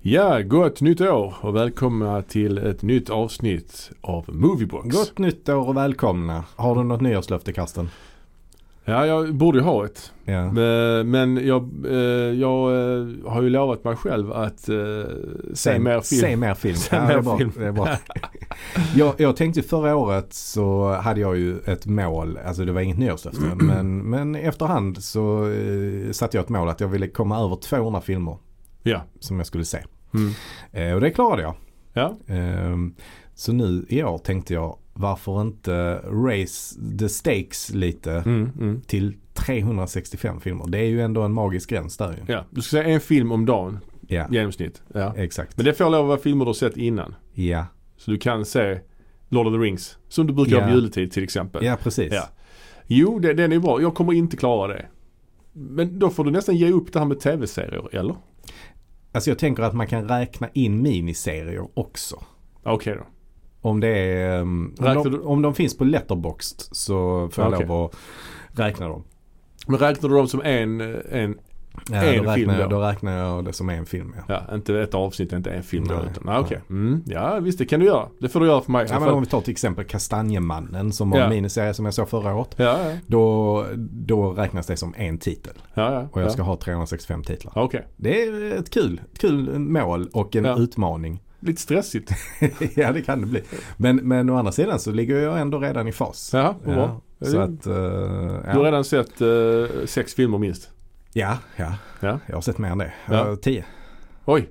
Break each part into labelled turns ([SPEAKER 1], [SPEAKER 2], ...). [SPEAKER 1] Ja, gott nytt år och välkomna till ett nytt avsnitt av Moviebox.
[SPEAKER 2] Gott nytt år och välkomna. Har du något nyårslöfte Karsten?
[SPEAKER 1] Ja, jag borde ju ha ett.
[SPEAKER 2] Ja.
[SPEAKER 1] Men- Men jag, eh, jag eh, har ju lovat mig själv att eh, se mer film.
[SPEAKER 2] Se mer film.
[SPEAKER 1] Se
[SPEAKER 2] ja,
[SPEAKER 1] mer
[SPEAKER 2] det är bra.
[SPEAKER 1] film.
[SPEAKER 2] Det är bra. jag, jag tänkte förra året så hade jag ju ett mål. Alltså det var inget nyårslöfte. men, men efterhand så eh, satte jag ett mål att jag ville komma över 200 filmer
[SPEAKER 1] Ja.
[SPEAKER 2] som jag skulle se.
[SPEAKER 1] Mm.
[SPEAKER 2] Eh, och det klarade jag.
[SPEAKER 1] ja.
[SPEAKER 2] Ehm, så nu i år tänkte jag varför inte raise the stakes lite
[SPEAKER 1] Mm, mm.
[SPEAKER 2] till 365 filmer. Det är ju ändå en magisk gräns där ju.
[SPEAKER 1] ja. Du ska se en film om dagen
[SPEAKER 2] Ja,
[SPEAKER 1] i genomsnitt. Ja.
[SPEAKER 2] exakt.
[SPEAKER 1] Men det får lov att vara filmer du har sett innan.
[SPEAKER 2] Ja.
[SPEAKER 1] Så du kan se Lord of the Rings. Som du brukar göra
[SPEAKER 2] Ja.
[SPEAKER 1] vid juletid till exempel.
[SPEAKER 2] ja, precis.
[SPEAKER 1] Ja. Jo, det, den är bra. Jag kommer inte klara det. Men då får du nästan ge upp det här med tv-serier, eller?
[SPEAKER 2] Alltså jag tänker att man kan räkna in miniserier också.
[SPEAKER 1] Okej då.
[SPEAKER 2] Om, det är, ehm,
[SPEAKER 1] Räknar
[SPEAKER 2] om,
[SPEAKER 1] du-
[SPEAKER 2] de, om de finns på Letterboxd så får jag
[SPEAKER 1] Okej.
[SPEAKER 2] lov att räkna dem.
[SPEAKER 1] Men räknar du dem som en, en
[SPEAKER 2] Ja,
[SPEAKER 1] En
[SPEAKER 2] då, räknar
[SPEAKER 1] film
[SPEAKER 2] jag,
[SPEAKER 1] då?
[SPEAKER 2] då räknar jag det som en film. Ja.
[SPEAKER 1] ja, inte ett avsnitt, inte en film då,
[SPEAKER 2] Nej.
[SPEAKER 1] utan, ah, okej. Mm, ja, visst det kan du göra. Det får du göra för mig.
[SPEAKER 2] Ja, men om vi tar till exempel Kastanjemannen som var
[SPEAKER 1] Ja.
[SPEAKER 2] en miniserie som jag såg förra året.
[SPEAKER 1] ja, ja,
[SPEAKER 2] Då, då räknas det som en titel
[SPEAKER 1] ja. ja,
[SPEAKER 2] och jag ska
[SPEAKER 1] ja.
[SPEAKER 2] ha 365 titlar.
[SPEAKER 1] Okej,
[SPEAKER 2] Det är ett kul, ett kul mål och en
[SPEAKER 1] Ja.
[SPEAKER 2] utmaning.
[SPEAKER 1] lite stressigt.
[SPEAKER 2] ja det kan det bli. Men, men å andra sidan så ligger jag ändå redan i fas.
[SPEAKER 1] Jaha, vad bra.
[SPEAKER 2] Ja, så att, eh,
[SPEAKER 1] Mm. Du har
[SPEAKER 2] ja.
[SPEAKER 1] redan sett eh, sex filmer minst.
[SPEAKER 2] Ja, ja,
[SPEAKER 1] Ja.
[SPEAKER 2] jag har sett mer än det.
[SPEAKER 1] Ja.
[SPEAKER 2] Ja. Tio.
[SPEAKER 1] Oj,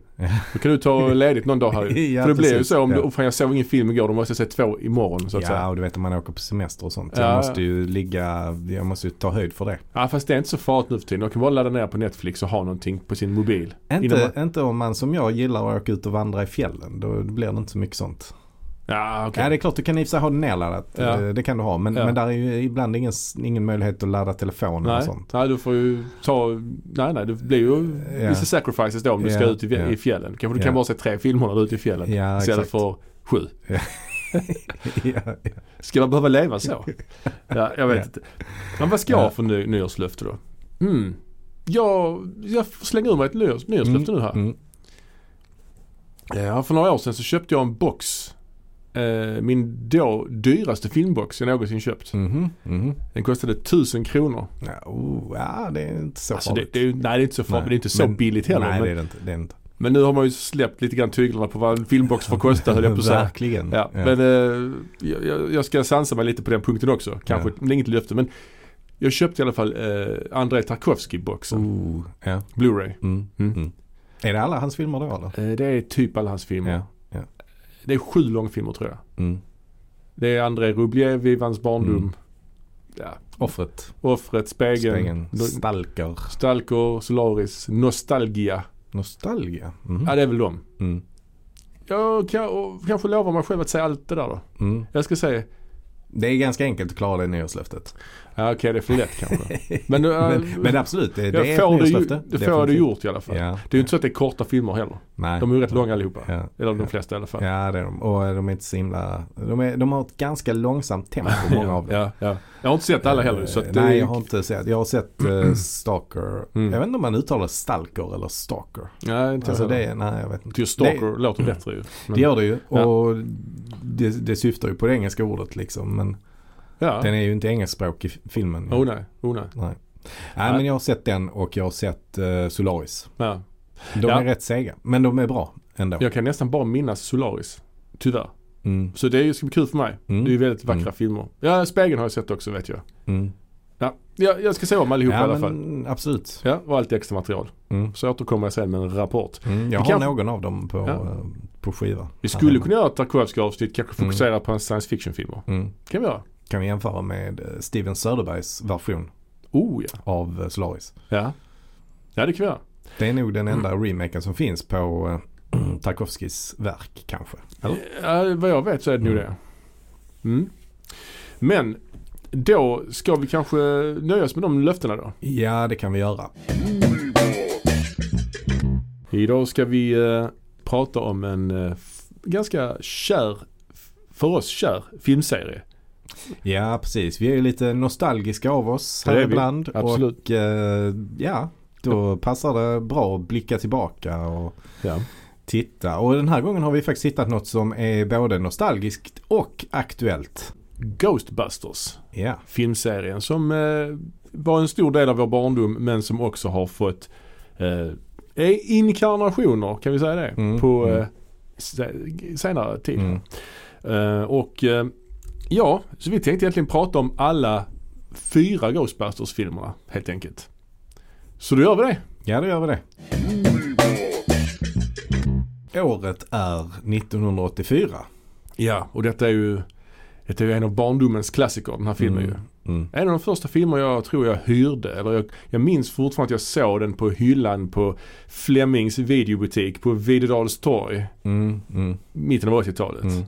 [SPEAKER 1] då kan du ta ledigt någon dag här ju.
[SPEAKER 2] Ja,
[SPEAKER 1] För det blir ju
[SPEAKER 2] precis.
[SPEAKER 1] så om du,
[SPEAKER 2] Ja.
[SPEAKER 1] oh, fan jag såg ingen film igår, då måste jag se två imorgon så att
[SPEAKER 2] Ja,
[SPEAKER 1] säga.
[SPEAKER 2] och du vet om man åker på semester och sånt.
[SPEAKER 1] Ja, ja.
[SPEAKER 2] Jag måste ju ligga, jag måste ju ta höjd för det.
[SPEAKER 1] Ja fast det är inte så farligt nu för tiden. Man kan bara ladda ner på Netflix och ha någonting på sin mobil. Innan
[SPEAKER 2] Inte,
[SPEAKER 1] man-
[SPEAKER 2] inte om man som jag gillar att åka ut och vandra i fjällen. Då blir det inte så mycket sånt.
[SPEAKER 1] Ja okej.
[SPEAKER 2] Ja, det är klart du kan i och för sig ha det nedladdat.
[SPEAKER 1] Ja.
[SPEAKER 2] Eh, Det kan du ha. Men,
[SPEAKER 1] Ja.
[SPEAKER 2] men där är ju ibland ingen, ingen möjlighet att ladda telefonen och
[SPEAKER 1] Nej.
[SPEAKER 2] sånt.
[SPEAKER 1] nej, du får ju ta, nej nej det blir ju
[SPEAKER 2] Ja.
[SPEAKER 1] vissa sacrifices då om du
[SPEAKER 2] Ja,
[SPEAKER 1] ska ut i,
[SPEAKER 2] ja.
[SPEAKER 1] i fjällen. Kanske du kan
[SPEAKER 2] Ja.
[SPEAKER 1] bara se tre filmer när du är ute i fjällen
[SPEAKER 2] Ja,
[SPEAKER 1] istället
[SPEAKER 2] exakt.
[SPEAKER 1] för sju.
[SPEAKER 2] ja, ja.
[SPEAKER 1] Ska man behöva leva så? ja, jag vet
[SPEAKER 2] Ja.
[SPEAKER 1] inte. Men vad ska jag
[SPEAKER 2] Ja.
[SPEAKER 1] ha för ny, nyårslöfte då? Mm. Jag, jag slänger ur mig ett nyårs, nyårslöfte nu här.
[SPEAKER 2] Mm.
[SPEAKER 1] Ja, för några år sedan så köpte jag en box. Eh, min då dyraste filmbox jag någonsin köpt.
[SPEAKER 2] Mhm, mhm.
[SPEAKER 1] Den kostade 1000 kronor.
[SPEAKER 2] Ja, oh, ja, det är inte så
[SPEAKER 1] Alltså det,
[SPEAKER 2] farligt.
[SPEAKER 1] det är, ju- nej, det är inte så farligt.
[SPEAKER 2] Nej,
[SPEAKER 1] Det är inte så
[SPEAKER 2] men-
[SPEAKER 1] billigt heller.
[SPEAKER 2] Nej,
[SPEAKER 1] men,
[SPEAKER 2] det är det inte. Det är det inte.
[SPEAKER 1] men nu har man ju släppt lite grann tyglarna på vad en filmbox får kosta höll jag på att säga.
[SPEAKER 2] Verkligen.
[SPEAKER 1] Ja, Men eh, jag- jag, jag ska sansa mig lite på den punkten också. Kanske,
[SPEAKER 2] Ja.
[SPEAKER 1] men det är inget löfte. Men jag köpte i alla fall eh, Andrei Tarkovsky-boxen.
[SPEAKER 2] Oh, ja.
[SPEAKER 1] Blu-ray.
[SPEAKER 2] Mm.
[SPEAKER 1] Mm.
[SPEAKER 2] Mm. Är det alla hans filmer då eller?
[SPEAKER 1] Eh, det är typ alla hans filmer.
[SPEAKER 2] Ja. ja.
[SPEAKER 1] Det är sju långfilmer tror jag.
[SPEAKER 2] Mm.
[SPEAKER 1] Det är Andrei Rublev, Vivans barndom.
[SPEAKER 2] Mm.
[SPEAKER 1] Ja.
[SPEAKER 2] Offret,
[SPEAKER 1] Offret, Spegeln,
[SPEAKER 2] Stängen,
[SPEAKER 1] St-
[SPEAKER 2] Stalker,
[SPEAKER 1] Stalker, Solaris, Nostalgia.
[SPEAKER 2] Nostalgia. Mm.
[SPEAKER 1] Ja, det är väl dem.
[SPEAKER 2] Mm.
[SPEAKER 1] Jag kan, och kanske lovar mig själv att säga allt det där då.
[SPEAKER 2] Mm.
[SPEAKER 1] Jag ska säga,
[SPEAKER 2] Det är ganska enkelt att klara det nyårslöftet.
[SPEAKER 1] ja, okej det är för lätt kanske. Men, äh,
[SPEAKER 2] Men, men absolut, det,
[SPEAKER 1] jag
[SPEAKER 2] det är
[SPEAKER 1] får
[SPEAKER 2] ett
[SPEAKER 1] det, ju,
[SPEAKER 2] nyårslöfte.
[SPEAKER 1] det får jag det gjort i alla fall.
[SPEAKER 2] Ja.
[SPEAKER 1] Det är ju inte så att det är korta filmer heller.
[SPEAKER 2] Nej.
[SPEAKER 1] De är ju rätt långa allihopa.
[SPEAKER 2] Ja.
[SPEAKER 1] Eller de
[SPEAKER 2] Ja.
[SPEAKER 1] flesta i alla fall.
[SPEAKER 2] ja, det är de. Och eh, de är inte så himla... De, är, de har ett ganska långsamt tempo, många av dem. Eh,
[SPEAKER 1] Ja, ja. Jag har inte sett alla heller så att det,
[SPEAKER 2] Nej, jag har inte sett. Jag har sett eh, Stalker.
[SPEAKER 1] Mm.
[SPEAKER 2] Jag vet inte om man uttalar Stalker eller Stalker.
[SPEAKER 1] Nej, inte
[SPEAKER 2] Alltså
[SPEAKER 1] heller.
[SPEAKER 2] det, är- nej Mm. jag vet inte.
[SPEAKER 1] Tycker Stalker
[SPEAKER 2] det-
[SPEAKER 1] låter bättre ju. Men,
[SPEAKER 2] Det gör det ju
[SPEAKER 1] Ja.
[SPEAKER 2] och det, det syftar ju på det engelska ordet liksom. Men
[SPEAKER 1] ja.
[SPEAKER 2] den är ju inte engelskspråkig i filmen.
[SPEAKER 1] Oh nej, oh nej.
[SPEAKER 2] Nej.
[SPEAKER 1] Nej.
[SPEAKER 2] Nej men jag har sett den och jag har sett eh, Solaris.
[SPEAKER 1] Ja.
[SPEAKER 2] De
[SPEAKER 1] Ja.
[SPEAKER 2] är rätt sega men de är bra ändå.
[SPEAKER 1] Jag kan nästan bara minnas Solaris. Tyvärr.
[SPEAKER 2] Mm,
[SPEAKER 1] Så det är ju- ska bli kul för mig.
[SPEAKER 2] Mm.
[SPEAKER 1] Det är ju väldigt vackra
[SPEAKER 2] Mm.
[SPEAKER 1] filmer. Ja, Spegeln har jag sett också vet jag.
[SPEAKER 2] mm.
[SPEAKER 1] Ja, jag, jag ska se om allihopa i alla
[SPEAKER 2] Ja
[SPEAKER 1] fall.
[SPEAKER 2] men absolut.
[SPEAKER 1] Ja, och allt extra material.
[SPEAKER 2] Mm.
[SPEAKER 1] Så återkommer jag sen med en rapport.
[SPEAKER 2] Mm. Jag
[SPEAKER 1] Vi
[SPEAKER 2] har
[SPEAKER 1] kan-
[SPEAKER 2] någon av dem på,
[SPEAKER 1] Ja.
[SPEAKER 2] eh, på skiva. Alltså,
[SPEAKER 1] Vi skulle kunna göra ett Tarkovsky-avsnitt, kanske fokusera på hans science fiction-filmer.
[SPEAKER 2] Mm.
[SPEAKER 1] kan vi göra.
[SPEAKER 2] Kan vi jämföra med eh, Steven Söderbergs version
[SPEAKER 1] Oh ja.
[SPEAKER 2] av eh, Solaris.
[SPEAKER 1] Ja, ja det kan vi göra.
[SPEAKER 2] Det är nog den enda
[SPEAKER 1] Mm.
[SPEAKER 2] remaken som finns på eh, Tarkovskis verk kanske. Eller?
[SPEAKER 1] Ja, vad jag vet så är det nog
[SPEAKER 2] Mm.
[SPEAKER 1] det. Mm. Men då ska vi kanske nöja oss med de löftena då.
[SPEAKER 2] Ja, det kan vi göra.
[SPEAKER 1] Idag ska vi eh, prata om en eh, f- ganska kär, f- för oss kär filmserie.
[SPEAKER 2] Ja, precis. Vi är ju lite nostalgiska av oss
[SPEAKER 1] Det
[SPEAKER 2] här
[SPEAKER 1] är vi.
[SPEAKER 2] ibland.
[SPEAKER 1] Absolut.
[SPEAKER 2] Och eh, ja, då passar det bra att blicka tillbaka och
[SPEAKER 1] Ja.
[SPEAKER 2] titta. Och den här gången har vi faktiskt hittat något som är både nostalgiskt och aktuellt.
[SPEAKER 1] Ghostbusters,
[SPEAKER 2] Ja,
[SPEAKER 1] filmserien som eh, var en stor del av vår barndom men som också har fått eh, är inkarnationer, kan vi säga det,
[SPEAKER 2] Mm,
[SPEAKER 1] på
[SPEAKER 2] mm.
[SPEAKER 1] eh, se- senare tid.
[SPEAKER 2] mm.
[SPEAKER 1] Eh, och eh, ja, så vi tänkte egentligen prata om alla fyra Ghostbusters-filmerna helt enkelt. Så då gör vi det.
[SPEAKER 2] ja då gör vi det. Året är 1984.
[SPEAKER 1] Ja, och detta är ju, detta är ju en av barndomens klassiker, den här filmen ju.
[SPEAKER 2] Mm.
[SPEAKER 1] En av de första filmer jag tror jag hyrde, eller jag, jag minns fortfarande att jag såg den på hyllan på Flemings videobutik på Videdals torg.
[SPEAKER 2] Mm. Mm.
[SPEAKER 1] Mitten av 80-talet.
[SPEAKER 2] Mm.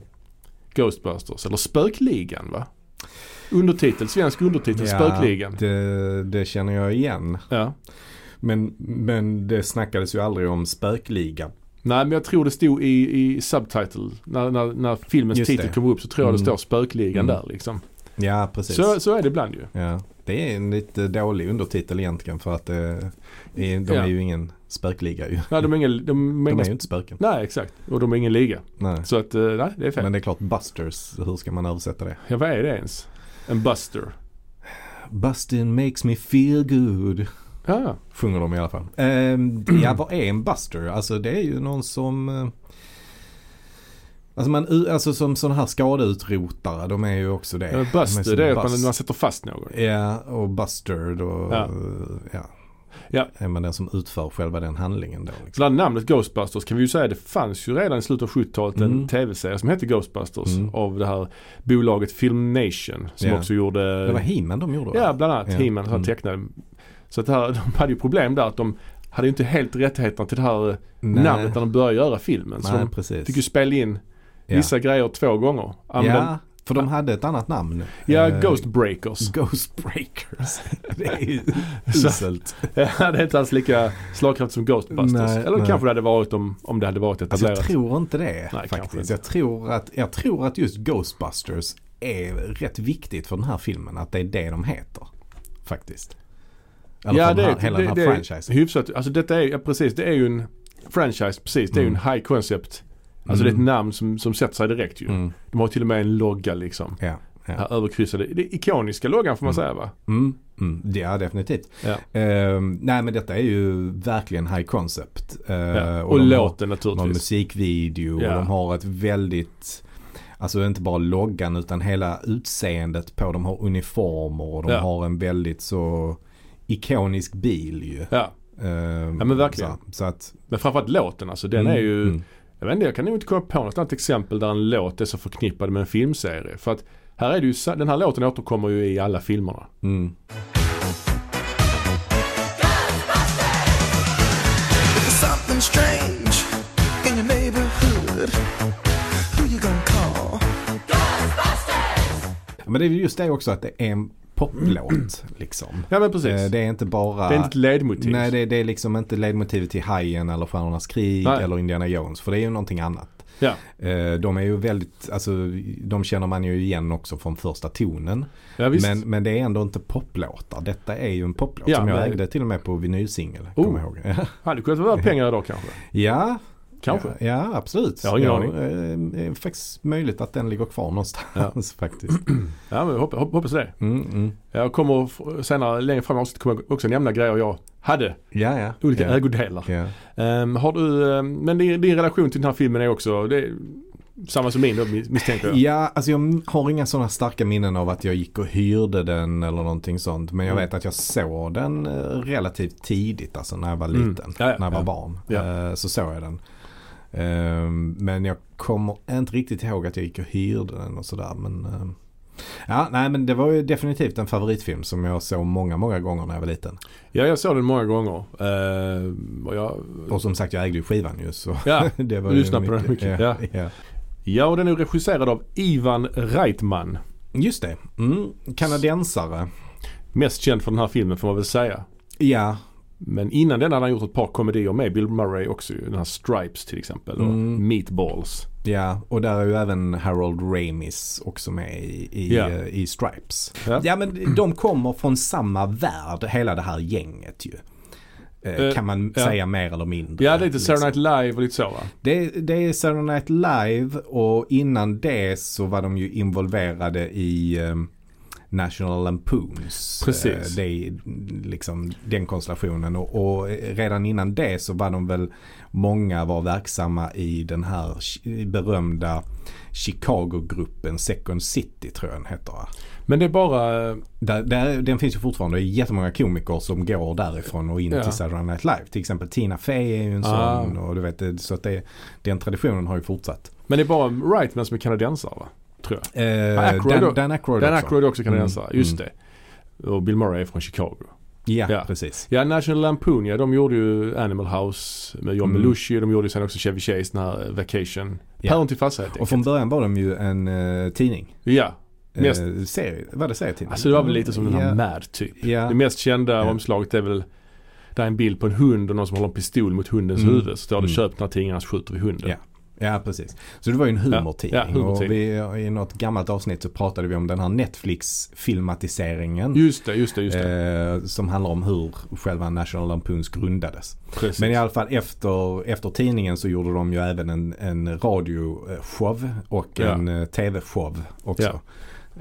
[SPEAKER 1] Ghostbusters, eller Spökligan va? Undertitel, svensk undertitel, Spökligan.
[SPEAKER 2] Det, det känner jag igen.
[SPEAKER 1] Ja.
[SPEAKER 2] Men, men det snackades ju aldrig om spökligan.
[SPEAKER 1] Nej men jag tror det stod i, i subtitle, när, när, när filmens
[SPEAKER 2] Just
[SPEAKER 1] titel
[SPEAKER 2] det.
[SPEAKER 1] kommer upp så tror jag det
[SPEAKER 2] Mm.
[SPEAKER 1] står Spökligan
[SPEAKER 2] Mm.
[SPEAKER 1] där liksom.
[SPEAKER 2] Ja, precis.
[SPEAKER 1] Så, så är det ibland ju.
[SPEAKER 2] Ja. Det är en lite dålig undertitel egentligen för att det, är- de
[SPEAKER 1] Ja.
[SPEAKER 2] är ju ingen spökliga ju.
[SPEAKER 1] Nej de är ingen, de är
[SPEAKER 2] De
[SPEAKER 1] inga,
[SPEAKER 2] är ju inte spöken.
[SPEAKER 1] Nej exakt, och de är ingen liga.
[SPEAKER 2] Nej.
[SPEAKER 1] Så att eh, nej det är fel.
[SPEAKER 2] Men det är klart Busters, hur ska man översätta det?
[SPEAKER 1] Ja vad är det ens? En buster.
[SPEAKER 2] Bustin makes me feel good.
[SPEAKER 1] Ja,
[SPEAKER 2] Sjunger de i alla fall. Ehm, ja, vad är en buster? Alltså det är ju någon som... eh, Alltså, man, u- alltså som sådana här skadeutrotare, de är ju också det.
[SPEAKER 1] en
[SPEAKER 2] De
[SPEAKER 1] buster
[SPEAKER 2] som
[SPEAKER 1] Eh, det är att man,
[SPEAKER 2] bust.
[SPEAKER 1] man sätter fast någon.
[SPEAKER 2] Ja, och Buster då.
[SPEAKER 1] Ja.
[SPEAKER 2] Ja. Ja.
[SPEAKER 1] Ja.
[SPEAKER 2] Är man den som utför själva den handlingen då?
[SPEAKER 1] Så
[SPEAKER 2] Liksom.
[SPEAKER 1] det här namnet Ghostbusters kan vi ju säga det fanns ju redan i slutet av 70-talet en
[SPEAKER 2] Mm.
[SPEAKER 1] tv-serie som hette Ghostbusters
[SPEAKER 2] Mm.
[SPEAKER 1] av det här bolaget Film Nation som
[SPEAKER 2] Ja.
[SPEAKER 1] också gjorde
[SPEAKER 2] Det var He-Man de gjorde va?
[SPEAKER 1] Eh, Ja, bland annat
[SPEAKER 2] Ja.
[SPEAKER 1] He-Man som
[SPEAKER 2] Mm.
[SPEAKER 1] tecknade. Så att det här, de hade ju problem där att de hade ju inte helt rättigheterna till det här eh,
[SPEAKER 2] Nej.
[SPEAKER 1] namnet när de började göra filmen. Så
[SPEAKER 2] Nej,
[SPEAKER 1] de
[SPEAKER 2] precis.
[SPEAKER 1] fick ju spela in
[SPEAKER 2] Ja.
[SPEAKER 1] vissa grejer två gånger. Använde,
[SPEAKER 2] ja, för de hade ett annat namn.
[SPEAKER 1] ja.
[SPEAKER 2] Eh,
[SPEAKER 1] Ghost Breakers.
[SPEAKER 2] Ghostbreakers. det är ju
[SPEAKER 1] Så-
[SPEAKER 2] uselt.
[SPEAKER 1] Ja, det är inte alls lika slagkraftigt som Ghostbusters.
[SPEAKER 2] Nej,
[SPEAKER 1] Eller
[SPEAKER 2] nej.
[SPEAKER 1] kanske det hade varit om, om det hade varit
[SPEAKER 2] Alltså,
[SPEAKER 1] etablerat.
[SPEAKER 2] jag tror inte det
[SPEAKER 1] kanske
[SPEAKER 2] faktiskt.
[SPEAKER 1] inte.
[SPEAKER 2] Jag tror, att, jag tror att just Ghostbusters är rätt viktigt för den här filmen. Att det är det de heter. Faktiskt. Eller
[SPEAKER 1] ja,
[SPEAKER 2] för
[SPEAKER 1] det,
[SPEAKER 2] den här,
[SPEAKER 1] är-
[SPEAKER 2] hela
[SPEAKER 1] det,
[SPEAKER 2] den här
[SPEAKER 1] det är
[SPEAKER 2] franchisen.
[SPEAKER 1] hyfsat. Alltså detta är ja, precis, det är ju en franchise, precis. Det är ju en high concept. Alltså det är
[SPEAKER 2] Mm.
[SPEAKER 1] ett namn som, som sätter sig direkt ju.
[SPEAKER 2] Mm.
[SPEAKER 1] De har till och med en logga liksom.
[SPEAKER 2] Ja, ja.
[SPEAKER 1] Den Här överkryssade, det är ikoniska loggan får man
[SPEAKER 2] Mm.
[SPEAKER 1] säga va?
[SPEAKER 2] Mm, mm, ja, definitivt.
[SPEAKER 1] Ja.
[SPEAKER 2] Ehm, nej, men detta är ju verkligen high concept. Eh,
[SPEAKER 1] Ja, och,
[SPEAKER 2] de
[SPEAKER 1] låten
[SPEAKER 2] har någon
[SPEAKER 1] naturligtvis.
[SPEAKER 2] musikvideo
[SPEAKER 1] Ja.
[SPEAKER 2] och de har ett väldigt, alltså inte bara loggan utan hela utseendet på. De har uniformer och de
[SPEAKER 1] Ja.
[SPEAKER 2] har en väldigt så ikonisk bil ju.
[SPEAKER 1] Ja,
[SPEAKER 2] Ehm,
[SPEAKER 1] Ja, men verkligen.
[SPEAKER 2] Så, så att,
[SPEAKER 1] men framförallt låten alltså. Den
[SPEAKER 2] mm,
[SPEAKER 1] är ju,
[SPEAKER 2] mm,
[SPEAKER 1] jag vet inte, jag kan nog inte komma på något annat exempel där en låt är så förknippad med en filmserie. För att här är det ju, sa- den här låten återkommer ju i alla filmerna.
[SPEAKER 2] mm.
[SPEAKER 3] There's something strange in your neighborhood. Who you gonna call?
[SPEAKER 2] Men det är ju just det också att det är en poplåt liksom.
[SPEAKER 1] Ja men precis.
[SPEAKER 2] Eh,
[SPEAKER 1] det,
[SPEAKER 2] Det är inte bara...
[SPEAKER 1] är inte ett ledmotiv.
[SPEAKER 2] Nej, det, det är liksom inte ledmotivet till Hajen eller Stjärnornas krig
[SPEAKER 1] Nej.
[SPEAKER 2] eller Indiana Jones. För det är ju någonting annat.
[SPEAKER 1] Ja,
[SPEAKER 2] Eh, De är ju väldigt, alltså de känner man ju igen också från första tonen.
[SPEAKER 1] ja visst.
[SPEAKER 2] Men, men det är ändå inte poplåtar. Detta är ju en poplåt
[SPEAKER 1] Ja,
[SPEAKER 2] som jag
[SPEAKER 1] men-
[SPEAKER 2] ägde till och med på vinylsingel.
[SPEAKER 1] Oh.
[SPEAKER 2] Kommer jag ihåg.
[SPEAKER 1] Hade kunnat vara värt pengar idag kanske.
[SPEAKER 2] ja,
[SPEAKER 1] Kanske.
[SPEAKER 2] Ja, ja, absolut.
[SPEAKER 1] Jag har ingen
[SPEAKER 2] ja,
[SPEAKER 1] aning.
[SPEAKER 2] eh, Det är faktiskt möjligt att den ligger kvar någonstans faktiskt.
[SPEAKER 1] Ja, men jag hoppas, hoppas det.
[SPEAKER 2] Mm, mm.
[SPEAKER 1] Jag kommer f- senare, längre fram i avsnittet kommer jag också nämna grejer jag hade.
[SPEAKER 2] Ja, ja.
[SPEAKER 1] Olika
[SPEAKER 2] ja.
[SPEAKER 1] ägodelar.
[SPEAKER 2] Ja.
[SPEAKER 1] Ehm, har du, ehm, men din, din relation till den här filmen är också, det är samma som min då mis- misstänker jag.
[SPEAKER 2] Ja, alltså jag har inga sådana starka minnen av att jag gick och hyrde den eller någonting sånt. Men jag
[SPEAKER 1] Mm.
[SPEAKER 2] vet att jag såg den eh, relativt tidigt, alltså när jag var
[SPEAKER 1] Mm.
[SPEAKER 2] liten.
[SPEAKER 1] Ja, ja,
[SPEAKER 2] när jag var
[SPEAKER 1] ja.
[SPEAKER 2] barn.
[SPEAKER 1] Ja.
[SPEAKER 2] Eh, Så såg jag den. Ehm, Men jag kommer inte riktigt ihåg att jag gick och hyrde den och sådär. Men, ehm, ja, nej, men det var ju definitivt en favoritfilm som jag såg många, många gånger när jag var liten.
[SPEAKER 1] Ja, jag såg den många gånger. Ehm, och jag,
[SPEAKER 2] Och som sagt, jag ägde ju skivan ju. Så
[SPEAKER 1] ja.
[SPEAKER 2] det var
[SPEAKER 1] Du
[SPEAKER 2] ju
[SPEAKER 1] lyssnade på den mycket,
[SPEAKER 2] Ja,
[SPEAKER 1] ja.
[SPEAKER 2] ja.
[SPEAKER 1] ja, och den är regisserad av Ivan Reitman.
[SPEAKER 2] Just det. Mm. Kanadensare.
[SPEAKER 1] Mest känd för den här filmen får man väl säga.
[SPEAKER 2] Ja,
[SPEAKER 1] Men innan den hade han gjort ett par komedier med Bill Murray också ju. Den här Stripes till exempel och
[SPEAKER 2] Mm.
[SPEAKER 1] Meatballs.
[SPEAKER 2] Ja, och där är ju även Harold Ramis också med i, i,
[SPEAKER 1] Ja.
[SPEAKER 2] eh, i Stripes.
[SPEAKER 1] Ja.
[SPEAKER 2] Ja. men de kommer från samma värld, hela det här gänget ju. eh,
[SPEAKER 1] Eh,
[SPEAKER 2] kan man
[SPEAKER 1] ja.
[SPEAKER 2] säga mer eller mindre.
[SPEAKER 1] Ja, lite
[SPEAKER 2] liksom.
[SPEAKER 1] Saturday Night Live och lite så va?
[SPEAKER 2] Det, det är Saturday Night Live och innan det så var de ju involverade i eh, National Lampoons.
[SPEAKER 1] Precis.
[SPEAKER 2] Eh, det är liksom den konstellationen. Och, och redan innan det så var de väl, många var verksamma i den här chi- berömda Chicago-gruppen Second City tror jag den heter. va?
[SPEAKER 1] Men det är bara, eh,
[SPEAKER 2] Där, där, den finns ju fortfarande. Det är jättemånga komiker som går därifrån och in
[SPEAKER 1] Ja.
[SPEAKER 2] till Saturday Night Live. Till exempel Tina Fey är ju en
[SPEAKER 1] Ah.
[SPEAKER 2] sån. Och du vet, det- så att det, den traditionen har ju fortsatt.
[SPEAKER 1] men det är bara Wrightman som är kanadensare va? Tror jag.
[SPEAKER 2] Eh,
[SPEAKER 1] Aykroyd då?
[SPEAKER 2] Dan, Dan Aykroyd
[SPEAKER 1] Dan
[SPEAKER 2] också.
[SPEAKER 1] Aykroyd är också kanadensare,
[SPEAKER 2] Mm,
[SPEAKER 1] just det. Och Bill Murray är från Chicago.
[SPEAKER 2] Ja,
[SPEAKER 1] Ja.
[SPEAKER 2] precis.
[SPEAKER 1] Ja, National Lampoon, ja de gjorde ju Animal House med John
[SPEAKER 2] Mm.
[SPEAKER 1] Belushi. De gjorde ju sen också Chevy Chase, den här eh, Vacation.
[SPEAKER 2] Ja.
[SPEAKER 1] Päron till farsa helt
[SPEAKER 2] Och
[SPEAKER 1] enkelt.
[SPEAKER 2] från början var de ju en eh, tidning.
[SPEAKER 1] Ja, mest,
[SPEAKER 2] Eh, serie, var det serietidning?
[SPEAKER 1] alltså det var väl lite som den här
[SPEAKER 2] ja.
[SPEAKER 1] Mad typ.
[SPEAKER 2] Ja.
[SPEAKER 1] Det mest kända
[SPEAKER 2] Ja.
[SPEAKER 1] omslaget är väl där är en bild på en hund och någon som håller en pistol mot hundens
[SPEAKER 2] Mm.
[SPEAKER 1] huvud. Så står det
[SPEAKER 2] Mm.
[SPEAKER 1] köp den här tidningen annars skjuter vi hunden.
[SPEAKER 2] Ja. Ja, precis. Så det var ju en humortidning.
[SPEAKER 1] Ja, ja, humortidning.
[SPEAKER 2] Och vi, I något gammalt avsnitt så pratade vi om den här Netflix-filmatiseringen.
[SPEAKER 1] Just det, just det, just det.
[SPEAKER 2] Eh, som handlar om hur själva National Lampoons grundades.
[SPEAKER 1] Precis.
[SPEAKER 2] Men i alla fall efter, efter tidningen så gjorde de ju även en, en radioshow och
[SPEAKER 1] Ja.
[SPEAKER 2] en eh, tv-show också.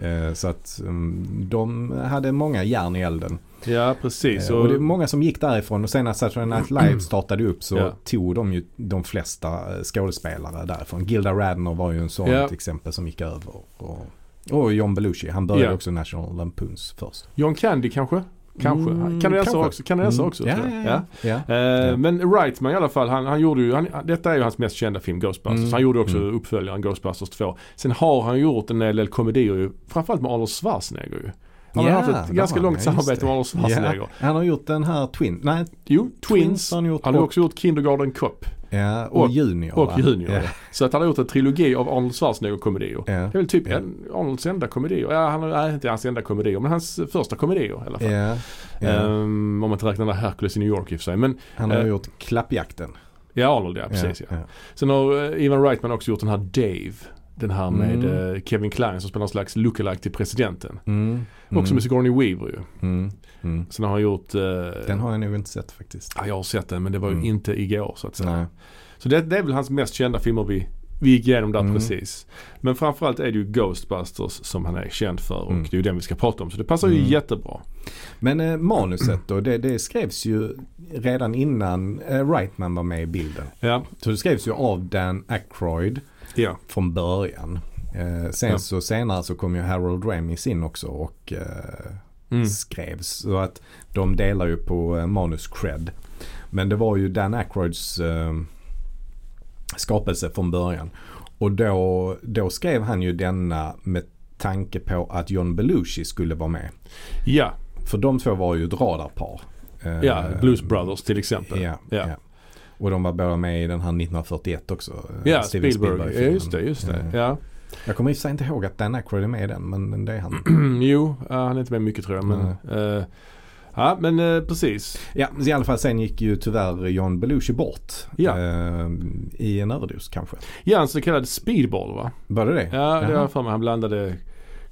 [SPEAKER 2] Eh, Så att mm, de hade många järn i elden.
[SPEAKER 1] Ja, precis.
[SPEAKER 2] Eh,
[SPEAKER 1] Och,
[SPEAKER 2] Och det är många som gick därifrån och sen när Saturday Night Live startade upp så
[SPEAKER 1] Mm. Ja.
[SPEAKER 2] tog de ju de flesta eh, skådespelare därifrån. Gilda Radner var ju en sån
[SPEAKER 1] Ja.
[SPEAKER 2] till exempel som gick över. Och, och John Belushi, han började
[SPEAKER 1] Ja.
[SPEAKER 2] också National Lampoons först.
[SPEAKER 1] John Candy kanske? Kanske.
[SPEAKER 2] Mm,
[SPEAKER 1] Kanadensare
[SPEAKER 2] kanske.
[SPEAKER 1] också. Kanadensare
[SPEAKER 2] Mm.
[SPEAKER 1] alltså också.
[SPEAKER 2] Ja,
[SPEAKER 1] tror jag.
[SPEAKER 2] ja, ja. ja.
[SPEAKER 1] Eh, Men Wrightman i alla fall, han, han gjorde ju, han, detta är ju hans mest kända film Ghostbusters.
[SPEAKER 2] Mm.
[SPEAKER 1] Han gjorde också
[SPEAKER 2] Mm.
[SPEAKER 1] uppföljaren Ghostbusters 2. Sen har han gjort en hel del komedier ju, framförallt med Arnold Schwarzenegger ju. Han
[SPEAKER 2] Ja,
[SPEAKER 1] har haft ett
[SPEAKER 2] det
[SPEAKER 1] ganska
[SPEAKER 2] har han,
[SPEAKER 1] långt
[SPEAKER 2] ja, just
[SPEAKER 1] samarbete
[SPEAKER 2] det.
[SPEAKER 1] med Arnold Schwarzenegger.
[SPEAKER 2] Ja, han har gjort den här Twin, nej,
[SPEAKER 1] Jo, Twins.
[SPEAKER 2] Twins har han gjort
[SPEAKER 1] Han har
[SPEAKER 2] och-
[SPEAKER 1] också gjort Kindergarten Cop
[SPEAKER 2] ja, och,
[SPEAKER 1] Och-
[SPEAKER 2] Junior.
[SPEAKER 1] och
[SPEAKER 2] va?
[SPEAKER 1] Junior.
[SPEAKER 2] Ja.
[SPEAKER 1] Så att han har gjort en trilogi av Arnold Schwarzenegger-komedier.
[SPEAKER 2] Ja.
[SPEAKER 1] Det är väl typ
[SPEAKER 2] Ja.
[SPEAKER 1] en, Arnolds enda komedier. Ja, han, nej, inte hans enda komedier, men hans första komedier i alla fall.
[SPEAKER 2] Ja, ja.
[SPEAKER 1] Ehm, om man inte räknar den där Hercules i New York i och för sig. Men
[SPEAKER 2] Han har
[SPEAKER 1] eh,
[SPEAKER 2] gjort Klappjakten.
[SPEAKER 1] ja, Arnold ja, precis ja. Sen har eh, Ivan Reitman också gjort den här Dave. Den här med
[SPEAKER 2] Mm.
[SPEAKER 1] eh, Kevin Kline som spelar någon slags lookalike till presidenten.
[SPEAKER 2] Mm,
[SPEAKER 1] Också
[SPEAKER 2] mm,
[SPEAKER 1] med Sigourney Weaver ju.
[SPEAKER 2] mm, mm.
[SPEAKER 1] Sen har han gjort... eh,
[SPEAKER 2] Den har jag nog inte sett faktiskt.
[SPEAKER 1] ja, jag har sett den men det var ju
[SPEAKER 2] Mm.
[SPEAKER 1] inte igår så att säga.
[SPEAKER 2] Nej.
[SPEAKER 1] Så det, det är väl hans mest kända filmer vi, vi gick igenom där
[SPEAKER 2] Mm.
[SPEAKER 1] precis. Men framförallt är det ju Ghostbusters som han är känd för och
[SPEAKER 2] Mm.
[SPEAKER 1] det är ju den vi ska prata om. Så det passar ju
[SPEAKER 2] Mm.
[SPEAKER 1] jättebra.
[SPEAKER 2] Men eh, manuset då, det, det skrevs ju redan innan eh, Wrightman var med i bilden.
[SPEAKER 1] Ja,
[SPEAKER 2] Så det skrevs ju av Dan Aykroyd
[SPEAKER 1] ja.
[SPEAKER 2] från början. Eh, sen
[SPEAKER 1] Ja.
[SPEAKER 2] så senare så kom ju Harold Ramis in också och eh,
[SPEAKER 1] Mm.
[SPEAKER 2] skrevs. Så att de delar ju på eh, manus cred. Men det var ju Dan Aykroyds eh, skapelse från början. Och då, då skrev han ju denna med tanke på att John Belushi skulle vara med.
[SPEAKER 1] ja,
[SPEAKER 2] För de två var ju ett radarpar. Eh,
[SPEAKER 1] ja. Blues Brothers till exempel.
[SPEAKER 2] Ja,
[SPEAKER 1] Ja.
[SPEAKER 2] ja. Och de var båda med i den här 1941 också. eh,
[SPEAKER 1] Ja,
[SPEAKER 2] Steven
[SPEAKER 1] Spielberg. ja,
[SPEAKER 2] Spielberg-filmen.
[SPEAKER 1] just det, just det.
[SPEAKER 2] Eh,
[SPEAKER 1] Ja.
[SPEAKER 2] Jag kommer i och för sig inte ihåg att Dan Aykroyd är med i den, men det är
[SPEAKER 1] Mm.
[SPEAKER 2] han.
[SPEAKER 1] jo, eh, han är inte med mycket tror jag. Men, eh, ja, men eh, precis.
[SPEAKER 2] Ja, i alla fall sen gick ju tyvärr John Belushi bort.
[SPEAKER 1] Ja.
[SPEAKER 2] Eh, I en överdos kanske.
[SPEAKER 1] Ja, en så kallad speedball va?
[SPEAKER 2] Var det det?
[SPEAKER 1] Ja, det har
[SPEAKER 2] Jaha.
[SPEAKER 1] jag för mig. Han blandade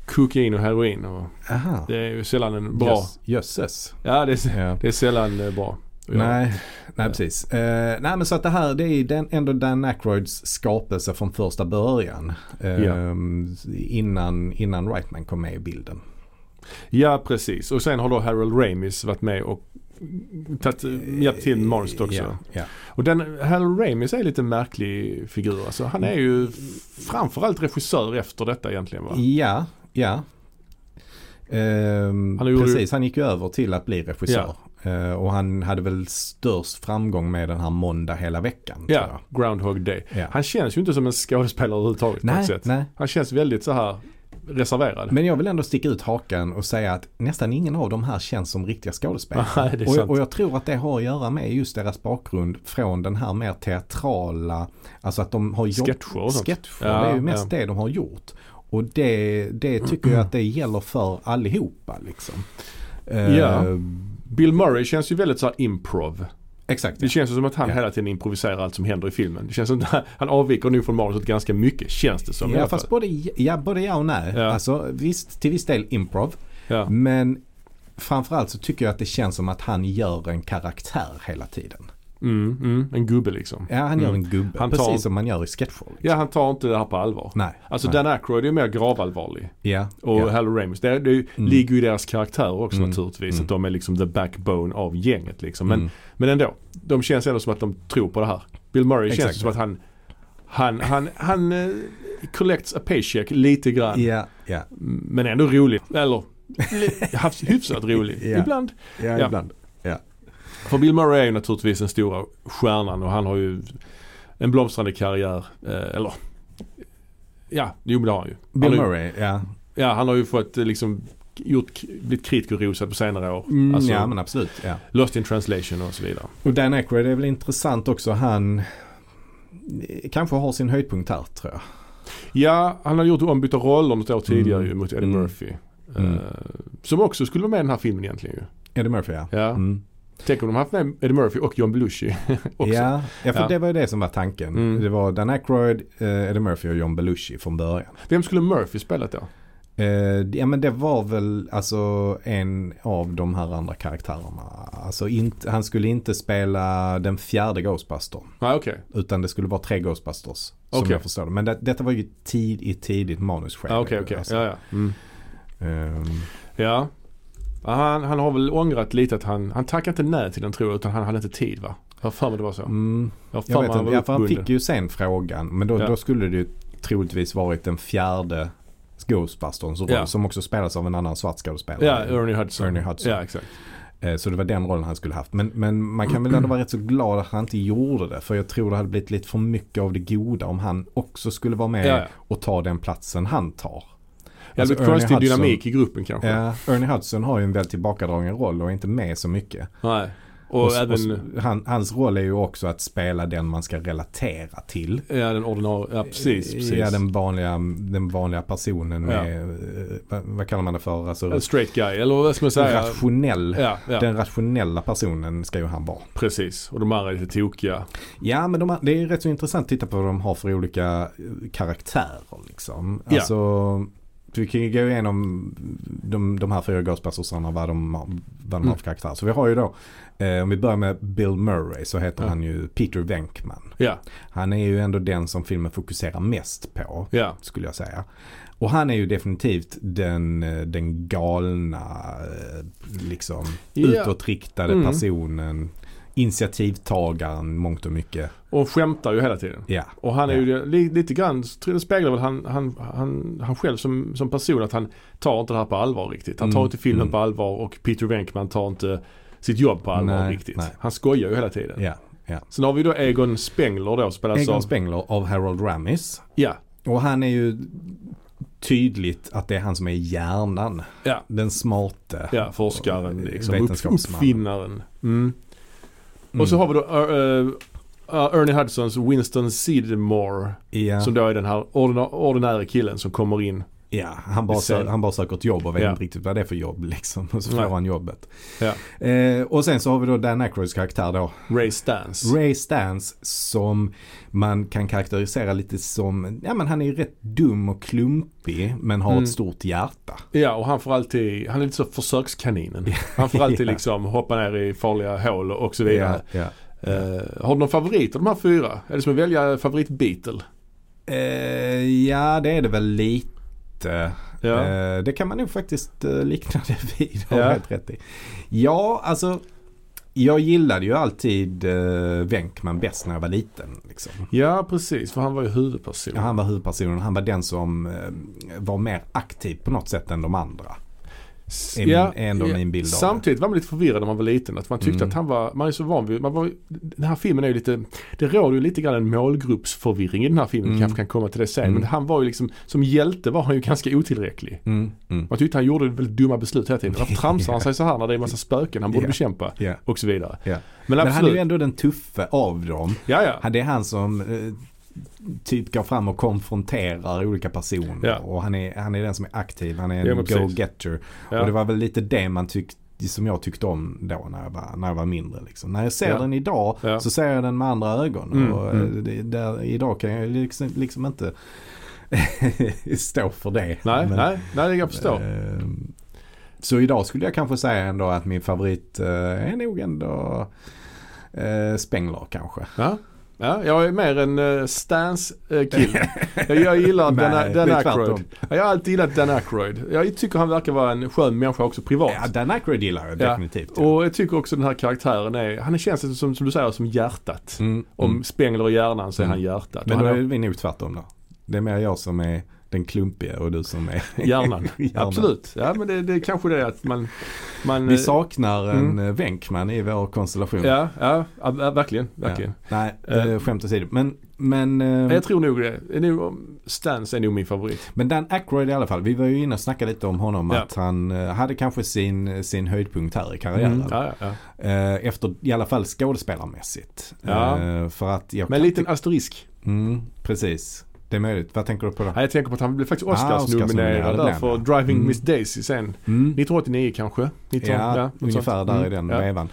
[SPEAKER 1] kokain och heroin. Och
[SPEAKER 2] Aha.
[SPEAKER 1] det är ju sällan en bra...
[SPEAKER 2] Jöss- Jösses.
[SPEAKER 1] Ja, det är,
[SPEAKER 2] Ja.
[SPEAKER 1] det är sällan eh, bra. Ja.
[SPEAKER 2] Nej, nej precis. Eh, nej men så att det här det är ju den, ändå Dan Aykroyds skapelse från första början. Eh,
[SPEAKER 1] Ja.
[SPEAKER 2] innan, innan Wrightman kom med i bilden.
[SPEAKER 1] Ja, precis. Och sen har då Harold Ramis varit med och tagit, eh, hjälpt till med manuset också.
[SPEAKER 2] Eh, Ja, ja.
[SPEAKER 1] Och den, Harold Ramis är lite märklig figur. Alltså, han är ju framförallt regissör efter detta egentligen va?
[SPEAKER 2] ja. ja. Ehm,
[SPEAKER 1] Han gjorde-
[SPEAKER 2] precis, han gick ju över till att bli regissör. Eh, och han hade väl störst framgång med den här måndag hela veckan. tror
[SPEAKER 1] Ja, Groundhog Day.
[SPEAKER 2] jag. Ja.
[SPEAKER 1] Han känns ju inte som en skådespelare överhuvudtaget på
[SPEAKER 2] Nej,
[SPEAKER 1] något sätt.
[SPEAKER 2] nej.
[SPEAKER 1] Han känns väldigt så här reserverad.
[SPEAKER 2] Men jag vill ändå sticka ut hakan och säga att nästan ingen av de här känns som riktiga skådespelare.
[SPEAKER 1] Nej, det är
[SPEAKER 2] och, jag,
[SPEAKER 1] sant.
[SPEAKER 2] och jag tror att det har att göra med just deras bakgrund från den här mer teatrala, alltså att de har jobb-
[SPEAKER 1] Sketcher och sånt. Ja,
[SPEAKER 2] Sketcher, det är ju mest
[SPEAKER 1] ja.
[SPEAKER 2] det de har gjort. Och det, det tycker jag att det gäller för allihopa liksom. Eh,
[SPEAKER 1] Ja. Bill Murray känns ju väldigt så här improv.
[SPEAKER 2] Exakt.
[SPEAKER 1] Det känns ju som att han
[SPEAKER 2] Ja.
[SPEAKER 1] hela tiden improviserar allt som händer i filmen. Det känns som att han avviker nu från manuset ganska mycket känns det som. i
[SPEAKER 2] Ja,
[SPEAKER 1] alla fall.
[SPEAKER 2] fast både ja, både ja och nej.
[SPEAKER 1] Ja.
[SPEAKER 2] Alltså visst, till viss del improv.
[SPEAKER 1] ja.
[SPEAKER 2] Men framförallt så tycker jag att det känns som att han gör en karaktär hela tiden.
[SPEAKER 1] Mm, mm, en gubbe liksom.
[SPEAKER 2] Ja, han gör
[SPEAKER 1] Mm.
[SPEAKER 2] en gubbe.
[SPEAKER 1] Han tar-
[SPEAKER 2] Precis som man gör i sketchshow.
[SPEAKER 1] Ja, han tar inte det här på allvar.
[SPEAKER 2] Nej.
[SPEAKER 1] Alltså
[SPEAKER 2] nej.
[SPEAKER 1] Dan Aykroyd är ju mer gravallvarlig.
[SPEAKER 2] Ja.
[SPEAKER 1] Och
[SPEAKER 2] ja.
[SPEAKER 1] Halle Ramis. Det, det
[SPEAKER 2] Mm.
[SPEAKER 1] ligger ju i deras karaktärer också
[SPEAKER 2] Mm.
[SPEAKER 1] naturligtvis.
[SPEAKER 2] Mm.
[SPEAKER 1] Att de är liksom the backbone av gänget liksom. Men,
[SPEAKER 2] Mm.
[SPEAKER 1] men ändå. De känns ändå som att de tror på det här. Bill Murray
[SPEAKER 2] Exakt.
[SPEAKER 1] känns som att han han, han, han eh, collects a paycheck lite grann.
[SPEAKER 2] Ja, ja,
[SPEAKER 1] Men ändå rolig. Eller li- haft hyfsat rolig.
[SPEAKER 2] Ja.
[SPEAKER 1] Ibland.
[SPEAKER 2] ja,
[SPEAKER 1] Ja.
[SPEAKER 2] ibland.
[SPEAKER 1] För Bill Murray är ju naturligtvis den stora stjärnan och han har ju en blomstrande karriär. Eh, eller ja, jo men det har han ju. Han har
[SPEAKER 2] Bill
[SPEAKER 1] ju-
[SPEAKER 2] Murray, ja.
[SPEAKER 1] Ja, han har ju fått eh, liksom gjort, blivit kritikerrosad på senare år.
[SPEAKER 2] Mm,
[SPEAKER 1] alltså,
[SPEAKER 2] ja, men absolut. Ja.
[SPEAKER 1] Lost in translation och så vidare.
[SPEAKER 2] Och Dan Aykroyd är väl intressant också. Han eh, kanske har sin höjdpunkt här tror jag.
[SPEAKER 1] Ja, han har gjort ombytta roller något år tidigare
[SPEAKER 2] Mm.
[SPEAKER 1] ju mot Eddie
[SPEAKER 2] Mm.
[SPEAKER 1] Murphy.
[SPEAKER 2] Mm.
[SPEAKER 1] Eh, som också skulle vara med i den här filmen egentligen ju.
[SPEAKER 2] Eddie Murphy ja.
[SPEAKER 1] Ja.
[SPEAKER 2] Mm.
[SPEAKER 1] Tänk om de haft med Eddie Murphy och John Belushi också.
[SPEAKER 2] Ja, ja, för
[SPEAKER 1] Ja.
[SPEAKER 2] det var ju det som var tanken.
[SPEAKER 1] Mm.
[SPEAKER 2] Det var Dan Aykroyd, eh, Eddie Murphy och John Belushi från början.
[SPEAKER 1] Vem skulle Murphy spelat då?
[SPEAKER 2] Eh, ja men det var väl alltså en av de här andra karaktärerna. Alltså inte, han skulle inte spela den fjärde Ghostbustern.
[SPEAKER 1] Nej okej.
[SPEAKER 2] Utan det skulle vara tre Ghostbusters. Som
[SPEAKER 1] Okej.
[SPEAKER 2] jag förstår det. Men det, detta var ju tid i tidigt manusskede.
[SPEAKER 1] Ja, Okej okej.
[SPEAKER 2] alltså.
[SPEAKER 1] Ja ja. Mm.
[SPEAKER 2] Ehm,
[SPEAKER 1] Ja. Ja, Han, han har väl ångrat lite att han, han tackade inte nej till den tror jag utan han hade inte tid va? Jag har för mig det var så.
[SPEAKER 2] mm.
[SPEAKER 1] Jag har för
[SPEAKER 2] Jag
[SPEAKER 1] mig
[SPEAKER 2] vet
[SPEAKER 1] han
[SPEAKER 2] inte,
[SPEAKER 1] var
[SPEAKER 2] ja, för han
[SPEAKER 1] uppbunden.
[SPEAKER 2] fick ju sen frågan. Men då,
[SPEAKER 1] Ja.
[SPEAKER 2] då skulle det ju troligtvis varit den fjärde Ghostbustern som,
[SPEAKER 1] Ja.
[SPEAKER 2] som också spelas av en annan svart skådespelare.
[SPEAKER 1] Ja, Ernie Hudson.
[SPEAKER 2] Ernie Hudson.
[SPEAKER 1] Ja exakt.
[SPEAKER 2] Eh, Så det var den rollen han skulle haft. Men, men man kan väl ändå vara rätt så glad att han inte gjorde det. För jag tror det hade blivit lite för mycket av det goda om han också skulle vara med
[SPEAKER 1] Ja, ja.
[SPEAKER 2] och ta den platsen han tar.
[SPEAKER 1] Ja, det
[SPEAKER 2] Alltså,
[SPEAKER 1] blir konstig
[SPEAKER 2] Ernie Hudson-
[SPEAKER 1] dynamik i gruppen kanske.
[SPEAKER 2] Ja, Ernie Hudson har ju en väldigt tillbakadragen roll och är inte med så mycket.
[SPEAKER 1] Nej. Och, även
[SPEAKER 2] han, hans roll är ju också att spela den man ska relatera till.
[SPEAKER 1] ja, den ordinarie, ja precis. precis.
[SPEAKER 2] Ja, den vanliga, den vanliga personen med, eh, vad, vad kallar man det för? Alltså,
[SPEAKER 1] En straight guy, eller vad ska man säga?
[SPEAKER 2] rationell.
[SPEAKER 1] Ja, ja
[SPEAKER 2] Den rationella personen ska ju han vara.
[SPEAKER 1] precis. Och de andra är lite tokiga.
[SPEAKER 2] Ja, men de, har- det är rätt så intressant att titta på vad de har för olika eh, karaktärer liksom.
[SPEAKER 1] Ja.
[SPEAKER 2] Alltså, vi kan ju gå igenom de, de här fyra Ghostbustersarna, vad de, har- vad de har
[SPEAKER 1] Mm.
[SPEAKER 2] för karaktärer. Så vi har ju då, eh, om vi börjar med Bill Murray så heter
[SPEAKER 1] Ja.
[SPEAKER 2] han ju Peter Venkman.
[SPEAKER 1] Ja,
[SPEAKER 2] Han är ju ändå den som filmen fokuserar mest på.
[SPEAKER 1] ja.
[SPEAKER 2] skulle jag säga. Och han är ju definitivt den, eh, den galna, eh, liksom
[SPEAKER 1] Ja.
[SPEAKER 2] utåtriktade
[SPEAKER 1] Mm.
[SPEAKER 2] personen. Initiativtagaren mångt och mycket.
[SPEAKER 1] Och skämtar ju hela tiden.
[SPEAKER 2] Ja,
[SPEAKER 1] Och han är
[SPEAKER 2] Ja.
[SPEAKER 1] ju det- li, lite grann, tror jag det speglar väl han, han, han, han själv som, som person att han tar inte det här på allvar riktigt. Han tar
[SPEAKER 2] Mm,
[SPEAKER 1] inte filmen
[SPEAKER 2] mm.
[SPEAKER 1] på allvar och Peter Venkman tar inte sitt jobb på allvar
[SPEAKER 2] Nej,
[SPEAKER 1] riktigt.
[SPEAKER 2] nej.
[SPEAKER 1] Han skojar ju hela tiden.
[SPEAKER 2] ja, ja.
[SPEAKER 1] Sen har vi då Egon Spengler då spelas
[SPEAKER 2] Egon
[SPEAKER 1] av...
[SPEAKER 2] Spengler av Harold Ramis.
[SPEAKER 1] ja,
[SPEAKER 2] Och han är ju tydligt att det är han som är hjärnan.
[SPEAKER 1] Ja.
[SPEAKER 2] Den smarte.
[SPEAKER 1] ja, forskaren
[SPEAKER 2] Och
[SPEAKER 1] liksom. Upp,
[SPEAKER 2] Vetenskapsmannen. Mm.
[SPEAKER 1] uppfinnaren. Mm. Och så har vi då eh, eh, Ernie Hudsons Winston Sidmore.
[SPEAKER 2] ja,
[SPEAKER 1] Som då är den här ordina- ordinära killen som kommer in.
[SPEAKER 2] ja, han, bara
[SPEAKER 1] Vi ser-
[SPEAKER 2] sö- han bara söker ett jobb och vet
[SPEAKER 1] Ja.
[SPEAKER 2] inte riktigt vad det är för jobb liksom. Och så får
[SPEAKER 1] Nej.
[SPEAKER 2] han jobbet.
[SPEAKER 1] Ja.
[SPEAKER 2] Eh, och sen så har vi då Dan Aykroyds karaktär då.
[SPEAKER 1] Ray Stans.
[SPEAKER 2] Ray Stans som man kan karaktärisera lite som, ja men han är ju rätt dum och klumpig men har
[SPEAKER 1] Mm.
[SPEAKER 2] ett stort hjärta.
[SPEAKER 1] Ja och han får alltid, han är lite så försökskaninen. Han får alltid
[SPEAKER 2] Ja.
[SPEAKER 1] liksom hoppa ner i farliga hål och så vidare.
[SPEAKER 2] Ja, ja.
[SPEAKER 1] Eh, har du någon favorit av de här fyra? Är det som att välja favorit Beatle?
[SPEAKER 2] Eh, ja det är det väl lite.
[SPEAKER 1] Ja.
[SPEAKER 2] Eh, det kan man nog faktiskt eh, likna det vid. har
[SPEAKER 1] Ja.
[SPEAKER 2] Helt rätt i. Ja, alltså jag gillade ju alltid eh, Venkman bäst när jag var liten. Liksom.
[SPEAKER 1] Ja precis, för han var ju huvudperson.
[SPEAKER 2] Ja, han var huvudpersonen, han var den som eh, var mer aktiv på något sätt än de andra.
[SPEAKER 1] S-
[SPEAKER 2] är min- är ändå min bild av det.
[SPEAKER 1] Samtidigt var man lite förvirrad när man var liten. Att man tyckte
[SPEAKER 2] Mm.
[SPEAKER 1] att han var, man är så van vid, man var, den här filmen är ju lite, det råder ju lite grann en målgruppsförvirring i den här filmen.
[SPEAKER 2] Mm.
[SPEAKER 1] Vi kanske kan komma till det sen.
[SPEAKER 2] Mm.
[SPEAKER 1] Men han var ju liksom, som hjälte var han ju ganska otillräcklig.
[SPEAKER 2] Mm, mm.
[SPEAKER 1] Man tyckte han gjorde väldigt dumma beslut hela tiden. Varför tramsar han sig så här när det är en massa spöken han borde
[SPEAKER 2] Ja.
[SPEAKER 1] bekämpa?
[SPEAKER 2] Ja.
[SPEAKER 1] Och så vidare.
[SPEAKER 2] Ja.
[SPEAKER 1] Men
[SPEAKER 2] Men han är
[SPEAKER 1] absolut.
[SPEAKER 2] ju ändå den tuffe av dem.
[SPEAKER 1] ja, ja.
[SPEAKER 2] Han- Det är han som eh, typ går fram och konfronterar olika personer.
[SPEAKER 1] Ja.
[SPEAKER 2] Och han är, han är den som är aktiv, han är en
[SPEAKER 1] Ja, men precis.
[SPEAKER 2] go-getter.
[SPEAKER 1] ja.
[SPEAKER 2] Och det var väl lite det man tyckte som jag tyckte om då när jag var, när jag var mindre. Liksom. När jag ser
[SPEAKER 1] Ja.
[SPEAKER 2] den idag
[SPEAKER 1] Ja.
[SPEAKER 2] så ser jag den med andra ögon.
[SPEAKER 1] Mm,
[SPEAKER 2] Och, eh,
[SPEAKER 1] mm.
[SPEAKER 2] det, där, idag kan jag liksom, liksom inte stå för det.
[SPEAKER 1] nej,
[SPEAKER 2] Men,
[SPEAKER 1] nej, nej, jag förstår.
[SPEAKER 2] eh, Så idag skulle jag kanske säga ändå att min favorit eh, är nog ändå eh, Spengler kanske.
[SPEAKER 1] Ja. Ja, jag är mer en uh, Stans-kille. jag, jag gillar Dan,
[SPEAKER 2] Nej,
[SPEAKER 1] Dan
[SPEAKER 2] det är
[SPEAKER 1] Aykroyd.
[SPEAKER 2] tvärtom.
[SPEAKER 1] Ja, Jag har alltid gillat Dan Aykroyd. Jag tycker han verkar vara en skön människa också privat.
[SPEAKER 2] Ja, Dan Aykroyd gillar jag
[SPEAKER 1] Ja.
[SPEAKER 2] definitivt. ja.
[SPEAKER 1] Och jag tycker också den här karaktären är, han känns som, som du säger, som hjärtat.
[SPEAKER 2] Mm, mm.
[SPEAKER 1] Om Spengler och hjärnan så är
[SPEAKER 2] Mm.
[SPEAKER 1] han hjärtat.
[SPEAKER 2] Men
[SPEAKER 1] och
[SPEAKER 2] då
[SPEAKER 1] han
[SPEAKER 2] är vi nog tvärtom då. Det är mer jag som är den klumpiga och du som är
[SPEAKER 1] har hjärnan.
[SPEAKER 2] hjärnan.
[SPEAKER 1] Absolut. Ja men det, det är kanske det att man... man
[SPEAKER 2] Vi
[SPEAKER 1] eh,
[SPEAKER 2] saknar
[SPEAKER 1] Mm.
[SPEAKER 2] en eh, Wenkman i vår konstellation.
[SPEAKER 1] Ja, ja, ja, verkligen. verkligen.
[SPEAKER 2] Ja. Nej,
[SPEAKER 1] Eh.
[SPEAKER 2] eh, skämt åsido. Men, men,
[SPEAKER 1] Men
[SPEAKER 2] eh,
[SPEAKER 1] Jag tror nog det. det. är nog- Stans är nog min favorit.
[SPEAKER 2] men Dan Aykroyd i alla fall. Vi var ju inne och snackade lite om honom.
[SPEAKER 1] Ja.
[SPEAKER 2] Att han eh, hade kanske sin, sin höjdpunkt här i karriären.
[SPEAKER 1] Mm, Ja, ja, ja.
[SPEAKER 2] Eh, efter, i alla fall skådespelarmässigt.
[SPEAKER 1] Ja.
[SPEAKER 2] Eh, för att jag
[SPEAKER 1] Med en liten asterisk.
[SPEAKER 2] Mm, precis. Det är möjligt. Vad tänker du på då?
[SPEAKER 1] Ja, jag tänker på att han blev faktiskt
[SPEAKER 2] Ah,
[SPEAKER 1] Oscars-nominerad
[SPEAKER 2] Oscars-nominerad
[SPEAKER 1] där
[SPEAKER 2] blev
[SPEAKER 1] för
[SPEAKER 2] han, ja.
[SPEAKER 1] Driving
[SPEAKER 2] Mm.
[SPEAKER 1] Miss Daisy sen.
[SPEAKER 2] Mm.
[SPEAKER 1] 1989 kanske? 19,
[SPEAKER 2] Ja,
[SPEAKER 1] något
[SPEAKER 2] ungefär
[SPEAKER 1] sånt.
[SPEAKER 2] där i
[SPEAKER 1] Mm,
[SPEAKER 2] den
[SPEAKER 1] ja.
[SPEAKER 2] vevan.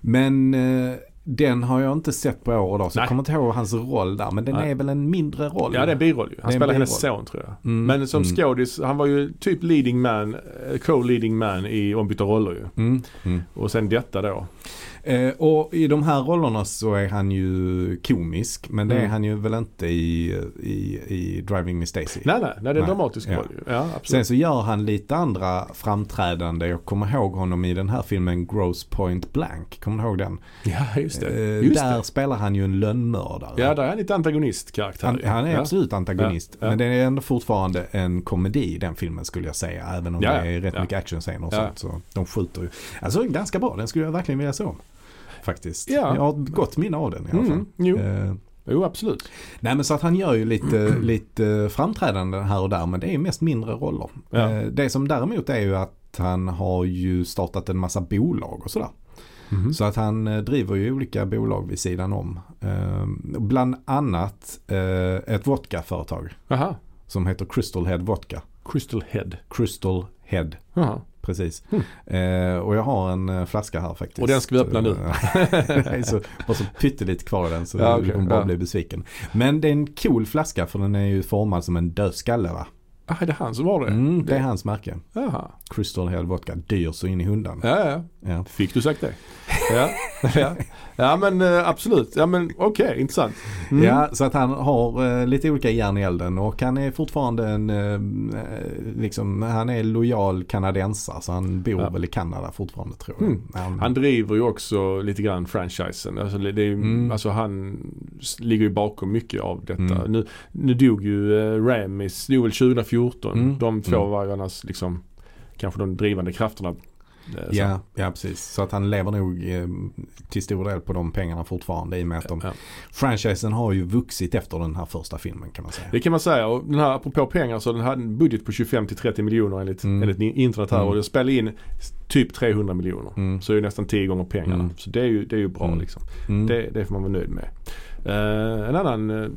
[SPEAKER 2] Men eh, den har jag inte sett på år och dag. Så
[SPEAKER 1] Nej.
[SPEAKER 2] jag kommer inte ihåg hans roll där. Men den
[SPEAKER 1] Nej.
[SPEAKER 2] är väl en mindre roll?
[SPEAKER 1] Ja det är en biroll ju. Han
[SPEAKER 2] Det är en
[SPEAKER 1] spelar hennes
[SPEAKER 2] biroll.
[SPEAKER 1] son tror jag.
[SPEAKER 2] Mm,
[SPEAKER 1] Men som
[SPEAKER 2] mm.
[SPEAKER 1] skådis, han var ju typ leading man, eh, co-leading man i ombytta roller ju.
[SPEAKER 2] Mm, mm.
[SPEAKER 1] Och sen detta då.
[SPEAKER 2] Eh, och i de här rollerna så är han ju komisk. Men det är
[SPEAKER 1] Mm.
[SPEAKER 2] han ju väl inte i, i, i Driving Miss Daisy.
[SPEAKER 1] Nej nej, nej det är en
[SPEAKER 2] Nej,
[SPEAKER 1] dramatisk
[SPEAKER 2] ja.
[SPEAKER 1] roll ju. Ja absolut.
[SPEAKER 2] Sen så gör han lite andra framträdande. Jag kommer ihåg honom i den här filmen Gross Point Blank. Kommer du ihåg den?
[SPEAKER 1] ja just det.
[SPEAKER 2] Eh,
[SPEAKER 1] Just
[SPEAKER 2] där
[SPEAKER 1] det.
[SPEAKER 2] spelar han ju en lönnmördare.
[SPEAKER 1] Ja där är han lite antagonistkaraktär
[SPEAKER 2] Han,
[SPEAKER 1] ju.
[SPEAKER 2] han är
[SPEAKER 1] ja.
[SPEAKER 2] absolut antagonist.
[SPEAKER 1] Ja, ja.
[SPEAKER 2] Men det är ändå fortfarande en komedi i den filmen skulle jag säga. Även om
[SPEAKER 1] Ja,
[SPEAKER 2] det är rätt
[SPEAKER 1] ja.
[SPEAKER 2] mycket actionscener och
[SPEAKER 1] Ja.
[SPEAKER 2] sånt. Så de skjuter ju. Alltså ganska bra. Den skulle jag verkligen vilja se om. Faktiskt.
[SPEAKER 1] Ja.
[SPEAKER 2] Jag har ett gott minne av den i alla fall.
[SPEAKER 1] Mm, jo.
[SPEAKER 2] Eh,
[SPEAKER 1] jo absolut.
[SPEAKER 2] nej men så att han gör ju lite, lite framträdanden här och där. Men det är ju mest mindre roller.
[SPEAKER 1] Ja.
[SPEAKER 2] Eh, det som däremot är ju att han har ju startat en massa bolag och sådär.
[SPEAKER 1] Mhm.
[SPEAKER 2] Så att han eh, driver ju olika bolag vid sidan om. Eh, bland annat eh, ett vodkaföretag
[SPEAKER 1] Aha.
[SPEAKER 2] som heter Crystal Head Vodka.
[SPEAKER 1] Crystal Head.
[SPEAKER 2] Crystal Head,
[SPEAKER 1] Aha.
[SPEAKER 2] precis.
[SPEAKER 1] Mm.
[SPEAKER 2] Eh, och jag har en eh, flaska här faktiskt.
[SPEAKER 1] Och den ska vi öppna nu.
[SPEAKER 2] det är så, bara så pyttelite kvar i den så
[SPEAKER 1] Ja, okej,
[SPEAKER 2] du kommer bara
[SPEAKER 1] ja.
[SPEAKER 2] bli besviken. Men det är en cool flaska för den är ju formad som en dödskalle va?
[SPEAKER 1] Ah, det är han som var det?
[SPEAKER 2] Mm, det är hans märke.
[SPEAKER 1] Jaha.
[SPEAKER 2] Crystal Head Vodka, dyr så in i hundan.
[SPEAKER 1] Ja, ja.
[SPEAKER 2] Ja.
[SPEAKER 1] Fick du sagt det? Ja, ja. ja men eh, absolut. Ja men okej, intressant. Mm.
[SPEAKER 2] Ja, så att han har eh, lite olika järn i elden och han är fortfarande en, eh, eh, liksom, han är lojal kanadensare så han bor
[SPEAKER 1] Ja.
[SPEAKER 2] väl i Kanada fortfarande tror jag.
[SPEAKER 1] Mm.
[SPEAKER 2] Han,
[SPEAKER 1] Han driver ju också lite grann franchisen. Alltså, det är, ju-
[SPEAKER 2] Mm.
[SPEAKER 1] alltså han s- ligger ju bakom mycket av detta.
[SPEAKER 2] Mm.
[SPEAKER 1] Nu, nu dog ju eh, Ramis, dog väl 2014.
[SPEAKER 2] Mm.
[SPEAKER 1] De två
[SPEAKER 2] Mm.
[SPEAKER 1] var ju annars liksom kanske de drivande krafterna. eh, så.
[SPEAKER 2] ja, ja, precis. Så att han lever nog eh, till stor del på de pengarna fortfarande i och med att de,
[SPEAKER 1] Ja.
[SPEAKER 2] franchisen har ju vuxit efter den här första filmen kan man säga.
[SPEAKER 1] Det kan man säga. Och den här, apropå pengar så den hade en budget på 25 till 30 miljoner enligt,
[SPEAKER 2] Mm.
[SPEAKER 1] enligt ni- internet här.
[SPEAKER 2] Mm.
[SPEAKER 1] Och den spelade in s- typ 300 miljoner.
[SPEAKER 2] Mm.
[SPEAKER 1] Så det är ju nästan 10 gånger pengarna.
[SPEAKER 2] Mm.
[SPEAKER 1] Så det är ju, det är ju bra
[SPEAKER 2] Mm.
[SPEAKER 1] liksom.
[SPEAKER 2] Mm.
[SPEAKER 1] Det, det får man vara nöjd med. Eh, en annan eh,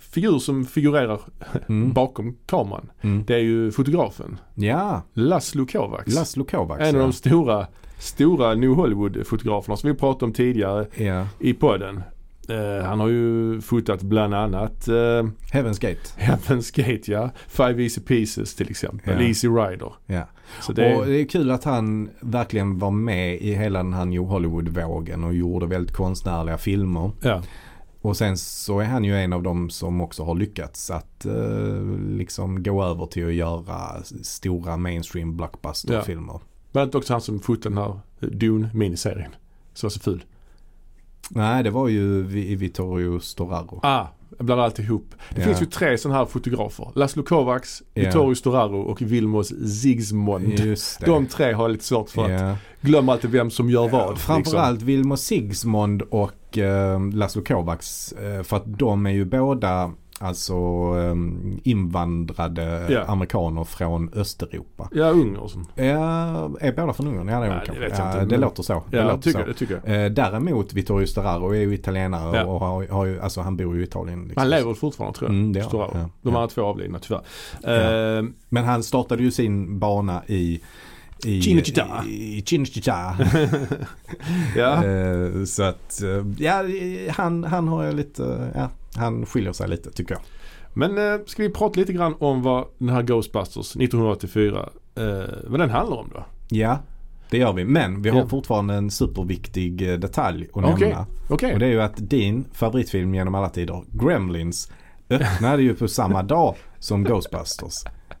[SPEAKER 1] figur som figurerar
[SPEAKER 2] Mm.
[SPEAKER 1] bakom kameran.
[SPEAKER 2] Mm.
[SPEAKER 1] Det är ju fotografen
[SPEAKER 2] Ja,
[SPEAKER 1] Laszlo Kovacs.
[SPEAKER 2] Laszlo Kovacs.
[SPEAKER 1] en av
[SPEAKER 2] ja.
[SPEAKER 1] de stora, stora New Hollywood-fotograferna som vi pratade om tidigare
[SPEAKER 2] Ja,
[SPEAKER 1] i podden. Eh, han har ju fotat bland annat uh,
[SPEAKER 2] Heaven's Gate.
[SPEAKER 1] Heaven's Gate, ja. Five Easy Pieces till exempel.
[SPEAKER 2] Ja.
[SPEAKER 1] Easy Rider.
[SPEAKER 2] Ja.
[SPEAKER 1] Så det
[SPEAKER 2] Och eh,
[SPEAKER 1] är,
[SPEAKER 2] det är kul att han verkligen var med i hela den här New Hollywood-vågen och gjorde väldigt konstnärliga filmer.
[SPEAKER 1] ja.
[SPEAKER 2] Och sen så är han ju en av dem som också har lyckats att eh, liksom gå över till att göra s- stora mainstream blockbuster-filmer.
[SPEAKER 1] Men det är också han som fotade den här eh, Dune-miniserien. Så var så ful.
[SPEAKER 2] Nej, det var ju Vi- Vittorio Storaro.
[SPEAKER 1] Ah, jag blandar alltihop. Det
[SPEAKER 2] Ja.
[SPEAKER 1] finns ju tre sådana här fotografer. Laszlo Kovacs,
[SPEAKER 2] Ja.
[SPEAKER 1] Vittorio Storaro och Vilmos Zsigmond.
[SPEAKER 2] Just det.
[SPEAKER 1] De tre har lite svårt för att liksom.
[SPEAKER 2] Ja. liksom.
[SPEAKER 1] glömma alltid vem som gör vad.
[SPEAKER 2] Framförallt Vilmo Sigismond och eh, Laszlo Kovacs. Eh, för att de är ju båda alltså eh, invandrade
[SPEAKER 1] Ja.
[SPEAKER 2] amerikaner från Östeuropa.
[SPEAKER 1] Liksom. Ja, Ungern och sånt.
[SPEAKER 2] Ja, är båda från Ungern? Ja, det,
[SPEAKER 1] Nej,
[SPEAKER 2] är de
[SPEAKER 1] det
[SPEAKER 2] kanske.
[SPEAKER 1] vet jag
[SPEAKER 2] ja,
[SPEAKER 1] inte.
[SPEAKER 2] det låter så.
[SPEAKER 1] Ja,
[SPEAKER 2] det
[SPEAKER 1] det
[SPEAKER 2] låter
[SPEAKER 1] tycker, jag,
[SPEAKER 2] så.
[SPEAKER 1] det tycker jag.
[SPEAKER 2] Eh, Däremot Vittorio Storaro är ju italienare
[SPEAKER 1] Ja.
[SPEAKER 2] och har, har ju, alltså han bor ju i Italien. Liksom.
[SPEAKER 1] Han lever fortfarande tror jag.
[SPEAKER 2] Mm, det gör han.
[SPEAKER 1] Storaro.
[SPEAKER 2] Ja,
[SPEAKER 1] De
[SPEAKER 2] ja.
[SPEAKER 1] andra två avlidna tyvärr.
[SPEAKER 2] Ja.
[SPEAKER 1] Eh,
[SPEAKER 2] Men han startade ju sin bana i i
[SPEAKER 1] Cinecittà.
[SPEAKER 2] i- i Cinecittà.
[SPEAKER 1] ja.
[SPEAKER 2] Eh, Så att, eh, ja, han, han har ju lite, ja, han skiljer sig lite tycker jag.
[SPEAKER 1] Men eh, ska vi prata lite grann om vad den här Ghostbusters 1984 Eh, vad den handlar om då?
[SPEAKER 2] Ja, det gör vi. Men vi har
[SPEAKER 1] Ja.
[SPEAKER 2] fortfarande en superviktig eh, detalj att
[SPEAKER 1] Okej.
[SPEAKER 2] nämna.
[SPEAKER 1] Okej.
[SPEAKER 2] Och det är ju att din favoritfilm genom alla tider, Gremlins, öppnade ju på samma dag som Ghostbusters.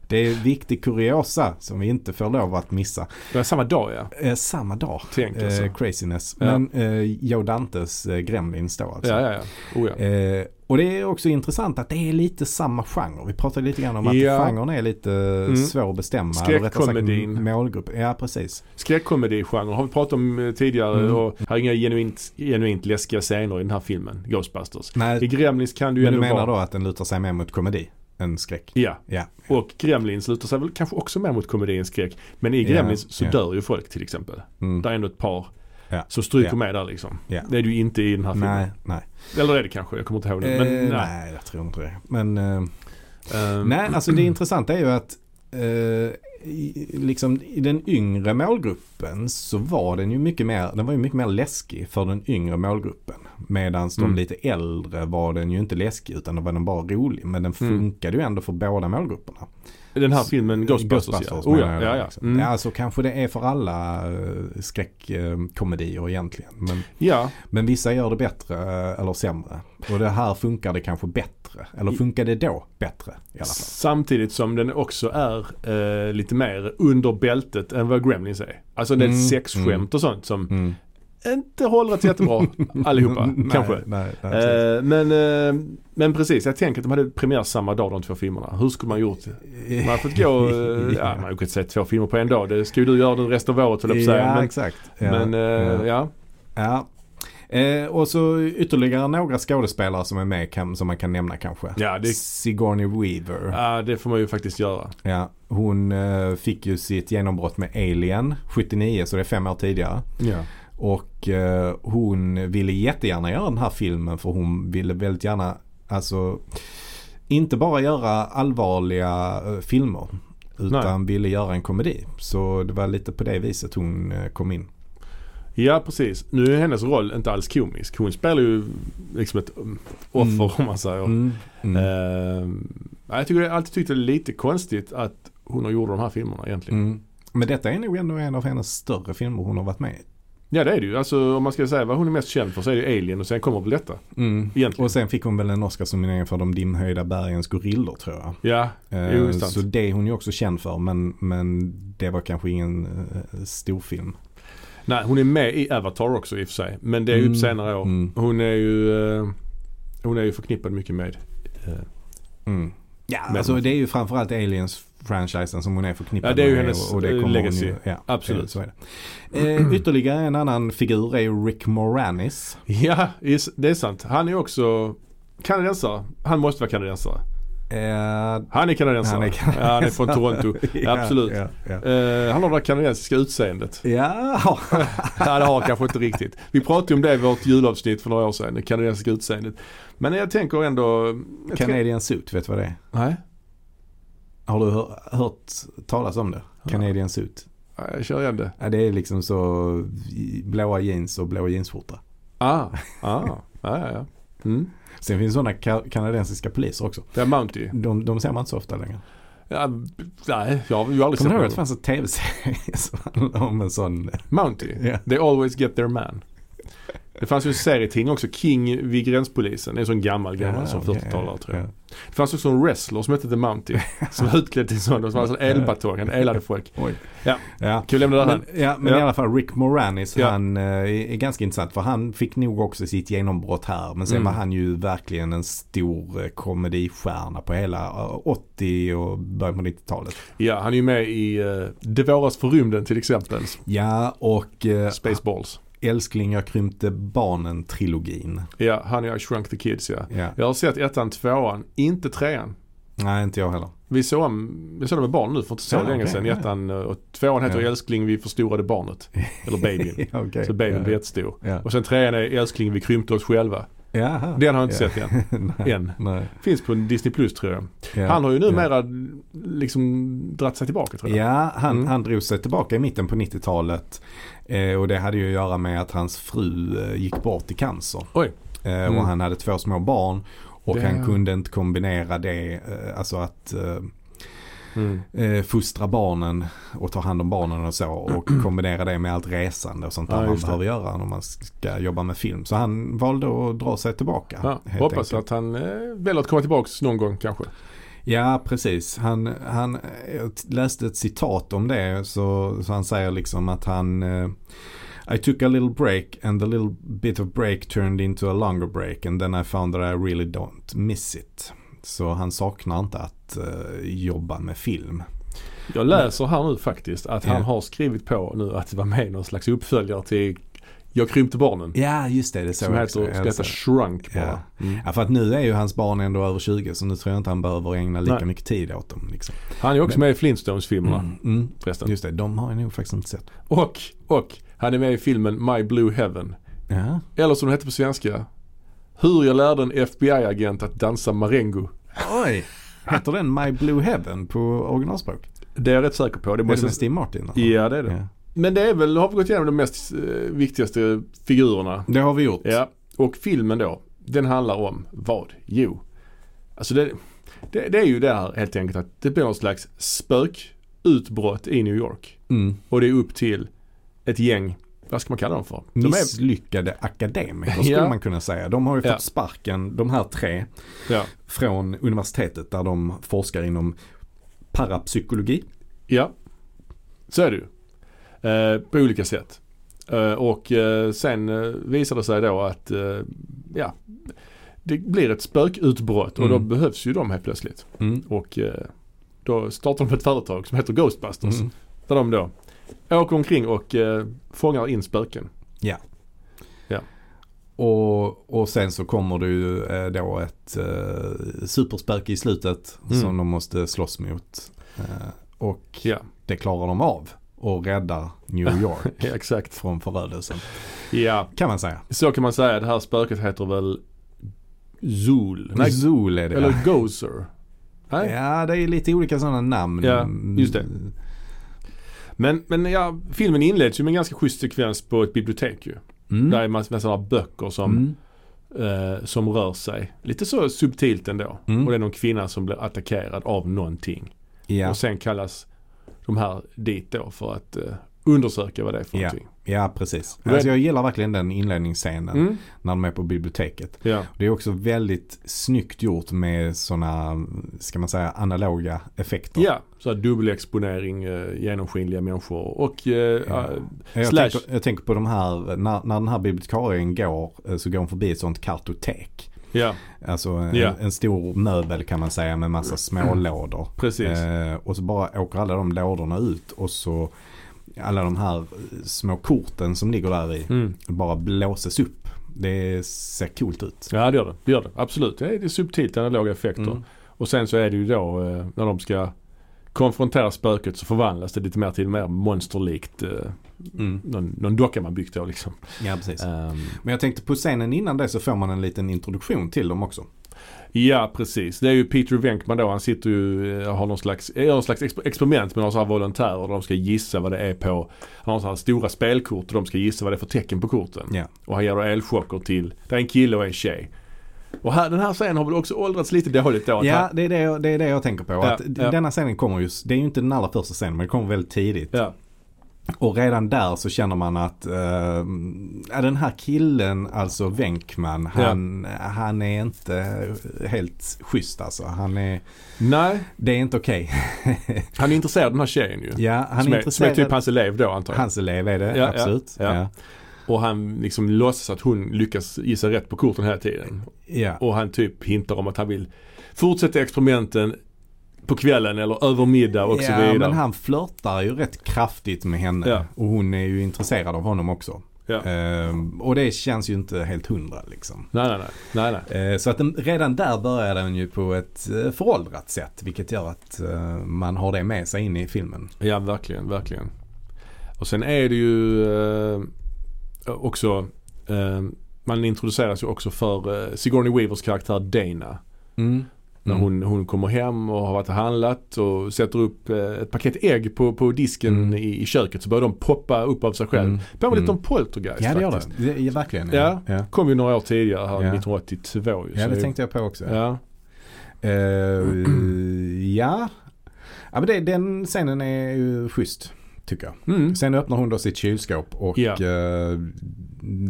[SPEAKER 2] Det är viktig kuriosa som vi inte får lov att missa.
[SPEAKER 1] Det var samma dag ja.
[SPEAKER 2] Eh, samma dag,
[SPEAKER 1] Tänk alltså.
[SPEAKER 2] eh, craziness.
[SPEAKER 1] Ja.
[SPEAKER 2] Men eh, Joe Dantes eh, Gremlins då alltså.
[SPEAKER 1] Ja, ja, ja. Oh, ja.
[SPEAKER 2] Eh, och det är också intressant att det är lite samma genre. Vi pratade lite grann om att
[SPEAKER 1] Ja.
[SPEAKER 2] genren är lite mm. svår att bestämma. eller rättare sagt
[SPEAKER 1] Skräckkomedin.
[SPEAKER 2] Målgrupp. Ja, precis.
[SPEAKER 1] Skräckkomedigenren har vi pratat om eh, tidigare
[SPEAKER 2] Mm.
[SPEAKER 1] och här är inga genuint, genuint läskiga scener i den här filmen, Ghostbusters. I
[SPEAKER 2] Nej,
[SPEAKER 1] Gremlins kan du ju
[SPEAKER 2] men du
[SPEAKER 1] ändå
[SPEAKER 2] menar
[SPEAKER 1] vara...
[SPEAKER 2] då att den lutar sig mer mot komedi än skräck?
[SPEAKER 1] Ja.
[SPEAKER 2] Ja.
[SPEAKER 1] Och Gremlins lutar sig väl kanske också mer mot komedi än skräck. Men i
[SPEAKER 2] Ja,
[SPEAKER 1] Gremlins så
[SPEAKER 2] ja.
[SPEAKER 1] dör ju folk till exempel.
[SPEAKER 2] Mm.
[SPEAKER 1] Där är ändå ett par
[SPEAKER 2] Ja.
[SPEAKER 1] som stryker
[SPEAKER 2] Ja.
[SPEAKER 1] med där liksom.
[SPEAKER 2] Ja.
[SPEAKER 1] Det är du inte i den här filmen.
[SPEAKER 2] Nej, nej.
[SPEAKER 1] Eller är det kanske, jag kommer inte ihåg nu.
[SPEAKER 2] Eh,
[SPEAKER 1] Men
[SPEAKER 2] nej.
[SPEAKER 1] nej.
[SPEAKER 2] jag tror inte det. Men eh,
[SPEAKER 1] Ehm,
[SPEAKER 2] nej, alltså det intressanta är ju att eh, i, liksom i den yngre målgruppen så var den ju mycket mer, den var ju mycket mer läskig för den yngre målgruppen. Medan
[SPEAKER 1] Mm.
[SPEAKER 2] de lite äldre var den ju inte läskig utan då var den bara rolig. Men den
[SPEAKER 1] Mm.
[SPEAKER 2] funkade ju ändå för båda målgrupperna.
[SPEAKER 1] Den här filmen Ghostbusters, ja. Oh,
[SPEAKER 2] Eh,
[SPEAKER 1] ja,
[SPEAKER 2] menar jag
[SPEAKER 1] ja,
[SPEAKER 2] då,
[SPEAKER 1] ja.
[SPEAKER 2] liksom.
[SPEAKER 1] Mm.
[SPEAKER 2] ja, så kanske det är för alla eh, skräckkomedier egentligen. Men,
[SPEAKER 1] ja.
[SPEAKER 2] men vissa gör det bättre eh, eller sämre. Och det här funkar det kanske bättre. Eller funkar det då bättre i alla fall.
[SPEAKER 1] Samtidigt som den också är eh, lite mer under bältet än vad Gremlins är. Alltså det är ett
[SPEAKER 2] Mm,
[SPEAKER 1] sexskämt
[SPEAKER 2] mm.
[SPEAKER 1] och sånt som inte håller ett jättebra allihopa
[SPEAKER 2] Mm, nej,
[SPEAKER 1] kanske.
[SPEAKER 2] Nej, nej, precis.
[SPEAKER 1] Eh, men, eh, men precis, jag tänker att de hade premiär samma dag de två filmerna. Hur skulle man gjort? Man hade fått gå, eh, ja, man hade kunnat se två filmer på en dag. Det skulle du göra den resten av året höll jag på att säga.
[SPEAKER 2] ja,
[SPEAKER 1] Men,
[SPEAKER 2] exakt. Ja,
[SPEAKER 1] men eh,
[SPEAKER 2] ja.
[SPEAKER 1] ja.
[SPEAKER 2] Ja. Eh, och så ytterligare några skådespelare som är med kan, som man kan nämna kanske.
[SPEAKER 1] Ja, det-
[SPEAKER 2] Sigourney Weaver.
[SPEAKER 1] ja, det får man ju faktiskt göra.
[SPEAKER 2] Ja, hon eh, fick ju sitt genombrott med Alien 79 så det är fem år tidigare.
[SPEAKER 1] Ja.
[SPEAKER 2] Och eh, hon ville jättegärna göra den här filmen för hon ville väldigt gärna, alltså inte bara göra allvarliga eh, filmer. Utan ville göra en komedi. Så det var lite på det viset hon eh, kom in.
[SPEAKER 1] ja, precis. Nu är hennes roll inte alls komisk. Hon spelar ju liksom ett mm, offer
[SPEAKER 2] Mm.
[SPEAKER 1] om man säger.
[SPEAKER 2] Mm. Mm.
[SPEAKER 1] Eh. Ehm, ja, jag tycker jag har alltid tyckt det är lite konstigt att hon har gjort de här filmerna egentligen.
[SPEAKER 2] Mm. Men detta är nog ändå en av hennes större filmer hon har varit med i.
[SPEAKER 1] Ja det är det ju. Alltså om man ska säga vad hon är mest känd för så är det ju Alien och sen kommer väl detta. Egentligen.
[SPEAKER 2] Och sen fick hon väl en Oscarsnominering för De dimhöjda bergens gorillor tror jag.
[SPEAKER 1] Ja,
[SPEAKER 2] Eh,
[SPEAKER 1] Jo, sant.
[SPEAKER 2] så det är hon ju också känd för men, men det var kanske ingen eh, storfilm.
[SPEAKER 1] nej hon är med i Avatar också i och för sig. Men det är ju
[SPEAKER 2] Mm.
[SPEAKER 1] på senare år.
[SPEAKER 2] Mm.
[SPEAKER 1] Hon är ju eh, hon är ju förknippad mycket med. eh,
[SPEAKER 2] Mm. Ja,
[SPEAKER 1] Men-
[SPEAKER 2] alltså det är ju framförallt Aliens-franchisen som hon är förknippad
[SPEAKER 1] Ja, det är ju
[SPEAKER 2] med.
[SPEAKER 1] hennes,
[SPEAKER 2] och, och det
[SPEAKER 1] eh,
[SPEAKER 2] kommer hon
[SPEAKER 1] legacy.
[SPEAKER 2] ju- ja,
[SPEAKER 1] Absolut.
[SPEAKER 2] eh, Så är det. Eh, ytterligare en annan figur är ju Rick Moranis.
[SPEAKER 1] Ja, is- det är sant. Han är också kanadensare. Han måste vara kanadensare.
[SPEAKER 2] Eh,
[SPEAKER 1] Han är kanadensare.
[SPEAKER 2] Han är kanadensare.
[SPEAKER 1] Ja, han är från Toronto.
[SPEAKER 2] ja,
[SPEAKER 1] absolut.
[SPEAKER 2] Ja, ja.
[SPEAKER 1] Eh, han har det där kanadensiska utseendet.
[SPEAKER 2] ja.
[SPEAKER 1] Nej det har han kanske inte riktigt. Vi pratade ju om det i vårt julavsnitt för några år sedan. Det kanadensiska utseendet. Men jag tänker ändå... Jag tänker-
[SPEAKER 2] Canadian Suit, vet du vad det är?
[SPEAKER 1] Nej,
[SPEAKER 2] Har du hör, hört talas om det? Canadian Suit.
[SPEAKER 1] Nej, jag kör igen det.
[SPEAKER 2] Ja, det är liksom så i- blåa jeans och blå jeansskjorta.
[SPEAKER 1] Ah, ah. ja, ja, ja. Mm.
[SPEAKER 2] Sen finns sådana ka- kanadensiska poliser också.
[SPEAKER 1] Det är Mounty.
[SPEAKER 2] De, de ser man inte så ofta längre.
[SPEAKER 1] Ja, nej, jag har ju aldrig
[SPEAKER 2] Kommer
[SPEAKER 1] sett
[SPEAKER 2] du ihåg att det
[SPEAKER 1] honom.
[SPEAKER 2] fanns en tv-serie som handlade om en sån? eh,
[SPEAKER 1] Mounty.
[SPEAKER 2] Ja.
[SPEAKER 1] They always get their man. Det fanns ju en serietidning också, King vid gränspolisen. Det är en sån gammal, gammal som
[SPEAKER 2] okej,
[SPEAKER 1] 40-talare tror jag.
[SPEAKER 2] ja.
[SPEAKER 1] Det fanns också en wrestler som hette The Mounty. Som var utklädd till en sån. Och så var det en elbatong. Han elade folk.
[SPEAKER 2] Oj.
[SPEAKER 1] Ja.
[SPEAKER 2] Ja.
[SPEAKER 1] Kan vi lämna det här?
[SPEAKER 2] Men, ja, men
[SPEAKER 1] Ja.
[SPEAKER 2] i alla fall Rick Moranis,
[SPEAKER 1] Ja.
[SPEAKER 2] han eh, är ganska intressant för han fick nog också sitt genombrott här. Men sen
[SPEAKER 1] Mm.
[SPEAKER 2] var han ju verkligen en stor eh, komedistjärna på hela eh, 80 och början på 90-talet.
[SPEAKER 1] Ja, han är ju med i uh, Det våras för rymden till exempel.
[SPEAKER 2] Ja, och eh,
[SPEAKER 1] Spaceballs.
[SPEAKER 2] Älskling jag krympte barnen-trilogin.
[SPEAKER 1] Ja, han och I shrunk the kids ja.
[SPEAKER 2] Ja.
[SPEAKER 1] Jag har sett ettan, tvåan, inte trean.
[SPEAKER 2] Nej, inte jag heller.
[SPEAKER 1] Vi såg om, vi såg dem med barn nu för inte så
[SPEAKER 2] Ja,
[SPEAKER 1] länge
[SPEAKER 2] okej,
[SPEAKER 1] sedan.
[SPEAKER 2] ja.
[SPEAKER 1] Ettan eh, och tvåan heter
[SPEAKER 2] Ja.
[SPEAKER 1] Älskling vi förstorade barnet. Eller babyn.
[SPEAKER 2] Ja, okej.
[SPEAKER 1] Så babyn
[SPEAKER 2] ja.
[SPEAKER 1] blir jättestor.
[SPEAKER 2] Ja.
[SPEAKER 1] Och sen trean är Älskling vi krympte oss själva.
[SPEAKER 2] Jaha.
[SPEAKER 1] Den har jag inte
[SPEAKER 2] Ja.
[SPEAKER 1] sett än.
[SPEAKER 2] Nej.
[SPEAKER 1] än.
[SPEAKER 2] Nej.
[SPEAKER 1] Finns på Disney Plus tror jag.
[SPEAKER 2] Ja.
[SPEAKER 1] Han har ju
[SPEAKER 2] Ja.
[SPEAKER 1] numera liksom dratt sig tillbaka tror jag.
[SPEAKER 2] Ja, han,
[SPEAKER 1] Mm.
[SPEAKER 2] han drog sig tillbaka i mitten på 90-talet. Eh, och det hade ju att göra med att hans fru eh, gick bort i cancer.
[SPEAKER 1] Oj.
[SPEAKER 2] Eh,
[SPEAKER 1] Mm.
[SPEAKER 2] Och han hade två små barn. Och
[SPEAKER 1] Det-
[SPEAKER 2] han kunde inte kombinera det, eh, alltså att eh,
[SPEAKER 1] Mm.
[SPEAKER 2] eh, fostra barnen och ta hand om barnen och så och kombinera det med allt resande och sånt där
[SPEAKER 1] Ja,
[SPEAKER 2] man
[SPEAKER 1] just det.
[SPEAKER 2] behöver göra när man ska jobba med film. Så han valde att dra sig tillbaka.
[SPEAKER 1] Ja,
[SPEAKER 2] helt
[SPEAKER 1] hoppas
[SPEAKER 2] enkelt.
[SPEAKER 1] att han eh, väljer att komma tillbaks någon gång kanske.
[SPEAKER 2] Ja, precis. Han, han jag t- läste ett citat om det. Så, så han säger liksom att han eh, I took a little break and the little bit of break turned into a longer break and then I found that I really don't miss it. Så han saknar inte att eh, jobba med film.
[SPEAKER 1] Jag läser här nu faktiskt att
[SPEAKER 2] Ja.
[SPEAKER 1] han har skrivit på nu att det var med i någon slags uppföljare till Jag krympte barnen.
[SPEAKER 2] Ja, just det. Det såg
[SPEAKER 1] Som
[SPEAKER 2] jag
[SPEAKER 1] heter,
[SPEAKER 2] också.
[SPEAKER 1] ska
[SPEAKER 2] Jag
[SPEAKER 1] heta
[SPEAKER 2] såg-
[SPEAKER 1] Shrunk bara.
[SPEAKER 2] Ja.
[SPEAKER 1] Mm.
[SPEAKER 2] Ja, för att nu är ju hans barn ändå över 20 så nu tror jag inte han behöver ägna lika
[SPEAKER 1] Nej.
[SPEAKER 2] mycket tid åt dem. Liksom.
[SPEAKER 1] Han är också med i Flintstones-filmerna
[SPEAKER 2] Mm. Mm.
[SPEAKER 1] förresten.
[SPEAKER 2] Just det, de har jag nog faktiskt inte sett.
[SPEAKER 1] Och, och han är med i filmen My Blue Heaven.
[SPEAKER 2] Ja.
[SPEAKER 1] Eller som den hette på svenska. Hur jag lärde en FBI-agent att dansa marengo.
[SPEAKER 2] Oj! Heter den My Blue Heaven på originalspråk?
[SPEAKER 1] Det är jag rätt säker på. Det
[SPEAKER 2] Är det
[SPEAKER 1] måste...
[SPEAKER 2] med Steve Martin? eller?
[SPEAKER 1] Ja det är det.
[SPEAKER 2] Ja.
[SPEAKER 1] Men det är väl, har vi gått igenom de mest eh, viktigaste figurerna.
[SPEAKER 2] Det har vi gjort.
[SPEAKER 1] Ja. Och filmen då, den handlar om vad? Jo, alltså det, det, det är ju det här helt enkelt att det blir någon slags spökutbrott i New York.
[SPEAKER 2] Mm.
[SPEAKER 1] Och det är upp till ett gäng, vad ska man kalla dem för? De är,
[SPEAKER 2] Misslyckade akademiker skulle
[SPEAKER 1] Ja.
[SPEAKER 2] man kunna säga. De har ju fått
[SPEAKER 1] Ja.
[SPEAKER 2] sparken, de här tre,
[SPEAKER 1] ja,
[SPEAKER 2] från universitetet där de forskar inom parapsykologi.
[SPEAKER 1] ja, så är det ju. Eh, på olika sätt. Eh, och eh, sen eh, visar det sig då att eh, ja, det blir ett spökutbrott och
[SPEAKER 2] Mm.
[SPEAKER 1] då behövs ju de helt plötsligt.
[SPEAKER 2] Mm.
[SPEAKER 1] Och eh, då startar de ett företag som heter Ghostbusters.
[SPEAKER 2] Mm.
[SPEAKER 1] Där de då åker omkring och eh, fångar in spöken.
[SPEAKER 2] Och, och sen så kommer det ju eh, då ett eh, superspöke i slutet
[SPEAKER 1] Mm.
[SPEAKER 2] som de måste slåss mot. Eh, och
[SPEAKER 1] Ja,
[SPEAKER 2] det klarar de av och räddar New York
[SPEAKER 1] ja, exakt.
[SPEAKER 2] från förödelsen.
[SPEAKER 1] Ja,
[SPEAKER 2] Kan man säga.
[SPEAKER 1] så kan man säga. Det här spöket heter väl Zool? Nej,
[SPEAKER 2] Zool är det. ja.
[SPEAKER 1] eller Gozer. Nej?
[SPEAKER 2] Ja, det är lite olika sådana namn. Mm.
[SPEAKER 1] Ja, just det. Men, men ja, filmen inleds ju med en ganska schysst sekvens på ett bibliotek ju.
[SPEAKER 2] Mm.
[SPEAKER 1] Där är massor med sådana böcker som,
[SPEAKER 2] Mm.
[SPEAKER 1] eh, som rör sig. Lite så subtilt ändå.
[SPEAKER 2] Mm.
[SPEAKER 1] Och det är någon kvinna som blir attackerad av någonting.
[SPEAKER 2] Ja.
[SPEAKER 1] Och sen kallas de här dit då för att eh, undersöka vad det är för
[SPEAKER 2] Ja.
[SPEAKER 1] någonting.
[SPEAKER 2] ja, precis.
[SPEAKER 1] Och det-
[SPEAKER 2] Alltså, jag gillar verkligen den inledningsscenen
[SPEAKER 1] Mm.
[SPEAKER 2] när de är på biblioteket.
[SPEAKER 1] Ja.
[SPEAKER 2] Det är också väldigt snyggt gjort med sådana, ska man säga, analoga effekter.
[SPEAKER 1] ja, så här dubbelexponering, eh, genomskinliga människor och eh,
[SPEAKER 2] Ja.
[SPEAKER 1] eh,
[SPEAKER 2] Jag,
[SPEAKER 1] Slash.
[SPEAKER 2] tänker, jag tänker på de här, när, när den här bibliotekarien går eh, så går hon förbi ett sånt kartotek.
[SPEAKER 1] ja,
[SPEAKER 2] Alltså en,
[SPEAKER 1] Ja. Mm.
[SPEAKER 2] en stor möbel kan man säga med massa små lådor.
[SPEAKER 1] precis.
[SPEAKER 2] Eh, och så bara åker alla de lådorna ut och så alla de här eh, små korten som ligger där i
[SPEAKER 1] Mm.
[SPEAKER 2] bara blåses upp. Det ser coolt ut.
[SPEAKER 1] Ja det gör det, det gör det. Absolut. Det är, det är subtilt analoga effekter.
[SPEAKER 2] Mm.
[SPEAKER 1] Och sen så är det ju då eh, när de ska konfrontera spöket så förvandlas det lite mer till mer monsterlikt. Eh, någon, någon docka man byggt då liksom.
[SPEAKER 2] Ja, precis.
[SPEAKER 1] Ehm,
[SPEAKER 2] Men jag tänkte på scenen innan det så får man en liten introduktion till dem också.
[SPEAKER 1] Ja precis. Det är ju Peter Venkman då. Han sitter ju eh, har någon slags, eh, gör någon slags exper- experiment med några så här volontärer. Där de ska gissa vad det är på. Han har så här stora spelkort och de ska gissa vad det är för tecken på korten.
[SPEAKER 2] Ja.
[SPEAKER 1] Och han ger då elchocker till. Det är en kille och en tjej. Och här, den här scenen har väl också åldrats lite dåligt då. att
[SPEAKER 2] Ja,
[SPEAKER 1] han-
[SPEAKER 2] det är det jag, det är det jag tänker på.
[SPEAKER 1] Ja,
[SPEAKER 2] att d-
[SPEAKER 1] ja.
[SPEAKER 2] Denna scenen kommer ju, det är ju inte den allra första scenen men det kommer väldigt tidigt.
[SPEAKER 1] ja.
[SPEAKER 2] Och redan där så känner man att eh, ja, den här killen, alltså Wenkman,
[SPEAKER 1] Ja.
[SPEAKER 2] han, han är inte helt schysst alltså. Han är,
[SPEAKER 1] Nej,
[SPEAKER 2] det är inte okej.
[SPEAKER 1] han är intresserad av den här tjejen ju.
[SPEAKER 2] Ja, han
[SPEAKER 1] som, är, som är
[SPEAKER 2] är intresserad.
[SPEAKER 1] typ hans elev då antar jag.
[SPEAKER 2] Hans elev är det,
[SPEAKER 1] Ja,
[SPEAKER 2] absolut.
[SPEAKER 1] ja, ja.
[SPEAKER 2] ja.
[SPEAKER 1] Och han liksom låtsas att hon lyckas gissa rätt på korten hela tiden.
[SPEAKER 2] ja.
[SPEAKER 1] Och han typ hintar om att han vill fortsätta experimenten på kvällen eller över middag och så
[SPEAKER 2] ja,
[SPEAKER 1] vidare.
[SPEAKER 2] men han flörtar ju rätt kraftigt med henne.
[SPEAKER 1] Ja.
[SPEAKER 2] Och hon är ju intresserad av honom också.
[SPEAKER 1] Ja.
[SPEAKER 2] Ehm, och det känns ju inte helt hundra liksom.
[SPEAKER 1] Nej, nej, nej. nej, nej.
[SPEAKER 2] Eh, Så att den, redan där börjar den ju på ett eh, föråldrat sätt. Vilket gör att eh, man har det med sig in i filmen.
[SPEAKER 1] Ja, verkligen, verkligen. Och sen är det ju eh, också, eh, man introduceras ju också för eh, Sigourney Weavers karaktär Dana.
[SPEAKER 2] Mm.
[SPEAKER 1] När hon, hon kommer hem och har varit och handlat och sätter upp eh, ett paket ägg på, på disken
[SPEAKER 2] Mm.
[SPEAKER 1] i, i köket så börjar de poppa upp av sig själv.
[SPEAKER 2] Mm.
[SPEAKER 1] Påminner lite
[SPEAKER 2] Mm.
[SPEAKER 1] om Poltergeist
[SPEAKER 2] Ja det gör
[SPEAKER 1] faktiskt.
[SPEAKER 2] det. det ja, verkligen. Ja. Ja.
[SPEAKER 1] Kom ju några år tidigare här
[SPEAKER 2] Ja.
[SPEAKER 1] 1982 ju.
[SPEAKER 2] ja
[SPEAKER 1] så
[SPEAKER 2] det tänkte jag på också.
[SPEAKER 1] Ja.
[SPEAKER 2] Eh, ja. Ja, men det, den scenen är ju schysst tycker jag.
[SPEAKER 1] Mm.
[SPEAKER 2] Sen öppnar hon då sitt kylskåp och
[SPEAKER 1] Ja.
[SPEAKER 2] eh,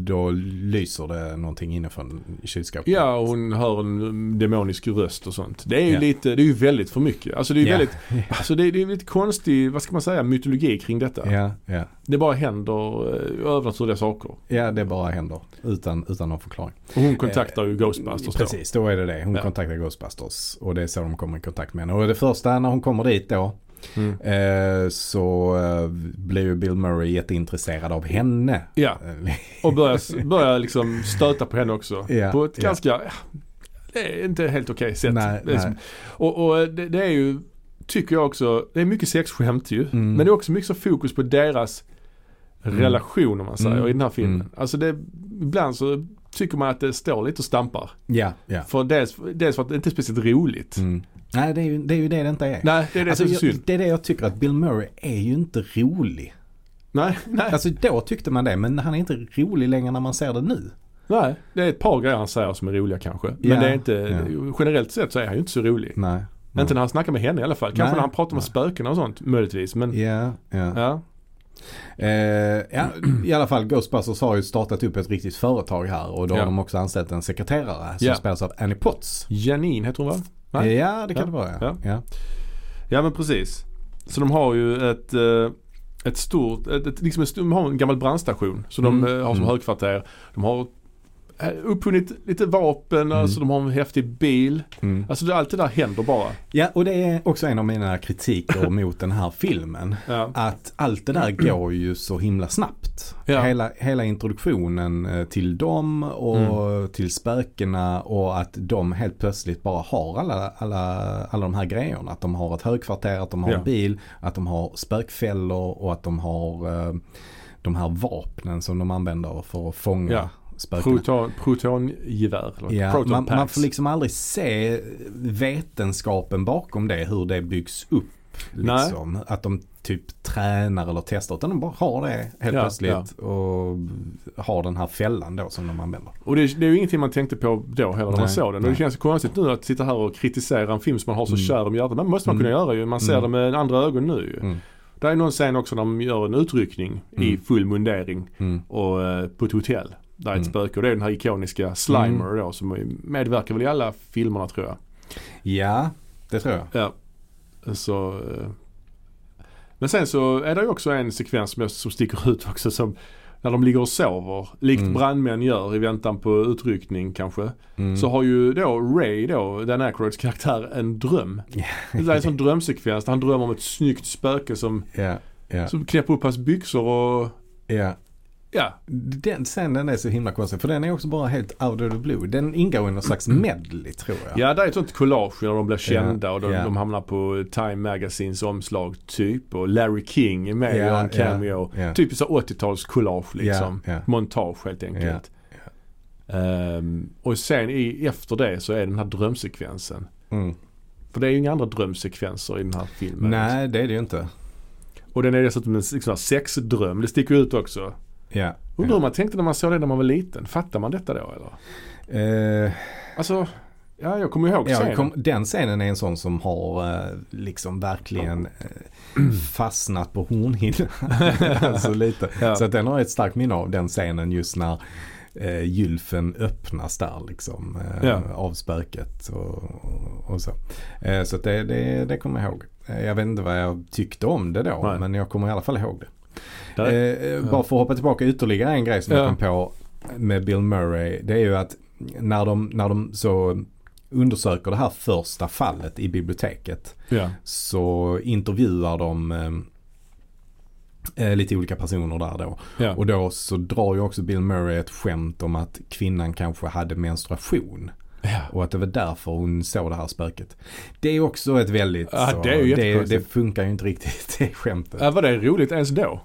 [SPEAKER 2] då lyser det någonting inifrån kylskåpet.
[SPEAKER 1] Ja, och hon hör en demonisk röst och sånt. Det är ju
[SPEAKER 2] Ja.
[SPEAKER 1] lite, det är ju väldigt för mycket. Alltså det är ju
[SPEAKER 2] Ja.
[SPEAKER 1] väldigt, alltså det är, det är lite konstig, vad ska man säga, mytologi kring detta.
[SPEAKER 2] Ja, ja.
[SPEAKER 1] Det bara händer eh, övernaturliga saker.
[SPEAKER 2] ja, det bara händer utan, utan någon förklaring.
[SPEAKER 1] Och hon kontaktar ju Ghostbusters då.
[SPEAKER 2] Eh, Precis, då är det det. Hon
[SPEAKER 1] Ja.
[SPEAKER 2] kontaktar Ghostbusters och det är så de kommer i kontakt med henne. Och det första när hon kommer dit då
[SPEAKER 1] Mm.
[SPEAKER 2] eh, så eh, blir ju Bill Murray jätteintresserad av henne. Eh,
[SPEAKER 1] Ja, och börjar, börjar liksom stöta på henne också.
[SPEAKER 2] Ja,
[SPEAKER 1] På ett
[SPEAKER 2] ja.
[SPEAKER 1] ganska, ja, det är inte helt okej sätt.
[SPEAKER 2] Nej,
[SPEAKER 1] Det är som-
[SPEAKER 2] nej.
[SPEAKER 1] Och, och det, det är ju, tycker jag också, det är mycket sexskämt ju.
[SPEAKER 2] Mm.
[SPEAKER 1] Men det är också mycket så fokus på deras
[SPEAKER 2] Mm.
[SPEAKER 1] relation om man säger
[SPEAKER 2] Mm.
[SPEAKER 1] i den här filmen.
[SPEAKER 2] Mm.
[SPEAKER 1] Alltså det, ibland så tycker man att det står lite och stampar.
[SPEAKER 2] Ja, ja.
[SPEAKER 1] För dels, dels för att det inte är speciellt roligt.
[SPEAKER 2] Mm. Nej, det är, ju, det är ju det det inte är.
[SPEAKER 1] Nej, det är det
[SPEAKER 2] Alltså,
[SPEAKER 1] som är
[SPEAKER 2] jag,
[SPEAKER 1] synd.
[SPEAKER 2] det är det jag tycker att Bill Murray är ju inte rolig.
[SPEAKER 1] Nej, nej,
[SPEAKER 2] Alltså då tyckte man det men han är inte rolig längre när man ser det nu.
[SPEAKER 1] nej. Det är ett par grejer han säger som är roliga kanske. Men
[SPEAKER 2] Ja,
[SPEAKER 1] det är inte,
[SPEAKER 2] ja.
[SPEAKER 1] generellt sett så är han ju inte så rolig.
[SPEAKER 2] Nej.
[SPEAKER 1] Inte när han snackar med henne i alla fall. Kanske
[SPEAKER 2] Nej.
[SPEAKER 1] när han pratar om
[SPEAKER 2] Nej.
[SPEAKER 1] spöken och sånt möjligtvis. Men
[SPEAKER 2] Ja, ja.
[SPEAKER 1] ja.
[SPEAKER 2] Eh, ja, i alla fall Ghostbusters har ju startat upp ett riktigt företag här och då
[SPEAKER 1] Ja.
[SPEAKER 2] har de också anställt en sekreterare som
[SPEAKER 1] Ja.
[SPEAKER 2] spelas av Annie Potts.
[SPEAKER 1] Janine heter hon va?
[SPEAKER 2] Ja,
[SPEAKER 1] Nej.
[SPEAKER 2] det kan
[SPEAKER 1] Ja.
[SPEAKER 2] det vara ja.
[SPEAKER 1] Ja.
[SPEAKER 2] Ja.
[SPEAKER 1] Ja men precis. Så de har ju ett, eh, ett stort, ett, ett, liksom en, stor- de har en gammal brandstation som de
[SPEAKER 2] Mm.
[SPEAKER 1] eh, har som
[SPEAKER 2] Mm.
[SPEAKER 1] högkvarter. De har eh, upphunnit lite vapen, alltså de har en häftig bil.
[SPEAKER 2] Mm.
[SPEAKER 1] Alltså det, allt det där händer bara.
[SPEAKER 2] ja, och det är också en av mina kritiker mot den här filmen.
[SPEAKER 1] Ja.
[SPEAKER 2] Att allt det där går ju så himla snabbt.
[SPEAKER 1] Mm. Ja.
[SPEAKER 2] Hela, hela introduktionen eh, till dem och
[SPEAKER 1] Mm.
[SPEAKER 2] till spökena och att de helt plötsligt bara har alla, alla, alla de här grejerna. Att de har ett högkvarter, att de har
[SPEAKER 1] Ja.
[SPEAKER 2] en bil, att de har spökfällor och att de har eh, de här vapnen som de använder för att fånga
[SPEAKER 1] Ja.
[SPEAKER 2] spökena.
[SPEAKER 1] Proton, protongevär. eller
[SPEAKER 2] Ja,
[SPEAKER 1] proton
[SPEAKER 2] man, man
[SPEAKER 1] packs.
[SPEAKER 2] får liksom aldrig se vetenskapen bakom det, hur det byggs upp.
[SPEAKER 1] Nej.
[SPEAKER 2] Liksom. Att de typ tränar eller testar, utan de bara har det helt
[SPEAKER 1] Ja,
[SPEAKER 2] plötsligt och har den här fällan då som de använder.
[SPEAKER 1] Och det, det är ju ingenting man tänkte på då heller när man
[SPEAKER 2] Nej,
[SPEAKER 1] såg den. Och
[SPEAKER 2] nej.
[SPEAKER 1] det känns konstigt nu att sitta här och kritisera en film som man har så
[SPEAKER 2] Mm.
[SPEAKER 1] kär om hjärtat. Men det måste man kunna göra ju. Man ser
[SPEAKER 2] Mm.
[SPEAKER 1] det med andra ögon nu ju.
[SPEAKER 2] Mm.
[SPEAKER 1] Det är någon scen också när de gör en utryckning i
[SPEAKER 2] Mm.
[SPEAKER 1] full mundering
[SPEAKER 2] Mm.
[SPEAKER 1] och, eh, på ett hotell. Där är ett
[SPEAKER 2] Mm.
[SPEAKER 1] spöke och det är den här ikoniska Slimer då som medverkar väl i alla filmerna tror jag.
[SPEAKER 2] Ja, det tror jag.
[SPEAKER 1] Ja. Så, eh. men sen så är det ju också en sekvens som, jag, som sticker ut också som när de ligger och sover, likt
[SPEAKER 2] Mm.
[SPEAKER 1] brandmän gör i väntan på utryckning kanske.
[SPEAKER 2] Mm.
[SPEAKER 1] Så har ju då Ray då, Dan Aykroyds karaktär, en dröm.
[SPEAKER 2] Ja.
[SPEAKER 1] Det är en sån drömsekvens där han drömmer om ett snyggt spöke som,
[SPEAKER 2] Ja, ja,
[SPEAKER 1] som knäpper upp hans byxor och
[SPEAKER 2] ja.
[SPEAKER 1] ja,
[SPEAKER 2] Den scenen är så himla konstig för den är också bara helt out of the blue. Den ingår i någon slags medley tror jag.
[SPEAKER 1] Mm. Ja, det är ett sånt collage när de blir kända och de,
[SPEAKER 2] ja.
[SPEAKER 1] de hamnar på Time Magazines omslag typ. Och Larry King är med och gör en
[SPEAKER 2] Ja, ja,
[SPEAKER 1] cameo.
[SPEAKER 2] ja.
[SPEAKER 1] Typiskt så 80-tals collage liksom.
[SPEAKER 2] Ja, ja.
[SPEAKER 1] Montage helt enkelt. Ehm, och sen i, efter det så är den här drömsekvensen.
[SPEAKER 2] Mm.
[SPEAKER 1] För det är ju inga andra drömsekvenser i den här filmen.
[SPEAKER 2] Nej, det är det ju inte.
[SPEAKER 1] Och den är dessutom en sån här sexdröm. Det sticker ut också.
[SPEAKER 2] Ja.
[SPEAKER 1] Undrar hur man tänkte när man såg det när man var liten. Fattar man detta då eller?
[SPEAKER 2] ja. Eh,
[SPEAKER 1] Alltså, ja jag kommer ihåg
[SPEAKER 2] Ja,
[SPEAKER 1] scenen.
[SPEAKER 2] kom, den scenen är en sån som har eh, liksom verkligen eh, fastnat på hornhinnan. alltså lite.
[SPEAKER 1] Ja.
[SPEAKER 2] Så att den har ett starkt minne av den scenen just när eh, gylfen öppnas där liksom. Eh,
[SPEAKER 1] Ja.
[SPEAKER 2] Av spöket och, och, och så. Eh, så att det, det, det kommer jag ihåg. Eh, Jag vet inte vad jag tyckte om det då
[SPEAKER 1] Nej.
[SPEAKER 2] men jag kommer i alla fall ihåg det.
[SPEAKER 1] Där-
[SPEAKER 2] Eh, eh, Bara för att hoppa tillbaka ytterligare en grej som
[SPEAKER 1] Ja.
[SPEAKER 2] jag kom på med Bill Murray. Det är ju att när de, när de så undersöker det här första fallet i biblioteket
[SPEAKER 1] ja.
[SPEAKER 2] så intervjuar de eh, eh, lite olika personer där då.
[SPEAKER 1] Ja.
[SPEAKER 2] Och då så drar ju också Bill Murray ett skämt om att kvinnan kanske hade menstruation.
[SPEAKER 1] ja.
[SPEAKER 2] Och att det var därför hon såg det här spöket. Det är också ett väldigt...
[SPEAKER 1] Ja,
[SPEAKER 2] så,
[SPEAKER 1] det är ju
[SPEAKER 2] det, det
[SPEAKER 1] jättekonstigt.
[SPEAKER 2] funkar ju inte riktigt det skämtet.
[SPEAKER 1] Ja, var det roligt ens då?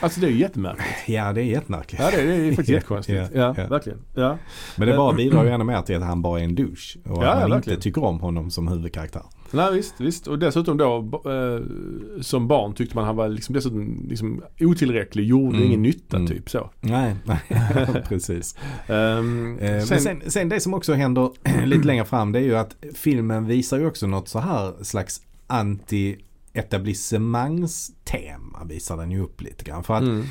[SPEAKER 1] Alltså det är ju jättemärkligt.
[SPEAKER 2] Ja, det är jättemärkligt.
[SPEAKER 1] Ja det, det är faktiskt
[SPEAKER 2] Ja,
[SPEAKER 1] jättekonstigt.
[SPEAKER 2] ja,
[SPEAKER 1] ja,
[SPEAKER 2] ja.
[SPEAKER 1] verkligen. Ja.
[SPEAKER 2] Men det bara bidrar ju ännu mer till att han bara är en douche.
[SPEAKER 1] Eh,
[SPEAKER 2] Och
[SPEAKER 1] Ja,
[SPEAKER 2] att man
[SPEAKER 1] verkligen.
[SPEAKER 2] inte tycker om honom som huvudkaraktär.
[SPEAKER 1] Nej visst, visst. Och dessutom då b- eh, som barn tyckte man han var liksom, dessutom liksom otillräcklig, gjorde
[SPEAKER 2] Mm.
[SPEAKER 1] ingen nytta
[SPEAKER 2] Mm.
[SPEAKER 1] typ så.
[SPEAKER 2] Nej, nej precis.
[SPEAKER 1] Ehm,
[SPEAKER 2] Eh,
[SPEAKER 1] sen,
[SPEAKER 2] men sen, sen det som också händer lite längre fram det är ju att filmen visar ju också något så här slags anti etablissemangstema visar den ju upp lite grann. För att
[SPEAKER 1] Mm.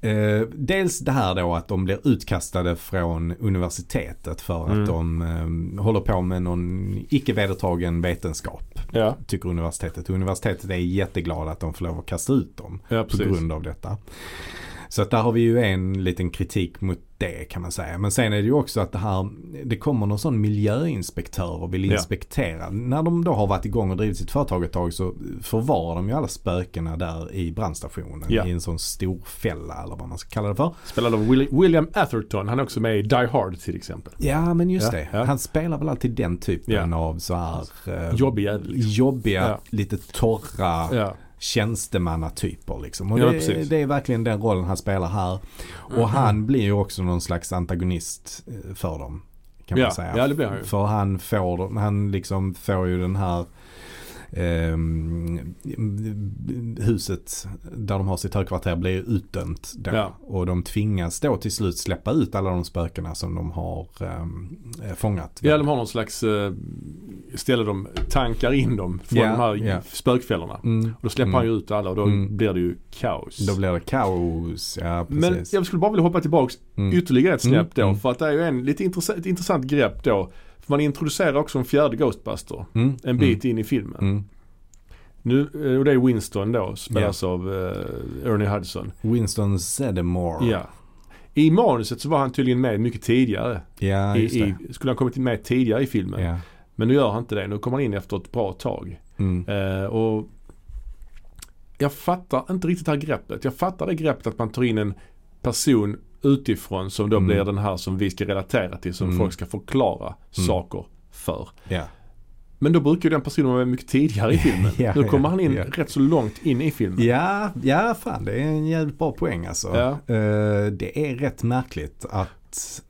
[SPEAKER 2] Eh, dels det här då att de blir utkastade från universitetet för att
[SPEAKER 1] Mm.
[SPEAKER 2] de eh, håller på med någon icke vedertagen vetenskap.
[SPEAKER 1] Ja,
[SPEAKER 2] Tycker universitetet. Universitetet är jätteglada att de får lov att kasta ut dem
[SPEAKER 1] ja
[SPEAKER 2] på
[SPEAKER 1] precis.
[SPEAKER 2] grund av detta. Så att där har vi ju en liten kritik mot det kan man säga. Men sen är det ju också att det här, det kommer någon sån miljöinspektör och vill
[SPEAKER 1] Ja.
[SPEAKER 2] inspektera. När de då har varit igång och drivit sitt företag ett tag så förvarar de ju alla spökena där i brandstationen.
[SPEAKER 1] Ja.
[SPEAKER 2] I en sån stor fälla eller vad man ska kalla det för.
[SPEAKER 1] Spelad av Willi- William Atherton. Han är också med i Die Hard till exempel.
[SPEAKER 2] Ja men just
[SPEAKER 1] Ja,
[SPEAKER 2] det.
[SPEAKER 1] ja.
[SPEAKER 2] Han spelar väl alltid den typen
[SPEAKER 1] Ja.
[SPEAKER 2] av så här eh,
[SPEAKER 1] Jobbig jävel. liksom.
[SPEAKER 2] jobbiga,
[SPEAKER 1] Ja.
[SPEAKER 2] lite torra
[SPEAKER 1] Ja.
[SPEAKER 2] tjänstemannatyper. Liksom. Och
[SPEAKER 1] Ja,
[SPEAKER 2] det,
[SPEAKER 1] precis. Mm.
[SPEAKER 2] det är verkligen den rollen han spelar här. Och han blir ju också någon slags antagonist eh, för dem. Kan
[SPEAKER 1] Ja,
[SPEAKER 2] man säga.
[SPEAKER 1] ja, det blir han ju.
[SPEAKER 2] För han får, dem- han liksom får ju den här ehm, huset där de har sitt högkvarter blir utdömt då.
[SPEAKER 1] Ja.
[SPEAKER 2] Och de tvingas då till slut släppa ut alla de spökena som de har ehm, fångat.
[SPEAKER 1] Ja, de har någon slags eh, ställe de tankar in dem från
[SPEAKER 2] Ja,
[SPEAKER 1] de här
[SPEAKER 2] ja.
[SPEAKER 1] spökfällorna.
[SPEAKER 2] Mm.
[SPEAKER 1] Och då släpper
[SPEAKER 2] Mm.
[SPEAKER 1] han ju ut alla och då
[SPEAKER 2] Mm.
[SPEAKER 1] blir det ju kaos.
[SPEAKER 2] Då blir det kaos. Ja,
[SPEAKER 1] Men
[SPEAKER 2] precis.
[SPEAKER 1] jag skulle bara vilja hoppa tillbaks
[SPEAKER 2] Mm.
[SPEAKER 1] ytterligare ett
[SPEAKER 2] Mm,
[SPEAKER 1] snäpp då.
[SPEAKER 2] mm.
[SPEAKER 1] För att det är ju en, lite intressant, ett intressant grepp då. För man introducerar också en fjärde Ghostbuster
[SPEAKER 2] Mm.
[SPEAKER 1] en bit in i filmen.
[SPEAKER 2] Mm. Mm.
[SPEAKER 1] Nu, eh, och det är Winston då, spelas av eh, Ernie Hudson.
[SPEAKER 2] Winston Zeddemore.
[SPEAKER 1] Ja. I manuset så var han tydligen med mycket tidigare.
[SPEAKER 2] ja
[SPEAKER 1] I,
[SPEAKER 2] just det.
[SPEAKER 1] i, skulle han kommit med tidigare i filmen.
[SPEAKER 2] Ja.
[SPEAKER 1] Men nu gör han inte det. Nu kommer han in efter ett bra tag.
[SPEAKER 2] Mm.
[SPEAKER 1] Eh, och jag fattar inte riktigt det här greppet. Jag fattar det greppet att man tar in en person utifrån som då
[SPEAKER 2] Mm.
[SPEAKER 1] blir den här som vi ska relatera till. Som
[SPEAKER 2] Mm.
[SPEAKER 1] folk ska förklara saker för.
[SPEAKER 2] Ja.
[SPEAKER 1] Men då brukar ju den personen vara med mycket tidigare i filmen.
[SPEAKER 2] Ja,
[SPEAKER 1] nu kommer
[SPEAKER 2] ja,
[SPEAKER 1] han in
[SPEAKER 2] ja.
[SPEAKER 1] rätt så långt in i filmen.
[SPEAKER 2] ja, ja fan det är en jävligt bra poäng alltså.
[SPEAKER 1] Ja.
[SPEAKER 2] Eh, det är rätt märkligt att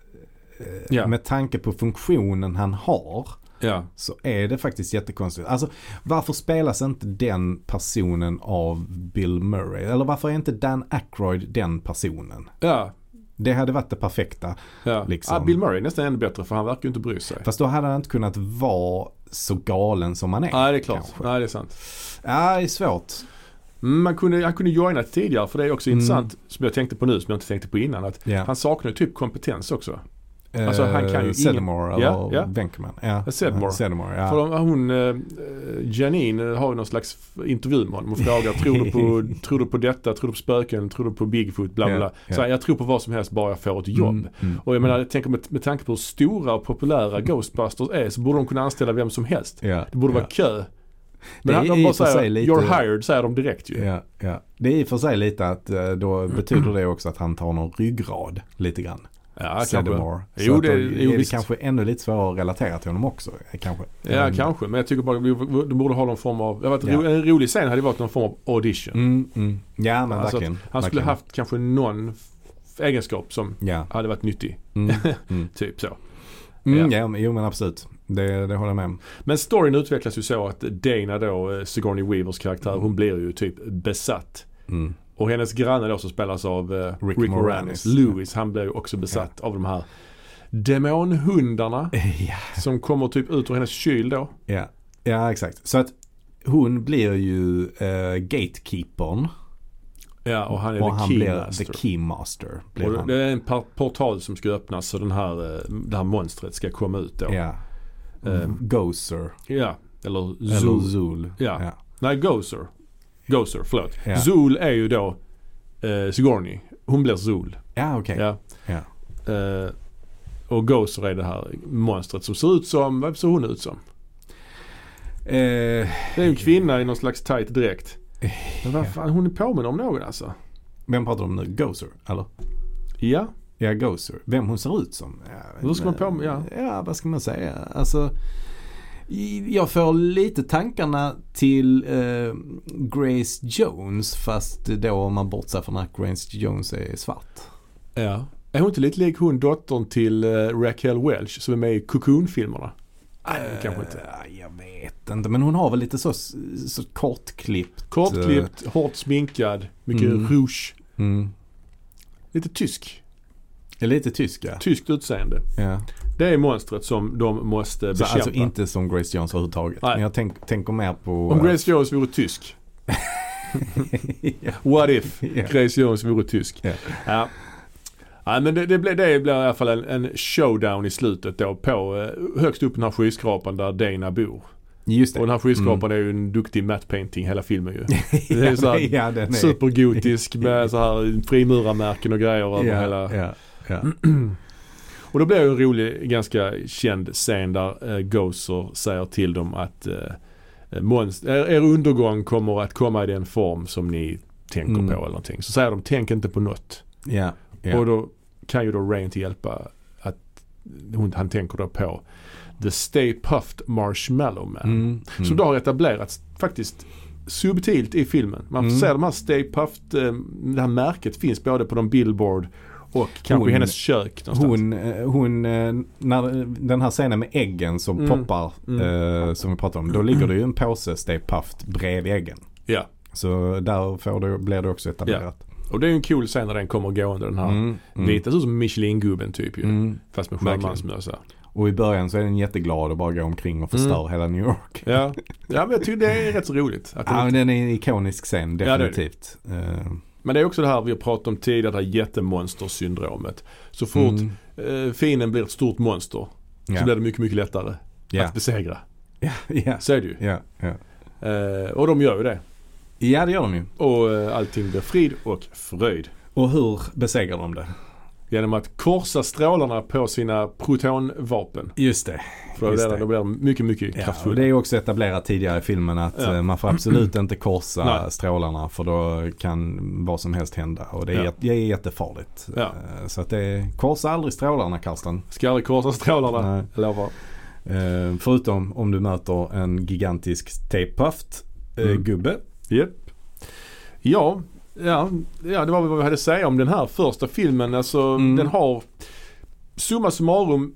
[SPEAKER 2] eh,
[SPEAKER 1] Ja.
[SPEAKER 2] med tanke på funktionen han har
[SPEAKER 1] Ja.
[SPEAKER 2] så är det faktiskt jättekonstigt. Alltså varför spelas inte den personen av Bill Murray? Eller varför är inte Dan Aykroyd den personen?
[SPEAKER 1] Ja.
[SPEAKER 2] Det hade varit det perfekta.
[SPEAKER 1] ja.
[SPEAKER 2] Liksom.
[SPEAKER 1] Ah, Bill Murray är nästan ännu bättre för han verkar ju inte bry sig.
[SPEAKER 2] Fast då hade han inte kunnat vara så galen som han är.
[SPEAKER 1] Nej, det är klart.
[SPEAKER 2] kanske.
[SPEAKER 1] Nej, det är sant.
[SPEAKER 2] Ja, det är svårt.
[SPEAKER 1] Mm, Man kunde, han kunde joinat tidigare för det är också
[SPEAKER 2] Mm.
[SPEAKER 1] intressant som jag tänkte på nu som jag inte tänkte på innan. Att
[SPEAKER 2] Ja.
[SPEAKER 1] Han saknar ju typ kompetens också. Alltså, han kan ju ingen-
[SPEAKER 2] Sedmore
[SPEAKER 1] Ja,
[SPEAKER 2] Eh, eller
[SPEAKER 1] ja.
[SPEAKER 2] Venkman. Ja.
[SPEAKER 1] Sedmore.
[SPEAKER 2] Sedmore, ja.
[SPEAKER 1] För de, hon, eh, Janine eh, har ju någon slags f- intervju med honom och frågar tror du, på, tror du på detta, tror du på spöken, tror du på Bigfoot, bla bla.
[SPEAKER 2] Ja,
[SPEAKER 1] bla.
[SPEAKER 2] ja.
[SPEAKER 1] Så här, jag tror på vad som helst bara jag får ett jobb.
[SPEAKER 2] Mm, mm.
[SPEAKER 1] Och jag menar, jag tänker med, med tanke på hur stora och populära Ghostbusters är så borde de kunna anställa vem som helst.
[SPEAKER 2] Ja,
[SPEAKER 1] Det borde
[SPEAKER 2] ja.
[SPEAKER 1] vara kö. Men
[SPEAKER 2] är
[SPEAKER 1] han,
[SPEAKER 2] i
[SPEAKER 1] de bara
[SPEAKER 2] och för
[SPEAKER 1] säger
[SPEAKER 2] sig lite-
[SPEAKER 1] “You're hired” säger de direkt ju.
[SPEAKER 2] Ja, ja. Det är i och för sig lite att eh, då betyder det också att han tar någon ryggrad lite grann.
[SPEAKER 1] Ja, kanske.
[SPEAKER 2] Sedmore. Så
[SPEAKER 1] Jo,
[SPEAKER 2] att
[SPEAKER 1] det-
[SPEAKER 2] då
[SPEAKER 1] jo,
[SPEAKER 2] är det
[SPEAKER 1] visst.
[SPEAKER 2] kanske ännu lite svårare att relatera till honom också. eh, Kanske.
[SPEAKER 1] Ja,
[SPEAKER 2] Mm.
[SPEAKER 1] kanske. Men jag tycker bara de borde ha någon form av, jag vet,
[SPEAKER 2] Ja.
[SPEAKER 1] ro- en rolig scen hade varit någon form av audition.
[SPEAKER 2] Mm, mm. Ja, men
[SPEAKER 1] Alltså att
[SPEAKER 2] verkligen.
[SPEAKER 1] Han skulle
[SPEAKER 2] verkligen.
[SPEAKER 1] haft kanske någon f- egenskap som
[SPEAKER 2] Ja.
[SPEAKER 1] hade varit nyttig.
[SPEAKER 2] Mm, mm.
[SPEAKER 1] Typ så.
[SPEAKER 2] Mm, ja. men- jo men absolut. Det, det håller jag med om.
[SPEAKER 1] Men storyn utvecklas ju så att Dana då, eh, Sigourney Weavers karaktär, hon blir ju typ besatt.
[SPEAKER 2] Mm.
[SPEAKER 1] Och hennes granne då som spelas av eh,
[SPEAKER 2] Rick
[SPEAKER 1] Rick,
[SPEAKER 2] Moranis.
[SPEAKER 1] Moranis, Lewis, han blir ju också besatt av de här demonhundarna
[SPEAKER 2] Ja.
[SPEAKER 1] som kommer typ ut ur hennes kyl då.
[SPEAKER 2] Ja, ja exakt. Så att hon blir ju eh, gatekeepern.
[SPEAKER 1] Ja, och han är
[SPEAKER 2] Och
[SPEAKER 1] the
[SPEAKER 2] han blir
[SPEAKER 1] keymaster.
[SPEAKER 2] the keymaster. Blir
[SPEAKER 1] och
[SPEAKER 2] han.
[SPEAKER 1] det är en par- portal som ska öppnas så den här, eh, det här monstret ska komma ut då.
[SPEAKER 2] Ja. Mm-hmm.
[SPEAKER 1] Eh,
[SPEAKER 2] Gozer.
[SPEAKER 1] ja. Eller
[SPEAKER 2] Eller
[SPEAKER 1] Zool.
[SPEAKER 2] Zool.
[SPEAKER 1] Ja. Nej, Gozer. Gozer, förlåt.
[SPEAKER 2] Ja.
[SPEAKER 1] Zool är ju då eh, Sigourney. Hon blir Zool.
[SPEAKER 2] Ja, okej.
[SPEAKER 1] Ja.
[SPEAKER 2] Ja.
[SPEAKER 1] Eh, och Gozer är det här monstret som ser ut som, vad ser hon ut som?
[SPEAKER 2] Eh,
[SPEAKER 1] Det är en kvinna i någon slags tight dräkt. Men vad fan, hon är påminner om någon alltså.
[SPEAKER 2] vem pratar de om nu? Gozer? Eller?
[SPEAKER 1] Ja,
[SPEAKER 2] Ja, Gozer. Vem hon ser ut som? Ja,
[SPEAKER 1] Då ska man på- ja.
[SPEAKER 2] ja, vad ska man säga? Alltså, i- jag får lite tankarna till eh, Grace Jones fast då om man bortser från att Grace Jones är svart.
[SPEAKER 1] ja. Är hon inte lite lik hon dottern till eh, Raquel Welch som är med i Cocoon-filmerna? Nej, kanske inte.
[SPEAKER 2] Eh, Jag vet inte, men hon har väl lite så, så kortklippt.
[SPEAKER 1] Kortklippt, hårt sminkad, mycket
[SPEAKER 2] Eh. Mm.
[SPEAKER 1] rouge.
[SPEAKER 2] Mm.
[SPEAKER 1] Lite tysk.
[SPEAKER 2] Är Lite tysk ja.
[SPEAKER 1] Tyskt utseende.
[SPEAKER 2] ja.
[SPEAKER 1] Det är monstret som de måste
[SPEAKER 2] Så
[SPEAKER 1] bekämpa.
[SPEAKER 2] alltså inte som Grace Jones överhuvudtaget.
[SPEAKER 1] Nej.
[SPEAKER 2] Men jag tänk, tänker mer på...
[SPEAKER 1] Om
[SPEAKER 2] eh,
[SPEAKER 1] Grace Jones vore tysk What if?
[SPEAKER 2] Ja.
[SPEAKER 1] Grace Jones vore tysk.
[SPEAKER 2] Ja.
[SPEAKER 1] Ja. Ja, men det, det, blir, det blir i alla fall en, en showdown i slutet då på eh, högst upp i den här skyskrapan där Dana bor.
[SPEAKER 2] Just
[SPEAKER 1] Och
[SPEAKER 2] det.
[SPEAKER 1] den här
[SPEAKER 2] Mm.
[SPEAKER 1] skyskrapan är ju en duktig matte painting hela filmen ju. Det är så här
[SPEAKER 2] ja, den är-
[SPEAKER 1] Supergotisk med så här frimurarmärken och grejer över
[SPEAKER 2] ja,
[SPEAKER 1] hela.
[SPEAKER 2] ja, ja.
[SPEAKER 1] Och då blir det en rolig, ganska känd scen där eh, Gozer säger till dem att eh, monst- er, er undergång kommer att komma i den form som ni tänker
[SPEAKER 2] Mm.
[SPEAKER 1] på eller någonting. Så säger de, tänk inte på något.
[SPEAKER 2] ja, ja.
[SPEAKER 1] Och då kan ju då Ray inte hjälpa att hon, han tänker då på The Stay Puffed Marshmallow Man.
[SPEAKER 2] Mm, mm.
[SPEAKER 1] Som då har etablerats faktiskt subtilt i filmen. Man
[SPEAKER 2] Mm.
[SPEAKER 1] ser de här Stay Puffed, eh, det här märket finns både på de Billboard och kanske
[SPEAKER 2] Hon-
[SPEAKER 1] i hennes kök någonstans.
[SPEAKER 2] Hon, eh, hon, eh, när den här scenen med äggen som
[SPEAKER 1] Mm.
[SPEAKER 2] poppar,
[SPEAKER 1] Mm.
[SPEAKER 2] eh, som vi pratade om, då ligger det ju en påse Stay Puft bredvid äggen.
[SPEAKER 1] Ja.
[SPEAKER 2] Så där får du, blir det också etablerat.
[SPEAKER 1] Och det är ju en cool scen när den kommer gående den här
[SPEAKER 2] Mm, mm,
[SPEAKER 1] vita. Ser ut som Michelin-gubben typ ju.
[SPEAKER 2] mm.
[SPEAKER 1] Fast med
[SPEAKER 2] Verkligen.
[SPEAKER 1] sjömansmössa.
[SPEAKER 2] Och i början så är den jätteglad och bara går omkring och förstör
[SPEAKER 1] Mm.
[SPEAKER 2] hela New York.
[SPEAKER 1] Ja. ja, men jag tycker det är rätt så roligt. Att
[SPEAKER 2] Ja,
[SPEAKER 1] den-
[SPEAKER 2] men den är en ikonisk scen,
[SPEAKER 1] det är det.
[SPEAKER 2] definitivt. Eh,
[SPEAKER 1] Men det är också det här vi har pratat om tidigare, det här jättemonstersyndromet. Så fort
[SPEAKER 2] mm.
[SPEAKER 1] eh, fienden blir ett stort monster så
[SPEAKER 2] Ja,
[SPEAKER 1] blir det mycket, mycket lättare
[SPEAKER 2] ja,
[SPEAKER 1] att besegra.
[SPEAKER 2] ja, ja,
[SPEAKER 1] Så är det ju.
[SPEAKER 2] ja, ja.
[SPEAKER 1] Eh, och de gör ju det.
[SPEAKER 2] Ja, det gör de ju.
[SPEAKER 1] Och eh, allting blir frid och fröjd.
[SPEAKER 2] Och hur besegrar de det?
[SPEAKER 1] Genom att korsa strålarna på sina protonvapen.
[SPEAKER 2] Just det.
[SPEAKER 1] För då
[SPEAKER 2] Just
[SPEAKER 1] blir
[SPEAKER 2] det.
[SPEAKER 1] de- då blir de mycket, mycket
[SPEAKER 2] Ja, och
[SPEAKER 1] kraftfulla.
[SPEAKER 2] det är ju också etablerat tidigare i filmen att
[SPEAKER 1] Ja.
[SPEAKER 2] eh, man får absolut inte korsa
[SPEAKER 1] Nej.
[SPEAKER 2] strålarna för då kan vad som helst hända och det är,
[SPEAKER 1] Ja.
[SPEAKER 2] jät- det är jättefarligt.
[SPEAKER 1] Ja.
[SPEAKER 2] Eh, Så att det är, korsa aldrig strålarna Karsten.
[SPEAKER 1] Ska aldrig korsa strålarna,
[SPEAKER 2] Nej.
[SPEAKER 1] jag lovar.
[SPEAKER 2] Eh, Förutom om du möter en gigantisk tapehaft
[SPEAKER 1] Mm.
[SPEAKER 2] gubbe.
[SPEAKER 1] Japp. Ja, ja, ja, det var väl vad vi hade att säga om den här första filmen. Alltså
[SPEAKER 2] Mm.
[SPEAKER 1] den har, summa summarum,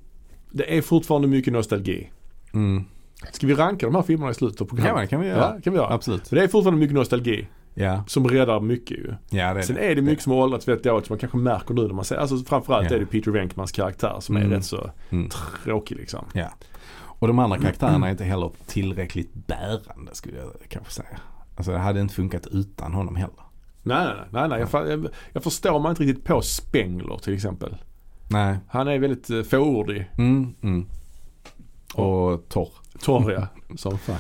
[SPEAKER 1] det är fortfarande mycket nostalgi.
[SPEAKER 2] Mm.
[SPEAKER 1] Ska vi ranka de här filmerna i slutet av
[SPEAKER 2] Ja,
[SPEAKER 1] programmet?
[SPEAKER 2] men det kan vi göra.
[SPEAKER 1] Ja, kan vi göra.
[SPEAKER 2] Absolut.
[SPEAKER 1] För det är fortfarande mycket nostalgi
[SPEAKER 2] Ja,
[SPEAKER 1] som räddar mycket ju.
[SPEAKER 2] ja det är
[SPEAKER 1] Sen
[SPEAKER 2] det.
[SPEAKER 1] är det mycket som har åldrats väldigt dåligt som man kanske märker nu när man ser, alltså framförallt
[SPEAKER 2] Ja.
[SPEAKER 1] är det Peter Venkmans karaktär som är
[SPEAKER 2] Mm.
[SPEAKER 1] rätt så
[SPEAKER 2] Mm.
[SPEAKER 1] tråkig liksom.
[SPEAKER 2] Ja. Och de andra karaktärerna är inte heller tillräckligt bärande skulle jag kanske säga. Alltså det hade inte funkat utan honom heller.
[SPEAKER 1] Nej, nej, nej, nej, nej. Jag, fa- jag, jag förstår mig inte riktigt på Spengler till exempel.
[SPEAKER 2] Nej.
[SPEAKER 1] Han är väldigt eh, fåordig,
[SPEAKER 2] Mm, mm. Och torr.
[SPEAKER 1] torr ja, som fan.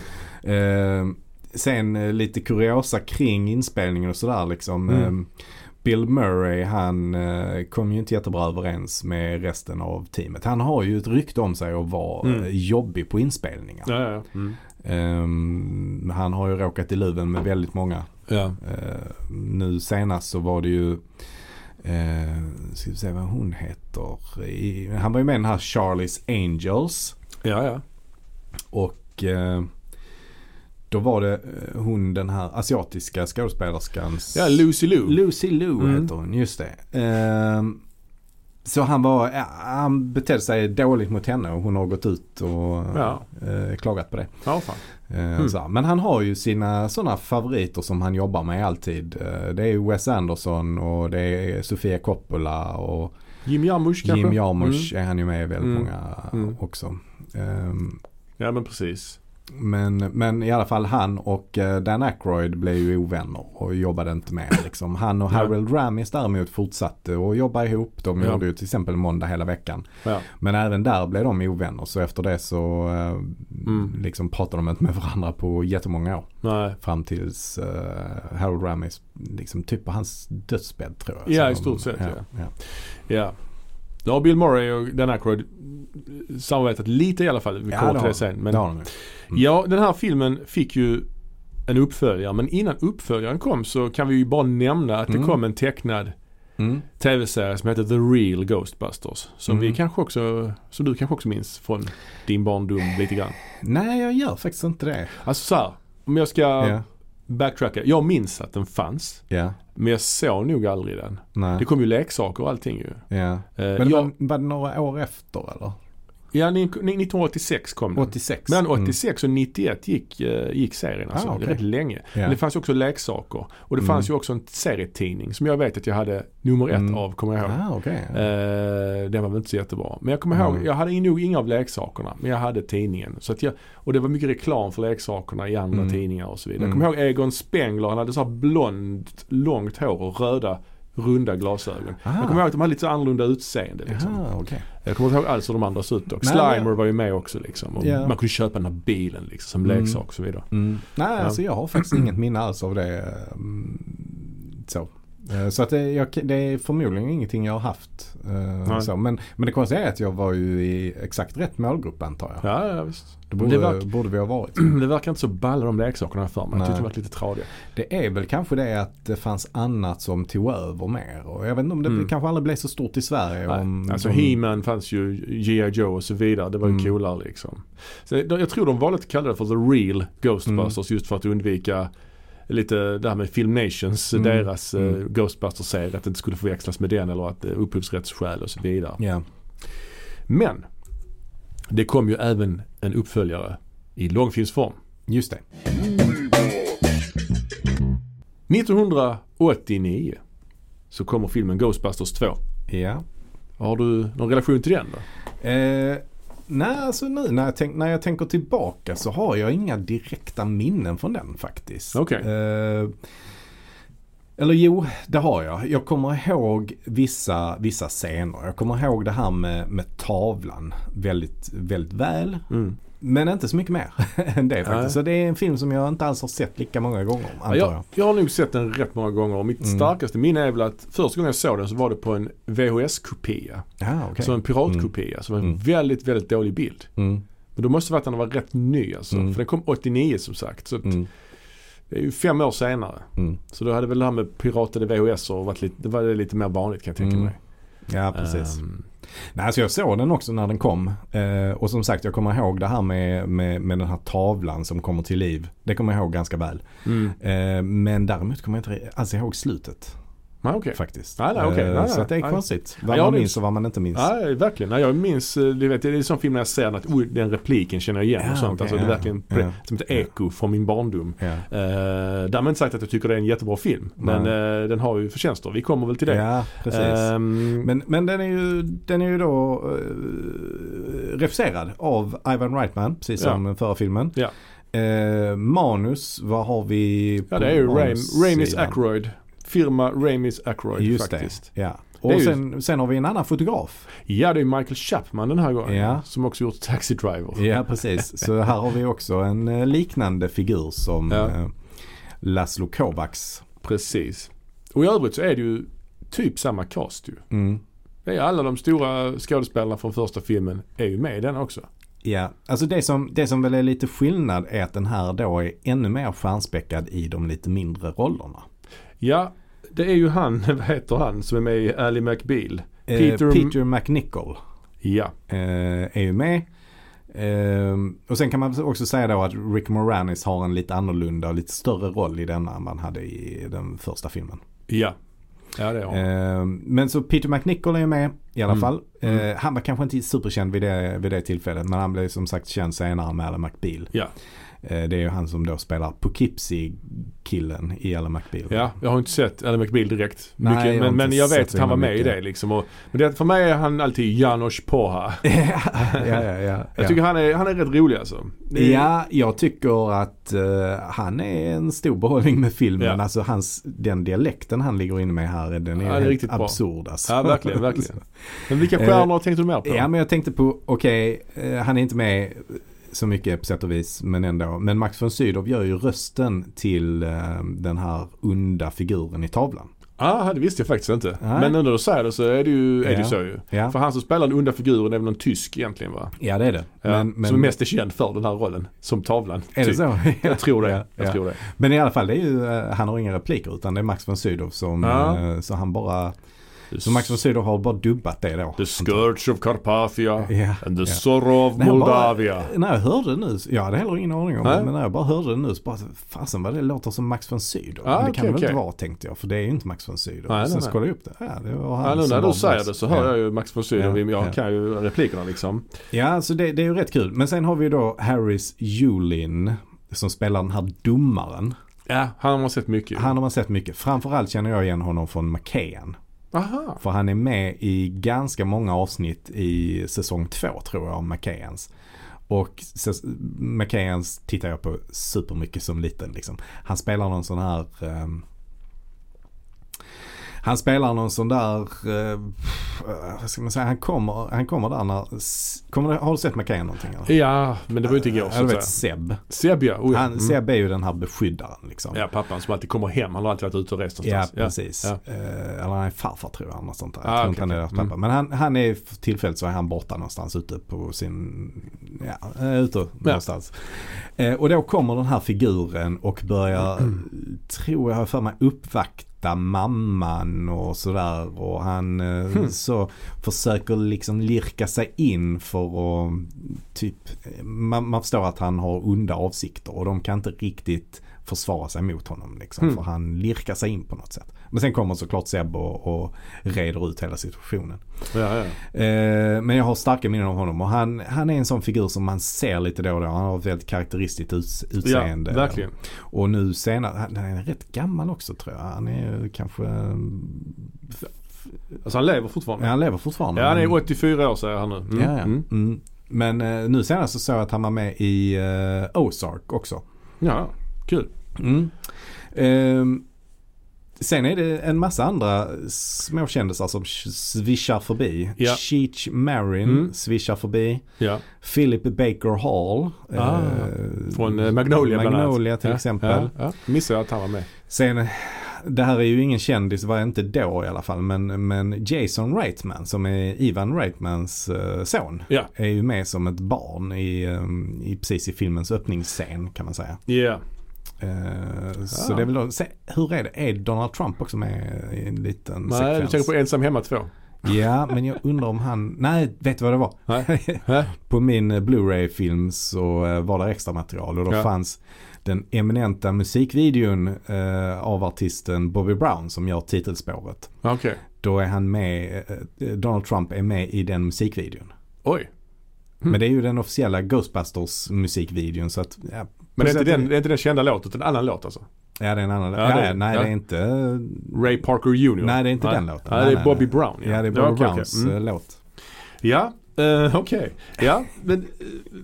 [SPEAKER 2] Eh, sen eh, lite kuriosa kring inspelningen och sådär liksom.
[SPEAKER 1] Mm.
[SPEAKER 2] Eh, Bill Murray han eh, kom ju inte jättebra överens med resten av teamet. Han har ju ett rykte om sig att vara
[SPEAKER 1] Mm.
[SPEAKER 2] eh, jobbig på inspelningar.
[SPEAKER 1] Ja, ja, ja.
[SPEAKER 2] Mm. Eh, han har ju råkat i luven med väldigt många.
[SPEAKER 1] ja.
[SPEAKER 2] Eh, nu senast så var det ju eh, ska vi se vad hon heter. I, han var ju med i den här Charlies Angels.
[SPEAKER 1] ja, ja.
[SPEAKER 2] Och eh, då var det eh, hon den här asiatiska skådespelerskan.
[SPEAKER 1] ja Lucy Lou.
[SPEAKER 2] Lucy Liu
[SPEAKER 1] Mm.
[SPEAKER 2] heter hon, just det. Ehm, så han var, ja, han betedde sig dåligt mot henne och hon har gått ut och
[SPEAKER 1] Ja.
[SPEAKER 2] eh, klagat på det.
[SPEAKER 1] Ja, fan.
[SPEAKER 2] Eh,
[SPEAKER 1] Mm.
[SPEAKER 2] så här. Men han har ju sina sådana favoriter som han jobbar med alltid. Eh, det är ju Wes Anderson och det är Sofia Coppola och
[SPEAKER 1] Jim Jarmusch kanske?
[SPEAKER 2] Jim Jarmusch är han ju med i väldigt
[SPEAKER 1] Mm.
[SPEAKER 2] många eh,
[SPEAKER 1] Mm.
[SPEAKER 2] också. Ehm,
[SPEAKER 1] Ja, men precis.
[SPEAKER 2] Men, men i alla fall han och eh, Dan Aykroyd blev ju ovänner och jobbade inte med. Liksom. Han och
[SPEAKER 1] Ja.
[SPEAKER 2] Harold Ramis däremot fortsatte att jobba ihop. De
[SPEAKER 1] Ja.
[SPEAKER 2] gjorde ju till exempel måndag hela veckan.
[SPEAKER 1] Ja.
[SPEAKER 2] Men även där blev de ovänner så efter det så eh,
[SPEAKER 1] Mm.
[SPEAKER 2] liksom pratade de inte med varandra på jättemånga år.
[SPEAKER 1] Nej.
[SPEAKER 2] Fram tills eh, Harold Ramis, liksom typ på hans dödsbädd tror jag.
[SPEAKER 1] Ja,
[SPEAKER 2] Så
[SPEAKER 1] i
[SPEAKER 2] de-
[SPEAKER 1] stort sett, ja.
[SPEAKER 2] ja.
[SPEAKER 1] Ja. Nu har Bill Murray och Dan Aykroyd samarbetat lite i alla fall. Vi
[SPEAKER 2] Ja,
[SPEAKER 1] kommer
[SPEAKER 2] det
[SPEAKER 1] till
[SPEAKER 2] har
[SPEAKER 1] det sen.
[SPEAKER 2] Men,
[SPEAKER 1] Men,
[SPEAKER 2] det har de ju. Mm.
[SPEAKER 1] Ja, den här filmen fick ju en uppföljare. Men innan uppföljaren kom så kan vi ju bara nämna att det
[SPEAKER 2] Mm.
[SPEAKER 1] kom en tecknad
[SPEAKER 2] Mm.
[SPEAKER 1] tv-serie som heter The Real Ghostbusters. Som
[SPEAKER 2] Mm.
[SPEAKER 1] vi kanske också, som du kanske också minns från din barndom lite grann.
[SPEAKER 2] Nej, jag gör faktiskt inte det.
[SPEAKER 1] Alltså så här, om jag ska
[SPEAKER 2] Ja,
[SPEAKER 1] backtracka. Jag minns att den fanns.
[SPEAKER 2] ja,
[SPEAKER 1] Men jag såg nog aldrig den.
[SPEAKER 2] nej,
[SPEAKER 1] Det kom ju leksaker och allting ju.
[SPEAKER 2] ja.
[SPEAKER 1] Eh,
[SPEAKER 2] Men
[SPEAKER 1] jag,
[SPEAKER 2] var, var det några år efter eller?
[SPEAKER 1] Ja, ni- ni- 1986 kom den.
[SPEAKER 2] 86.
[SPEAKER 1] Mellan
[SPEAKER 2] Mm.
[SPEAKER 1] 86 och 91 gick, eh, gick serien alltså.
[SPEAKER 2] Ah, okej.
[SPEAKER 1] Rätt länge.
[SPEAKER 2] Ja.
[SPEAKER 1] Men det fanns ju också leksaker. Och det
[SPEAKER 2] Mm.
[SPEAKER 1] fanns ju också en serietidning som jag vet att jag hade nummer ett
[SPEAKER 2] Mm.
[SPEAKER 1] av, kommer jag ihåg.
[SPEAKER 2] Ah, okej.
[SPEAKER 1] Eh, den var väl inte så jättebra. Men jag kommer ihåg,
[SPEAKER 2] Mm.
[SPEAKER 1] jag hade nog inga av leksakerna. Men jag hade tidningen. Så att jag, och det var mycket reklam för leksakerna i andra
[SPEAKER 2] Mm.
[SPEAKER 1] tidningar och så vidare.
[SPEAKER 2] Mm.
[SPEAKER 1] Jag kommer ihåg Egon Spengler, han hade så här blont, långt hår och röda runda glasögon.
[SPEAKER 2] Ah.
[SPEAKER 1] Jag kommer ihåg att de hade lite så annorlunda utseende. Liksom.
[SPEAKER 2] Ah, okej.
[SPEAKER 1] Jag kommer inte ihåg alls hur de andra såg ut dock.
[SPEAKER 2] Nej,
[SPEAKER 1] Slimer
[SPEAKER 2] men-
[SPEAKER 1] var ju med också liksom. Och
[SPEAKER 2] Ja.
[SPEAKER 1] Man kunde köpa den här bilen liksom, som
[SPEAKER 2] Mm.
[SPEAKER 1] leksak och så vidare.
[SPEAKER 2] Nej,
[SPEAKER 1] Ja.
[SPEAKER 2] alltså jag har faktiskt inget minne alls av det. mm, Så, Eh, så att det, jag, det är förmodligen ingenting jag har haft. eh,
[SPEAKER 1] Nej.
[SPEAKER 2] Så. Men, men det konstiga är att jag var ju i exakt rätt målgrupp antar jag.
[SPEAKER 1] Ja, ja visst.
[SPEAKER 2] Det,
[SPEAKER 1] Det
[SPEAKER 2] borde,
[SPEAKER 1] verk-
[SPEAKER 2] borde vi ha varit.
[SPEAKER 1] Det verkar inte så balla de leksakerna för mig. Jag tyckte
[SPEAKER 2] Nej.
[SPEAKER 1] de var lite tradiga.
[SPEAKER 2] Det är väl kanske det att det fanns annat som tog över mer. Och jag vet inte om det
[SPEAKER 1] Mm.
[SPEAKER 2] kanske aldrig blev så stort i Sverige. Om,
[SPEAKER 1] Nej, alltså
[SPEAKER 2] om,
[SPEAKER 1] He-Man fanns ju, G.I. Joe och så vidare. Det var ju
[SPEAKER 2] Mm.
[SPEAKER 1] coolare liksom. Så de- jag tror de valde att kalla det för The Real
[SPEAKER 2] Mm.
[SPEAKER 1] Ghostbusters just för att undvika lite det här med Filmnations,
[SPEAKER 2] Mm.
[SPEAKER 1] deras eh,
[SPEAKER 2] Mm.
[SPEAKER 1] Ghostbusters-serie. Att det inte skulle förväxlas med den eller att eh, upphovsrättsskäl och så vidare.
[SPEAKER 2] Ja.
[SPEAKER 1] Men det kom ju även en uppföljare i långfilmsform.
[SPEAKER 2] Just det.
[SPEAKER 1] 1989 så kommer filmen Ghostbusters 2.
[SPEAKER 2] Ja.
[SPEAKER 1] Har du någon relation till den då?
[SPEAKER 2] Eh, nej, alltså nu när jag, tänk, när jag tänker tillbaka så har jag inga direkta minnen från den faktiskt.
[SPEAKER 1] Okej.
[SPEAKER 2] Eh, eller jo, det har jag. Jag kommer ihåg vissa, vissa scener. Jag kommer ihåg det här med, med tavlan väldigt, väldigt väl.
[SPEAKER 1] Mm.
[SPEAKER 2] Men inte så mycket mer än det
[SPEAKER 1] Nej.
[SPEAKER 2] faktiskt. Så det är en film som jag inte alls har sett lika många gånger antar
[SPEAKER 1] Jag,
[SPEAKER 2] jag.
[SPEAKER 1] jag har nog sett den rätt många gånger och mitt
[SPEAKER 2] Mm.
[SPEAKER 1] starkaste minne är väl att första gången jag såg den så var det på en VHS-kopia.
[SPEAKER 2] Ja, okej.
[SPEAKER 1] Så en piratkopia som var en
[SPEAKER 2] Mm.
[SPEAKER 1] väldigt, väldigt dålig bild.
[SPEAKER 2] Mm,
[SPEAKER 1] Men då måste det varit när den var rätt ny alltså.
[SPEAKER 2] Mm.
[SPEAKER 1] För den kom 89 som sagt. Så att
[SPEAKER 2] mm,
[SPEAKER 1] det är ju fem år senare.
[SPEAKER 2] mm.
[SPEAKER 1] Så då hade väl det här med piratade VHS och varit lite, det var lite mer vanligt kan jag tänka
[SPEAKER 2] Mm.
[SPEAKER 1] mig.
[SPEAKER 2] Ja, precis.
[SPEAKER 1] Ehm,
[SPEAKER 2] Nej, så jag såg den också när den kom. Eh, och som sagt, jag kommer ihåg det här med, med, med den här tavlan som kommer till liv. Det kommer jag ihåg ganska väl.
[SPEAKER 1] mm.
[SPEAKER 2] Eh, men däremot kommer jag inte alls ihåg slutet
[SPEAKER 1] Nej, okej.
[SPEAKER 2] faktiskt.
[SPEAKER 1] Nej, nej, okej.
[SPEAKER 2] Eh,
[SPEAKER 1] Nej, nej,
[SPEAKER 2] så att det är
[SPEAKER 1] nej.
[SPEAKER 2] konstigt. Vad
[SPEAKER 1] Ja,
[SPEAKER 2] man
[SPEAKER 1] det-
[SPEAKER 2] minns och vad man inte minns.
[SPEAKER 1] Nej, verkligen. Nej, jag minns, eh, du vet, det är en sån film när jag ser den att oj, den repliken känner jag igen
[SPEAKER 2] Ja,
[SPEAKER 1] och sånt.
[SPEAKER 2] okej,
[SPEAKER 1] alltså, det
[SPEAKER 2] ja,
[SPEAKER 1] är verkligen
[SPEAKER 2] ja.
[SPEAKER 1] pre- som ett eko från min barndom.
[SPEAKER 2] Ja.
[SPEAKER 1] Uh, därmed inte sagt att jag tycker det är en jättebra film. Men
[SPEAKER 2] Nej.
[SPEAKER 1] eh, den har ju förtjänster. Vi kommer väl till det.
[SPEAKER 2] ja, precis.
[SPEAKER 1] Ehm,
[SPEAKER 2] men, men den är ju, den är ju då eh, refuserad av Ivan Reitman, precis
[SPEAKER 1] Ja.
[SPEAKER 2] som förra filmen.
[SPEAKER 1] Ja.
[SPEAKER 2] Eh, manus, vad har vi?
[SPEAKER 1] ja,
[SPEAKER 2] på
[SPEAKER 1] det är ju Raim,
[SPEAKER 2] manussidan?
[SPEAKER 1] Ramis Ackroyd. Firma Ramis Ackroyd
[SPEAKER 2] Just
[SPEAKER 1] faktiskt.
[SPEAKER 2] det. Ja.
[SPEAKER 1] Det är
[SPEAKER 2] Och
[SPEAKER 1] ju-
[SPEAKER 2] sen, sen har vi en annan fotograf.
[SPEAKER 1] Ja, det är Michael Chapman den här gången.
[SPEAKER 2] Ja.
[SPEAKER 1] Som också gjort Taxi Driver.
[SPEAKER 2] Ja, precis. Så här har vi också en eh, liknande figur som
[SPEAKER 1] Ja.
[SPEAKER 2] eh, Laszlo Kovacs.
[SPEAKER 1] Precis. Och i övrigt så är det ju typ samma cast ju.
[SPEAKER 2] Mm.
[SPEAKER 1] Det är alla de stora skådespelarna från första filmen är ju med i den också.
[SPEAKER 2] Ja, alltså det som, det som väl är lite skillnad är att den här då är ännu mer stjärnspäckad i de lite mindre rollerna.
[SPEAKER 1] Ja, det är ju han, vad heter han, som är med i Ally McBeal.
[SPEAKER 2] Eh,
[SPEAKER 1] Peter-
[SPEAKER 2] Peter McNichol
[SPEAKER 1] Ja,
[SPEAKER 2] eh, är ju med. Eh, och sen kan man också säga då att Rick Moranis har en lite annorlunda och lite större roll i denna än man hade i den första filmen.
[SPEAKER 1] ja. Ja, det är han.
[SPEAKER 2] Eh, Men så Peter McNichol är ju med i alla
[SPEAKER 1] Mm.
[SPEAKER 2] fall. Eh,
[SPEAKER 1] Mm.
[SPEAKER 2] Han var kanske inte superkänd vid det, vid det tillfället men han blev som sagt känd senare med Alan McBeal.
[SPEAKER 1] Ja.
[SPEAKER 2] Eh, Det är ju han som då spelar Poughkeepsie-killen i Alan McBeal.
[SPEAKER 1] Ja, jag har inte sett Ally McBeal direkt.
[SPEAKER 2] Nej,
[SPEAKER 1] mycket,
[SPEAKER 2] jag har
[SPEAKER 1] men,
[SPEAKER 2] inte
[SPEAKER 1] men jag
[SPEAKER 2] sett
[SPEAKER 1] vet att han var
[SPEAKER 2] himla
[SPEAKER 1] med i
[SPEAKER 2] mycket.
[SPEAKER 1] det liksom. Och, men det, för mig är han alltid Janos Poha.
[SPEAKER 2] ja, ja, ja, ja.
[SPEAKER 1] Jag tycker han är, han är rätt rolig alltså. Det är-
[SPEAKER 2] Ja, jag tycker att eh, han är en stor behållning med filmen.
[SPEAKER 1] Ja.
[SPEAKER 2] Alltså hans, den dialekten han ligger inne med här, den är,
[SPEAKER 1] Ja, det är
[SPEAKER 2] helt
[SPEAKER 1] riktigt bra.
[SPEAKER 2] absurd. Alltså.
[SPEAKER 1] ja, verkligen, verkligen. Men vilka stjärnor tänkte du mer på?
[SPEAKER 2] Eh, Ja men jag tänkte på, okej, eh, han är inte med så mycket på sätt och vis men ändå. Men Max von Sydow gör ju rösten till eh, den här onda figuren i tavlan.
[SPEAKER 1] ah, det visste jag faktiskt inte.
[SPEAKER 2] Nej.
[SPEAKER 1] Men nu när du säger det så är det ju, är det ju
[SPEAKER 2] Ja.
[SPEAKER 1] så ju.
[SPEAKER 2] Ja,
[SPEAKER 1] För han som spelar den onda figuren är väl någon tysk egentligen va?
[SPEAKER 2] ja det är det.
[SPEAKER 1] Ja,
[SPEAKER 2] men,
[SPEAKER 1] som
[SPEAKER 2] men,
[SPEAKER 1] mest är känd för den här rollen. Som tavlan.
[SPEAKER 2] är det
[SPEAKER 1] typ.
[SPEAKER 2] så?
[SPEAKER 1] Jag tror det.
[SPEAKER 2] Ja,
[SPEAKER 1] jag
[SPEAKER 2] ja.
[SPEAKER 1] tror det.
[SPEAKER 2] Men i alla fall, det är ju, eh, han har inga repliker utan det är Max von Sydow som,
[SPEAKER 1] Ja.
[SPEAKER 2] eh, så han bara Så Max von Sydow har bara dubbat det då.
[SPEAKER 1] The Scourge of Carpathia
[SPEAKER 2] Ja,
[SPEAKER 1] and the
[SPEAKER 2] ja.
[SPEAKER 1] Sorrow of
[SPEAKER 2] Nej, jag bara-
[SPEAKER 1] Moldavia.
[SPEAKER 2] När jag hörde det nu, så- jag hade heller ingen aning om
[SPEAKER 1] Nej.
[SPEAKER 2] det, men när jag bara hörde det nu så bara, fasen vad det låter som Max von Sydow.
[SPEAKER 1] Ah,
[SPEAKER 2] men det
[SPEAKER 1] okej,
[SPEAKER 2] kan det väl
[SPEAKER 1] okej.
[SPEAKER 2] inte vara tänkte jag, för det är ju inte Max von Sydow.
[SPEAKER 1] Nej, nej,
[SPEAKER 2] Sen
[SPEAKER 1] nej.
[SPEAKER 2] kollade jag upp det. Ja, det var han
[SPEAKER 1] Ja, nu
[SPEAKER 2] som
[SPEAKER 1] när
[SPEAKER 2] var
[SPEAKER 1] du säger
[SPEAKER 2] Max.
[SPEAKER 1] det så hör
[SPEAKER 2] ja.
[SPEAKER 1] jag ju Max von Sydow.
[SPEAKER 2] Ja,
[SPEAKER 1] Jag
[SPEAKER 2] ja.
[SPEAKER 1] kan ju replikerna liksom.
[SPEAKER 2] Ja, så det, det är ju rätt kul. Men sen har vi ju då Harris Julin som spelar den här domaren.
[SPEAKER 1] Ja, han har man sett mycket.
[SPEAKER 2] Han har man sett mycket. Framförallt känner jag igen honom från McKayan.
[SPEAKER 1] Aha.
[SPEAKER 2] För han är med i ganska många avsnitt i säsong två tror jag, av McKayans. Och säs- McKayans tittar jag på supermycket som liten. Liksom. Han spelar någon sån här... ehm, han spelar någon sån där... eh, vad ska man säga? Han kommer, han kommer där när... Kommer, du- har du sett McKayan någonting? Eller?
[SPEAKER 1] Ja, men det var ju inte igår
[SPEAKER 2] Ja,
[SPEAKER 1] så
[SPEAKER 2] du
[SPEAKER 1] att
[SPEAKER 2] vet
[SPEAKER 1] säga.
[SPEAKER 2] Seb.
[SPEAKER 1] Seb ja. Oh, ja.
[SPEAKER 2] Han,
[SPEAKER 1] Mm.
[SPEAKER 2] Seb är ju den här beskyddaren liksom.
[SPEAKER 1] ja, pappan som alltid kommer hem. Han har alltid varit ute och rest
[SPEAKER 2] Ja,
[SPEAKER 1] någonstans.
[SPEAKER 2] precis.
[SPEAKER 1] Ja.
[SPEAKER 2] Eh, eller han är farfar tror jag. Något sånt där.
[SPEAKER 1] Ah,
[SPEAKER 2] jag tror
[SPEAKER 1] okej,
[SPEAKER 2] inte han är
[SPEAKER 1] okej.
[SPEAKER 2] deras pappa. Men han, han är för tillfället så är han borta någonstans ute på sin, ja, eh, ute någonstans. Eh, och då kommer den här figuren och börjar, tror jag har för mig, uppvakta mamman och sådär. Och han eh,
[SPEAKER 1] Hmm.
[SPEAKER 2] så försöker liksom lirka sig in för att typ, man, man förstår att han har onda avsikter och de kan inte riktigt försvara sig mot honom. Liksom,
[SPEAKER 1] Mm.
[SPEAKER 2] För han lirkar sig in på något sätt. Men sen kommer såklart Seb och, och reder ut hela situationen.
[SPEAKER 1] Ja, ja.
[SPEAKER 2] Eh, men jag har starka minnen av honom och han, han är en sån figur som man ser lite då och då. Han har ett väldigt karaktäristiskt uts-
[SPEAKER 1] ja,
[SPEAKER 2] utseende.
[SPEAKER 1] verkligen.
[SPEAKER 2] Och nu senare, han, han är rätt gammal också tror jag. Han är ju kanske,
[SPEAKER 1] Alltså han lever fortfarande.
[SPEAKER 2] han lever fortfarande.
[SPEAKER 1] Ja, han är
[SPEAKER 2] men-
[SPEAKER 1] 84 år säger han nu. Mm.
[SPEAKER 2] Ja, ja.
[SPEAKER 1] Mm.
[SPEAKER 2] Mm. Men eh, nu senast så såg jag att han var med i eh, Ozark också.
[SPEAKER 1] ja, kul.
[SPEAKER 2] Mm. Ehm, sen är det en massa andra småkändisar som sh- swishar förbi.
[SPEAKER 1] Ja.
[SPEAKER 2] Cheech Marin
[SPEAKER 1] Mm.
[SPEAKER 2] swishar förbi.
[SPEAKER 1] Ja.
[SPEAKER 2] Philip Baker Hall.
[SPEAKER 1] Ah,
[SPEAKER 2] eh,
[SPEAKER 1] Från eh, Magnolia bland annat.
[SPEAKER 2] Magnolia till
[SPEAKER 1] ja.
[SPEAKER 2] exempel.
[SPEAKER 1] Ja, ja. Missade jag att han var med.
[SPEAKER 2] Sen, det här är ju ingen kändis, var inte då i alla fall, men, men Jason Reitman som är Ivan Reitmans eh, son.
[SPEAKER 1] Ja.
[SPEAKER 2] Är ju med som ett barn i, ehm, i precis i filmens öppningsscen kan man säga.
[SPEAKER 1] Ja.
[SPEAKER 2] Eh, Så
[SPEAKER 1] Ah.
[SPEAKER 2] det är väl då, se, hur är det, är Donald Trump också med i en liten
[SPEAKER 1] Nej, du
[SPEAKER 2] sekvens?
[SPEAKER 1] tänker på Ensam Hemma 2.
[SPEAKER 2] Ja, men jag undrar om han, nej, vet du vad det var?
[SPEAKER 1] Nej. Ja.
[SPEAKER 2] på min eh, Blu-ray-film så eh, var det extra material och då
[SPEAKER 1] Ja.
[SPEAKER 2] fanns den eminenta musikvideon eh, av artisten Bobby Brown som gör titelspåret.
[SPEAKER 1] Okej.
[SPEAKER 2] Då är han med, eh, Donald Trump är med i den musikvideon.
[SPEAKER 1] Oj. Hmm.
[SPEAKER 2] Men det är ju den officiella Ghostbusters musikvideon så att, ja.
[SPEAKER 1] Men det är,
[SPEAKER 2] Så
[SPEAKER 1] inte
[SPEAKER 2] att-
[SPEAKER 1] den, det är inte den kända låten utan en annan låt alltså?
[SPEAKER 2] Ja det är en annan,
[SPEAKER 1] Ja,
[SPEAKER 2] ja,
[SPEAKER 1] det-
[SPEAKER 2] nej
[SPEAKER 1] ja.
[SPEAKER 2] det är inte,
[SPEAKER 1] Ray Parker Jr.
[SPEAKER 2] nej det är inte den låten.
[SPEAKER 1] Nej, det
[SPEAKER 2] Nej,
[SPEAKER 1] är
[SPEAKER 2] nej,
[SPEAKER 1] Bobby
[SPEAKER 2] nej.
[SPEAKER 1] Brown.
[SPEAKER 2] Ja det är Bobby
[SPEAKER 1] okej, okej.
[SPEAKER 2] Browns
[SPEAKER 1] Mm.
[SPEAKER 2] eh, låt.
[SPEAKER 1] Ja, eh, okej. Ja, men eh,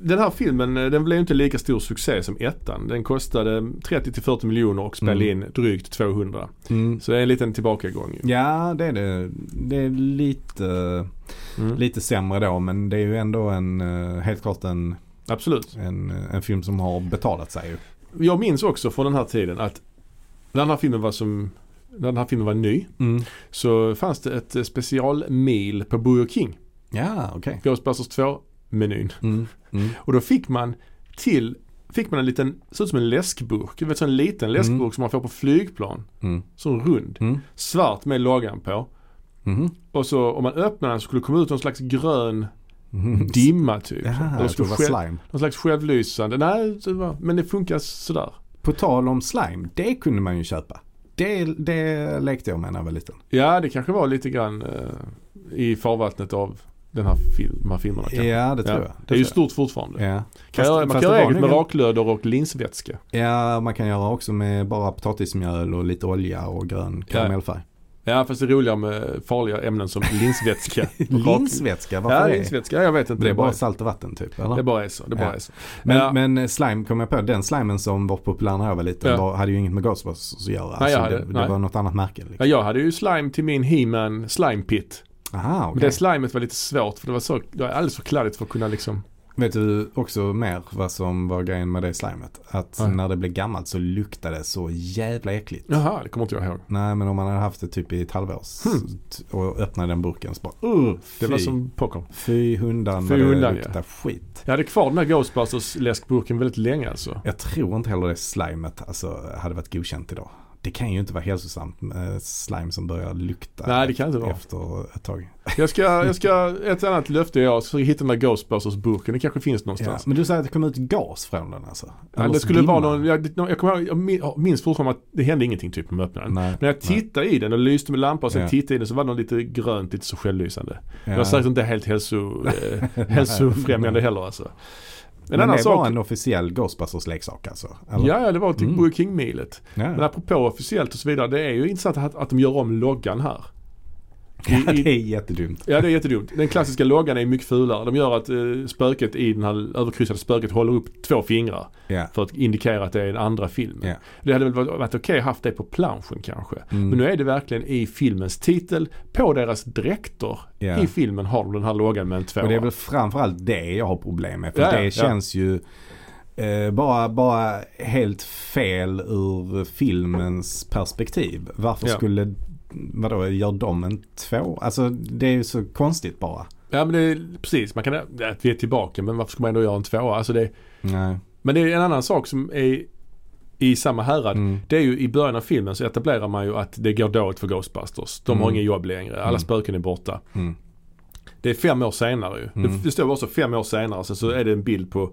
[SPEAKER 1] den här filmen eh, den blev ju inte lika stor succé som ettan. Den kostade 30-40 miljoner och spelade in drygt 200.
[SPEAKER 2] Mm.
[SPEAKER 1] Så det är en liten tillbakagång ju.
[SPEAKER 2] Ja, det är det. Det är lite,
[SPEAKER 1] Mm.
[SPEAKER 2] lite sämre då men det är ju ändå en, eh, helt klart en,
[SPEAKER 1] Absolut.
[SPEAKER 2] en, en film som har betalat sig. ju.
[SPEAKER 1] Jag minns också från den här tiden att när den här filmen var som när den här filmen var ny
[SPEAKER 2] Mm.
[SPEAKER 1] så fanns det ett eh, specialmil på Burger King.
[SPEAKER 2] Ja, okej.
[SPEAKER 1] Ghostbusters 2-menyn.
[SPEAKER 2] Mm. Mm.
[SPEAKER 1] Och då fick man till, fick man en liten, såg ut som en läskburk. Du vet så en liten läskburk
[SPEAKER 2] Mm.
[SPEAKER 1] som man får på flygplan.
[SPEAKER 2] Mm.
[SPEAKER 1] Sån rund.
[SPEAKER 2] Mm.
[SPEAKER 1] Svart med loggan på.
[SPEAKER 2] Mhm.
[SPEAKER 1] Och så om man öppnar den så skulle det komma ut någon slags grön
[SPEAKER 2] Mhm.
[SPEAKER 1] dimma typ.
[SPEAKER 2] Jaha,
[SPEAKER 1] Eller
[SPEAKER 2] jag
[SPEAKER 1] skulle
[SPEAKER 2] tror det var
[SPEAKER 1] själv-
[SPEAKER 2] slime.
[SPEAKER 1] någon slags självlysande. Nej, det var, men det funkar sådär.
[SPEAKER 2] På tal om slime, det kunde man ju köpa. Det, det lekte jag med när jag var liten.
[SPEAKER 1] Ja, det kanske var lite grann eh, i farvattnet av den här fil- de här filmerna. kanske.
[SPEAKER 2] Ja, det tror
[SPEAKER 1] Ja.
[SPEAKER 2] jag.
[SPEAKER 1] Det är ju
[SPEAKER 2] tror
[SPEAKER 1] stort fortfarande.
[SPEAKER 2] jag. Ja.
[SPEAKER 1] Kan
[SPEAKER 2] Fast-
[SPEAKER 1] göra, man
[SPEAKER 2] fast
[SPEAKER 1] kan
[SPEAKER 2] det
[SPEAKER 1] göra
[SPEAKER 2] var
[SPEAKER 1] eget med
[SPEAKER 2] nog-
[SPEAKER 1] raklödder och linsvätska.
[SPEAKER 2] Ja, man kan göra också med bara potatismjöl och lite olja och grön karamellfärg.
[SPEAKER 1] Ja, fast det är roligare med farliga ämnen som linsvätska. och rak-
[SPEAKER 2] Linsvätska, varför
[SPEAKER 1] Ja,
[SPEAKER 2] det?
[SPEAKER 1] linsvätska. Ja, jag vet inte.
[SPEAKER 2] Det är bara salt och vatten typ, eller?
[SPEAKER 1] det bara är så. Det bara
[SPEAKER 2] Ja.
[SPEAKER 1] är så.
[SPEAKER 2] Men,
[SPEAKER 1] Ja.
[SPEAKER 2] men eh, slime kom jag på, den slimen som var populär när jag var liten
[SPEAKER 1] Ja.
[SPEAKER 2] var, hade ju inget med Ghostbusters att göra. Alltså,
[SPEAKER 1] Nej, jag hade-
[SPEAKER 2] det, det
[SPEAKER 1] nej.
[SPEAKER 2] var något annat märke.
[SPEAKER 1] Ja,
[SPEAKER 2] Liksom.
[SPEAKER 1] jag hade ju slime till min He-Man slime pit.
[SPEAKER 2] Aha,
[SPEAKER 1] Men
[SPEAKER 2] okej.
[SPEAKER 1] Det slimet var lite svårt för det var, så, det var alldeles för kladdigt för att kunna liksom...
[SPEAKER 2] Vet du också mer vad som var grejen med det slimet? Att
[SPEAKER 1] Nej.
[SPEAKER 2] när det blev gammalt så luktade det så jävla äckligt.
[SPEAKER 1] Jaha, det kommer inte jag ihåg.
[SPEAKER 2] Nej, men om man hade haft det typ i ett halvår s-
[SPEAKER 1] Hmm.
[SPEAKER 2] t- och öppnade den burken så bara
[SPEAKER 1] Uh, det var
[SPEAKER 2] fy.
[SPEAKER 1] som popcorn.
[SPEAKER 2] fy hundan
[SPEAKER 1] Fy
[SPEAKER 2] vad det
[SPEAKER 1] hundan,
[SPEAKER 2] luktar skit.
[SPEAKER 1] Jag hade kvar den här Ghostbusters läskburken väldigt länge alltså.
[SPEAKER 2] Jag tror inte heller det slimet alltså, hade varit godkänt idag. det kan ju inte vara hälsosamt med slime som börjar lukta
[SPEAKER 1] Nej, det kan inte vara.
[SPEAKER 2] efter ett tag.
[SPEAKER 1] Jag ska, jag ska, ett annat löfte jag ska hitta den där Ghostbusters-burken. Det kanske finns
[SPEAKER 2] Ja.
[SPEAKER 1] någonstans.
[SPEAKER 2] Men du säger att det kom ut gas från den alltså?
[SPEAKER 1] alltså. Ja,
[SPEAKER 2] Eller
[SPEAKER 1] det skulle
[SPEAKER 2] dimma.
[SPEAKER 1] vara någon, jag, jag, kommer, ihåg- jag min- jag minns fortfarande att det hände ingenting typ när man öppnade den.
[SPEAKER 2] Nej.
[SPEAKER 1] Men jag tittade i den och lyste med lampa och sen
[SPEAKER 2] Ja.
[SPEAKER 1] tittade i den så var det något lite grönt, lite så självlysande. Det var
[SPEAKER 2] Ja.
[SPEAKER 1] säkert inte helt hälso, eh, hälsofrämjande heller alltså. En
[SPEAKER 2] Men
[SPEAKER 1] annan
[SPEAKER 2] det var
[SPEAKER 1] sak.
[SPEAKER 2] en officiell Ghostbusters-leksak alltså? eller?
[SPEAKER 1] Ja, ja, det var typ
[SPEAKER 2] Mm.
[SPEAKER 1] Burger King-milet.
[SPEAKER 2] Ja.
[SPEAKER 1] Men apropå officiellt och så vidare, det är ju intressant att, att de gör om loggan här.
[SPEAKER 2] Ja,
[SPEAKER 1] I,
[SPEAKER 2] det
[SPEAKER 1] i,
[SPEAKER 2] är jättedumt.
[SPEAKER 1] ja, det är jättedumt. Den klassiska loggan är mycket fulare. De gör att eh, spöket i den här överkryssade spöket håller upp två fingrar.
[SPEAKER 2] Ja.
[SPEAKER 1] För att indikera att det är den andra filmen.
[SPEAKER 2] Ja.
[SPEAKER 1] Det hade väl varit, varit okej att haft det på planschen kanske.
[SPEAKER 2] Mm.
[SPEAKER 1] Men nu är det verkligen i filmens titel, på deras dräkter.
[SPEAKER 2] Ja.
[SPEAKER 1] I filmen har de den här loggan med en tvåa.
[SPEAKER 2] Och det är väl framförallt det jag har problem med. För
[SPEAKER 1] Ja, ja,
[SPEAKER 2] det
[SPEAKER 1] ja.
[SPEAKER 2] känns ju eh, bara, bara helt fel ur filmens perspektiv. Varför
[SPEAKER 1] Ja.
[SPEAKER 2] skulle, vadå, gör de en två? Alltså det är ju så konstigt bara.
[SPEAKER 1] Ja men det är precis, man kan, att vi är tillbaka men varför ska man ändå göra en tvåa? Alltså det,
[SPEAKER 2] Nej.
[SPEAKER 1] men det är en annan sak som är i samma härad.
[SPEAKER 2] Mm.
[SPEAKER 1] Det är ju i början av filmen så etablerar man ju att det går dåligt för Ghostbusters. De har
[SPEAKER 2] Mm.
[SPEAKER 1] inget jobb längre, alla
[SPEAKER 2] Mm.
[SPEAKER 1] spöken är borta.
[SPEAKER 2] Mm.
[SPEAKER 1] Det är fem år senare ju.
[SPEAKER 2] Mm.
[SPEAKER 1] Det, det står också fem år senare, sen så är det en bild på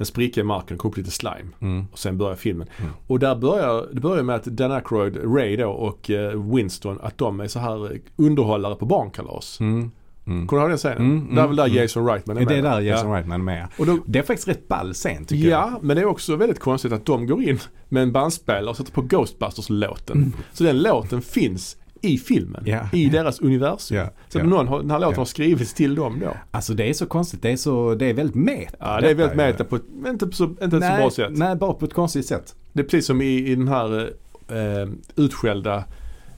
[SPEAKER 1] en spricka i marken och kom upp lite slime.
[SPEAKER 2] Mm.
[SPEAKER 1] Och sen börjar filmen.
[SPEAKER 2] Mm.
[SPEAKER 1] Och där börjar det börjar med att Dan Aykroyd, Ray då och eh, Winston att de är så här eh, underhållare på barnkalas.
[SPEAKER 2] Mm. Mm.
[SPEAKER 1] Kommer du ihåg den scenen?
[SPEAKER 2] Mm, mm,
[SPEAKER 1] det är väl där
[SPEAKER 2] mm.
[SPEAKER 1] Jason Reitman är
[SPEAKER 2] Det är
[SPEAKER 1] med.
[SPEAKER 2] där Jason
[SPEAKER 1] ja.
[SPEAKER 2] Reitman är med.
[SPEAKER 1] Och då,
[SPEAKER 2] Det är faktiskt rätt ball scen tycker jag.
[SPEAKER 1] Ja, men det är också väldigt konstigt att de går in med en bandspelare och sätter på Ghostbusters-låten. Så den låten finns i filmen,
[SPEAKER 2] Mm. Ja.
[SPEAKER 1] i deras universum.
[SPEAKER 2] Ja,
[SPEAKER 1] Så
[SPEAKER 2] ja.
[SPEAKER 1] Någon har, den här låten
[SPEAKER 2] Ja.
[SPEAKER 1] har skrivits till dem då.
[SPEAKER 2] Alltså det är så konstigt. Det är, så, det är väldigt meta.
[SPEAKER 1] Ja, det är
[SPEAKER 2] detta
[SPEAKER 1] väldigt
[SPEAKER 2] ju.
[SPEAKER 1] meta på ett, men inte på så, inte ett så
[SPEAKER 2] Nej,
[SPEAKER 1] bra sätt.
[SPEAKER 2] nej, bara på ett konstigt sätt.
[SPEAKER 1] Det är precis som i, i den här eh, eh, utskällda,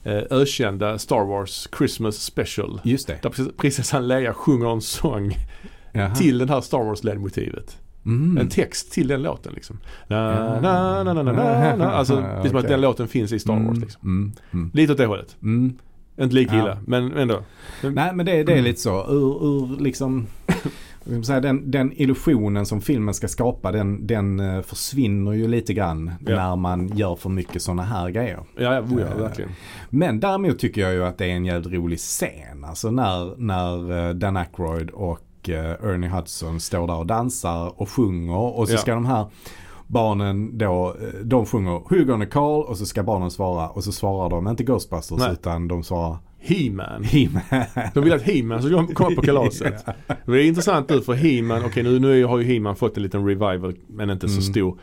[SPEAKER 1] eh, ökända Star Wars Christmas Special.
[SPEAKER 2] Just det.
[SPEAKER 1] Där prinsess- prinsessan Leia sjunger en sång
[SPEAKER 2] Jaha.
[SPEAKER 1] till den här Star Wars-ledmotivet.
[SPEAKER 2] Mm.
[SPEAKER 1] En text till den låten liksom. Na,
[SPEAKER 2] Ja.
[SPEAKER 1] na, na, na, na, na, na. Alltså det är som att
[SPEAKER 2] Okej.
[SPEAKER 1] den låten finns i Star Wars
[SPEAKER 2] Mm,
[SPEAKER 1] liksom.
[SPEAKER 2] Mm. Mm.
[SPEAKER 1] Lite åt det hållet.
[SPEAKER 2] Mm.
[SPEAKER 1] Inte lika
[SPEAKER 2] Ja.
[SPEAKER 1] illa, men ändå.
[SPEAKER 2] Nej men det, det
[SPEAKER 1] Mm.
[SPEAKER 2] är lite så. Ur, ur liksom, vad ska man säga, den, den illusionen som filmen ska skapa den, den eh, försvinner ju lite grann
[SPEAKER 1] Ja.
[SPEAKER 2] när man gör för mycket sådana här grejer.
[SPEAKER 1] Ja, ja, oh, ja
[SPEAKER 2] Eh,
[SPEAKER 1] verkligen.
[SPEAKER 2] Men däremot tycker jag ju att det är en jävligt rolig scen. Alltså när, när eh, Dan Aykroyd och eh, Ernie Hudson står där och dansar och sjunger och så
[SPEAKER 1] Ja.
[SPEAKER 2] ska de här barnen då, eh, de sjunger Who gonna call och så ska barnen svara och så svarar de inte Ghostbusters
[SPEAKER 1] Nej.
[SPEAKER 2] utan de svarar
[SPEAKER 1] He-Man.
[SPEAKER 2] He-Man.
[SPEAKER 1] De vill att He-Man ska komma på kalaset. Det är intressant nu för He-Man, okej nu, nu har ju He-Man fått en liten revival men inte så
[SPEAKER 2] Mm.
[SPEAKER 1] stor.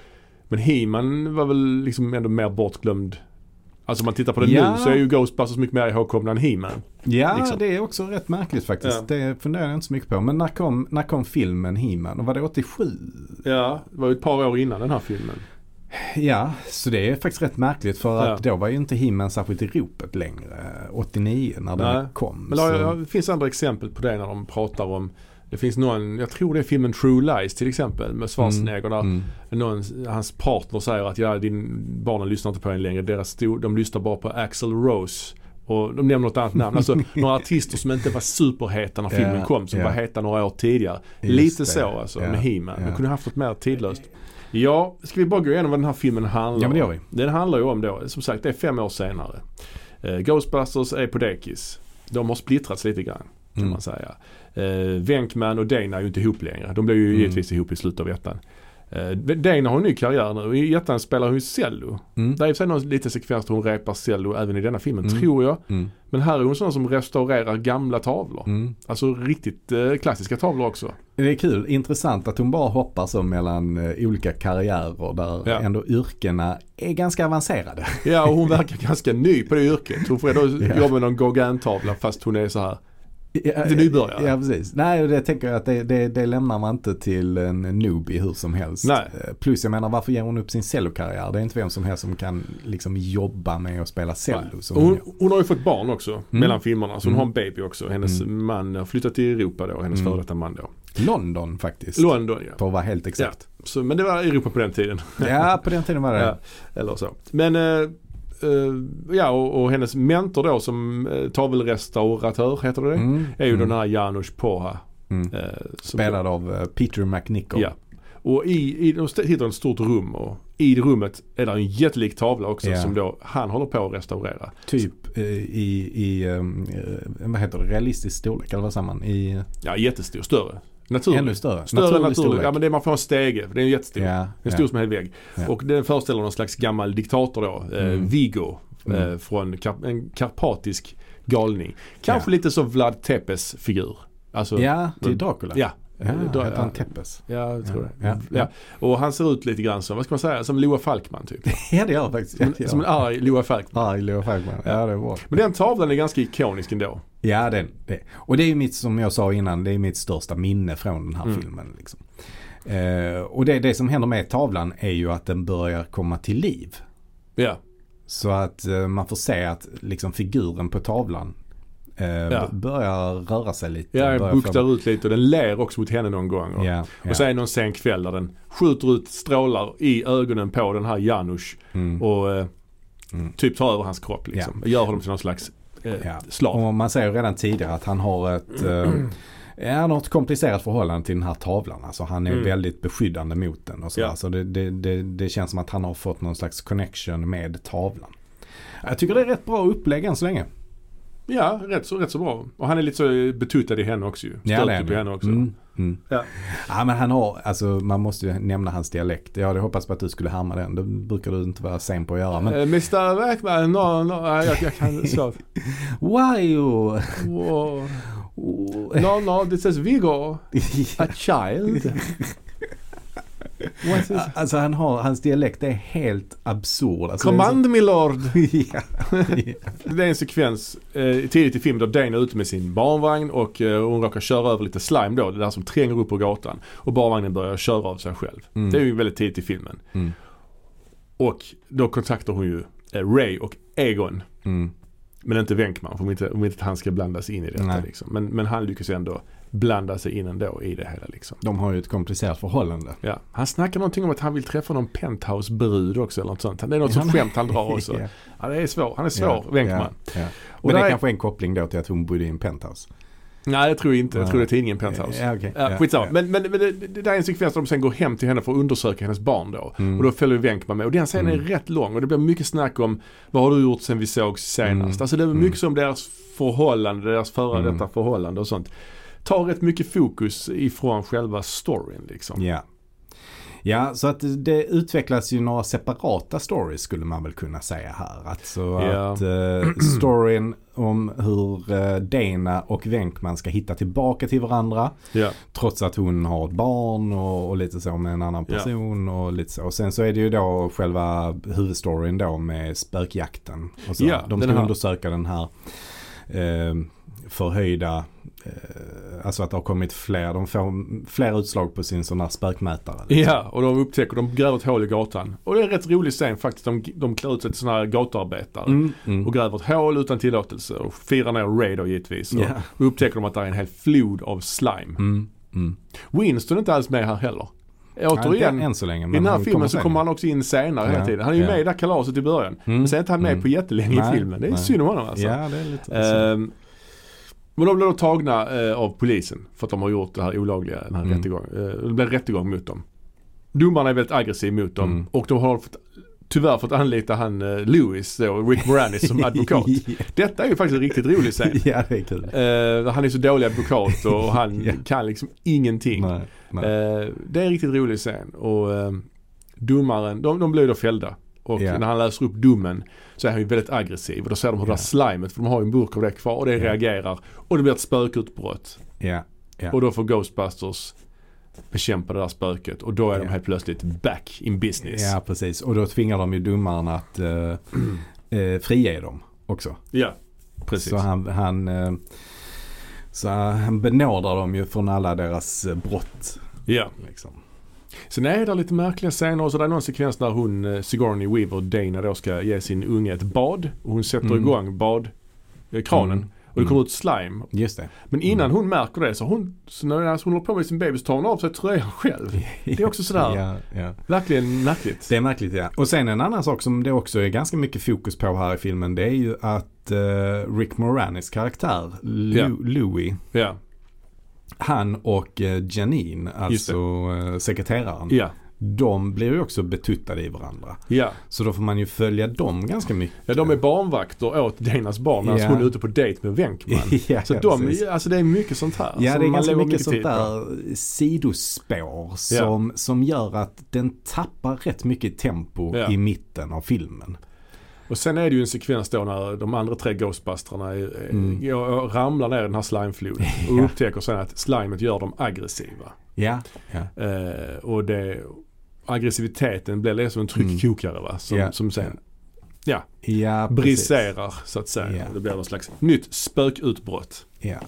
[SPEAKER 1] Men He-Man var väl liksom ändå mer bortglömd. Alltså om man tittar på det
[SPEAKER 2] Ja.
[SPEAKER 1] nu så är ju Ghostbusters mycket mer ihågkomna än He-Man.
[SPEAKER 2] Ja,
[SPEAKER 1] Liksom.
[SPEAKER 2] det är också rätt märkligt faktiskt.
[SPEAKER 1] Ja.
[SPEAKER 2] Det funderar jag inte så mycket på. Men när kom, när kom filmen He-Man? Och var det 87?
[SPEAKER 1] Ja, det var ju ett par år innan den här filmen.
[SPEAKER 2] Ja, så det är faktiskt rätt märkligt för att
[SPEAKER 1] Ja.
[SPEAKER 2] då var ju inte He-Man särskilt i ropet längre. 89 när den
[SPEAKER 1] Nej.
[SPEAKER 2] kom.
[SPEAKER 1] Men det,
[SPEAKER 2] så,
[SPEAKER 1] har, jag- det finns andra exempel på det när de pratar om det finns någon, jag tror det är filmen True Lies till exempel med Schwarzenegger där
[SPEAKER 2] Mm.
[SPEAKER 1] någon, hans partner säger att ja, din, barnen lyssnar inte på en längre. Deras stor, de lyssnar bara på Axel Rose. Och de nämner något annat namn. Alltså några artister som inte var superheta när filmen
[SPEAKER 2] Ja,
[SPEAKER 1] kom. Som
[SPEAKER 2] ja.
[SPEAKER 1] var heta några år tidigare.
[SPEAKER 2] Just
[SPEAKER 1] Lite
[SPEAKER 2] det.
[SPEAKER 1] så alltså
[SPEAKER 2] Ja,
[SPEAKER 1] med He-Man.
[SPEAKER 2] ja.
[SPEAKER 1] De kunde haft något mer tidlöst. Ja, ska vi bara gå igenom vad den här filmen handlar
[SPEAKER 2] Ja,
[SPEAKER 1] om?
[SPEAKER 2] men det gör vi.
[SPEAKER 1] Den handlar ju om då, som sagt det är fem år senare. Eh, Ghostbusters är på dekis. De har splittrats lite grann kan
[SPEAKER 2] Mm.
[SPEAKER 1] man säga. Eh, Venkman och Dana är ju inte ihop längre. De blev ju
[SPEAKER 2] Mm.
[SPEAKER 1] givetvis ihop i slutet av ettan. Eh, Dana har en ny karriär nu. I ettan spelar hon ju cello.
[SPEAKER 2] Mm.
[SPEAKER 1] Det är i och för sig någon liten sekvens där hon repar cello även i denna filmen,
[SPEAKER 2] Mm.
[SPEAKER 1] tror jag.
[SPEAKER 2] Mm.
[SPEAKER 1] Men här är hon sån som restaurerar gamla tavlor.
[SPEAKER 2] Mm.
[SPEAKER 1] Alltså riktigt eh, klassiska tavlor också.
[SPEAKER 2] Det är kul, intressant att hon bara hoppar så mellan eh, olika karriärer där
[SPEAKER 1] Ja.
[SPEAKER 2] ändå yrkena är ganska avancerade.
[SPEAKER 1] Ja, och hon verkar ganska ny på det yrket. Hon får ändå
[SPEAKER 2] Ja.
[SPEAKER 1] jobba med någon Gauguin-tavla fast hon är så här.
[SPEAKER 2] Ja,
[SPEAKER 1] Lite nybörjare.
[SPEAKER 2] Ja, precis. Nej, och det tänker jag att det, det, det lämnar man inte till en newbie hur som helst.
[SPEAKER 1] Nej.
[SPEAKER 2] Eh, Plus, jag menar, varför ger hon upp sin cellokarriär? Det är inte vem som helst som kan liksom jobba med att spela cello. Som
[SPEAKER 1] Och
[SPEAKER 2] hon
[SPEAKER 1] hon,
[SPEAKER 2] gör.
[SPEAKER 1] hon har ju fått barn också
[SPEAKER 2] Mm.
[SPEAKER 1] mellan filmerna. Så hon har en baby också. Hennes man har flyttat till Europa då, hennes
[SPEAKER 2] Mm.
[SPEAKER 1] före detta man då.
[SPEAKER 2] London faktiskt.
[SPEAKER 1] London ja.
[SPEAKER 2] För att vara helt exakt.
[SPEAKER 1] Ja, så, men det var Europa på den tiden.
[SPEAKER 2] Ja. på den tiden var det.
[SPEAKER 1] Ja, eller så. Men eh, eh, ja, och, och hennes mentor då som eh, tavelrestauratör, heter det det?
[SPEAKER 2] Mm.
[SPEAKER 1] Är ju den här Janusz Poha.
[SPEAKER 2] Mm.
[SPEAKER 1] Eh, som-
[SPEAKER 2] Spelad av eh, Peter McNichol.
[SPEAKER 1] Ja. Och i, i, de st- hittar ett stort rum och i det rummet är det en jättelik tavla också
[SPEAKER 2] Ja.
[SPEAKER 1] som då han håller på att restaurera.
[SPEAKER 2] Typ eh, i, i eh, vad heter det, realistisk storlek eller vad säger man? I
[SPEAKER 1] Ja, jättestor. Större. Naturlig.
[SPEAKER 2] ännu större?
[SPEAKER 1] Större naturlig.
[SPEAKER 2] Naturlig
[SPEAKER 1] naturlig.
[SPEAKER 2] storlek.
[SPEAKER 1] Ja men det är, man får en stege. för Det är en jättestor.
[SPEAKER 2] Ja,
[SPEAKER 1] En
[SPEAKER 2] ja.
[SPEAKER 1] stor som en hel vägg.
[SPEAKER 2] Ja.
[SPEAKER 1] Och den föreställer någon slags gammal diktator då. Eh,
[SPEAKER 2] Mm.
[SPEAKER 1] Viggo. Eh,
[SPEAKER 2] Mm.
[SPEAKER 1] från kar- en karpatisk galning. Kanske lite som Vlad Tepes figur. Alltså,
[SPEAKER 2] Ja, det är Dracula.
[SPEAKER 1] ja.
[SPEAKER 2] ja
[SPEAKER 1] Dra-
[SPEAKER 2] heter han Tepes?
[SPEAKER 1] Ja, jag tror det.
[SPEAKER 2] Ja.
[SPEAKER 1] Ja. Och han ser ut lite grann som, vad ska man säga, som Loa Falkman typ.
[SPEAKER 2] Ja, det gör han faktiskt.
[SPEAKER 1] Som,
[SPEAKER 2] Ja,
[SPEAKER 1] som en arg Loa Falkman.
[SPEAKER 2] Arg Leo Fagman. Ja, det är bra.
[SPEAKER 1] Men den tavlan är ganska ikonisk ändå.
[SPEAKER 2] Ja, det, det. och det är ju mitt, som jag sa innan, det är mitt största minne från den här
[SPEAKER 1] Mm.
[SPEAKER 2] filmen. Liksom. Eh, och det, det som händer med tavlan är ju att den börjar komma till liv.
[SPEAKER 1] Ja,
[SPEAKER 2] Så att eh, man får se att liksom, figuren på tavlan eh,
[SPEAKER 1] Ja.
[SPEAKER 2] b- börjar röra sig lite.
[SPEAKER 1] ja
[SPEAKER 2] börjar
[SPEAKER 1] den buktar
[SPEAKER 2] fram-
[SPEAKER 1] ut lite och den ler också mot henne någon gång. Och,
[SPEAKER 2] Ja, ja.
[SPEAKER 1] och så är det någon sen kväll där den skjuter ut strålar i ögonen på den här Janusz
[SPEAKER 2] mm.
[SPEAKER 1] och eh,
[SPEAKER 2] Mm.
[SPEAKER 1] typ tar över hans kropp liksom. Och gör honom till någon slags eh,
[SPEAKER 2] Ja.
[SPEAKER 1] slav.
[SPEAKER 2] Och man ser ju redan tidigare att han har ett eh, ja, något komplicerat förhållande till den här tavlan. Alltså han är
[SPEAKER 1] Mm.
[SPEAKER 2] väldigt beskyddande mot den. Och så
[SPEAKER 1] Ja.
[SPEAKER 2] så det, det, det, det känns som att han har fått någon slags connection med tavlan. Jag tycker det är rätt bra upplägg än så länge.
[SPEAKER 1] Ja, rätt så, rätt så bra. Och han är lite så eh, betuttad i henne också ju.
[SPEAKER 2] Ja, det är
[SPEAKER 1] Stöter på
[SPEAKER 2] ju.
[SPEAKER 1] henne också.
[SPEAKER 2] Mm, mm.
[SPEAKER 1] Ja.
[SPEAKER 2] Ja, men han har, alltså man måste ju nämna hans dialekt. Jag hade hoppats på att du skulle härma den. Det brukar du inte vara sen på att göra. Men
[SPEAKER 1] Eh, Mr. Wackman, no, no, nej, jag, jag kan så.
[SPEAKER 2] why you?
[SPEAKER 1] Wow. No, no, this is Viggo. A child. What is...
[SPEAKER 2] Alltså han har, hans dialekt är helt absurd. Alltså, det är så-
[SPEAKER 1] Command me lord.
[SPEAKER 2] ja.
[SPEAKER 1] Det är en sekvens eh, tidigt i filmen där Dane är ute med sin barnvagn och eh, hon råkar köra över lite slime då. Det där som tränger upp på gatan. Och barnvagnen börjar köra av sig själv.
[SPEAKER 2] Mm.
[SPEAKER 1] Det är ju väldigt tidigt i filmen.
[SPEAKER 2] Mm.
[SPEAKER 1] Och då kontaktar hon ju eh, Ray och Egon.
[SPEAKER 2] Mm.
[SPEAKER 1] Men inte Wenkman för om inte, om inte han ska blandas in i detta.
[SPEAKER 2] Nej.
[SPEAKER 1] Liksom. Men, men han lyckas ju ändå blanda sig in ändå i det hela liksom.
[SPEAKER 2] De har ju ett komplicerat förhållande.
[SPEAKER 1] Ja. Han snackar någonting om att han vill träffa någon penthouse-brud också eller något sånt. Det är något som
[SPEAKER 2] Ja,
[SPEAKER 1] skämt han drar också.
[SPEAKER 2] Ja.
[SPEAKER 1] Ja, det är svår. Han är svår,
[SPEAKER 2] Ja,
[SPEAKER 1] Wenkman.
[SPEAKER 2] ja, ja.
[SPEAKER 1] Och
[SPEAKER 2] Men det
[SPEAKER 1] där
[SPEAKER 2] är
[SPEAKER 1] är-
[SPEAKER 2] kanske är en koppling då till att hon bodde i en penthouse.
[SPEAKER 1] Nej, jag tror inte. Jag
[SPEAKER 2] Nej.
[SPEAKER 1] tror det är tidningen Penthouse.
[SPEAKER 2] Ja, okej.
[SPEAKER 1] Ja,
[SPEAKER 2] Ja,
[SPEAKER 1] skitsamma.
[SPEAKER 2] ja.
[SPEAKER 1] Men, men, men det, det där är en sekvens där de sen går hem till henne för att undersöka hennes barn då.
[SPEAKER 2] Mm.
[SPEAKER 1] Och då följer Wenkman med. Och den scenen är
[SPEAKER 2] Mm.
[SPEAKER 1] rätt lång och det blir mycket snack om vad har du gjort sen vi såg senast?
[SPEAKER 2] Mm.
[SPEAKER 1] Alltså det är mycket
[SPEAKER 2] Mm.
[SPEAKER 1] som deras förhållande, deras före
[SPEAKER 2] Mm.
[SPEAKER 1] detta förhållande och sånt. Tar rätt mycket fokus ifrån själva storyn liksom.
[SPEAKER 2] Ja. Ja, så att det utvecklas ju några separata stories skulle man väl kunna säga här. Alltså
[SPEAKER 1] Ja.
[SPEAKER 2] att eh, storyn om hur eh, Dana och Wenkman ska hitta tillbaka till varandra.
[SPEAKER 1] Ja.
[SPEAKER 2] Trots att hon har ett barn och, och lite så med en annan
[SPEAKER 1] Ja.
[SPEAKER 2] person och lite så. Och sen så är det ju då själva huvudstoryn då med spökjakten. Och så.
[SPEAKER 1] Ja,
[SPEAKER 2] De
[SPEAKER 1] den
[SPEAKER 2] ska
[SPEAKER 1] här-
[SPEAKER 2] undersöka den här eh, förhöjda, eh, alltså att det har kommit fler, de får fler utslag på sin sån här spökmätare.
[SPEAKER 1] Ja, och de upptäcker, de gräver ett hål i gatan. Och det är en rätt rolig scen faktiskt. De, de klär ut sig till sådana här gatuarbetare.
[SPEAKER 2] Mm, mm.
[SPEAKER 1] Och gräver ett hål utan tillåtelse och firar ner Ray då givetvis. Och
[SPEAKER 2] Ja.
[SPEAKER 1] då upptäcker de att det är en hel flod av slime.
[SPEAKER 2] Mm, mm.
[SPEAKER 1] Winston är inte alls med här heller.
[SPEAKER 2] Ja,
[SPEAKER 1] Återigen,
[SPEAKER 2] inte än så länge.
[SPEAKER 1] i den här
[SPEAKER 2] han
[SPEAKER 1] filmen så
[SPEAKER 2] sen.
[SPEAKER 1] kommer han också in senare
[SPEAKER 2] Ja,
[SPEAKER 1] hela tiden. Han är ju
[SPEAKER 2] ja.
[SPEAKER 1] med i det här kalaset i början.
[SPEAKER 2] Mm,
[SPEAKER 1] Men sen är inte han med
[SPEAKER 2] mm.
[SPEAKER 1] på jättelänge
[SPEAKER 2] Nej,
[SPEAKER 1] i filmen. Det är
[SPEAKER 2] nej.
[SPEAKER 1] synd om honom alltså.
[SPEAKER 2] Ja, det är lite så.
[SPEAKER 1] Ehm, men de blir då tagna eh, av polisen för att de har gjort det här olagliga, den här
[SPEAKER 2] Mm.
[SPEAKER 1] rättegången. Eh, det blir rättegång mot dem. Domarna är väldigt aggressiva mot dem
[SPEAKER 2] Mm.
[SPEAKER 1] och de har fått, tyvärr fått anlita han eh, Lewis då, Rick Moranis som advokat. Detta är ju faktiskt en riktigt rolig scen.
[SPEAKER 2] ja, det är kul.
[SPEAKER 1] Eh, han är så dålig advokat och han
[SPEAKER 2] Ja.
[SPEAKER 1] kan liksom ingenting.
[SPEAKER 2] Nej, nej.
[SPEAKER 1] Eh, det är en riktigt rolig scen och eh, domaren, de, de blir ju då fällda. Och
[SPEAKER 2] Ja.
[SPEAKER 1] när han läser upp domen så är han ju väldigt aggressiv och då ser de hur det
[SPEAKER 2] Ja.
[SPEAKER 1] där slimet, för de har ju en burk av det kvar och det
[SPEAKER 2] Ja.
[SPEAKER 1] reagerar. Och det blir ett spökutbrott.
[SPEAKER 2] Ja, ja.
[SPEAKER 1] Och då får Ghostbusters bekämpa det där spöket och då är de
[SPEAKER 2] Ja.
[SPEAKER 1] helt plötsligt back in business.
[SPEAKER 2] Ja, precis. Och då tvingar de ju domaren att eh, eh, frige dem också.
[SPEAKER 1] Ja, precis.
[SPEAKER 2] Så han, han, eh, så han benådar dem ju från alla deras eh, brott.
[SPEAKER 1] Ja.
[SPEAKER 2] Liksom.
[SPEAKER 1] Sen är det lite märkliga scener och så det är någon sekvens där hon, eh, Sigourney Weaver, Dana då ska ge sin unge ett bad. Och hon sätter
[SPEAKER 2] Mm.
[SPEAKER 1] igång bad, eh, kranen.
[SPEAKER 2] Mm.
[SPEAKER 1] Och det kommer ut slime.
[SPEAKER 2] Just det.
[SPEAKER 1] Men innan hon märker det så hon, så när alltså hon håller på med sin bebis tar hon av sig tröjan själv. Det är också sådär,
[SPEAKER 2] Ja, ja.
[SPEAKER 1] verkligen märkligt.
[SPEAKER 2] Det är märkligt ja. Och sen en annan sak som det också är ganska mycket fokus på här i filmen. Det är ju att eh, Rick Moranis karaktär, Lu-
[SPEAKER 1] Ja.
[SPEAKER 2] Louie,
[SPEAKER 1] Ja,
[SPEAKER 2] han och eh, Janine,
[SPEAKER 1] Just
[SPEAKER 2] alltså eh, sekreteraren,
[SPEAKER 1] Ja,
[SPEAKER 2] de blir ju också betuttade i varandra.
[SPEAKER 1] ja.
[SPEAKER 2] Så då får man ju följa dem ganska mycket.
[SPEAKER 1] Ja, de är barnvakter åt Denas barn när
[SPEAKER 2] Ja.
[SPEAKER 1] han skulle ute på dejt med Wenkman.
[SPEAKER 2] ja,
[SPEAKER 1] Så de,
[SPEAKER 2] precis.
[SPEAKER 1] alltså det är mycket sånt här.
[SPEAKER 2] Ja,
[SPEAKER 1] som
[SPEAKER 2] det
[SPEAKER 1] alltså, man
[SPEAKER 2] är ganska
[SPEAKER 1] lägger
[SPEAKER 2] mycket sånt
[SPEAKER 1] tid på.
[SPEAKER 2] där sidospår som, som gör att den tappar rätt mycket tempo
[SPEAKER 1] Ja.
[SPEAKER 2] i mitten av filmen.
[SPEAKER 1] Och sen är det ju en sekvens då när de andra tre Ghostbustrarna är, är-
[SPEAKER 2] Mm.
[SPEAKER 1] ja, ja, ramlar ner i den här slimefloden och
[SPEAKER 2] Ja.
[SPEAKER 1] upptäcker sen att slimet gör dem aggressiva.
[SPEAKER 2] Ja, ja.
[SPEAKER 1] Eh, och det, aggressiviteten blir liksom en tryckkokare va? Som,
[SPEAKER 2] Ja.
[SPEAKER 1] som sen
[SPEAKER 2] ja precis.
[SPEAKER 1] briserar så att säga.
[SPEAKER 2] Ja.
[SPEAKER 1] Det blir någon slags nytt spökutbrott.
[SPEAKER 2] Ja.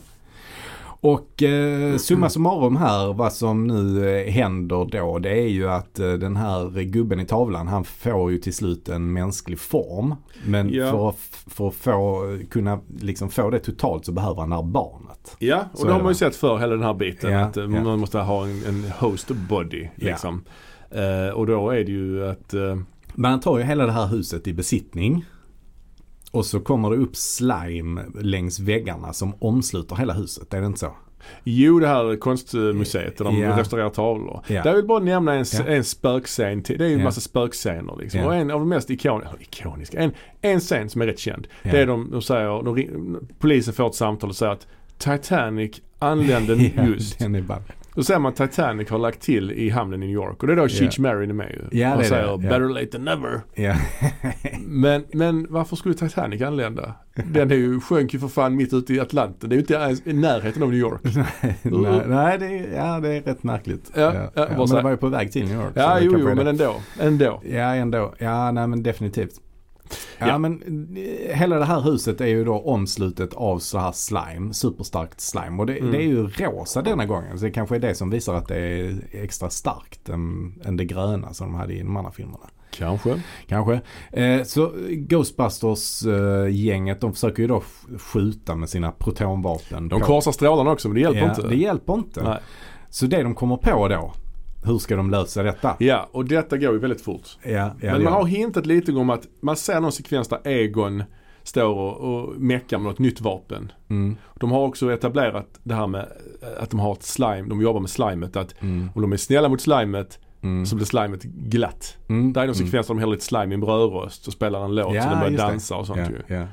[SPEAKER 2] Och eh, summa summarum här vad som nu eh, händer då det är ju att eh, den här gubben i tavlan han får ju till slut en mänsklig form. Men
[SPEAKER 1] Ja.
[SPEAKER 2] för, att f- för att få, kunna liksom få det totalt så behöver han det här barnet.
[SPEAKER 1] Ja, och
[SPEAKER 2] Så
[SPEAKER 1] det
[SPEAKER 2] är
[SPEAKER 1] har
[SPEAKER 2] det,
[SPEAKER 1] man ju
[SPEAKER 2] va?
[SPEAKER 1] sett för hela den här biten.
[SPEAKER 2] Ja,
[SPEAKER 1] att eh,
[SPEAKER 2] ja.
[SPEAKER 1] man måste ha en, en host body.
[SPEAKER 2] Ja.
[SPEAKER 1] Liksom. Eh, och då är det ju att eh,
[SPEAKER 2] Men han tar ju hela det här huset i besittning. Och så kommer det upp slime längs väggarna som omsluter hela huset. Är det inte så?
[SPEAKER 1] Jo, det här konstmuseet där de
[SPEAKER 2] Ja.
[SPEAKER 1] restaurerar tavlor.
[SPEAKER 2] Ja.
[SPEAKER 1] Där vill jag bara nämna en,
[SPEAKER 2] Ja.
[SPEAKER 1] en spökscen till. Det är ju en
[SPEAKER 2] Ja.
[SPEAKER 1] massa spökscener liksom.
[SPEAKER 2] Ja.
[SPEAKER 1] Och en av de mest ikoniska, ikoniska en, en scen som är rätt känd.
[SPEAKER 2] Ja.
[SPEAKER 1] Det är de, de säger, de, ring- polisen får ett samtal och säger att Titanic anlände just.
[SPEAKER 2] den är bara...
[SPEAKER 1] Då säger man Titanic har lagt till i hamnen i New York. Och det är då Cheech Marin är med ju.
[SPEAKER 2] Ja,
[SPEAKER 1] Han
[SPEAKER 2] det är
[SPEAKER 1] säger
[SPEAKER 2] det. Ja.
[SPEAKER 1] “Better late than never”.
[SPEAKER 2] Ja.
[SPEAKER 1] Uh. Men, men varför skulle Titanic anlända? Den är ju, sjönk ju för fan mitt ute i Atlanten. Det är ju inte ens i närheten av New York.
[SPEAKER 2] nej, nej det, är, ja, det är rätt märkligt.
[SPEAKER 1] Ja, ja, bara
[SPEAKER 2] men
[SPEAKER 1] så
[SPEAKER 2] det
[SPEAKER 1] här.
[SPEAKER 2] var ju på väg till New York. så
[SPEAKER 1] Ja,
[SPEAKER 2] det
[SPEAKER 1] jo,
[SPEAKER 2] kanske
[SPEAKER 1] jo,
[SPEAKER 2] är
[SPEAKER 1] men
[SPEAKER 2] det.
[SPEAKER 1] ändå. Ändå.
[SPEAKER 2] Ja, ändå. Ja, nej men definitivt. Ja,
[SPEAKER 1] Ja.
[SPEAKER 2] men eh, hela det här huset är ju då omslutet av så här slime, superstarkt slime. Och det,
[SPEAKER 1] Mm.
[SPEAKER 2] det är ju rosa denna gången. Så det kanske är det som visar att det är extra starkt än, än det gröna som de hade i de andra filmerna.
[SPEAKER 1] Kanske.
[SPEAKER 2] Kanske. Eh, så Ghostbusters-gänget de försöker ju då sk- skjuta med sina protonvapen.
[SPEAKER 1] De
[SPEAKER 2] på-
[SPEAKER 1] korsar strålarna också men det hjälper
[SPEAKER 2] ja,
[SPEAKER 1] inte.
[SPEAKER 2] Det hjälper inte.
[SPEAKER 1] Nej.
[SPEAKER 2] Så det de kommer på då, hur ska de lösa detta?
[SPEAKER 1] Ja, och detta går ju väldigt fort.
[SPEAKER 2] Ja, ja, det
[SPEAKER 1] men
[SPEAKER 2] gör
[SPEAKER 1] man har
[SPEAKER 2] de.
[SPEAKER 1] hintat lite om att man ser någon sekvens där Egon står och, och meckar med något nytt vapen.
[SPEAKER 2] Mm,
[SPEAKER 1] De har också etablerat det här med eh, att de har ett slime, de jobbar med slimet. Att
[SPEAKER 2] mm,
[SPEAKER 1] om de är snälla mot slimet
[SPEAKER 2] mm,
[SPEAKER 1] så blir slimet glatt.
[SPEAKER 2] mm,
[SPEAKER 1] Där är någon
[SPEAKER 2] mm.
[SPEAKER 1] sekvens där de häller lite slime i en brödrost och spelar en låt
[SPEAKER 2] Ja,
[SPEAKER 1] så den börjar
[SPEAKER 2] just det.
[SPEAKER 1] dansa och sånt
[SPEAKER 2] Ja,
[SPEAKER 1] ju.
[SPEAKER 2] ja.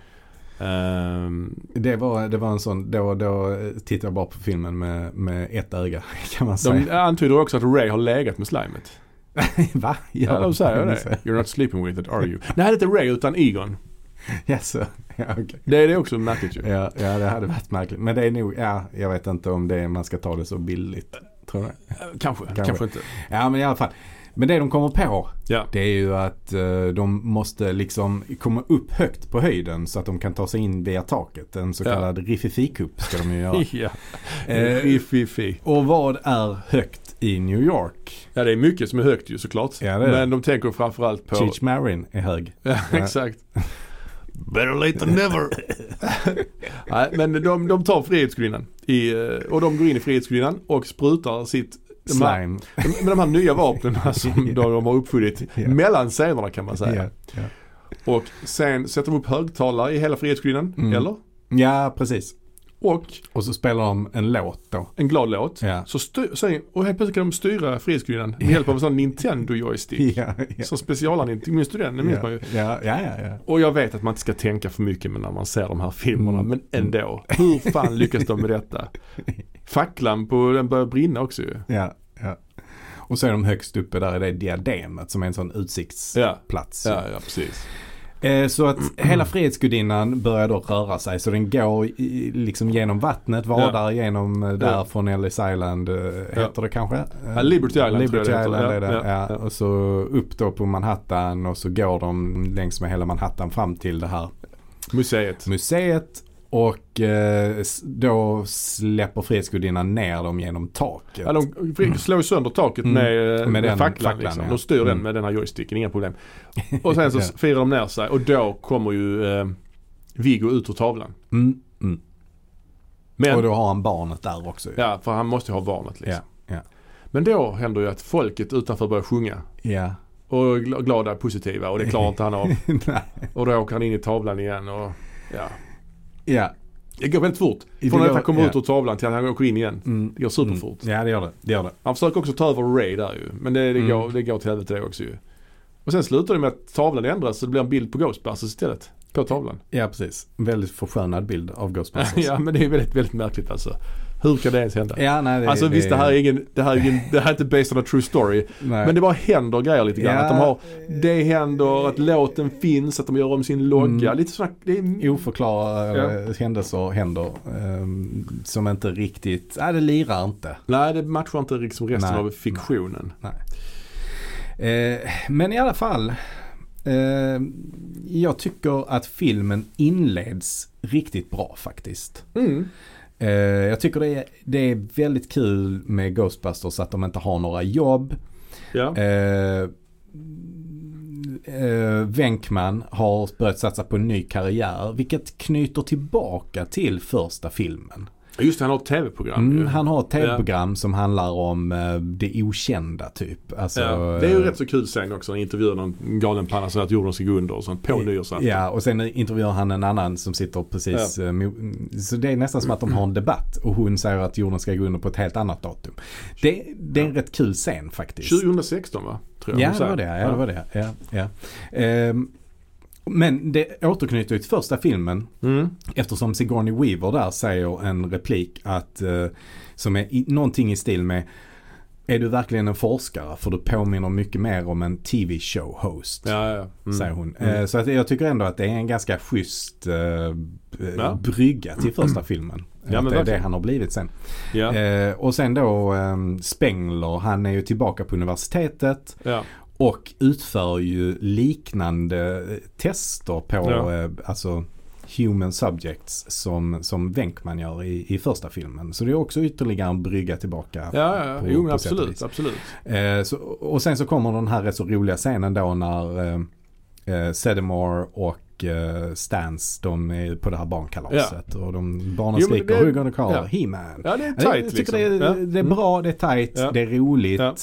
[SPEAKER 1] Ehm,
[SPEAKER 2] Det, var, det var en sån, då, då tittar jag bara på filmen med, med ett öga kan man säga.
[SPEAKER 1] de antyder också att Ray har legat med slimet.
[SPEAKER 2] Va?
[SPEAKER 1] Ja, de säger det.
[SPEAKER 2] Jaså?
[SPEAKER 1] You're not sleeping with it, are you? Nej, det är inte Ray utan Egon.
[SPEAKER 2] Jaså? Ja, okej.
[SPEAKER 1] Det är det också märkligt ju.
[SPEAKER 2] Ja, ja, det hade varit märkligt. Men det är nog, ja, jag vet inte om det, man ska ta det så billigt. Tror jag.
[SPEAKER 1] Kanske, kanske, inte.
[SPEAKER 2] Ja, men i alla fall. Men det de kommer på,
[SPEAKER 1] Ja.
[SPEAKER 2] det är ju att eh, de måste liksom komma upp högt på höjden så att de kan ta sig in via taket. En så
[SPEAKER 1] Ja.
[SPEAKER 2] kallad riffifikupp ska de ju göra.
[SPEAKER 1] ja.
[SPEAKER 2] Eh,
[SPEAKER 1] Fi, fi, fi.
[SPEAKER 2] och vad är högt i New York?
[SPEAKER 1] Ja, det är mycket som är högt ju såklart.
[SPEAKER 2] Ja, det är det.
[SPEAKER 1] Men de tänker framförallt på...
[SPEAKER 2] Cheech Marin är hög.
[SPEAKER 1] Ja, exakt. Better late than never. Nej, men de, de tar Frihetsgudinnan. I, eh, och de går in i Frihetsgudinnan och sprutar sitt... de här-
[SPEAKER 2] Slime.
[SPEAKER 1] de- Med de här nya vapnen som de, de har uppfunnit
[SPEAKER 2] Ja.
[SPEAKER 1] mellan scenerna kan man säga.
[SPEAKER 2] Ja, ja.
[SPEAKER 1] Och sen sätter de upp högtalare i hela Frihetsgudinnan,
[SPEAKER 2] Mm.
[SPEAKER 1] eller?
[SPEAKER 2] ja, precis.
[SPEAKER 1] Och
[SPEAKER 2] Och så spelar de en låt då.
[SPEAKER 1] en glad låt.
[SPEAKER 2] Ja.
[SPEAKER 1] Så styr, sen, och helt plötsligt kan de styra Frihetsgudinnan med hjälp av en sån Nintendo-joystick.
[SPEAKER 2] Ja, ja.
[SPEAKER 1] Som specialanintog, minns du den? Den minns man ju.
[SPEAKER 2] Ja, ja, ja. ja.
[SPEAKER 1] Och jag vet att man inte ska tänka för mycket med när man ser de här filmerna,
[SPEAKER 2] Mm.
[SPEAKER 1] men ändå. Hur fan lyckas de med detta? Facklan på den börjar brinna också ju.
[SPEAKER 2] Ja, ja. Och så är de högst uppe där i det diademet som är en sån
[SPEAKER 1] Ja.
[SPEAKER 2] utsiktsplats.
[SPEAKER 1] Ja, ja precis.
[SPEAKER 2] Eh, så att hela Frihetsgudinnan börjar då röra sig. Så den går i, liksom genom vattnet, vadar genom eh, där
[SPEAKER 1] Ja.
[SPEAKER 2] från Ellis Island, eh, heter det kanske? Eh,
[SPEAKER 1] Ja, Liberty Island
[SPEAKER 2] Liberty
[SPEAKER 1] tror jag det heter.
[SPEAKER 2] Island
[SPEAKER 1] Ja,
[SPEAKER 2] är det.
[SPEAKER 1] ja,
[SPEAKER 2] Ja,
[SPEAKER 1] ja.
[SPEAKER 2] Och så upp då på Manhattan och så går de längs med hela Manhattan fram till det här
[SPEAKER 1] Museet.
[SPEAKER 2] museet. Och eh, s- då släpper Frihetsgudinnan ner dem genom taket.
[SPEAKER 1] Ja, de fri- slår ju sönder taket
[SPEAKER 2] Mm.
[SPEAKER 1] med, med,
[SPEAKER 2] Med den
[SPEAKER 1] facklan.
[SPEAKER 2] facklan,
[SPEAKER 1] liksom.
[SPEAKER 2] ja.
[SPEAKER 1] De styr den
[SPEAKER 2] Mm.
[SPEAKER 1] med den här joysticken, inga problem. Och sen så
[SPEAKER 2] Ja.
[SPEAKER 1] firar de ner sig och då kommer ju eh, Viggo ut ur tavlan.
[SPEAKER 2] Mm, mm.
[SPEAKER 1] Men
[SPEAKER 2] Och då har han barnet där också. ju.
[SPEAKER 1] Ja, för han måste ju ha barnet liksom.
[SPEAKER 2] Ja, ja.
[SPEAKER 1] Men då händer ju att folket utanför börjar sjunga.
[SPEAKER 2] Ja.
[SPEAKER 1] Och är gl- glada och positiva och det klarar inte han av.
[SPEAKER 2] Nej.
[SPEAKER 1] Och då åker han in i tavlan igen och ja.
[SPEAKER 2] ja.
[SPEAKER 1] Det går väldigt fort.
[SPEAKER 2] Det
[SPEAKER 1] Från att
[SPEAKER 2] går-
[SPEAKER 1] han kommer
[SPEAKER 2] ja.
[SPEAKER 1] ut ur tavlan till att han åker in igen.
[SPEAKER 2] Mm.
[SPEAKER 1] Det går superfort.
[SPEAKER 2] Mm. Ja det gör det. Det gör det.
[SPEAKER 1] Han försöker också ta över Ray där ju. Men det, det,
[SPEAKER 2] Mm.
[SPEAKER 1] går, det går till helvete det också ju. Och sen slutar det med att tavlan ändras så det blir en bild på Ghostbusters istället. På tavlan.
[SPEAKER 2] Ja precis. En väldigt förskönad bild av Ghostbusters.
[SPEAKER 1] ja men det är väldigt, väldigt märkligt alltså. Hur kan det ens hända?
[SPEAKER 2] Ja, nej, det,
[SPEAKER 1] alltså visst det här är ingen, det här är ingen, det här är inte based on a true story.
[SPEAKER 2] nej.
[SPEAKER 1] Men det bara händer grejer lite grann.
[SPEAKER 2] Ja.
[SPEAKER 1] Att de har, det händer, att låten finns, att de gör om sin logga.
[SPEAKER 2] Mm.
[SPEAKER 1] Lite sådana, det är,
[SPEAKER 2] oförklarade händelser händer. ehm, som inte riktigt, nej det lirar inte.
[SPEAKER 1] nej det matchar inte liksom resten
[SPEAKER 2] Nej.
[SPEAKER 1] av fiktionen.
[SPEAKER 2] Eh, men i alla fall. Eh, jag tycker att filmen inleds riktigt bra faktiskt.
[SPEAKER 1] Mm.
[SPEAKER 2] Eh, jag tycker det är, det är väldigt kul med Ghostbusters att de inte har några jobb.
[SPEAKER 1] Ja.
[SPEAKER 2] Eh, eh, Venkman har börjat satsa på en ny karriär vilket knyter tillbaka till första filmen.
[SPEAKER 1] Just det, han har ett tv-program ju.
[SPEAKER 2] Mm, han har ett tv-program som handlar om eh, det okända typ. Alltså,
[SPEAKER 1] Ja, det är ju
[SPEAKER 2] eh,
[SPEAKER 1] rätt så kul scen också. Han intervjuar någon galen panna så att jorden ska gå under och sånt. På nyårsafton.
[SPEAKER 2] Ja, och sen intervjuar han en annan som sitter precis... eh, mo- Så det är nästan som att de har en debatt och hon säger att jorden ska gå under på ett helt annat datum. Det, det är en rätt kul scen faktiskt.
[SPEAKER 1] 2016 va? Tror
[SPEAKER 2] Ja,
[SPEAKER 1] hon
[SPEAKER 2] det
[SPEAKER 1] säger.
[SPEAKER 2] var det. Ja, det, var det. Ja, ja. Ehm, men det återknyter ju till första filmen
[SPEAKER 1] Mm.
[SPEAKER 2] eftersom Sigourney Weaver där säger en replik att, eh, som är i, någonting i stil med Är du verkligen en forskare? För du påminner mycket mer om en TV-show host
[SPEAKER 1] Ja, ja. Mm.
[SPEAKER 2] säger hon.
[SPEAKER 1] Mm.
[SPEAKER 2] Eh, Så att jag tycker ändå att det är en ganska schysst eh, eh,
[SPEAKER 1] Ja. Mm.
[SPEAKER 2] brygga till första filmen.
[SPEAKER 1] men
[SPEAKER 2] att det är det
[SPEAKER 1] verkligen.
[SPEAKER 2] han har blivit sen.
[SPEAKER 1] Ja,
[SPEAKER 2] Eh, och sen då eh, Spengler, han är ju tillbaka på universitetet
[SPEAKER 1] ja.
[SPEAKER 2] och utför ju liknande eh, tester på
[SPEAKER 1] Ja.
[SPEAKER 2] eh, alltså human subjects som, som Wenkman gör i, i första filmen. Så det är också ytterligare en brygga tillbaka.
[SPEAKER 1] Ja, ja, ja.
[SPEAKER 2] på-
[SPEAKER 1] Jo men
[SPEAKER 2] på sätt och vis.
[SPEAKER 1] absolut, absolut.
[SPEAKER 2] Eh, så, och sen så kommer den här rätt så roliga scenen då när eh, eh, Sedamore och eh, Stans de är på det här barnkalaset. Och de barnen
[SPEAKER 1] Jo, men
[SPEAKER 2] skriker
[SPEAKER 1] det-
[SPEAKER 2] Who gonna call
[SPEAKER 1] ja.
[SPEAKER 2] He-Man.
[SPEAKER 1] Ja, det är
[SPEAKER 2] Ja,
[SPEAKER 1] tight
[SPEAKER 2] det- jag tycker
[SPEAKER 1] liksom.
[SPEAKER 2] det,
[SPEAKER 1] ja.
[SPEAKER 2] är, det är bra, det är tight,
[SPEAKER 1] Ja.
[SPEAKER 2] det är roligt.
[SPEAKER 1] Ja.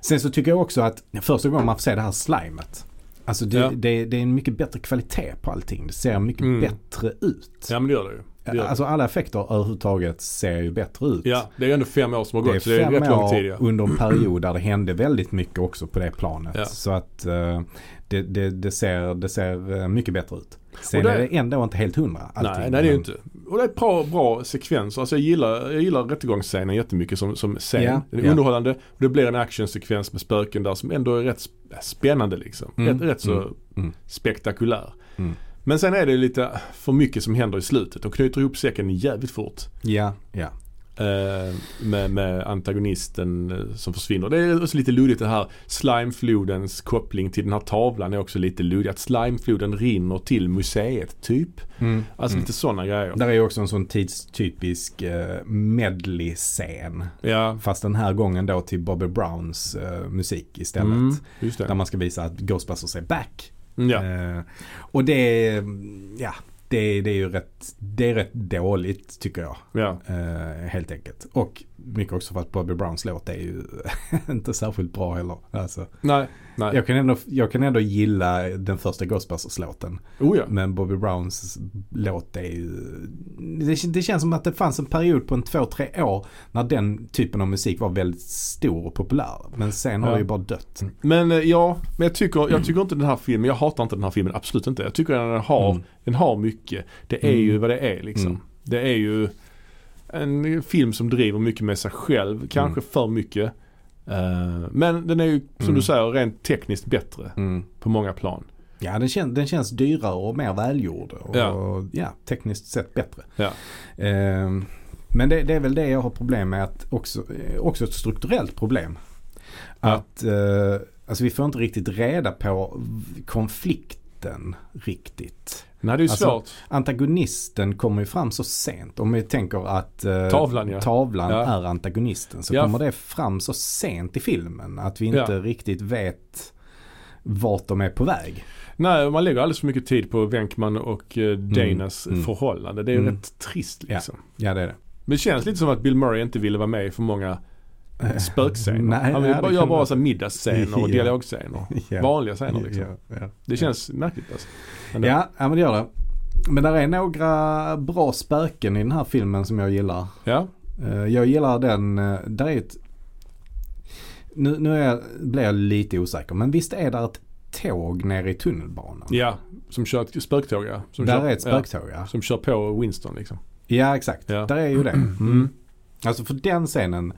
[SPEAKER 2] Sen så tycker jag också att första gången man får se det här slimet. Alltså det,
[SPEAKER 1] Ja.
[SPEAKER 2] det, det är en mycket bättre kvalitet på allting. Det ser mycket
[SPEAKER 1] Mm.
[SPEAKER 2] bättre ut.
[SPEAKER 1] Ja men det gör det ju. Det gör det.
[SPEAKER 2] alltså alla effekter överhuvudtaget ser ju bättre ut.
[SPEAKER 1] Ja, det är ju ändå fem år som har gått
[SPEAKER 2] Det är
[SPEAKER 1] så det är
[SPEAKER 2] fem
[SPEAKER 1] rätt
[SPEAKER 2] år
[SPEAKER 1] lång tid ja.
[SPEAKER 2] under en period där det hände väldigt mycket också på det planet.
[SPEAKER 1] Ja.
[SPEAKER 2] Så att eh, det, det, det, ser, det ser eh, mycket bättre ut. Sen
[SPEAKER 1] Och det-
[SPEAKER 2] är det ändå inte helt hundra allting.
[SPEAKER 1] Nej, nej det är ju
[SPEAKER 2] men-
[SPEAKER 1] inte. Och det är bra, bra sekvenser. Alltså jag gillar, jag gillar rättegångsscenen jättemycket som, som scen.
[SPEAKER 2] Ja,
[SPEAKER 1] Den är
[SPEAKER 2] ja.
[SPEAKER 1] underhållande. Och det blir en actionsekvens med spöken där som ändå är rätt sp- spännande liksom.
[SPEAKER 2] Mm,
[SPEAKER 1] Rätt, rätt så
[SPEAKER 2] mm, mm.
[SPEAKER 1] spektakulär.
[SPEAKER 2] Mm.
[SPEAKER 1] Men sen är det lite för mycket som händer i slutet. De knyter ihop säcken jävligt fort.
[SPEAKER 2] Ja, ja.
[SPEAKER 1] Eh, med, med antagonisten eh, som försvinner. Det är också lite luddigt det här slimeflodens koppling till den här tavlan är också lite luddigt. Att slimefloden rinner till museet typ.
[SPEAKER 2] Mm.
[SPEAKER 1] Alltså lite sådana grejer.
[SPEAKER 2] Där är ju också en sån tidstypisk eh, medley-scen.
[SPEAKER 1] Ja,
[SPEAKER 2] Fast den här gången då till Bobby Browns eh, musik istället.
[SPEAKER 1] mm, just
[SPEAKER 2] Där
[SPEAKER 1] det.
[SPEAKER 2] man ska visa att Ghostbusters är back.
[SPEAKER 1] Mm, Ja.
[SPEAKER 2] Eh, och det är, mm, ja, det, det är ju rätt, det är rätt dåligt tycker jag.
[SPEAKER 1] Ja.
[SPEAKER 2] Eh, helt enkelt. Och mycket också för att Bobby Browns låt är ju inte särskilt bra heller. Alltså,
[SPEAKER 1] Nej, nej.
[SPEAKER 2] jag, kan ändå, jag kan ändå gilla den första Ghostbusters-låten.
[SPEAKER 1] Oh ja.
[SPEAKER 2] Men Bobby Browns låt är ju... Det, det känns som att det fanns en period på en två, tre år när den typen av musik var väldigt stor och populär. Men sen har
[SPEAKER 1] Ja.
[SPEAKER 2] det ju bara dött.
[SPEAKER 1] Men eh, ja, men jag tycker,
[SPEAKER 2] Mm.
[SPEAKER 1] jag tycker inte den här filmen, jag hatar inte den här filmen, absolut inte. Jag tycker den har,
[SPEAKER 2] Mm.
[SPEAKER 1] den har mycket. Det är
[SPEAKER 2] Mm.
[SPEAKER 1] ju vad det är liksom.
[SPEAKER 2] Mm.
[SPEAKER 1] Det är ju en film som driver mycket med sig själv, kanske för mycket. Eh, men den är ju som
[SPEAKER 2] Mm.
[SPEAKER 1] du säger rent tekniskt bättre på många plan.
[SPEAKER 2] Ja, den, kän, den känns dyrare och mer välgjord. Och,
[SPEAKER 1] Ja.
[SPEAKER 2] och, ja, tekniskt sett bättre.
[SPEAKER 1] Ja.
[SPEAKER 2] Ehm, men det, det är väl det jag har problem med. Att också, eh, också ett strukturellt problem.
[SPEAKER 1] Ja.
[SPEAKER 2] Att eh, alltså vi får inte riktigt reda på v- konflikten riktigt.
[SPEAKER 1] Nej det är ju
[SPEAKER 2] Alltså,
[SPEAKER 1] svårt.
[SPEAKER 2] Antagonisten kommer ju fram så sent. Om vi tänker att eh,
[SPEAKER 1] Tavlan, ja.
[SPEAKER 2] tavlan
[SPEAKER 1] Ja.
[SPEAKER 2] är antagonisten så
[SPEAKER 1] Ja.
[SPEAKER 2] kommer det fram så sent i filmen att vi inte
[SPEAKER 1] Ja.
[SPEAKER 2] riktigt vet vart de är på väg.
[SPEAKER 1] Nej man lägger alldeles för mycket tid på Venkman och eh, Danas
[SPEAKER 2] Mm.
[SPEAKER 1] förhållande. Det är ju
[SPEAKER 2] Mm.
[SPEAKER 1] rätt trist liksom.
[SPEAKER 2] Ja det är det.
[SPEAKER 1] Men det känns lite som att Bill Murray inte ville vara med i för många spökscener.
[SPEAKER 2] Eh, nej,
[SPEAKER 1] han vill
[SPEAKER 2] nej,
[SPEAKER 1] bara
[SPEAKER 2] det
[SPEAKER 1] göra
[SPEAKER 2] kan
[SPEAKER 1] bara
[SPEAKER 2] vara-
[SPEAKER 1] så här middagsscener och
[SPEAKER 2] Ja.
[SPEAKER 1] dialogscener.
[SPEAKER 2] Ja.
[SPEAKER 1] Vanliga scener liksom.
[SPEAKER 2] Ja, ja.
[SPEAKER 1] Det känns märkligt alltså.
[SPEAKER 2] Ja, ja, men det gör det. Men där är några bra spöken i den här filmen som jag gillar.
[SPEAKER 1] Ja,
[SPEAKER 2] Eh, Jag gillar den, eh, där är ett... Nu, nu är jag, blir jag lite osäker men visst är där ett tåg nere i tunnelbanan?
[SPEAKER 1] ja. som kör ett spöktåg ja. Som
[SPEAKER 2] där
[SPEAKER 1] kör,
[SPEAKER 2] är ett spöktåg ja.
[SPEAKER 1] Ja, som kör på Winston liksom.
[SPEAKER 2] Ja exakt,
[SPEAKER 1] Ja.
[SPEAKER 2] där är ju det. Mm. Alltså för den scenen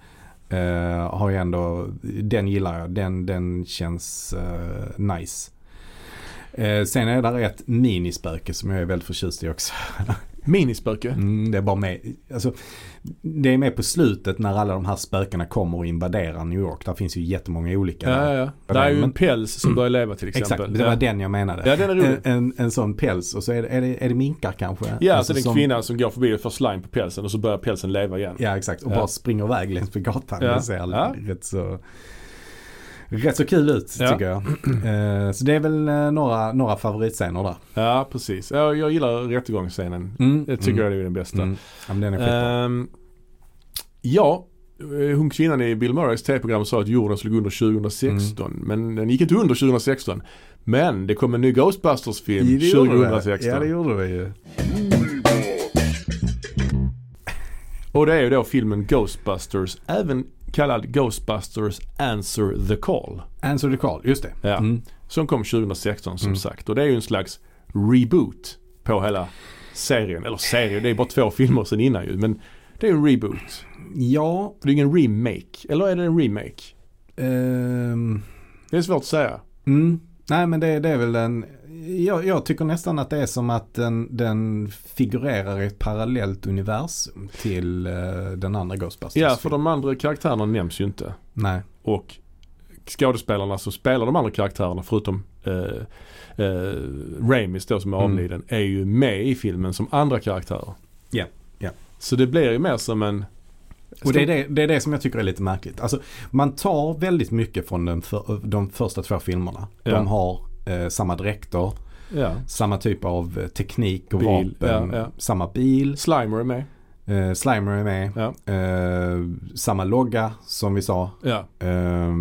[SPEAKER 2] eh, har jag ändå, den gillar jag. Den, den känns eh, nice. Eh, sen är där ett minispöke som jag är väldigt förtjust i också.
[SPEAKER 1] Minispöke.
[SPEAKER 2] Mm, det är bara med, alltså, det är med på slutet när alla de här spökena kommer och invaderar New York. Där finns ju jättemånga olika.
[SPEAKER 1] Ja, ja, ja. Där är ju en päls som börjar leva till exempel.
[SPEAKER 2] Exakt, det var
[SPEAKER 1] ja.
[SPEAKER 2] den jag menade.
[SPEAKER 1] Ja, den är rolig.
[SPEAKER 2] en, en, en sån päls och så är det, är det, är det minkar kanske?
[SPEAKER 1] Ja, så
[SPEAKER 2] Alltså
[SPEAKER 1] det är en
[SPEAKER 2] som-
[SPEAKER 1] kvinna som går förbi och får slime på pälsen och så börjar pälsen leva igen.
[SPEAKER 2] Ja exakt och
[SPEAKER 1] Ja.
[SPEAKER 2] bara springer iväg längs med gatan.
[SPEAKER 1] Ja.
[SPEAKER 2] Det ser
[SPEAKER 1] Ja.
[SPEAKER 2] rätt så Rätt så kul ut
[SPEAKER 1] Ja.
[SPEAKER 2] tycker jag. Eh, så det är väl eh, några, några favoritscener där.
[SPEAKER 1] Ja, precis. Ja, jag gillar rättegångsscenen. Mm, Det tycker jag är den bästa.
[SPEAKER 2] Mm. Ja, men den är skitbra.
[SPEAKER 1] Ehm, ja, eh, hon kvinnan i Bill Murrays tv-program sa att jorden skulle gå under 2016.
[SPEAKER 2] Mm.
[SPEAKER 1] Men den gick inte under 2016. Men det kom en ny Ghostbusters-film
[SPEAKER 2] Det gjorde det.
[SPEAKER 1] 2016.
[SPEAKER 2] Ja det gjorde det ju.
[SPEAKER 1] och det är ju då filmen Ghostbusters, även kallad Ghostbusters Answer the Call.
[SPEAKER 2] Answer the call, just det.
[SPEAKER 1] Ja.
[SPEAKER 2] Mm.
[SPEAKER 1] Som kom 2016 som sagt. Och det är ju en slags reboot på hela serien. Eller serien, det är bara två filmer sedan innan ju. Men det är en reboot.
[SPEAKER 2] Ja,
[SPEAKER 1] För det är ingen remake. Eller är det en remake?
[SPEAKER 2] ehm,
[SPEAKER 1] Det är svårt att säga.
[SPEAKER 2] mm. nej men det, det är väl en, jag, jag tycker nästan att det är som att den, den figurerar i ett parallellt universum till eh, den andra Ghostbusters.
[SPEAKER 1] Ja, för de andra karaktärerna nämns ju inte.
[SPEAKER 2] Nej.
[SPEAKER 1] Och skådespelarna som spelar de andra karaktärerna förutom eh, eh, Ramis då som är
[SPEAKER 2] Mm.
[SPEAKER 1] avliden är ju med i filmen som andra karaktärer.
[SPEAKER 2] Ja, ja.
[SPEAKER 1] Så det blir ju mer som en...
[SPEAKER 2] Och det är det, det är det som jag tycker är lite märkligt. Alltså, man tar väldigt mycket från den för, de första två filmerna.
[SPEAKER 1] Ja.
[SPEAKER 2] De har eh, samma dräkter,
[SPEAKER 1] Ja.
[SPEAKER 2] samma typ av eh, teknik och
[SPEAKER 1] Bil,
[SPEAKER 2] vapen,
[SPEAKER 1] ja, ja.
[SPEAKER 2] samma bil.
[SPEAKER 1] Slimer är med.
[SPEAKER 2] Eh, Slimer är med,
[SPEAKER 1] Ja.
[SPEAKER 2] eh, samma logga som vi sa.
[SPEAKER 1] Ja.
[SPEAKER 2] Eh,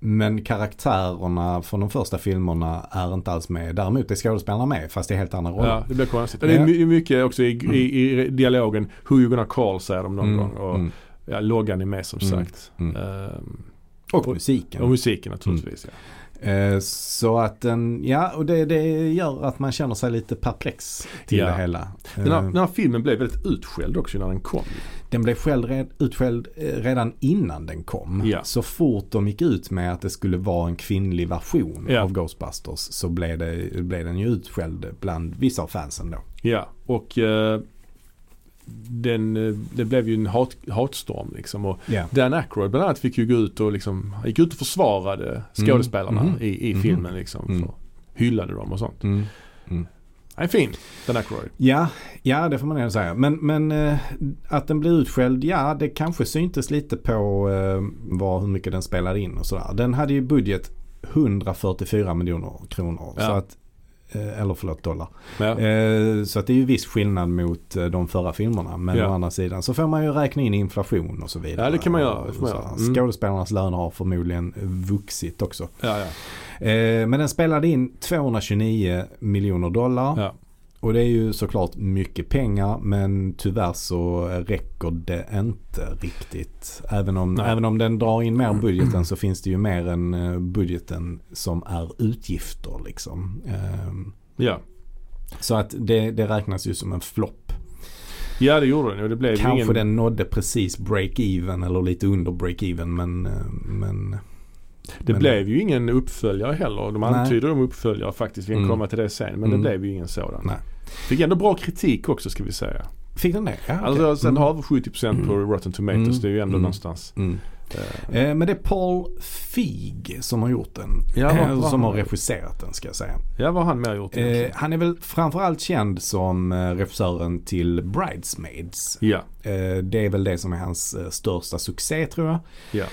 [SPEAKER 2] men karaktärerna från de första filmerna är inte alls med. Däremot är skådespelarna med fast det är helt andra roller.
[SPEAKER 1] Ja, det blir konstigt. Och Det är my- mycket också i, i, i dialogen. Who you gonna call säger de någon
[SPEAKER 2] Mm,
[SPEAKER 1] gång. Och
[SPEAKER 2] mm,
[SPEAKER 1] ja, loggan är med som
[SPEAKER 2] Mm,
[SPEAKER 1] sagt.
[SPEAKER 2] mm.
[SPEAKER 1] Ehm,
[SPEAKER 2] och
[SPEAKER 1] och-
[SPEAKER 2] musiken.
[SPEAKER 1] och musiken naturligtvis.
[SPEAKER 2] Eh, Så att den, ja och det, det gör att man känner sig lite perplex till
[SPEAKER 1] Ja.
[SPEAKER 2] det hela.
[SPEAKER 1] Ja. Den, här,
[SPEAKER 2] Eh,
[SPEAKER 1] den här filmen blev väldigt utskälld också när den kom.
[SPEAKER 2] Den blev själv red, utskälld eh, redan innan den kom.
[SPEAKER 1] Ja.
[SPEAKER 2] Så fort de gick ut med att det skulle vara en kvinnlig version
[SPEAKER 1] Ja.
[SPEAKER 2] av Ghostbusters så blev, det, blev den ju utskälld bland vissa av fansen då.
[SPEAKER 1] Ja, och eh, den, eh, det blev ju en hat, hatstorm liksom. Och
[SPEAKER 2] Ja.
[SPEAKER 1] Dan Aykroyd bland annat fick ju gå ut och liksom, han gick ut och försvarade skådespelarna
[SPEAKER 2] Mhm.
[SPEAKER 1] i, i
[SPEAKER 2] Mhm.
[SPEAKER 1] filmen liksom.
[SPEAKER 2] Mm.
[SPEAKER 1] För, hyllade dem och sånt. Han är fin, Dan Aykroyd.
[SPEAKER 2] Ja, ja, det får man ändå säga. Men, men eh, att den blir utskälld, ja det kanske syntes lite på eh, vad, hur mycket den spelade in och sådär. Den hade ju budget 144 miljoner kronor.
[SPEAKER 1] Ja.
[SPEAKER 2] Så att, eh, eller förlåt dollar.
[SPEAKER 1] Men, ja.
[SPEAKER 2] Eh, så att det är ju viss skillnad mot eh, de förra filmerna. Men
[SPEAKER 1] Ja.
[SPEAKER 2] å andra sidan så får man ju räkna in inflation och så vidare.
[SPEAKER 1] Ja, det kan man göra. Det
[SPEAKER 2] Och
[SPEAKER 1] får man
[SPEAKER 2] så
[SPEAKER 1] göra.
[SPEAKER 2] här.
[SPEAKER 1] Mm.
[SPEAKER 2] Skådespelarnas löner har förmodligen vuxit också.
[SPEAKER 1] Ja, ja.
[SPEAKER 2] Eh, men den spelade in 229 miljoner dollar.
[SPEAKER 1] Ja.
[SPEAKER 2] Och det är ju såklart mycket pengar men tyvärr så räcker det inte riktigt. Även om,
[SPEAKER 1] Nej.
[SPEAKER 2] även om den drar in mer budgeten så finns det ju mer än eh, budgeten som är utgifter liksom. Ehm,
[SPEAKER 1] ja.
[SPEAKER 2] Så att det, det räknas ju som en flopp.
[SPEAKER 1] ja, det gjorde den och det blev ju
[SPEAKER 2] Kanske
[SPEAKER 1] ingen...
[SPEAKER 2] den nådde precis break-even eller lite under break-even men, eh, men
[SPEAKER 1] Det
[SPEAKER 2] Men-
[SPEAKER 1] blev ju ingen uppföljare heller. De
[SPEAKER 2] Nej.
[SPEAKER 1] antyder om uppföljare faktiskt. Vi kan
[SPEAKER 2] Mm.
[SPEAKER 1] komma till det sen. Men
[SPEAKER 2] Mm.
[SPEAKER 1] det blev ju ingen sådan.
[SPEAKER 2] Nej.
[SPEAKER 1] Fick ändå bra kritik också ska vi säga.
[SPEAKER 2] fick den det? Ja, okej.
[SPEAKER 1] Alltså sen
[SPEAKER 2] Mm.
[SPEAKER 1] har vi 70% på Rotten Tomatoes.
[SPEAKER 2] Mm.
[SPEAKER 1] Det är ju ändå
[SPEAKER 2] Mm.
[SPEAKER 1] någonstans.
[SPEAKER 2] Mm.
[SPEAKER 1] eh,
[SPEAKER 2] Eh, Men det är Paul Feig som har gjort den.
[SPEAKER 1] Ja, vad-
[SPEAKER 2] Eh,
[SPEAKER 1] vad-
[SPEAKER 2] som har regisserat den ska jag säga.
[SPEAKER 1] Ja, vad har han mer gjort?
[SPEAKER 2] Eh, han är väl framförallt känd som eh, regissören till Bridesmaids.
[SPEAKER 1] ja,
[SPEAKER 2] Eh, det är väl det som är hans eh, största succé tror jag.
[SPEAKER 1] ja.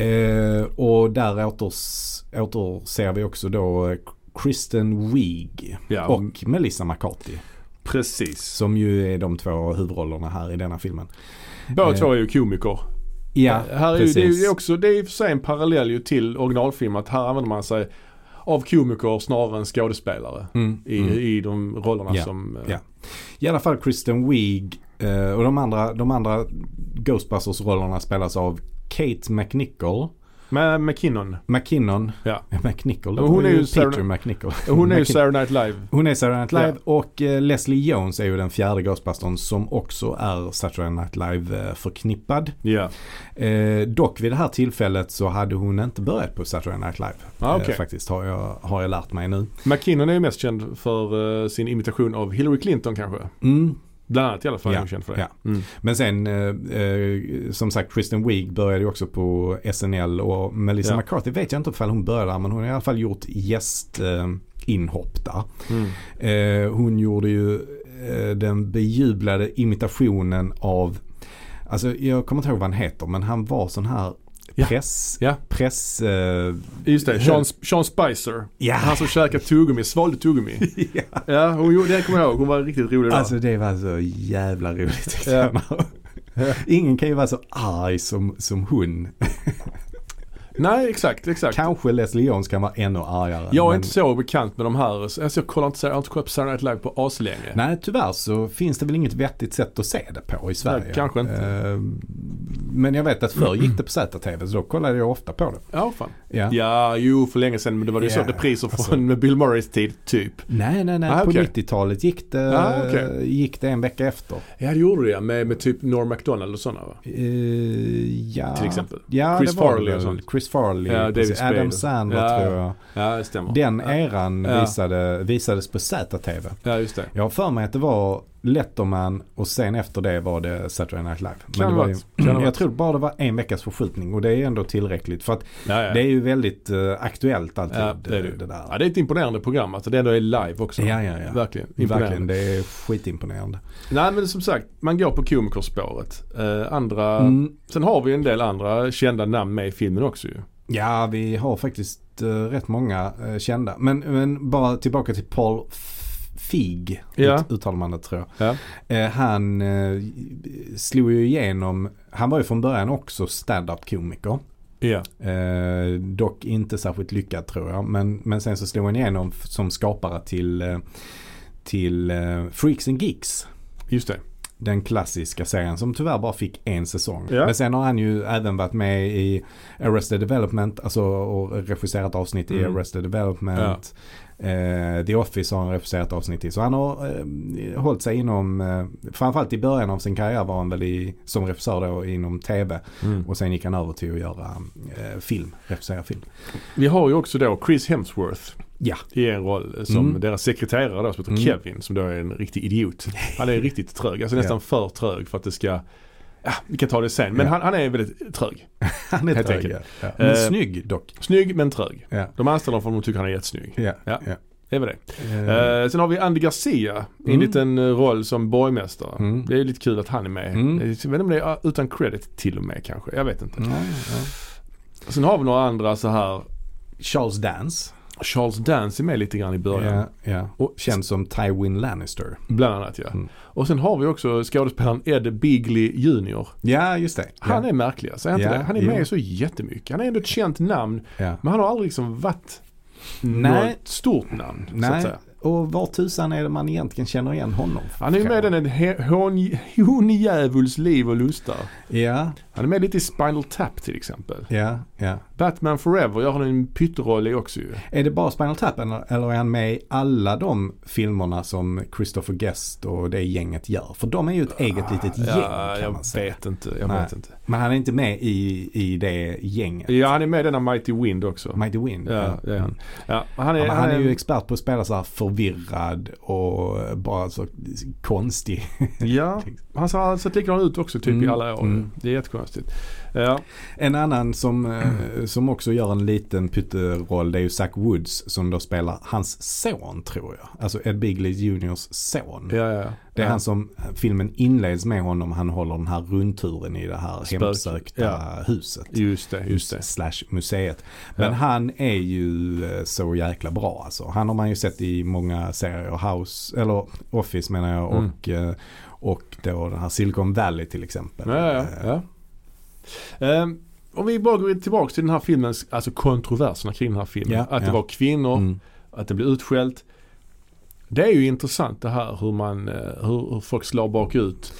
[SPEAKER 2] Eh, och där åters, återser vi också då eh, Kristen Wiig
[SPEAKER 1] Ja,
[SPEAKER 2] och Melissa McCarthy.
[SPEAKER 1] Precis.
[SPEAKER 2] Som ju är de två huvudrollerna här i denna filmen.
[SPEAKER 1] Båda
[SPEAKER 2] Eh,
[SPEAKER 1] två är ju komiker.
[SPEAKER 2] Ja,
[SPEAKER 1] här är ju,
[SPEAKER 2] precis.
[SPEAKER 1] det är ju också, det är i och för sig en parallell ju till originalfilm att här använder man sig av komiker snarare än skådespelare.
[SPEAKER 2] Mm,
[SPEAKER 1] I,
[SPEAKER 2] mm.
[SPEAKER 1] i de rollerna
[SPEAKER 2] Ja,
[SPEAKER 1] som... eh,
[SPEAKER 2] ja. I alla fall Kristen Wiig eh, och de andra, de andra Ghostbusters-rollerna spelas av Kate McNichol.
[SPEAKER 1] Med McKinnon.
[SPEAKER 2] McKinnon.
[SPEAKER 1] Ja.
[SPEAKER 2] McNichol.
[SPEAKER 1] Men hon
[SPEAKER 2] Det var
[SPEAKER 1] är ju
[SPEAKER 2] Peter
[SPEAKER 1] Sarah-
[SPEAKER 2] McNichol.
[SPEAKER 1] Hon är ju
[SPEAKER 2] McKin-
[SPEAKER 1] Saturday Night Live.
[SPEAKER 2] Hon är Saturday Night Live och eh, Leslie Jones är ju den fjärde Ghostbustern som också är Saturday Night Live eh, förknippad.
[SPEAKER 1] Ja.
[SPEAKER 2] Eh, dock vid det här tillfället så hade hon inte börjat på Saturday Night Live.
[SPEAKER 1] Ah, okej.
[SPEAKER 2] eh, faktiskt har jag, har jag lärt mig nu.
[SPEAKER 1] McKinnon är ju mest känd för eh, sin imitation av Hillary Clinton kanske.
[SPEAKER 2] Mm.
[SPEAKER 1] Bland annat i alla fall är
[SPEAKER 2] Ja,
[SPEAKER 1] hon känd för det.
[SPEAKER 2] ja.
[SPEAKER 1] Mm.
[SPEAKER 2] Men sen eh, eh, som sagt Kristen Wiig började ju också på SNL och Melissa
[SPEAKER 1] Ja.
[SPEAKER 2] McCarthy vet jag inte ifall hon började där, men hon har i alla fall gjort gästinhopp där.
[SPEAKER 1] Mm.
[SPEAKER 2] Eh, hon gjorde ju eh, den bejublade imitationen av, alltså jag kommer inte ihåg vad han heter, men han var sån här
[SPEAKER 1] Ja.
[SPEAKER 2] press,
[SPEAKER 1] Ja.
[SPEAKER 2] press, eh,
[SPEAKER 1] Just det, Sean, Sean Spicer.
[SPEAKER 2] Ja.
[SPEAKER 1] Han som käkade tuggummi, svalde tuggummi. Ja, hon, gjorde- det kommer jag ihåg. Hon var riktigt rolig där.
[SPEAKER 2] alltså det var så jävla roligt.
[SPEAKER 1] Ja.
[SPEAKER 2] Ingen kan ju vara så arg som, som hon.
[SPEAKER 1] Nej, exakt, exakt.
[SPEAKER 2] Kanske Leslie Jones kan vara ännu argare.
[SPEAKER 1] Jag är
[SPEAKER 2] men-
[SPEAKER 1] inte så bekant med de här. Alltså, jag kollar inte, så- jag har inte kollat på Saturday Night Live på aslänge.
[SPEAKER 2] Nej, tyvärr så finns det väl inget vettigt sätt att se det på i Sverige.
[SPEAKER 1] kanske inte.
[SPEAKER 2] Eh, Men jag vet att förr gick det på ZTV så då kollade jag ofta på det.
[SPEAKER 1] Ja, fan.
[SPEAKER 2] Ja.
[SPEAKER 1] Ja, jo för länge sedan men det var ju
[SPEAKER 2] Ja,
[SPEAKER 1] så repriser från
[SPEAKER 2] alltså.
[SPEAKER 1] Bill Murrays tid, typ.
[SPEAKER 2] Nej, nej, nej.
[SPEAKER 1] Ah,
[SPEAKER 2] på
[SPEAKER 1] okej.
[SPEAKER 2] 90-talet gick det,
[SPEAKER 1] Ah, okej.
[SPEAKER 2] gick det en vecka efter.
[SPEAKER 1] Ja, det gjorde det med, med typ Norm MacDonald och sådana va?
[SPEAKER 2] Eh, ja.
[SPEAKER 1] Till exempel.
[SPEAKER 2] Ja,
[SPEAKER 1] Chris
[SPEAKER 2] det var
[SPEAKER 1] Farley
[SPEAKER 2] det.
[SPEAKER 1] och sånt.
[SPEAKER 2] Chris Farley.
[SPEAKER 1] Ja,
[SPEAKER 2] precis.
[SPEAKER 1] David Spade.
[SPEAKER 2] Adam Sandler
[SPEAKER 1] Ja.
[SPEAKER 2] tror jag.
[SPEAKER 1] Ja, det stämmer.
[SPEAKER 2] Den
[SPEAKER 1] ja.
[SPEAKER 2] eran
[SPEAKER 1] Ja.
[SPEAKER 2] Visade, visades på ZTV.
[SPEAKER 1] ja, just det.
[SPEAKER 2] Jag har för mig att det var Letterman och sen efter det var det Saturday Night Live. Men
[SPEAKER 1] ha
[SPEAKER 2] det var ju,
[SPEAKER 1] varit. Kan ha
[SPEAKER 2] jag
[SPEAKER 1] varit.
[SPEAKER 2] tror bara det var en veckas förskjutning och det är ändå tillräckligt. För att
[SPEAKER 1] Ja, ja.
[SPEAKER 2] det är ju väldigt eh, aktuellt alltid.
[SPEAKER 1] Ja, det, är det.
[SPEAKER 2] det där.
[SPEAKER 1] ja, det är ett imponerande program. Alltså det ändå är live också.
[SPEAKER 2] Ja, ja, ja.
[SPEAKER 1] Verkligen. Imponerande.
[SPEAKER 2] Verkligen, det är skitimponerande.
[SPEAKER 1] Nej, men som sagt, man går på komikerspåret. Eh, andra...
[SPEAKER 2] Mm.
[SPEAKER 1] Sen har vi en del andra kända namn med i filmen också ju.
[SPEAKER 2] Ja, vi har faktiskt eh, rätt många eh, kända. Men, men bara tillbaka till Paul F- Fig,
[SPEAKER 1] Ja.
[SPEAKER 2] ut, uttalar man det tror jag.
[SPEAKER 1] Ja.
[SPEAKER 2] Eh, han eh, slog ju igenom, han var ju från början också stand-up komiker.
[SPEAKER 1] Ja.
[SPEAKER 2] Eh, dock inte särskilt lyckad tror jag. Men, men sen så slog han igenom f- som skapare till, eh, till eh, Freaks and Geeks.
[SPEAKER 1] Just det.
[SPEAKER 2] Den klassiska serien som tyvärr bara fick en säsong.
[SPEAKER 1] Ja.
[SPEAKER 2] Men sen har han ju även varit med i Arrested Development, alltså och regisserat avsnitt i
[SPEAKER 1] Mm.
[SPEAKER 2] Arrested Development. Eh, The Office har han regisserat avsnitt i. Så han har eh, hållit sig inom, eh, framförallt i början av sin karriär var han väl i, som regissör då inom tv.
[SPEAKER 1] Mm.
[SPEAKER 2] Och sen gick han över till att göra eh, film, regissera film.
[SPEAKER 1] Vi har ju också då Chris Hemsworth
[SPEAKER 2] Ja,
[SPEAKER 1] i en roll som
[SPEAKER 2] Mm.
[SPEAKER 1] deras sekreterare då som heter
[SPEAKER 2] Mm.
[SPEAKER 1] Kevin som då är en riktig idiot. Han är riktigt trög, alltså nästan för trög för att det ska Ja, vi kan ta det sen. Men
[SPEAKER 2] Ja.
[SPEAKER 1] han, han är väldigt trög.
[SPEAKER 2] han är
[SPEAKER 1] Helt
[SPEAKER 2] trög.
[SPEAKER 1] enkelt.
[SPEAKER 2] Ja. Men
[SPEAKER 1] Eh,
[SPEAKER 2] snygg dock.
[SPEAKER 1] Snygg men trög.
[SPEAKER 2] Ja.
[SPEAKER 1] De anställer honom för att de tycker han är jättesnygg.
[SPEAKER 2] Ja.
[SPEAKER 1] Ja.
[SPEAKER 2] Ja.
[SPEAKER 1] Det är väl det.
[SPEAKER 2] Eh,
[SPEAKER 1] Eh, sen har vi Andy Garcia i en
[SPEAKER 2] Mm.
[SPEAKER 1] liten eh, roll som borgmästare.
[SPEAKER 2] Mm.
[SPEAKER 1] Det är lite kul att han är med.
[SPEAKER 2] Mm.
[SPEAKER 1] Jag vet inte om det är ah, utan credit till och med kanske. Jag vet inte.
[SPEAKER 2] ja, ja.
[SPEAKER 1] Sen har vi några andra så här.
[SPEAKER 2] Charles Dance.
[SPEAKER 1] Charles Dance är med lite grann i början.
[SPEAKER 2] Ja, ja.
[SPEAKER 1] Och,
[SPEAKER 2] Känd som Tywin Lannister.
[SPEAKER 1] bland annat ja.
[SPEAKER 2] Mm.
[SPEAKER 1] Och sen har vi också skådespelaren Ed Bigley Jr.
[SPEAKER 2] Ja, just det.
[SPEAKER 1] Han
[SPEAKER 2] ja.
[SPEAKER 1] är märklig alltså, är han inte
[SPEAKER 2] Ja,
[SPEAKER 1] det? Han är med
[SPEAKER 2] jo.
[SPEAKER 1] så jättemycket. Han är ändå ett känt namn.
[SPEAKER 2] Ja.
[SPEAKER 1] Men han har aldrig liksom varit
[SPEAKER 2] Nej.
[SPEAKER 1] något stort namn. Mm. Så att
[SPEAKER 2] Nej,
[SPEAKER 1] säga.
[SPEAKER 2] och var tusan är det man egentligen känner igen honom?
[SPEAKER 1] Han är ju med i den he- hon- Honjävuls liv och lustar.
[SPEAKER 2] Ja,
[SPEAKER 1] Han är med lite i Spinal Tap till exempel.
[SPEAKER 2] ja, ja.
[SPEAKER 1] Batman Forever gör han en pytteroll i också ju.
[SPEAKER 2] Är det bara Spinal Tap eller eller är han med i alla de filmerna som Christopher Guest och det gänget gör? För de är ju ett eget litet gäng
[SPEAKER 1] Ah, Ja,
[SPEAKER 2] kan man
[SPEAKER 1] jag
[SPEAKER 2] säga.
[SPEAKER 1] vet inte. Jag
[SPEAKER 2] Nej.
[SPEAKER 1] vet inte.
[SPEAKER 2] Men han är inte med i, i det gänget.
[SPEAKER 1] Ja, han är med i denna Mighty Wind också.
[SPEAKER 2] Mighty Wind.
[SPEAKER 1] Ja, Ehm. det är han. Ja, han, är,
[SPEAKER 2] Ja, men han är ju expert på att spela så här förvirrad och bara så konstig.
[SPEAKER 1] Ja, han har han sett likadan ut också typ i
[SPEAKER 2] Mm,
[SPEAKER 1] alla år.
[SPEAKER 2] mm.
[SPEAKER 1] Det är jättekonstigt. Ja,
[SPEAKER 2] En annan som, eh, som också gör en liten pytteroll det är ju Zach Woods som då spelar hans son tror jag. Alltså Ed Bigley Juniors son.
[SPEAKER 1] ja, ja.
[SPEAKER 2] Det är
[SPEAKER 1] ja.
[SPEAKER 2] han som eh, filmen inleds med honom. Han håller den här rundturen i det här
[SPEAKER 1] Spök.
[SPEAKER 2] hemsökta
[SPEAKER 1] Ja.
[SPEAKER 2] huset.
[SPEAKER 1] Just det, just det.
[SPEAKER 2] Slash museet. Men
[SPEAKER 1] Ja.
[SPEAKER 2] han är ju eh, så jäkla bra alltså. Han har man ju sett i många serier. House, eller Office menar jag.
[SPEAKER 1] Mm.
[SPEAKER 2] Och, eh, och då den här Silicon Valley till exempel.
[SPEAKER 1] Ja, ja,
[SPEAKER 2] Eh,
[SPEAKER 1] ja. Ehm, om vi bara går tillbaka till den här filmens, alltså kontroverserna kring den här filmen.
[SPEAKER 2] Ja,
[SPEAKER 1] att det
[SPEAKER 2] ja.
[SPEAKER 1] var kvinnor,
[SPEAKER 2] Mm.
[SPEAKER 1] att det blev utskällt. Det är ju intressant det här hur, man, eh, hur, hur folk slår bakut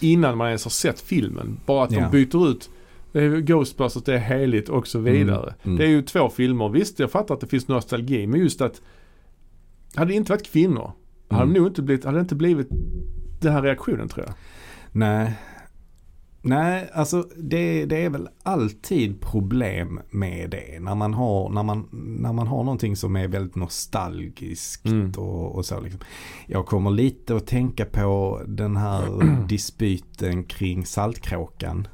[SPEAKER 1] innan man ens har sett filmen. Bara att
[SPEAKER 2] Ja.
[SPEAKER 1] de byter ut det är ju Ghostbusters, det är heligt och så vidare.
[SPEAKER 2] Mm, mm.
[SPEAKER 1] Det är ju två filmer. Visst, jag fattar att det finns nostalgi men just att hade det inte varit kvinnor hade,
[SPEAKER 2] Mm.
[SPEAKER 1] det nog inte blivit, hade det inte blivit den här reaktionen tror jag.
[SPEAKER 2] Nej. Nej, alltså det, det är väl alltid problem med det. När man har, när man, när man har någonting som är väldigt nostalgiskt
[SPEAKER 1] Mm.
[SPEAKER 2] och, och så. Liksom. Jag kommer lite att tänka på den här dispyten kring Saltkråkan.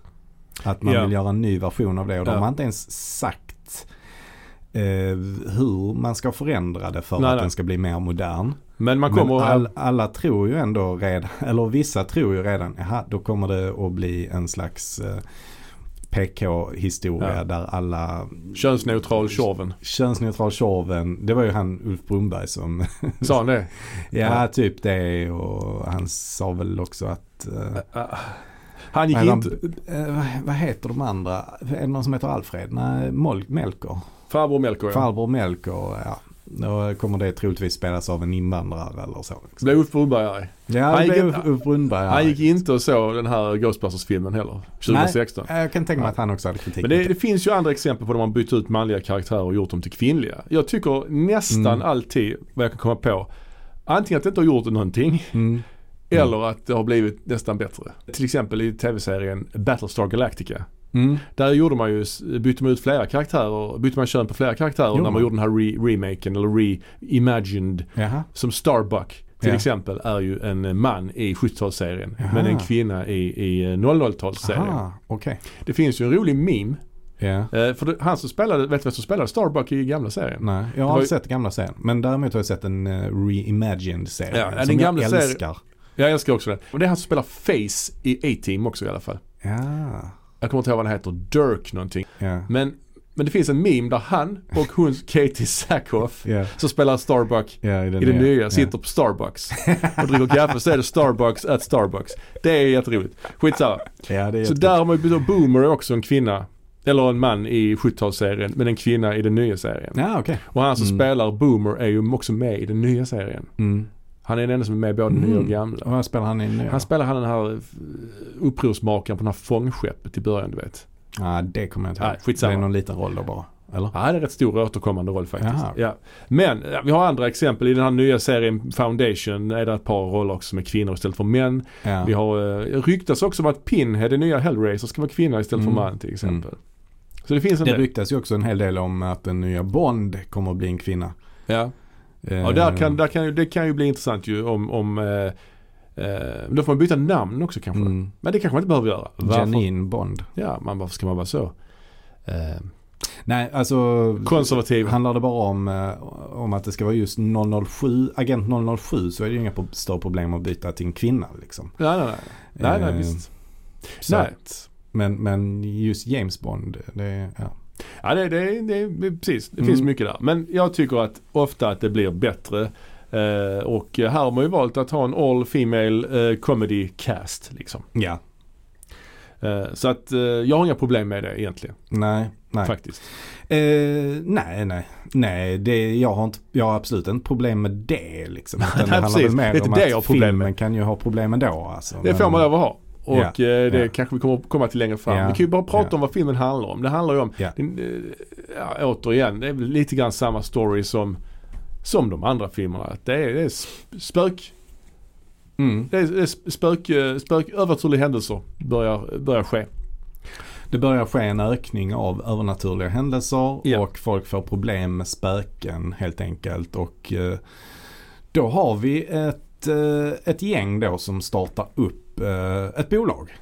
[SPEAKER 2] Att man
[SPEAKER 1] Ja.
[SPEAKER 2] vill göra en ny version av det och då
[SPEAKER 1] Ja.
[SPEAKER 2] har man inte ens sagt eh, hur man ska förändra det för
[SPEAKER 1] Nej,
[SPEAKER 2] att
[SPEAKER 1] nej.
[SPEAKER 2] den ska bli mer modern.
[SPEAKER 1] Men man kommer...
[SPEAKER 2] Men all, alla tror ju ändå redan, eller vissa tror ju redan, jaha då kommer det att bli en slags eh, PK-historia
[SPEAKER 1] Ja.
[SPEAKER 2] där alla
[SPEAKER 1] Könsneutral Tjorven.
[SPEAKER 2] könsneutral Tjorven, det var ju han Ulf Brunberg som,
[SPEAKER 1] Sa han det?
[SPEAKER 2] ja,
[SPEAKER 1] Ja.
[SPEAKER 2] typ det och han sa väl också att eh,
[SPEAKER 1] Ah. Han Äh, gick
[SPEAKER 2] vad,
[SPEAKER 1] inte...
[SPEAKER 2] heter han? Eh, vad- vad heter de andra? Är det någon som heter Alfred? Nej, Mol- Melker.
[SPEAKER 1] Farbror Melker ja.
[SPEAKER 2] Farbror Melker, ja. Då kommer det troligtvis spelas av en invandrare eller så. Liksom.
[SPEAKER 1] Blev Ulf Brunberg arg.
[SPEAKER 2] Ja,
[SPEAKER 1] Han
[SPEAKER 2] det
[SPEAKER 1] gick
[SPEAKER 2] blev
[SPEAKER 1] in-
[SPEAKER 2] Ulf Brunberg.
[SPEAKER 1] Han gick inte och såg den här Ghostbusters-filmen heller. 2016.
[SPEAKER 2] Nej, jag kan tänka mig att han också hade kritik.
[SPEAKER 1] Men det,
[SPEAKER 2] mot
[SPEAKER 1] det finns ju andra exempel på när man bytt ut manliga karaktärer och gjort dem till kvinnliga. Jag tycker nästan
[SPEAKER 2] Mm.
[SPEAKER 1] alltid, vad jag kan komma på, antingen att det inte har gjort någonting
[SPEAKER 2] Mm.
[SPEAKER 1] eller att det har blivit nästan bättre. Till exempel i tv-serien Battlestar Galactica.
[SPEAKER 2] Mm.
[SPEAKER 1] Där gjorde man ju, bytte man ut flera karaktärer, bytte man kön på flera karaktärer
[SPEAKER 2] Gjorde
[SPEAKER 1] när man
[SPEAKER 2] man?
[SPEAKER 1] gjorde den här re- remaken eller reimagined.
[SPEAKER 2] Jaha.
[SPEAKER 1] Som Starbuck till
[SPEAKER 2] Ja.
[SPEAKER 1] exempel är ju en man i 70-talsserien
[SPEAKER 2] Jaha.
[SPEAKER 1] men en kvinna i, i 00-talsserien.
[SPEAKER 2] Aha, okej.
[SPEAKER 1] Det finns ju en rolig meme.
[SPEAKER 2] Ja.
[SPEAKER 1] Eh, För det- han som spelade, vet du vem som spelade Starbuck i gamla serien?
[SPEAKER 2] Nej, jag har
[SPEAKER 1] var ju-
[SPEAKER 2] aldrig sett gamla serien. Men däremot har jag sett en uh, reimagined serie.
[SPEAKER 1] Ja, den
[SPEAKER 2] som
[SPEAKER 1] gamla
[SPEAKER 2] jag
[SPEAKER 1] serien-
[SPEAKER 2] älskar.
[SPEAKER 1] Jag älskar också den. Och det är han som spelar Face i A-Team också i alla fall.
[SPEAKER 2] Ja.
[SPEAKER 1] Jag kommer inte ihåg vad han heter, Dirk någonting.
[SPEAKER 2] Ja.
[SPEAKER 1] Men, men det finns en meme där han och hon Katie Sackhoff
[SPEAKER 2] Ja.
[SPEAKER 1] som spelar Starbuck
[SPEAKER 2] Ja, i den
[SPEAKER 1] i den
[SPEAKER 2] nya.
[SPEAKER 1] nya
[SPEAKER 2] Ja.
[SPEAKER 1] sitter på Starbucks och dricker kaffe så är det Starbucks at Starbucks. Det är jätteroligt. Skitsamma.
[SPEAKER 2] Ja, det är
[SPEAKER 1] Så
[SPEAKER 2] jättekul.
[SPEAKER 1] där har man ju då Boomer är också en kvinna. Eller en man i 70-talsserien men en kvinna i den nya serien.
[SPEAKER 2] Ja, okej.
[SPEAKER 1] Och han som
[SPEAKER 2] Mm.
[SPEAKER 1] spelar Boomer är ju också med i den nya serien.
[SPEAKER 2] Mm.
[SPEAKER 1] Han är den enda som är med i både den nya och
[SPEAKER 2] Mm.
[SPEAKER 1] gamla.
[SPEAKER 2] Och vad spelar han i nu?
[SPEAKER 1] Han spelar han den här eh, upprorsmakaren på den här fångskeppet i början du vet.
[SPEAKER 2] Ja, det kommer jag inte
[SPEAKER 1] Nej, skitsamma.
[SPEAKER 2] Det är någon liten roll då bara. Eller?
[SPEAKER 1] Ja, det är en rätt stor återkommande roll faktiskt.
[SPEAKER 2] Jaha.
[SPEAKER 1] Ja. Men ja, vi har andra exempel. I den här nya serien Foundation är det ett par roller också som är kvinnor istället för män.
[SPEAKER 2] Ja.
[SPEAKER 1] Vi har eh, ryktas också om att Pinhead, den nya Hellraiser, ska vara kvinna istället
[SPEAKER 2] Mm.
[SPEAKER 1] för man till exempel. Så det finns en
[SPEAKER 2] Det
[SPEAKER 1] del.
[SPEAKER 2] ryktas ju också en hel del om att den nya Bond kommer att bli en kvinna. Eh,
[SPEAKER 1] Ja. Ja, där
[SPEAKER 2] Ehm.
[SPEAKER 1] kan, där kan, ju- det kan ju bli intressant ju om, om eh, eh, då får man byta namn också kanske.
[SPEAKER 2] Mm.
[SPEAKER 1] Men det kanske man inte behöver göra.
[SPEAKER 2] Janine Bond.
[SPEAKER 1] Ja, man, varför ska man vara så? Eh,
[SPEAKER 2] Ehm. Nej, alltså
[SPEAKER 1] konservativ.
[SPEAKER 2] Handlar det bara om, eh, om att det ska vara just 007, agent 007 så är det ju inga pro- större problem att byta till en kvinna. Liksom.
[SPEAKER 1] nej, nej, nej. Nej, nej,
[SPEAKER 2] Eh,
[SPEAKER 1] visst.
[SPEAKER 2] Så
[SPEAKER 1] Nej.
[SPEAKER 2] Att, men, men just James Bond, det, ja.
[SPEAKER 1] Ja, det, det, det, det, precis. Det
[SPEAKER 2] Mm.
[SPEAKER 1] finns mycket där. Men jag tycker att ofta att det blir bättre. Eh, och här har man ju valt att ha en all female eh, comedy cast liksom.
[SPEAKER 2] ja.
[SPEAKER 1] Eh, så att eh, jag har inga problem med det egentligen.
[SPEAKER 2] Nej, nej.
[SPEAKER 1] Faktiskt.
[SPEAKER 2] Eh, nej, nej. Nej, det, jag, har inte, jag har absolut inte problem med det. Liksom. Utan
[SPEAKER 1] Nej, precis. Det är inte det jag har problem
[SPEAKER 2] filmen kan ju ha problem ändå. Alltså.
[SPEAKER 1] Det får man lov att ha. Och
[SPEAKER 2] Ja,
[SPEAKER 1] eh, det
[SPEAKER 2] ja.
[SPEAKER 1] kanske vi kommer att komma till längre fram.
[SPEAKER 2] Ja,
[SPEAKER 1] Vi kan ju bara prata
[SPEAKER 2] ja.
[SPEAKER 1] om vad filmen handlar om. Det handlar ju om,
[SPEAKER 2] Ja.
[SPEAKER 1] det, eh, ja, återigen, det är väl lite grann samma story som, som de andra filmerna. Att Det är, det är sp- spök,
[SPEAKER 2] Mm.
[SPEAKER 1] det är, det är sp- spök, eh, spök övernaturliga händelser börjar, börjar ske.
[SPEAKER 2] Det börjar ske en ökning av övernaturliga händelser
[SPEAKER 1] Ja.
[SPEAKER 2] och folk får problem med spöken helt enkelt. Och eh, då har vi ett, eh, ett gäng då som startar upp eh, ett bolag.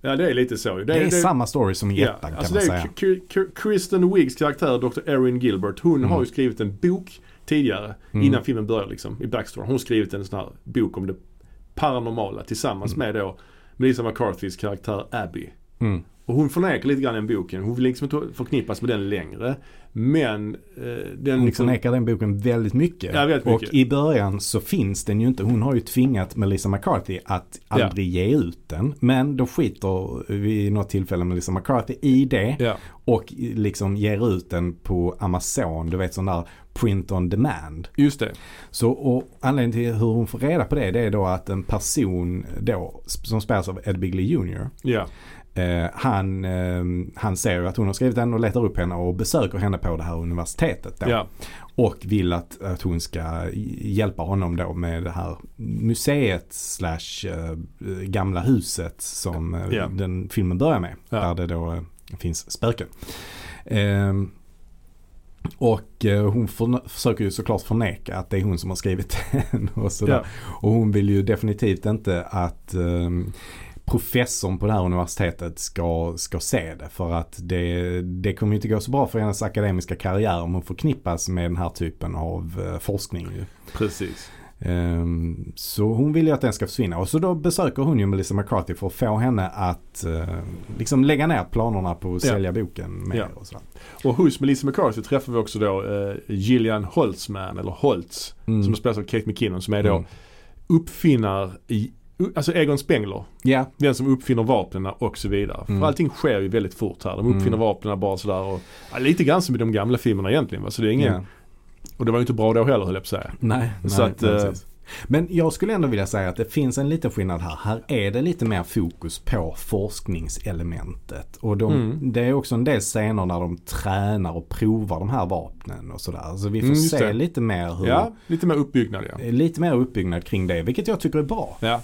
[SPEAKER 1] Ja det är lite så. ju.
[SPEAKER 2] Det, är samma story som i ettan kan
[SPEAKER 1] alltså
[SPEAKER 2] man
[SPEAKER 1] det är
[SPEAKER 2] säga.
[SPEAKER 1] ju K- K- Kristen Wiggs karaktär, Dr. Erin Gilbert. Hon
[SPEAKER 2] Mm.
[SPEAKER 1] har ju skrivit en bok tidigare
[SPEAKER 2] Mm.
[SPEAKER 1] innan filmen börjar liksom i Backstory. Hon har skrivit en sån här bok om det paranormala tillsammans med då Melissa McCarthys karaktär Abby.
[SPEAKER 2] Mm.
[SPEAKER 1] Och hon förnekar lite grann den boken. Hon vill liksom inte förknippas med den längre. Men eh, den
[SPEAKER 2] Hon
[SPEAKER 1] liksom...
[SPEAKER 2] förnekar den boken väldigt mycket.
[SPEAKER 1] Ja, väldigt mycket.
[SPEAKER 2] Och i början så finns den ju inte. Hon har ju tvingat Melissa McCarthy att
[SPEAKER 1] Ja.
[SPEAKER 2] aldrig ge ut den. Men då skiter vid något tillfälle Melissa McCarthy i det.
[SPEAKER 1] Ja.
[SPEAKER 2] Och liksom ger ut den på Amazon. Du vet sån där print on demand.
[SPEAKER 1] Just det.
[SPEAKER 2] Så och anledningen till hur hon får reda på det, det är då att en person då sp- som spelas av Ed Bigley Jr.
[SPEAKER 1] Ja.
[SPEAKER 2] Eh, han, eh, han ser ju att hon har skrivit den och letar upp henne och besöker henne på det här universitetet då.
[SPEAKER 1] Ja.
[SPEAKER 2] Och vill att, att hon ska hj- hjälpa honom då med det här museet slash eh, gamla huset som eh,
[SPEAKER 1] Ja.
[SPEAKER 2] den filmen börjar med.
[SPEAKER 1] Ja.
[SPEAKER 2] Där det då eh, finns spöken. Ehm, och eh, hon förn- försöker ju såklart förneka att det är hon som har skrivit den. Och, sådär.
[SPEAKER 1] Ja.
[SPEAKER 2] och hon vill ju definitivt inte att ehm, professorn på det här universitetet ska, ska se det. För att det, det kommer ju inte gå så bra för hennes akademiska karriär om hon förknippas med den här typen av eh, forskning. Ju.
[SPEAKER 1] Precis.
[SPEAKER 2] Ehm, Så hon vill ju att den ska försvinna och så då besöker hon ju Melissa McCarthy för att få henne att eh, liksom lägga ner planerna på att
[SPEAKER 1] Ja.
[SPEAKER 2] sälja boken med
[SPEAKER 1] Ja.
[SPEAKER 2] och sådär.
[SPEAKER 1] Och hos Melissa McCarthy träffar vi också då eh, Gillian Holtzman, eller Holtz,
[SPEAKER 2] Mm.
[SPEAKER 1] som spelas av Kate McKinnon som är då
[SPEAKER 2] Mm.
[SPEAKER 1] uppfinnar, i, u- alltså Egon Spengler.
[SPEAKER 2] Ja,
[SPEAKER 1] Den som uppfinner vapnen och så vidare.
[SPEAKER 2] Mm.
[SPEAKER 1] För allting sker ju väldigt fort här. De uppfinner
[SPEAKER 2] Mm.
[SPEAKER 1] vapnen bara sådär och ja, lite grann som i de gamla filmerna egentligen. Va? Så det är ingen,
[SPEAKER 2] ja. Mm.
[SPEAKER 1] Och det var ju inte bra då heller höll jag på att säga.
[SPEAKER 2] Nej,
[SPEAKER 1] Så
[SPEAKER 2] nej,
[SPEAKER 1] att,
[SPEAKER 2] nej,
[SPEAKER 1] eh,
[SPEAKER 2] precis. Men jag skulle ändå vilja säga att det finns en liten skillnad här. Här är det lite mer fokus på forskningselementet. Och de,
[SPEAKER 1] Mm.
[SPEAKER 2] det är också en del scener där de tränar och provar de här vapnen och sådär. Så vi får
[SPEAKER 1] Mm, just
[SPEAKER 2] se
[SPEAKER 1] det.
[SPEAKER 2] lite mer hur,
[SPEAKER 1] Ja, lite mer uppbyggnad ja.
[SPEAKER 2] lite mer uppbyggnad kring det. Vilket jag tycker är bra.
[SPEAKER 1] ja.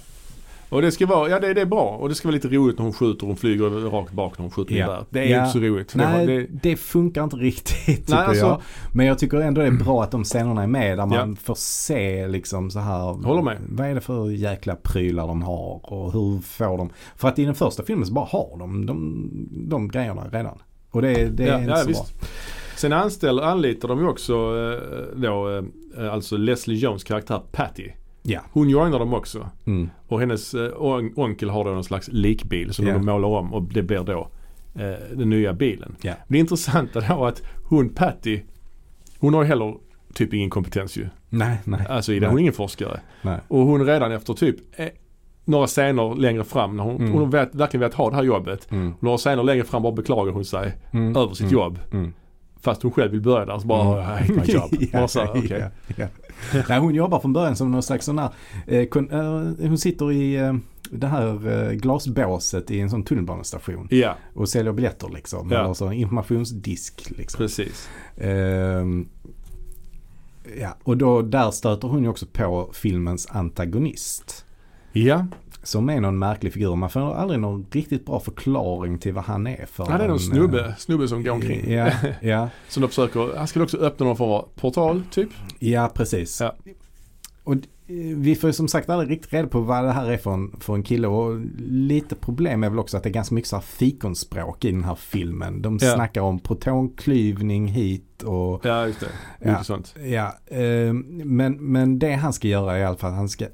[SPEAKER 1] Och det ska vara, ja det, det är bra. Och det ska vara lite roligt när hon skjuter. Hon flyger rakt bak när hon skjuter
[SPEAKER 2] Ja.
[SPEAKER 1] där. Det är
[SPEAKER 2] Ja.
[SPEAKER 1] ju inte så roligt. För
[SPEAKER 2] Nej,
[SPEAKER 1] det,
[SPEAKER 2] det,
[SPEAKER 1] har- det,
[SPEAKER 2] funkar inte riktigt tycker
[SPEAKER 1] Nej, alltså-
[SPEAKER 2] jag. Men jag tycker ändå det är bra att de scenerna är med där man
[SPEAKER 1] Ja.
[SPEAKER 2] får se liksom så här.
[SPEAKER 1] Håller med.
[SPEAKER 2] Vad är det för jäkla prylar de har och hur får de. För att i den första filmen så bara har de de, de grejerna redan. Och det, det är
[SPEAKER 1] Ja,
[SPEAKER 2] inte
[SPEAKER 1] ja,
[SPEAKER 2] så
[SPEAKER 1] visst.
[SPEAKER 2] bra.
[SPEAKER 1] Sen anställer, anlitar de ju också eh, då, eh, alltså Leslie Jones karaktär Patty.
[SPEAKER 2] Ja.
[SPEAKER 1] Hon joinar dem också.
[SPEAKER 2] Mm.
[SPEAKER 1] Och hennes eh, on- onkel har då någon slags likbil som
[SPEAKER 2] Ja.
[SPEAKER 1] de målar om och det blir då eh, den nya bilen.
[SPEAKER 2] Ja.
[SPEAKER 1] Det intressanta då är att hon Patty, hon har ju heller typ ingen kompetens ju.
[SPEAKER 2] Nej, nej.
[SPEAKER 1] Alltså i det, hon är ingen forskare.
[SPEAKER 2] nej.
[SPEAKER 1] Och hon redan efter typ eh, några scener längre fram när hon,
[SPEAKER 2] Mm.
[SPEAKER 1] hon har vet, verkligen velat ha det här jobbet.
[SPEAKER 2] Mm.
[SPEAKER 1] Några scener längre fram bara beklagar hon sig
[SPEAKER 2] Mm.
[SPEAKER 1] över sitt
[SPEAKER 2] Mm.
[SPEAKER 1] jobb.
[SPEAKER 2] Mm.
[SPEAKER 1] Fast hon själv vill börja där så bara I hate my job.
[SPEAKER 2] ja,
[SPEAKER 1] Bara så här, okej.
[SPEAKER 2] ja, ja. Nej, hon jobbar från början som någon slags sån här, eh, kon, eh, hon sitter i eh, det här eh, glasbåset i en sån tunnelbanestation.
[SPEAKER 1] Ja,
[SPEAKER 2] och säljer biljetter liksom.
[SPEAKER 1] Ja.
[SPEAKER 2] Eller så en informationsdisk liksom.
[SPEAKER 1] precis.
[SPEAKER 2] Ehm, ja, och då där stöter hon ju också på filmens antagonist.
[SPEAKER 1] Ja,
[SPEAKER 2] Som är någon märklig figur. Man får aldrig någon riktigt bra förklaring till vad han är för.
[SPEAKER 1] ja det är någon
[SPEAKER 2] en,
[SPEAKER 1] snubbe, snubbe som går omkring.
[SPEAKER 2] eh, Ja, ja,
[SPEAKER 1] Som de försöker, han skulle också öppna någon form av portal typ.
[SPEAKER 2] ja precis.
[SPEAKER 1] Ja.
[SPEAKER 2] Och eh, vi får ju som sagt aldrig riktigt reda på vad det här är för en, för en kille. Och lite problem är väl också att det är ganska mycket så här fikonspråk i den här filmen. De
[SPEAKER 1] Ja.
[SPEAKER 2] snackar om protonklyvning hit och
[SPEAKER 1] Ja, just det.
[SPEAKER 2] Ja.
[SPEAKER 1] Mycket sånt.
[SPEAKER 2] Ja, eh, men, men det han ska göra är i alla fall att han ska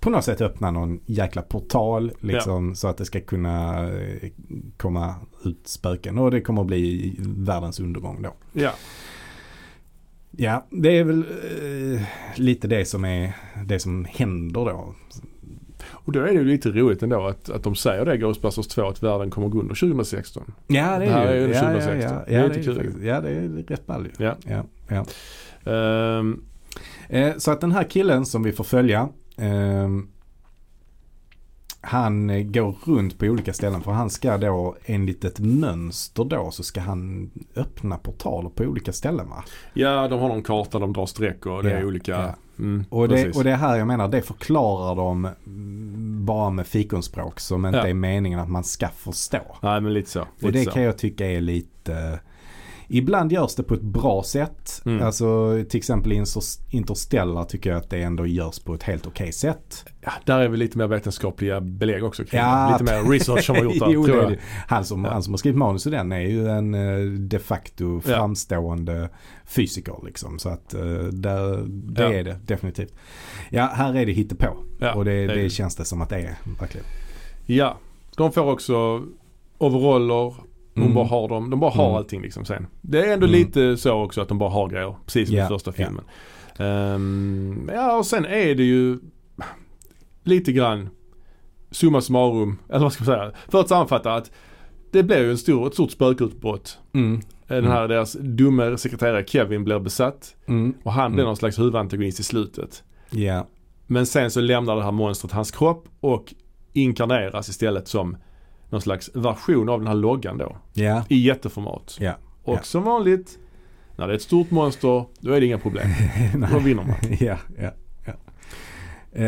[SPEAKER 2] på något sätt öppna någon jäkla portal liksom, så att det ska kunna eh, komma ut spöken och det kommer att bli världens undergång då.
[SPEAKER 1] Ja,
[SPEAKER 2] Ja, det är väl eh, lite det som är det som händer då.
[SPEAKER 1] och då är det ju lite roligt ändå att, att de säger det i Ghostbusters 2 att världen kommer gå under 2016.
[SPEAKER 2] Ja,
[SPEAKER 1] Det här är ju
[SPEAKER 2] ja, ja,
[SPEAKER 1] 2016.
[SPEAKER 2] ja,
[SPEAKER 1] Det är
[SPEAKER 2] ja,
[SPEAKER 1] lite kul.
[SPEAKER 2] faktiskt- Ja, det är rätt ball ju.
[SPEAKER 1] Ja.
[SPEAKER 2] Ja, ja.
[SPEAKER 1] Ehm,
[SPEAKER 2] Eh, så att den här killen som vi får följa. ehm, han eh, går runt på olika ställen för han ska då enligt ett mönster då så ska han öppna portaler på olika ställen va?
[SPEAKER 1] ja, de har någon karta, de drar streck och det är
[SPEAKER 2] Ja,
[SPEAKER 1] olika.
[SPEAKER 2] ja.
[SPEAKER 1] Mm,
[SPEAKER 2] Och det,
[SPEAKER 1] precis.
[SPEAKER 2] och det här jag menar det förklarar de mm, bara med fikonspråk som inte
[SPEAKER 1] Ja.
[SPEAKER 2] är meningen att man ska förstå.
[SPEAKER 1] Nej, men lite så.
[SPEAKER 2] Och
[SPEAKER 1] lite
[SPEAKER 2] det
[SPEAKER 1] så.
[SPEAKER 2] kan jag tycka är lite Ibland görs det på ett bra sätt.
[SPEAKER 1] Mm.
[SPEAKER 2] Alltså till exempel i Inter- Interstellar tycker jag att det ändå görs på ett helt okej sätt.
[SPEAKER 1] ja, där är vi lite mer vetenskapliga belägg också kring
[SPEAKER 2] Ja.
[SPEAKER 1] det. Lite mer research som har gjort där,
[SPEAKER 2] Jo, det
[SPEAKER 1] tror
[SPEAKER 2] är
[SPEAKER 1] jag.
[SPEAKER 2] det. Han som,
[SPEAKER 1] Ja.
[SPEAKER 2] han som har skrivit manus i den är ju en eh, de facto
[SPEAKER 1] Ja.
[SPEAKER 2] framstående fysiker. Liksom. Så att eh, där, det
[SPEAKER 1] Ja.
[SPEAKER 2] är det definitivt. Ja, här är det hittepå.
[SPEAKER 1] Ja,
[SPEAKER 2] och det,
[SPEAKER 1] det
[SPEAKER 2] det,
[SPEAKER 1] är det.
[SPEAKER 2] känns det som att det är verkligen.
[SPEAKER 1] Ja, de får också Overaller. Hon
[SPEAKER 2] Mm.
[SPEAKER 1] bara har dem. De bara har
[SPEAKER 2] Mm.
[SPEAKER 1] allting liksom sen. Det är ändå
[SPEAKER 2] Mm.
[SPEAKER 1] lite så också att de bara har grejer. Precis som
[SPEAKER 2] Ja,
[SPEAKER 1] i första
[SPEAKER 2] ja.
[SPEAKER 1] filmen. Ehm, ja och sen är det ju lite grann summa summarum. Eller vad ska man säga? För att sammanfatta att det blev ju en stor, ett stort spökutbrott.
[SPEAKER 2] Mm.
[SPEAKER 1] Eh, Den här deras dumme sekreterare Kevin blir besatt.
[SPEAKER 2] Mm.
[SPEAKER 1] Och han blir
[SPEAKER 2] Mm.
[SPEAKER 1] någon slags huvudantagonist i slutet.
[SPEAKER 2] Ja.
[SPEAKER 1] Men sen så lämnar det här monstret hans kropp och inkarneras istället som någon slags version av den här loggan då.
[SPEAKER 2] Ja.
[SPEAKER 1] I jätteformat.
[SPEAKER 2] Ja.
[SPEAKER 1] Och
[SPEAKER 2] Ja.
[SPEAKER 1] som vanligt, när det är ett stort monster, då är det inga problem. Då
[SPEAKER 2] Nej.
[SPEAKER 1] vinner man.
[SPEAKER 2] ja, ja, ja. Eh,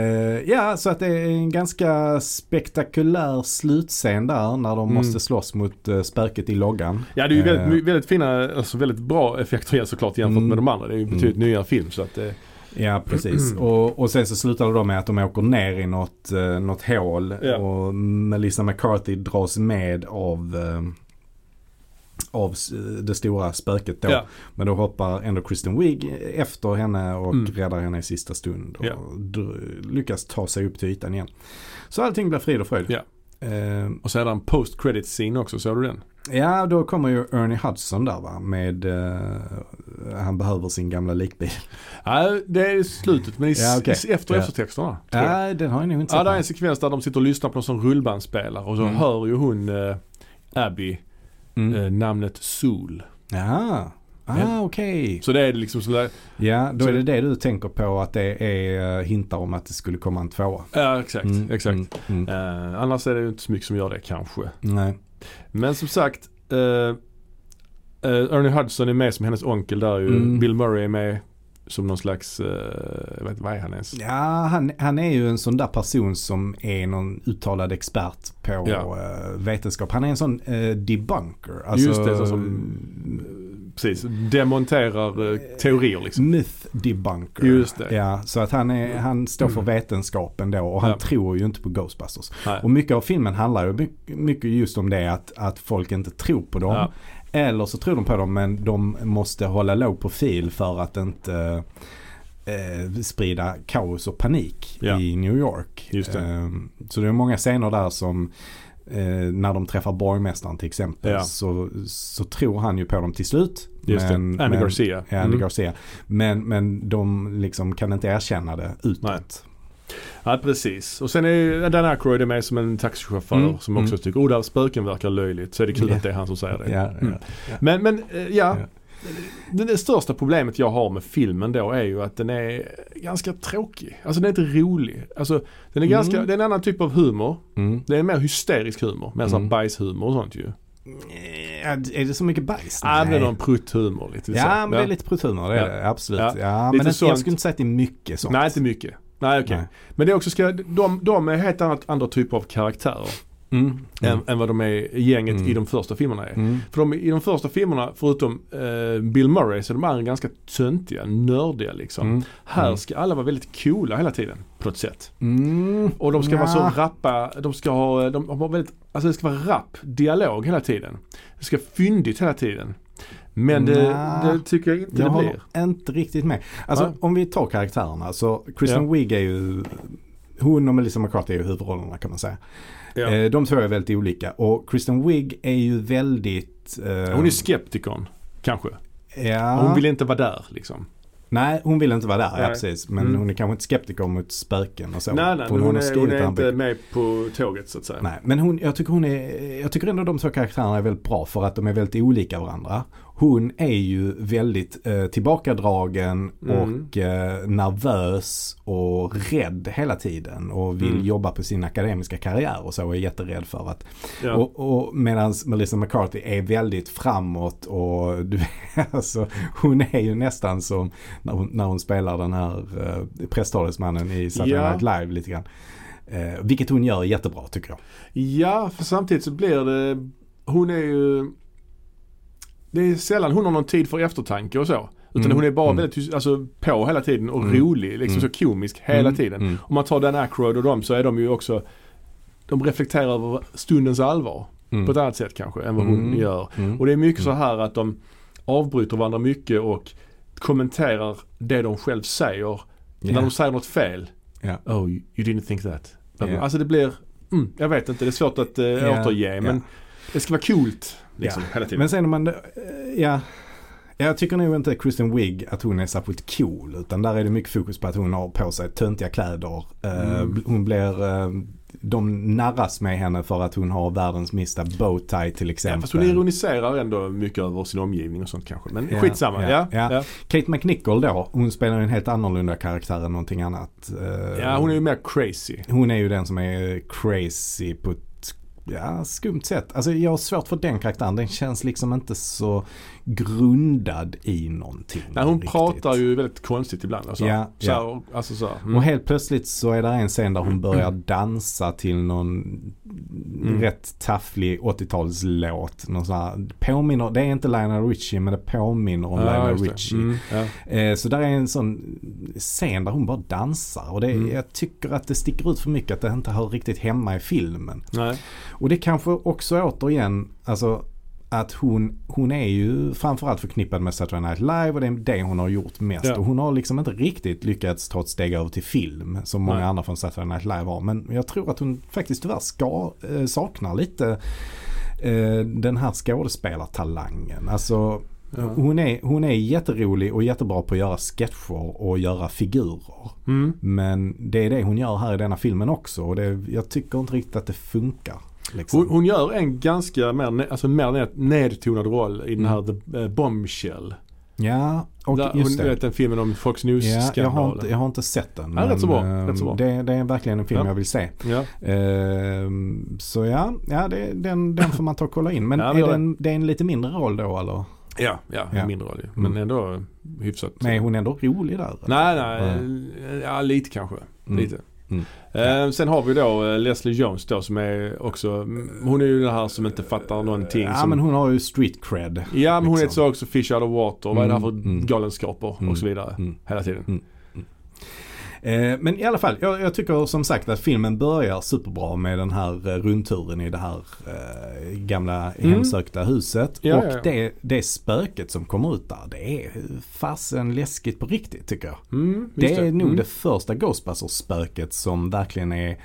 [SPEAKER 2] ja, så att det är en ganska spektakulär slutscen där när de
[SPEAKER 1] Mm.
[SPEAKER 2] måste slåss mot uh, spöket i loggan.
[SPEAKER 1] Ja det är ju väldigt,
[SPEAKER 2] Eh,
[SPEAKER 1] my- väldigt fina, alltså väldigt bra effekter igen såklart jämfört
[SPEAKER 2] Mm.
[SPEAKER 1] med de andra. Det är ju betydligt nyare film så att eh, det,
[SPEAKER 2] Ja, precis.
[SPEAKER 1] Mm.
[SPEAKER 2] och, och sen så slutar det då med att de åker ner i något, uh, något hål
[SPEAKER 1] Ja.
[SPEAKER 2] och Melissa McCarthy dras med av eh, av s- det stora spöket då.
[SPEAKER 1] Ja.
[SPEAKER 2] Men då hoppar ändå Kristen Wiig efter henne och
[SPEAKER 1] Mm.
[SPEAKER 2] räddar henne i sista stund. Och
[SPEAKER 1] Ja.
[SPEAKER 2] dr- lyckas ta sig upp till ytan igen. Så allting blir frid och fröjd.
[SPEAKER 1] Ja.
[SPEAKER 2] Eh,
[SPEAKER 1] och så är det en post credit scene också, såg du den?
[SPEAKER 2] ja, då kommer ju Ernie Hudson där va. Med, eh, han behöver sin gamla likbil.
[SPEAKER 1] Nej, det är i slutet men i,
[SPEAKER 2] Ja, okej.
[SPEAKER 1] i efter och
[SPEAKER 2] Ja.
[SPEAKER 1] eftertexterna. tror jag.
[SPEAKER 2] Nej, den har jag nog inte
[SPEAKER 1] Ja,
[SPEAKER 2] sett.
[SPEAKER 1] det är en sekvens där de sitter och lyssnar på någon som rullbandspelare och så
[SPEAKER 2] Mm.
[SPEAKER 1] hör ju hon eh, Abby
[SPEAKER 2] Mm.
[SPEAKER 1] eh, namnet Sol.
[SPEAKER 2] Ja, ah,
[SPEAKER 1] Ja.
[SPEAKER 2] okej.
[SPEAKER 1] Så det är liksom sådär,
[SPEAKER 2] Ja, då
[SPEAKER 1] Så-
[SPEAKER 2] är det det du tänker på att det är eh, hintar om att det skulle komma en tvåa.
[SPEAKER 1] ja exakt, exakt.
[SPEAKER 2] mm, mm.
[SPEAKER 1] Eh, annars är det ju inte så mycket som gör det kanske.
[SPEAKER 2] Nej.
[SPEAKER 1] Men som sagt, eh, eh, Ernie Hudson är med som hennes onkel där ju.
[SPEAKER 2] Mm.
[SPEAKER 1] Bill Murray är med som någon slags, eh, jag vet inte, vad är han ens?
[SPEAKER 2] Ja, han, han är ju en sån där person som är någon uttalad expert på
[SPEAKER 1] Ja.
[SPEAKER 2] eh, vetenskap. Han är en sån eh, debunker. Alltså, mm.
[SPEAKER 1] Just det, så som- Precis, demonterar eh, teorier liksom.
[SPEAKER 2] Myth debunker.
[SPEAKER 1] Just det.
[SPEAKER 2] Ja, så att han, är, han står för vetenskapen då och han
[SPEAKER 1] Ja.
[SPEAKER 2] tror ju inte på Ghostbusters.
[SPEAKER 1] Nej.
[SPEAKER 2] Och mycket av filmen handlar ju my- mycket just om det att, att folk inte tror på dem.
[SPEAKER 1] Ja.
[SPEAKER 2] Eller så tror de på dem men de måste hålla låg profil för att inte eh, sprida kaos och panik
[SPEAKER 1] Ja.
[SPEAKER 2] i New York.
[SPEAKER 1] Just det.
[SPEAKER 2] Eh, så det är många scener där som eh, när de träffar borgmästaren till exempel
[SPEAKER 1] Ja.
[SPEAKER 2] så, så tror han ju på dem till slut.
[SPEAKER 1] Just det, Andy Garcia.
[SPEAKER 2] Ja, Andy
[SPEAKER 1] Mm.
[SPEAKER 2] Garcia. Men, men de liksom kan inte erkänna det utåt.
[SPEAKER 1] Ja precis. Och sen är ju Dan Aykroyd är med som en taxichaufför
[SPEAKER 2] Mm.
[SPEAKER 1] som också
[SPEAKER 2] Mm.
[SPEAKER 1] tycker oh där spöken verkar löjligt. Så är det kul
[SPEAKER 2] Ja.
[SPEAKER 1] att det är han som säger det.
[SPEAKER 2] Ja, ja,
[SPEAKER 1] Mm.
[SPEAKER 2] ja.
[SPEAKER 1] Men, men eh, ja.
[SPEAKER 2] Ja.
[SPEAKER 1] Det, det största problemet jag har med filmen då är ju att den är ganska tråkig. Alltså den är inte rolig. Alltså den är
[SPEAKER 2] Mm.
[SPEAKER 1] ganska, det är en annan typ av humor.
[SPEAKER 2] Mm.
[SPEAKER 1] Det är en mer hysterisk humor. Mer sån
[SPEAKER 2] Mm.
[SPEAKER 1] bajshumor och sånt ju.
[SPEAKER 2] Eh, Är det så mycket bajs?
[SPEAKER 1] Ja men det är
[SPEAKER 2] Nej.
[SPEAKER 1] någon prutthumor lite så.
[SPEAKER 2] Ja, men det är lite prutuner, det är
[SPEAKER 1] Ja.
[SPEAKER 2] det. Absolut.
[SPEAKER 1] Ja.
[SPEAKER 2] Ja.
[SPEAKER 1] Lite
[SPEAKER 2] men det, jag
[SPEAKER 1] sånt.
[SPEAKER 2] skulle inte säga att det är mycket sånt.
[SPEAKER 1] Nej inte mycket. Nej okej.
[SPEAKER 2] Nej.
[SPEAKER 1] Men det är också ska, de, de är helt annat, andra typer av karaktärer.
[SPEAKER 2] Mm. Mm.
[SPEAKER 1] Än, än vad de är i gänget
[SPEAKER 2] Mm.
[SPEAKER 1] i de första filmerna är.
[SPEAKER 2] Mm.
[SPEAKER 1] För de, i de första filmerna, förutom eh, Bill Murray, så är de andra ganska töntiga, nördiga liksom.
[SPEAKER 2] Mm.
[SPEAKER 1] Här ska alla vara väldigt coola hela tiden, på ett sätt.
[SPEAKER 2] Mm.
[SPEAKER 1] Och de ska vara
[SPEAKER 2] Nja.
[SPEAKER 1] så rappa, de ska ha, de har väldigt, alltså det ska vara rapp dialog hela tiden. Det ska vara fyndigt hela tiden. Men det,
[SPEAKER 2] Nja.
[SPEAKER 1] det tycker jag inte
[SPEAKER 2] Jag
[SPEAKER 1] det
[SPEAKER 2] håller
[SPEAKER 1] blir.
[SPEAKER 2] inte riktigt med. Alltså
[SPEAKER 1] Nej.
[SPEAKER 2] om vi tar karaktärerna så Kristen
[SPEAKER 1] Ja.
[SPEAKER 2] Wiig är ju, hon och Melissa McCarthy är ju huvudrollerna kan man säga.
[SPEAKER 1] Ja.
[SPEAKER 2] Eh, De två är väldigt olika och Kristen Wiig är ju väldigt... eh,
[SPEAKER 1] Hon är skeptikon, kanske.
[SPEAKER 2] ja,
[SPEAKER 1] Hon vill inte vara där liksom.
[SPEAKER 2] Nej, hon vill inte vara där, ja,
[SPEAKER 1] Nej.
[SPEAKER 2] precis. Men
[SPEAKER 1] Mm.
[SPEAKER 2] hon är kanske inte skeptiker mot spöken och så.
[SPEAKER 1] nej, nej,
[SPEAKER 2] För
[SPEAKER 1] men hon,
[SPEAKER 2] har
[SPEAKER 1] är,
[SPEAKER 2] skrivit
[SPEAKER 1] hon
[SPEAKER 2] det
[SPEAKER 1] är
[SPEAKER 2] här
[SPEAKER 1] inte
[SPEAKER 2] böckerna.
[SPEAKER 1] med på tåget så att säga.
[SPEAKER 2] Nej, men hon, jag, tycker hon är, jag tycker ändå de två karaktärerna är väldigt bra för att de är väldigt olika varandra. Hon är ju väldigt eh, tillbakadragen
[SPEAKER 1] Mm.
[SPEAKER 2] och eh, nervös och rädd hela tiden och vill
[SPEAKER 1] Mm.
[SPEAKER 2] jobba på sin akademiska karriär och så och är jätterädd för att.
[SPEAKER 1] Ja.
[SPEAKER 2] Och, och medan Melissa McCarthy är väldigt framåt och du vet, alltså, hon är ju nästan som när hon, när hon spelar den här eh, presstalesmannen i Saturday
[SPEAKER 1] Ja.
[SPEAKER 2] Night Live lite grann. Eh, vilket hon gör jättebra tycker jag.
[SPEAKER 1] Ja, för samtidigt så blir det... Hon är ju... Det är sällan hon har någon tid för eftertanke och så. Utan
[SPEAKER 2] Mm.
[SPEAKER 1] hon är bara
[SPEAKER 2] Mm.
[SPEAKER 1] väldigt hys- alltså, på hela tiden och
[SPEAKER 2] Mm.
[SPEAKER 1] rolig. Liksom
[SPEAKER 2] Mm.
[SPEAKER 1] så komisk hela
[SPEAKER 2] Mm,
[SPEAKER 1] tiden.
[SPEAKER 2] mm.
[SPEAKER 1] Om man tar Dan Aykroyd och dem så är de ju också... De reflekterar över stundens allvar.
[SPEAKER 2] Mm.
[SPEAKER 1] På ett annat sätt kanske än vad hon
[SPEAKER 2] Mm.
[SPEAKER 1] gör.
[SPEAKER 2] Mm.
[SPEAKER 1] Och det är mycket så här att de avbryter varandra mycket och kommenterar det de själv säger. När de säger något fel.
[SPEAKER 2] Ja.
[SPEAKER 1] Oh, you didn't think that.
[SPEAKER 2] Ja.
[SPEAKER 1] Alltså det blir... Mm, jag vet inte, det är svårt att eh,
[SPEAKER 2] Ja,
[SPEAKER 1] återge men
[SPEAKER 2] ja.
[SPEAKER 1] Det ska vara coolt. Liksom, hela tiden.
[SPEAKER 2] Men sen om man, eh, ja. Jag tycker nog inte Kristen Wiig att hon är särskilt cool. Utan där är det mycket fokus på att hon har på sig töntiga kläder. Eh,
[SPEAKER 1] Mm.
[SPEAKER 2] bl- Hon blir, eh, de narras med henne för att hon har världens minsta bowtie till
[SPEAKER 1] Ja,
[SPEAKER 2] exempel.
[SPEAKER 1] fast hon ironiserar ändå mycket över sin omgivning och sånt kanske. Men
[SPEAKER 2] Ja,
[SPEAKER 1] skitsamma.
[SPEAKER 2] ja,
[SPEAKER 1] Ja,
[SPEAKER 2] ja.
[SPEAKER 1] ja, ja.
[SPEAKER 2] Kate McNichol då, hon spelar ju en helt annorlunda karaktär än någonting annat. Eh,
[SPEAKER 1] hon är ju mer crazy.
[SPEAKER 2] hon är ju den som är crazy på ett ja, skumt sätt. Alltså jag har svårt för den karaktären. Den känns liksom inte så grundad i någonting.
[SPEAKER 1] Nej, hon
[SPEAKER 2] riktigt.
[SPEAKER 1] pratar ju väldigt konstigt ibland. Alltså.
[SPEAKER 2] Ja,
[SPEAKER 1] så här, och- alltså så här,
[SPEAKER 2] Och
[SPEAKER 1] mm.
[SPEAKER 2] helt plötsligt så är det en scen där hon börjar dansa till någon
[SPEAKER 1] Mm.
[SPEAKER 2] rätt tafflig 80-talslåt. Någon sån här, påminner, det är inte Lionel Richie men det påminner om
[SPEAKER 1] Ja,
[SPEAKER 2] Lionel
[SPEAKER 1] just det.
[SPEAKER 2] Richie.
[SPEAKER 1] Mm, ja.
[SPEAKER 2] Eh, Så där är en sån scen där hon bara dansar och det,
[SPEAKER 1] Mm.
[SPEAKER 2] jag tycker att det sticker ut för mycket att det inte hör riktigt hemma i filmen.
[SPEAKER 1] Nej.
[SPEAKER 2] Och det kanske också återigen, alltså att hon, hon är ju framförallt förknippad med Saturday Night Live och det är det hon har gjort mest.
[SPEAKER 1] Ja.
[SPEAKER 2] Och hon har liksom inte riktigt lyckats ta ett steg över till film som många
[SPEAKER 1] Nej.
[SPEAKER 2] andra från Saturday Night Live har. Men jag tror att hon faktiskt tyvärr ska, eh, saknar lite eh, den här skådespelartalangen. Alltså
[SPEAKER 1] Ja.
[SPEAKER 2] hon, är, hon är jätterolig och jättebra på att göra sketcher och göra figurer.
[SPEAKER 1] Mm.
[SPEAKER 2] Men det är det hon gör här i denna filmen också och det, jag tycker inte riktigt att det funkar. Liksom.
[SPEAKER 1] Hon, hon gör en ganska mer, ne- alltså mer ned- nedtonad roll i den här The eh, Bombshell.
[SPEAKER 2] Ja, Mm. och
[SPEAKER 1] Där, hon,
[SPEAKER 2] just
[SPEAKER 1] du
[SPEAKER 2] det.
[SPEAKER 1] vet den filmen om Fox
[SPEAKER 2] Ja, jag, har
[SPEAKER 1] News-skandalen.
[SPEAKER 2] inte, jag har inte sett den.
[SPEAKER 1] Ja, rätt så bra,
[SPEAKER 2] eh,
[SPEAKER 1] rätt så bra.
[SPEAKER 2] Det, det är verkligen en film
[SPEAKER 1] Ja.
[SPEAKER 2] jag vill se.
[SPEAKER 1] Ja.
[SPEAKER 2] Eh, så ja, ja det, den, den får man ta och kolla in. Men
[SPEAKER 1] Ja, vi
[SPEAKER 2] är
[SPEAKER 1] gör
[SPEAKER 2] det, en, det är en lite mindre roll då eller?
[SPEAKER 1] Ja, ja,
[SPEAKER 2] Ja.
[SPEAKER 1] mindre roll ju. Men
[SPEAKER 2] Mm.
[SPEAKER 1] ändå eh, hyfsat.
[SPEAKER 2] Men är hon ändå rolig där?
[SPEAKER 1] Nej, nej. eh, Ja, lite kanske.
[SPEAKER 2] Mm.
[SPEAKER 1] Lite.
[SPEAKER 2] Mm.
[SPEAKER 1] Eh, Sen har vi då eh, Leslie Jones då som är också, mm, hon är ju den här som inte fattar någonting.
[SPEAKER 2] Ja,
[SPEAKER 1] som,
[SPEAKER 2] men hon har ju street cred.
[SPEAKER 1] ja men hon
[SPEAKER 2] liksom.
[SPEAKER 1] är så också fish out of water. Vad är det här för
[SPEAKER 2] Mm, mm.
[SPEAKER 1] galenskaper
[SPEAKER 2] Mm,
[SPEAKER 1] och så vidare.
[SPEAKER 2] mm.
[SPEAKER 1] Hela tiden.
[SPEAKER 2] Eh, men i alla fall, jag, jag tycker som sagt att filmen börjar superbra med den här eh, rundturen i det här eh, gamla
[SPEAKER 1] Mm.
[SPEAKER 2] hemsökta huset.
[SPEAKER 1] Ja,
[SPEAKER 2] och
[SPEAKER 1] ja, ja.
[SPEAKER 2] Det, det spöket som kommer ut där, det är fasen läskigt på riktigt tycker jag.
[SPEAKER 1] Mm,
[SPEAKER 2] Det
[SPEAKER 1] just
[SPEAKER 2] är nog
[SPEAKER 1] Mm.
[SPEAKER 2] det första Ghostbusters-spöket som verkligen är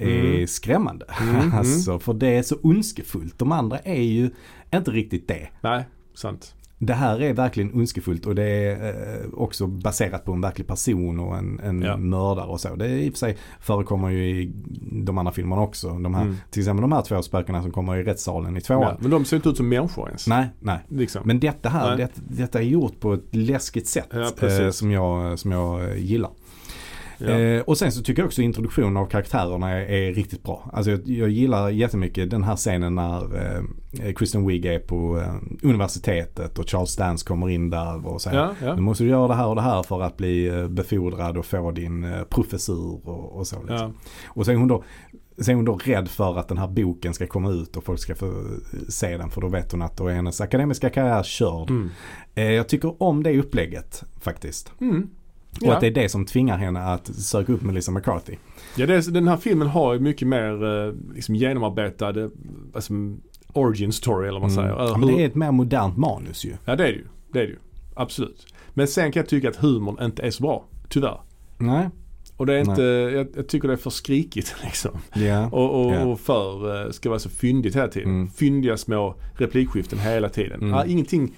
[SPEAKER 2] är
[SPEAKER 1] Mm.
[SPEAKER 2] skrämmande.
[SPEAKER 1] Mm, mm.
[SPEAKER 2] alltså, för det är så ondskefullt. De andra är ju inte riktigt det.
[SPEAKER 1] Nej, sant.
[SPEAKER 2] Det här är verkligen ondskefullt och det är eh, också baserat på en verklig person och en, en
[SPEAKER 1] Ja.
[SPEAKER 2] mördare och så. Det är i och för sig förekommer ju i de andra filmerna också. De här,
[SPEAKER 1] Mm.
[SPEAKER 2] Till exempel de här två spökena som kommer i rättssalen i tvåan.
[SPEAKER 1] Ja, men de ser inte ut som människor ens.
[SPEAKER 2] Nej, nej.
[SPEAKER 1] Liksom.
[SPEAKER 2] Men detta här,
[SPEAKER 1] Nej.
[SPEAKER 2] det, detta är gjort på ett läskigt sätt
[SPEAKER 1] Ja, precis.
[SPEAKER 2] eh, som, jag, som jag eh, gillar.
[SPEAKER 1] ja.
[SPEAKER 2] Eh, och sen så tycker jag också introduktionen av karaktärerna är, är riktigt bra. Alltså jag, jag gillar jättemycket den här scenen när eh, Kristen Wiig är på eh, universitetet och Charles Dance kommer in där och säger
[SPEAKER 1] ja, ja.
[SPEAKER 2] nu måste du göra det här och det här för att bli eh, befordrad och få din eh, professur och, och så. Liksom.
[SPEAKER 1] Ja.
[SPEAKER 2] Och sen är, hon då, sen är hon då rädd för att den här boken ska komma ut och folk ska få eh, se den för då vet hon att då är hennes akademiska karriär körd.
[SPEAKER 1] Mm.
[SPEAKER 2] Eh, jag tycker om det upplägget faktiskt.
[SPEAKER 1] Mm.
[SPEAKER 2] Och
[SPEAKER 1] Ja.
[SPEAKER 2] att det är det som tvingar henne att söka upp Melissa McCarthy.
[SPEAKER 1] ja, det är, den här filmen har ju mycket mer eh, liksom, genomarbetad eh, alltså, origin story eller vad man säger.
[SPEAKER 2] Mm. Ja,
[SPEAKER 1] Eh,
[SPEAKER 2] men
[SPEAKER 1] hur-
[SPEAKER 2] det är ett mer modernt manus ju.
[SPEAKER 1] Ja det är det ju. Det är det ju. Absolut. Men sen kan jag tycka att humorn inte är så bra. Tyvärr.
[SPEAKER 2] Nej.
[SPEAKER 1] Och det är inte, jag, jag tycker det är för skrikigt liksom.
[SPEAKER 2] Ja.
[SPEAKER 1] Och, och,
[SPEAKER 2] Ja.
[SPEAKER 1] och för, eh, ska vara så fyndigt hela tiden.
[SPEAKER 2] Mm.
[SPEAKER 1] Fyndiga små replikskiften hela tiden.
[SPEAKER 2] Mm.
[SPEAKER 1] Ja, ingenting,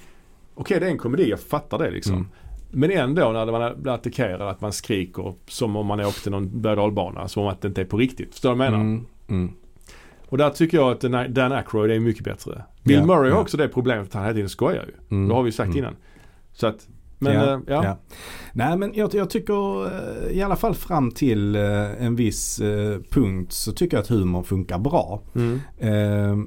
[SPEAKER 1] okej det är en komedi, jag fattar det liksom.
[SPEAKER 2] Mm.
[SPEAKER 1] Men ändå när man blir attackerad att man skriker som om man åkte någon berg och dalbana, som om att det inte är på riktigt. Förstår du vad jag menar?
[SPEAKER 2] Mm. Mm.
[SPEAKER 1] Och där tycker jag att Dan- Dan Aykroyd är mycket bättre. Bill
[SPEAKER 2] Ja,
[SPEAKER 1] Murray har
[SPEAKER 2] ja.
[SPEAKER 1] också det problemet att han hela tiden skojar ju.
[SPEAKER 2] Mm.
[SPEAKER 1] Det har vi ju sagt
[SPEAKER 2] Mm.
[SPEAKER 1] innan. Så att, men
[SPEAKER 2] ja,
[SPEAKER 1] eh, ja.
[SPEAKER 2] ja. Nej men jag, jag tycker eh, i alla fall fram till eh, en viss eh, punkt så tycker jag att humor funkar bra.
[SPEAKER 1] Mm.
[SPEAKER 2] Eh,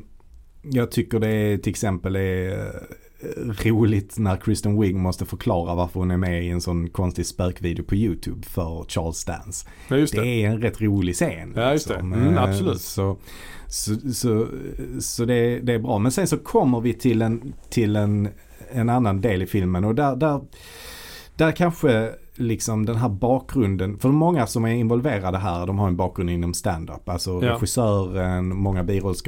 [SPEAKER 2] Jag tycker det är, till exempel är eh, roligt när Kristen Wiig måste förklara varför hon är med i en sån konstig spökvideo på YouTube för Charles Dance.
[SPEAKER 1] Ja just det.
[SPEAKER 2] Det är en rätt rolig scen.
[SPEAKER 1] Ja, just det.
[SPEAKER 2] liksom.
[SPEAKER 1] Mm,
[SPEAKER 2] Eh,
[SPEAKER 1] absolut.
[SPEAKER 2] Så, så, så, så det, det är bra. Men sen så kommer vi till en, till en, en annan del i filmen och där, där, Där kanske liksom den här bakgrunden, för många som är involverade här de har en bakgrund inom stand-up. Alltså
[SPEAKER 1] Ja.
[SPEAKER 2] regissören, många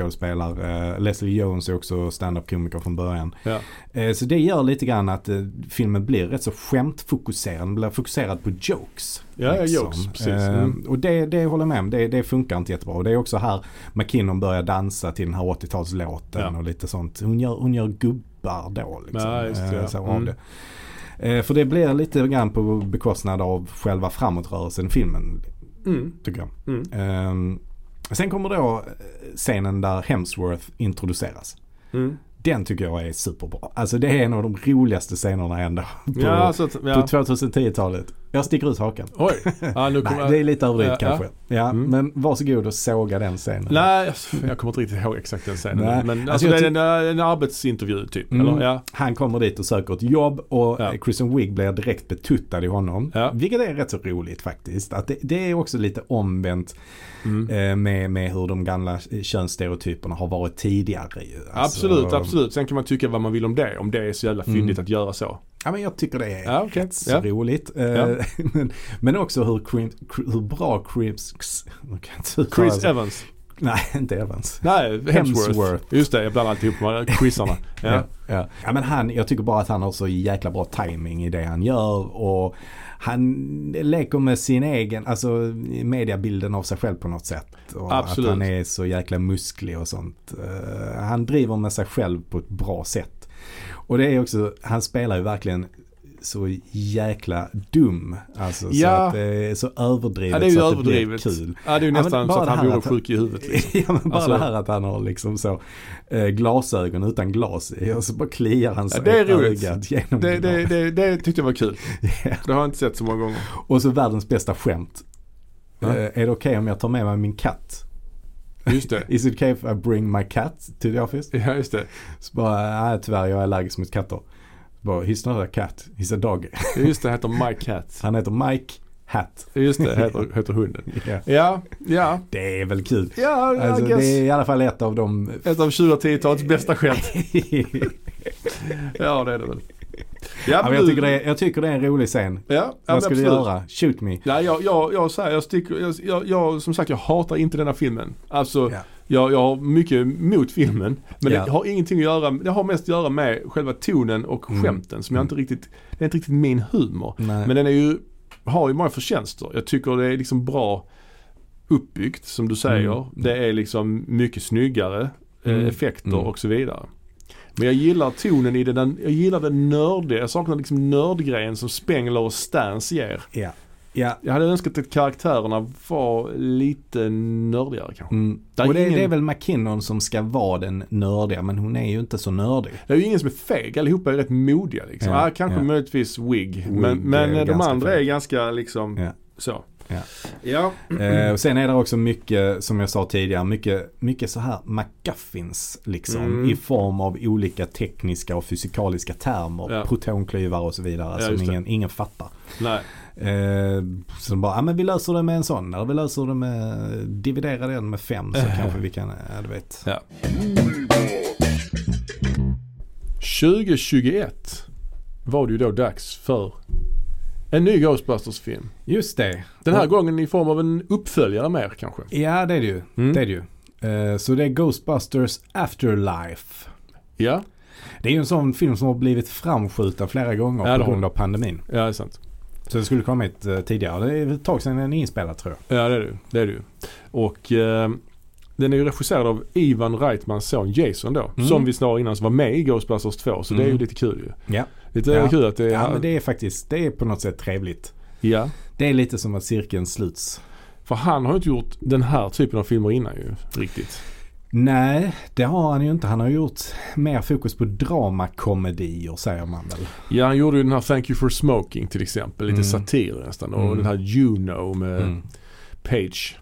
[SPEAKER 2] birollskådespelare. eh, Leslie Jones är också stand-up-komiker från början.
[SPEAKER 1] Ja.
[SPEAKER 2] Eh, Så det gör lite grann att eh, filmen blir rätt så skämtfokuserad. Den blir fokuserad på jokes.
[SPEAKER 1] Ja, ja, jokes, precis.
[SPEAKER 2] Eh,
[SPEAKER 1] Mm.
[SPEAKER 2] Och det, det håller jag med om. Det, det funkar inte jättebra. Och det är också här McKinnon börjar dansa till den här 80-talslåten
[SPEAKER 1] Ja.
[SPEAKER 2] och lite sånt. Hon gör, hon gör gubbar då. Liksom.
[SPEAKER 1] Ja, just det,
[SPEAKER 2] Eh,
[SPEAKER 1] ja.
[SPEAKER 2] Så av
[SPEAKER 1] Mm.
[SPEAKER 2] det. Eh, För det blir lite grann på bekostnad av själva framåtrörelsen i filmen,
[SPEAKER 1] Mm.
[SPEAKER 2] tycker jag.
[SPEAKER 1] Mm.
[SPEAKER 2] Ehm, Sen kommer då eh, scenen där Hemsworth introduceras.
[SPEAKER 1] Mm.
[SPEAKER 2] Den tycker jag är superbra. Alltså det är en av de roligaste scenerna ändå. På,
[SPEAKER 1] Ja, så att,
[SPEAKER 2] på
[SPEAKER 1] ja.
[SPEAKER 2] 2010-talet. Jag sticker ut hakan.
[SPEAKER 1] Oj. Ja, nu kommer
[SPEAKER 2] Nej, det är lite överdrivet
[SPEAKER 1] Ja, ja.
[SPEAKER 2] kanske. Ja,
[SPEAKER 1] Mm.
[SPEAKER 2] men varsågod och såga den scenen.
[SPEAKER 1] Nej, jag kommer inte riktigt ihåg exakt den scenen.
[SPEAKER 2] Nej.
[SPEAKER 1] Men
[SPEAKER 2] Alltså,
[SPEAKER 1] alltså,
[SPEAKER 2] jag
[SPEAKER 1] det är en, en arbetsintervju typ,
[SPEAKER 2] Mm.
[SPEAKER 1] eller? Ja.
[SPEAKER 2] Han kommer dit och söker ett jobb och
[SPEAKER 1] Ja.
[SPEAKER 2] eh, Kristen Wiig blir direkt betuttad i honom.
[SPEAKER 1] Ja.
[SPEAKER 2] Vilket är rätt så roligt faktiskt. Att det, det är också lite omvänt
[SPEAKER 1] Mm.
[SPEAKER 2] eh, med, med hur de gamla eh, könsstereotyperna har varit tidigare. ju. Alltså,
[SPEAKER 1] absolut, absolut. Sen kan man tycka vad man vill om det, om det är så jävla fyndigt att göra så.
[SPEAKER 2] Ja, men jag tycker det är
[SPEAKER 1] Ja, okej.
[SPEAKER 2] rätt så
[SPEAKER 1] Ja.
[SPEAKER 2] roligt. Eh,
[SPEAKER 1] Ja.
[SPEAKER 2] men, men också hur, Crim- Cr- hur bra Crips... Jag kan inte uttala
[SPEAKER 1] Chris
[SPEAKER 2] det.
[SPEAKER 1] Evans.
[SPEAKER 2] Nej, inte Evans.
[SPEAKER 1] Nej, Hemsworth.
[SPEAKER 2] Hemsworth.
[SPEAKER 1] Just det, jag blandar alltid ihop med quizarna. Ja.
[SPEAKER 2] Ja. Ja. men han, jag tycker bara att han har så jäkla bra timing i det han gör och han leker med sin egen, alltså mediabilden av sig själv på något sätt. Och
[SPEAKER 1] Absolut.
[SPEAKER 2] Att han är så jäkla musklig och sånt. Eh, han driver med sig själv på ett bra sätt. Och det är också, han spelar ju verkligen så jäkla dum. Alltså
[SPEAKER 1] Ja.
[SPEAKER 2] så att det är så överdrivet
[SPEAKER 1] Ja, det är ju
[SPEAKER 2] så att det blir
[SPEAKER 1] överdrivet.
[SPEAKER 2] kul.
[SPEAKER 1] Ja, det är ju
[SPEAKER 2] Ja, men
[SPEAKER 1] nästan
[SPEAKER 2] bara
[SPEAKER 1] så att
[SPEAKER 2] det här
[SPEAKER 1] han vore
[SPEAKER 2] att-
[SPEAKER 1] sjuk i huvudet. Liksom.
[SPEAKER 2] Ja men bara
[SPEAKER 1] Alltså-
[SPEAKER 2] det här att han har liksom så eh, glasögon utan glas i och så bara kliar han sig
[SPEAKER 1] Ja, det är
[SPEAKER 2] i
[SPEAKER 1] roligt.
[SPEAKER 2] ögat genom
[SPEAKER 1] Det,
[SPEAKER 2] glas.
[SPEAKER 1] det, det, det tyckte jag var kul. Det har jag inte sett så många gånger.
[SPEAKER 2] Och så världens bästa skämt.
[SPEAKER 1] Ja.
[SPEAKER 2] Eh, är det okej om jag tar med mig min katt?
[SPEAKER 1] Just det.
[SPEAKER 2] Is it okay if I bring my cat to the office?
[SPEAKER 1] Ja, just det.
[SPEAKER 2] Så bara, nej tyvärr jag är allergisk mot katter. Så bara, he's not a cat, he's a dog.
[SPEAKER 1] Just det, heter My Cat.
[SPEAKER 2] Han heter Mike Hat.
[SPEAKER 1] Just det, heter, heter hunden.
[SPEAKER 2] Ja,
[SPEAKER 1] Ja, ja.
[SPEAKER 2] Det är väl kul.
[SPEAKER 1] Ja,
[SPEAKER 2] Alltså,
[SPEAKER 1] I guess.
[SPEAKER 2] det är i alla fall ett av de...
[SPEAKER 1] Ett av 2010-talets bästa skämt. Ja, det är det väl. Ja,
[SPEAKER 2] Ja, men jag, tycker det är, jag tycker det är en rolig scen.
[SPEAKER 1] Ja, ja, men
[SPEAKER 2] Vad ska du
[SPEAKER 1] absolut.
[SPEAKER 2] göra? Shoot me.
[SPEAKER 1] Ja, jag, jag, jag, så här, jag, sticker, jag, jag, jag, som sagt, jag hatar inte denna filmen. Alltså,
[SPEAKER 2] Ja.
[SPEAKER 1] jag, jag har mycket emot filmen. Men
[SPEAKER 2] Ja.
[SPEAKER 1] det har ingenting att göra, det har mest att göra med själva tonen och
[SPEAKER 2] Mm.
[SPEAKER 1] skämten som jag inte riktigt, det är inte riktigt min humor.
[SPEAKER 2] Nej.
[SPEAKER 1] Men den är ju, har ju många förtjänster. Jag tycker det är liksom bra uppbyggt som du säger.
[SPEAKER 2] Mm.
[SPEAKER 1] Det är liksom mycket snyggare eh,
[SPEAKER 2] Mm.
[SPEAKER 1] effekter
[SPEAKER 2] Mm.
[SPEAKER 1] och så vidare. Men jag gillar tonen i den, den- jag gillar den nördiga, jag saknar liksom nördgrejen som Spengler och Stans ger.
[SPEAKER 2] Ja. Ja.
[SPEAKER 1] Jag hade önskat att karaktärerna var lite nördigare kanske.
[SPEAKER 2] Mm.
[SPEAKER 1] Det är
[SPEAKER 2] och det,
[SPEAKER 1] ingen-
[SPEAKER 2] det är väl McKinnon som ska vara den nördiga men hon är ju inte så nördig.
[SPEAKER 1] Det är ju ingen som är feg, allihopa är rätt modiga liksom.
[SPEAKER 2] Ja,
[SPEAKER 1] Ja, kanske
[SPEAKER 2] ja.
[SPEAKER 1] möjligtvis Wig.
[SPEAKER 2] Wig
[SPEAKER 1] Men,
[SPEAKER 2] är
[SPEAKER 1] men eh, de
[SPEAKER 2] ganska
[SPEAKER 1] andra
[SPEAKER 2] feg.
[SPEAKER 1] är ganska liksom
[SPEAKER 2] Ja.
[SPEAKER 1] så.
[SPEAKER 2] Ja.
[SPEAKER 1] ja.
[SPEAKER 2] Eh, och sen är det också mycket, som jag sa tidigare, mycket, mycket så här McGuffins liksom.
[SPEAKER 1] Mm.
[SPEAKER 2] I form av olika tekniska och fysikaliska termer.
[SPEAKER 1] Ja.
[SPEAKER 2] Protonklyvar och så vidare
[SPEAKER 1] Ja,
[SPEAKER 2] som
[SPEAKER 1] just det.
[SPEAKER 2] ingen, ingen fattar.
[SPEAKER 1] Nej.
[SPEAKER 2] Eh, så de bara, ja men vi löser det med en sån. Eller vi löser det med, dividera den med fem så
[SPEAKER 1] Eh.
[SPEAKER 2] kanske vi kan, ja du vet.
[SPEAKER 1] Ja. 2021 var det ju då dags för en ny Ghostbusters-film.
[SPEAKER 2] Just det.
[SPEAKER 1] Den här
[SPEAKER 2] Och-
[SPEAKER 1] gången i form av en uppföljare mer kanske.
[SPEAKER 2] Ja det är det ju.
[SPEAKER 1] Mm.
[SPEAKER 2] Det är det ju. Eh, så det är Ghostbusters Afterlife.
[SPEAKER 1] Ja,
[SPEAKER 2] Det är ju en sån film som har blivit framskjuten flera gånger
[SPEAKER 1] Ja, det
[SPEAKER 2] på
[SPEAKER 1] har
[SPEAKER 2] grund
[SPEAKER 1] den.
[SPEAKER 2] av pandemin.
[SPEAKER 1] ja det är sant.
[SPEAKER 2] Så det skulle kommit eh, tidigare. Det är ett tag sedan den är inspelad tror jag.
[SPEAKER 1] Ja det är det ju. det är det ju. Och eh, den är ju regisserad av Ivan Reitmans son Jason då.
[SPEAKER 2] Mm.
[SPEAKER 1] Som vi snarare innan så var med i Ghostbusters 2. Så det är ju
[SPEAKER 2] Mm.
[SPEAKER 1] lite kul ju.
[SPEAKER 2] Ja.
[SPEAKER 1] Lite
[SPEAKER 2] Ja.
[SPEAKER 1] kul att det är...
[SPEAKER 2] ja, men det är faktiskt, det är på något sätt trevligt.
[SPEAKER 1] ja.
[SPEAKER 2] Det är lite som att cirkeln sluts.
[SPEAKER 1] För han har ju inte gjort den här typen av filmer innan ju. Riktigt.
[SPEAKER 2] Nej, det har han ju inte. Han har gjort mer fokus på dramakomedier säger man väl.
[SPEAKER 1] Ja, han gjorde ju den här Thank You For Smoking till exempel. Lite
[SPEAKER 2] Mm.
[SPEAKER 1] satir nästan. Och
[SPEAKER 2] Mm.
[SPEAKER 1] den här You Know med
[SPEAKER 2] Mm.
[SPEAKER 1] Page.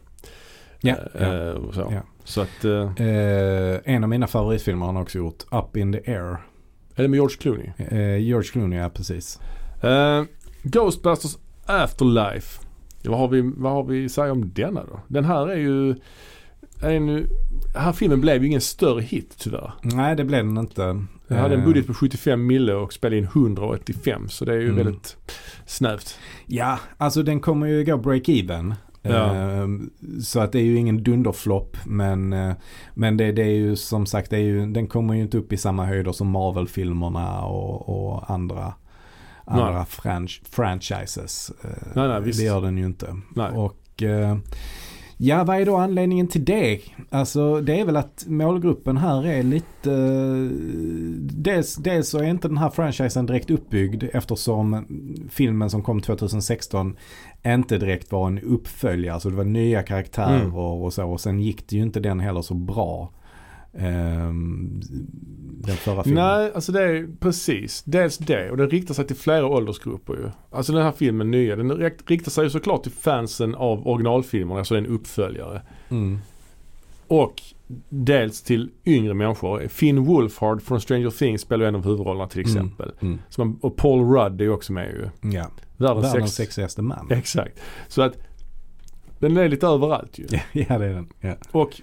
[SPEAKER 2] Ja,
[SPEAKER 1] Eh,
[SPEAKER 2] ja.
[SPEAKER 1] och så.
[SPEAKER 2] Ja.
[SPEAKER 1] så att, eh,
[SPEAKER 2] Eh, en av mina favoritfilmer har han också gjort, Up in the Air.
[SPEAKER 1] är det med George Clooney?
[SPEAKER 2] Eh, George Clooney, ja precis.
[SPEAKER 1] Eh, Ghostbusters Afterlife. Ja, Vad har, vi, vad har vi att säga om denna då? Den här är ju en... Den här filmen blev ju ingen större hit tyvärr.
[SPEAKER 2] Nej, det blev den inte.
[SPEAKER 1] Den hade en
[SPEAKER 2] Eh,
[SPEAKER 1] budget på 75 mille och spelade in 185 så det är ju
[SPEAKER 2] Mm.
[SPEAKER 1] väldigt snävt.
[SPEAKER 2] Ja, alltså den kommer ju gå break-even.
[SPEAKER 1] Ja.
[SPEAKER 2] Eh, Så att det är ju ingen dunderflopp men, eh, men det, det är ju som sagt det är ju, den kommer ju inte upp i samma höjder som Marvel-filmerna och, och andra,
[SPEAKER 1] Nej.
[SPEAKER 2] andra franch, franchises. Eh,
[SPEAKER 1] Nej, nej, visst.
[SPEAKER 2] det gör den ju inte.
[SPEAKER 1] Nej.
[SPEAKER 2] Och eh, ja, vad är då anledningen till det? Alltså det är väl att målgruppen här är lite... eh, Dels, dels så är inte den här franchisen direkt uppbyggd eftersom filmen som kom 2016 inte direkt var en uppföljare. Så det var nya karaktärer
[SPEAKER 1] Mm.
[SPEAKER 2] och så. Och sen gick det ju inte den heller så bra. ehm, den förra filmen.
[SPEAKER 1] Nej, alltså det är precis. Dels det och den riktar sig till flera åldersgrupper ju. Alltså den här filmen nya, den rikt- riktar sig ju såklart till fansen av originalfilmerna, alltså en uppföljare.
[SPEAKER 2] Mm.
[SPEAKER 1] Och dels till yngre människor. Finn Wolfhard från Stranger Things spelar ju en av huvudrollerna till
[SPEAKER 2] Mm.
[SPEAKER 1] exempel.
[SPEAKER 2] Mm.
[SPEAKER 1] Så man, och Paul Rudd är ju också med ju.
[SPEAKER 2] Ja.
[SPEAKER 1] Världens,
[SPEAKER 2] Världens
[SPEAKER 1] Världens
[SPEAKER 2] sexigaste man.
[SPEAKER 1] Exakt. Så att den är lite överallt ju.
[SPEAKER 2] ja det är den. Ja.
[SPEAKER 1] Och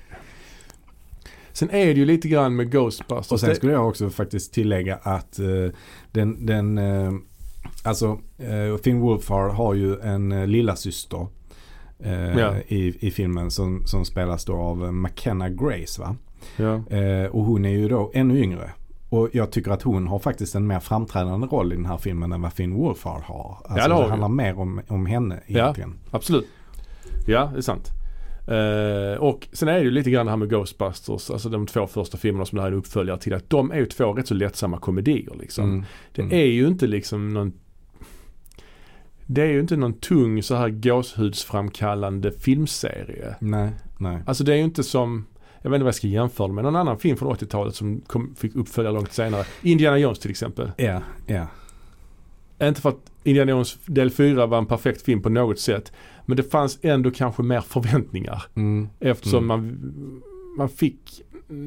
[SPEAKER 1] sen är det ju lite grann med Ghostbusters.
[SPEAKER 2] Och sen
[SPEAKER 1] Det-
[SPEAKER 2] skulle jag också faktiskt tillägga att eh, den, den eh, alltså eh, Finn Wolfhard har ju en eh, lilla syster eh,
[SPEAKER 1] Ja.
[SPEAKER 2] i, i filmen som, som spelas då av eh, McKenna Grace va?
[SPEAKER 1] ja.
[SPEAKER 2] Eh, och hon är ju då ännu yngre. Och jag tycker att hon har faktiskt en mer framträdande roll i den här filmen än vad Finn Wolfhard har. Alltså,
[SPEAKER 1] det har
[SPEAKER 2] det
[SPEAKER 1] hon.
[SPEAKER 2] handlar mer om, om henne egentligen.
[SPEAKER 1] Absolut. Ja, det är sant. Eh, och sen är det ju lite grann det här med Ghostbusters, alltså de två första filmerna som det här är en uppföljare till, att de är ju två rätt så lättsamma komedier liksom.
[SPEAKER 2] Mm.
[SPEAKER 1] Det
[SPEAKER 2] Mm.
[SPEAKER 1] är ju inte liksom någon det är ju inte någon tung så här gåshudsframkallande filmserie.
[SPEAKER 2] Nej, nej.
[SPEAKER 1] Alltså det är ju inte som, jag vet inte vad jag ska jämföra det med, någon annan film från 80-talet som kom, fick uppfölja långt senare. Indiana Jones till exempel.
[SPEAKER 2] Ja, ja.
[SPEAKER 1] Inte för att Indiana Jones del 4 var en perfekt film på något sätt. Men det fanns ändå kanske mer förväntningar.
[SPEAKER 2] Mm.
[SPEAKER 1] Eftersom
[SPEAKER 2] Mm.
[SPEAKER 1] man, man fick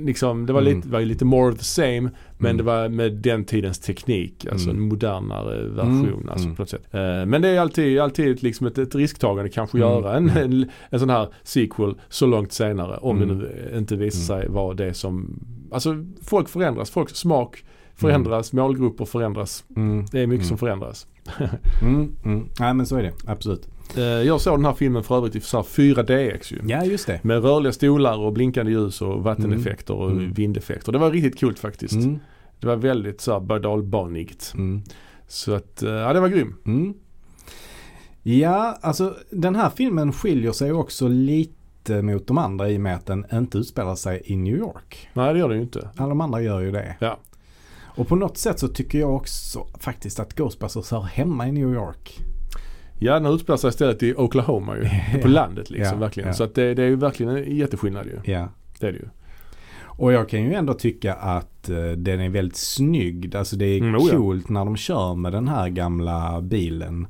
[SPEAKER 1] liksom, det var,
[SPEAKER 2] Mm.
[SPEAKER 1] lite, var ju lite more of the same. Men
[SPEAKER 2] Mm.
[SPEAKER 1] det var med den tidens teknik, alltså
[SPEAKER 2] Mm.
[SPEAKER 1] en modernare version
[SPEAKER 2] Mm.
[SPEAKER 1] alltså,
[SPEAKER 2] Mm.
[SPEAKER 1] på något sätt. Eh, Men det är alltid, alltid ett, liksom ett, ett risktagande kanske
[SPEAKER 2] Mm.
[SPEAKER 1] göra en, en, en sån här sequel så långt senare. Om
[SPEAKER 2] Mm.
[SPEAKER 1] det nu inte visar sig vara det som, alltså folk förändras, folks smak förändras, målgrupper förändras.
[SPEAKER 2] Mm.
[SPEAKER 1] Det är mycket som
[SPEAKER 2] Mm.
[SPEAKER 1] förändras.
[SPEAKER 2] Mm. Mm. Nej men så är det, absolut.
[SPEAKER 1] Eh, Jag såg den här filmen för övrigt i så här 4DX ju.
[SPEAKER 2] Ja just det.
[SPEAKER 1] Med rörliga stolar och blinkande ljus och vatteneffekter och
[SPEAKER 2] Mm.
[SPEAKER 1] vindeffekter. Det var riktigt coolt faktiskt.
[SPEAKER 2] Mm.
[SPEAKER 1] Det var väldigt så här badalbanigt.
[SPEAKER 2] Mm.
[SPEAKER 1] Så att, eh, ja det var grym.
[SPEAKER 2] Mm. Ja, alltså den här filmen skiljer sig också lite mot de andra i och med att den inte utspelar sig i New York.
[SPEAKER 1] Nej det gör den ju inte.
[SPEAKER 2] Alla de andra gör ju det.
[SPEAKER 1] Ja.
[SPEAKER 2] Och på något sätt så tycker jag också faktiskt att Ghostbusters hör hemma i New York.
[SPEAKER 1] Ja den utspelar sig istället i Oklahoma ju. På landet liksom
[SPEAKER 2] Ja,
[SPEAKER 1] verkligen.
[SPEAKER 2] ja.
[SPEAKER 1] Så att det, det är ju verkligen en jätteskillnad ju.
[SPEAKER 2] Ja.
[SPEAKER 1] Det är det ju.
[SPEAKER 2] Och jag kan ju ändå tycka att eh, den är väldigt snygg. Alltså det är
[SPEAKER 1] Mm, oh ja.
[SPEAKER 2] coolt när de kör med den här gamla bilen.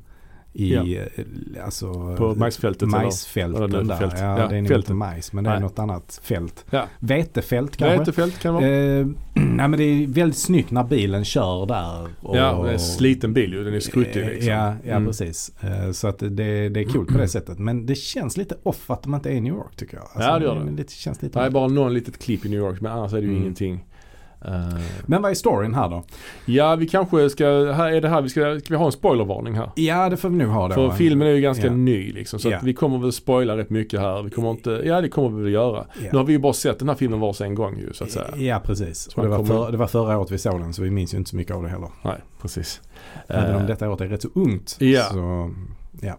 [SPEAKER 2] I,
[SPEAKER 1] Ja.
[SPEAKER 2] eh, alltså,
[SPEAKER 1] På majsfältet eller-
[SPEAKER 2] majsfälten
[SPEAKER 1] eller
[SPEAKER 2] där.
[SPEAKER 1] fält.
[SPEAKER 2] Ja,
[SPEAKER 1] Ja,
[SPEAKER 2] det är nog inte
[SPEAKER 1] fälten.
[SPEAKER 2] majs men det är
[SPEAKER 1] Nej.
[SPEAKER 2] något annat fält.
[SPEAKER 1] Ja.
[SPEAKER 2] Vetefält kanske?
[SPEAKER 1] Vätefält kan det vara.
[SPEAKER 2] Eh, nej men det är väldigt snyggt när bilen kör där. och-
[SPEAKER 1] Ja, det är en sliten bil ju. Den är skruttig
[SPEAKER 2] Eh,
[SPEAKER 1] liksom.
[SPEAKER 2] Ja, ja
[SPEAKER 1] Mm.
[SPEAKER 2] precis. Eh, Så att det, det är kul på det sättet. Men det känns lite off att de inte är i New York tycker jag.
[SPEAKER 1] Ja, det gör det.
[SPEAKER 2] lite, känns lite
[SPEAKER 1] Det är bara någon litet klipp i New York men annars är det ju
[SPEAKER 2] Mm.
[SPEAKER 1] ingenting. Eh,
[SPEAKER 2] Men vad är storyn här då?
[SPEAKER 1] ja vi kanske ska, här är det här, vi ska, ska vi ha en spoilervarning här?
[SPEAKER 2] Ja det får vi nog ha då.
[SPEAKER 1] För
[SPEAKER 2] va?
[SPEAKER 1] filmen är ju ganska
[SPEAKER 2] Ja.
[SPEAKER 1] ny liksom, så
[SPEAKER 2] Ja.
[SPEAKER 1] att vi kommer väl spoila rätt mycket här. Vi kommer inte, ja det kommer vi väl göra.
[SPEAKER 2] Ja.
[SPEAKER 1] Nu har vi ju bara sett den här filmen vars en gång ju så att säga.
[SPEAKER 2] Ja precis. Och
[SPEAKER 1] man
[SPEAKER 2] det, var
[SPEAKER 1] kommer-
[SPEAKER 2] för, det var förra året vi såg den så vi minns ju inte så mycket av det heller.
[SPEAKER 1] Nej, precis.
[SPEAKER 2] Även om
[SPEAKER 1] Eh,
[SPEAKER 2] detta året är rätt så ungt.
[SPEAKER 1] ja.
[SPEAKER 2] Så, ja.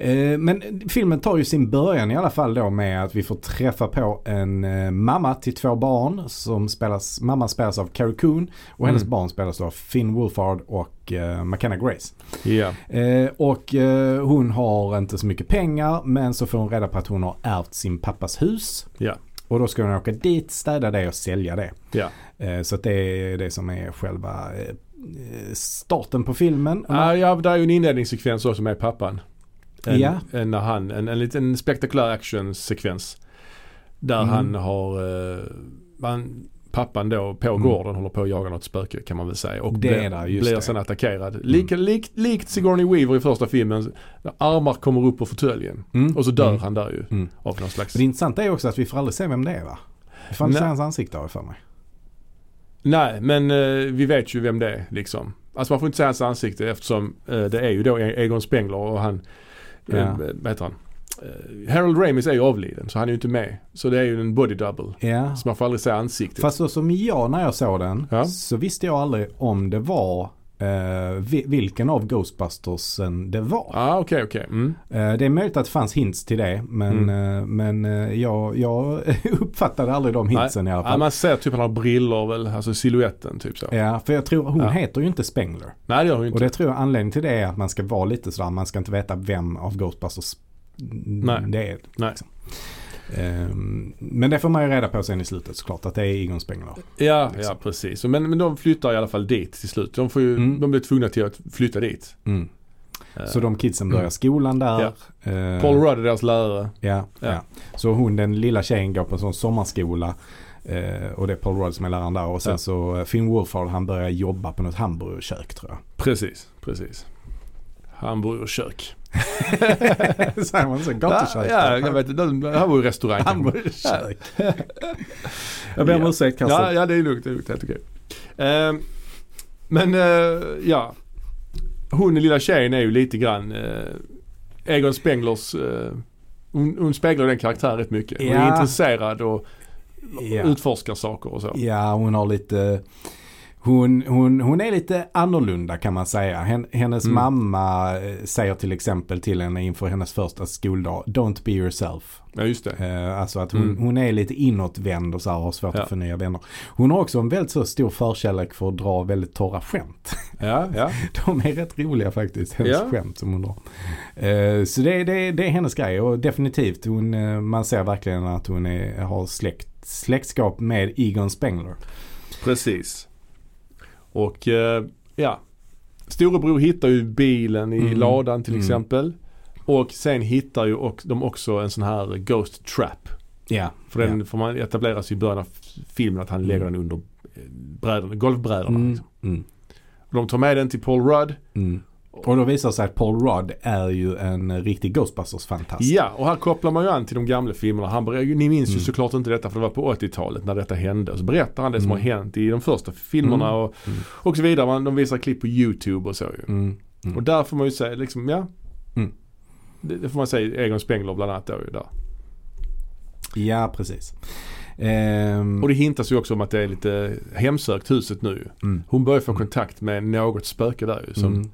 [SPEAKER 2] Eh, Men filmen tar ju sin början i alla fall då med att vi får träffa på en eh, mamma till två barn. Som spelas, mamman spelas av Carrie Coon och hennes
[SPEAKER 1] Mm.
[SPEAKER 2] barn spelas då av Finn Wolfhard och eh, McKenna Grace.
[SPEAKER 1] ja.
[SPEAKER 2] Eh, Och eh, hon har inte så mycket pengar men så får hon reda på att hon har ärvt sin pappas hus.
[SPEAKER 1] Ja.
[SPEAKER 2] Och då ska hon åka dit, städa det och sälja det.
[SPEAKER 1] Ja.
[SPEAKER 2] Eh, Så att det är det som är själva eh, eh, starten på filmen.
[SPEAKER 1] Ah, ja, där är ju en inledningssekvens också med pappan. En,
[SPEAKER 2] Ja.
[SPEAKER 1] en, när han, en, en liten spektakulär actionsekvens. Där
[SPEAKER 2] Mm.
[SPEAKER 1] han har, eh, han pappan då på
[SPEAKER 2] Mm.
[SPEAKER 1] gården håller på att jaga något spöke kan man väl säga. Och
[SPEAKER 2] Det
[SPEAKER 1] blir,
[SPEAKER 2] är där, just
[SPEAKER 1] blir
[SPEAKER 2] det.
[SPEAKER 1] sen attackerad.
[SPEAKER 2] Mm.
[SPEAKER 1] Lik, likt, likt Sigourney Weaver i första filmen. När armar kommer upp på fåtöljen.
[SPEAKER 2] Mm.
[SPEAKER 1] Och så dör
[SPEAKER 2] Mm.
[SPEAKER 1] han där ju.
[SPEAKER 2] Mm.
[SPEAKER 1] Av någon slags...
[SPEAKER 2] Men det intressanta är också att vi får aldrig se vem det är va? Vi får aldrig
[SPEAKER 1] Nej.
[SPEAKER 2] se hans ansikte har jag för mig.
[SPEAKER 1] Nej, men eh, vi vet ju vem det är liksom. Alltså man får inte säga hans ansikte eftersom eh, det är ju då Egon Spengler och han, eh,
[SPEAKER 2] Ja.
[SPEAKER 1] vad heter han? Eh, Harold Ramis är ju avliden så han är ju inte med. Så det är ju en body double.
[SPEAKER 2] Ja.
[SPEAKER 1] Så man får aldrig säga ansiktet.
[SPEAKER 2] Fast så som jag när jag såg den
[SPEAKER 1] Ja.
[SPEAKER 2] så visste jag aldrig om det var eh, vi- vilken av Ghostbustersen det var.
[SPEAKER 1] ah, okej okej. Mm.
[SPEAKER 2] Eh, Det är möjligt att det fanns hints till det men, eh, men eh, jag, jag uppfattade aldrig de hintsen i alla
[SPEAKER 1] Ja,
[SPEAKER 2] fall.
[SPEAKER 1] man ser typ han har briller väl, alltså siluetten typ så.
[SPEAKER 2] Ja, för jag tror hon
[SPEAKER 1] Ja.
[SPEAKER 2] heter ju inte Spengler.
[SPEAKER 1] Nej det gör han ju
[SPEAKER 2] Och
[SPEAKER 1] inte.
[SPEAKER 2] det tror jag anledningen till det är att man ska vara lite sådär, man ska inte veta vem av Ghostbusters
[SPEAKER 1] Nej.
[SPEAKER 2] det är.
[SPEAKER 1] Nej.
[SPEAKER 2] liksom. Ehm, men det får man ju reda på sen i slutet såklart att det är Egon Spengler.
[SPEAKER 1] Ja,
[SPEAKER 2] liksom.
[SPEAKER 1] ja precis. Men, men de flyttar i alla fall dit till slut. De, får ju,
[SPEAKER 2] Mm.
[SPEAKER 1] de blir tvungna till att flytta dit.
[SPEAKER 2] Mm.
[SPEAKER 1] Eh,
[SPEAKER 2] Så de kidsen börjar skolan där. Ehm,
[SPEAKER 1] Paul Rudd är deras lärare.
[SPEAKER 2] Ja, ja.
[SPEAKER 1] Ja.
[SPEAKER 2] Så hon den lilla tjejen går på en sån sommarskola. eh, och det är Paul Rudd som är läraren där. Och sen
[SPEAKER 1] Ja.
[SPEAKER 2] så eh, Finn Wolfhard han börjar jobba på något hamburgerkök tror jag.
[SPEAKER 1] Precis, precis. Hamburgerkök.
[SPEAKER 2] Säger man så? Gatukök?
[SPEAKER 1] Ja, jag vet inte. Det här var ju restaurang.
[SPEAKER 2] Hamburgerkök. jag ber om
[SPEAKER 1] Ja.
[SPEAKER 2] ursäkt Kasse.
[SPEAKER 1] Ja, ja, det är lugnt. Det är lugnt. Helt okej. Ehm, men eh, ja. Hon den lilla tjejen är ju lite grann eh, Egon Spenglers eh, hon, hon speglar den karaktären rätt mycket. Hon är
[SPEAKER 2] Ja.
[SPEAKER 1] intresserad och
[SPEAKER 2] Ja.
[SPEAKER 1] utforskar saker och så.
[SPEAKER 2] Ja, hon har lite... Hon, hon, hon är lite annorlunda kan man säga. Hen, hennes
[SPEAKER 1] Mm.
[SPEAKER 2] mamma eh, säger till exempel till henne inför hennes första skoldag, don't be yourself.
[SPEAKER 1] Ja, just det.
[SPEAKER 2] Eh, alltså att hon,
[SPEAKER 1] Mm.
[SPEAKER 2] hon är lite inåtvänd och så här, har svårt
[SPEAKER 1] Ja.
[SPEAKER 2] att få nya vänner. Hon har också en väldigt så stor förkärlek för att dra väldigt torra skämt.
[SPEAKER 1] Ja, ja.
[SPEAKER 2] De är rätt roliga faktiskt, hennes
[SPEAKER 1] Ja.
[SPEAKER 2] skämt som hon drar. Eh, så det, det, det är hennes grej och definitivt, hon, eh, man ser verkligen att hon är, har släkt, släktskap med Egon Spengler.
[SPEAKER 1] Precis. Och eh, ja. Storebror hittar ju bilen i
[SPEAKER 2] Mm.
[SPEAKER 1] ladan till
[SPEAKER 2] Mm.
[SPEAKER 1] exempel. Och sen hittar ju och, de också en sån här Ghost Trap.
[SPEAKER 2] Ja,
[SPEAKER 1] För den får man etableras i början av filmen att han
[SPEAKER 2] Mm.
[SPEAKER 1] lägger den under eh, brädorna, golvbrädorna.
[SPEAKER 2] Mm,
[SPEAKER 1] Liksom.
[SPEAKER 2] mm,
[SPEAKER 1] Och de tar med den till Paul Rudd.
[SPEAKER 2] mm. Och då visar det sig att Paul Rudd är ju en eh, riktig Ghostbusters-fantast.
[SPEAKER 1] Ja, och här kopplar man ju an till de gamla filmerna. Han, ber- ni minns ju
[SPEAKER 2] Mm.
[SPEAKER 1] såklart inte detta för det var på 80-talet när detta hände. Och så berättar han det som
[SPEAKER 2] Mm.
[SPEAKER 1] har hänt i de första filmerna
[SPEAKER 2] Mm.
[SPEAKER 1] och,
[SPEAKER 2] Mm.
[SPEAKER 1] och så vidare. Man, de visar klipp på YouTube och så ju.
[SPEAKER 2] Mm.
[SPEAKER 1] Och där får man ju säga liksom, ja.
[SPEAKER 2] Mm.
[SPEAKER 1] Det, det får man säga Egon Spengler bland annat då ju där.
[SPEAKER 2] Ja, precis. Ehm,
[SPEAKER 1] Och det hintas ju också om att det är lite hemsökt huset nu.
[SPEAKER 2] mm,
[SPEAKER 1] Hon börjar få kontakt med något spöke där ju som
[SPEAKER 2] mm,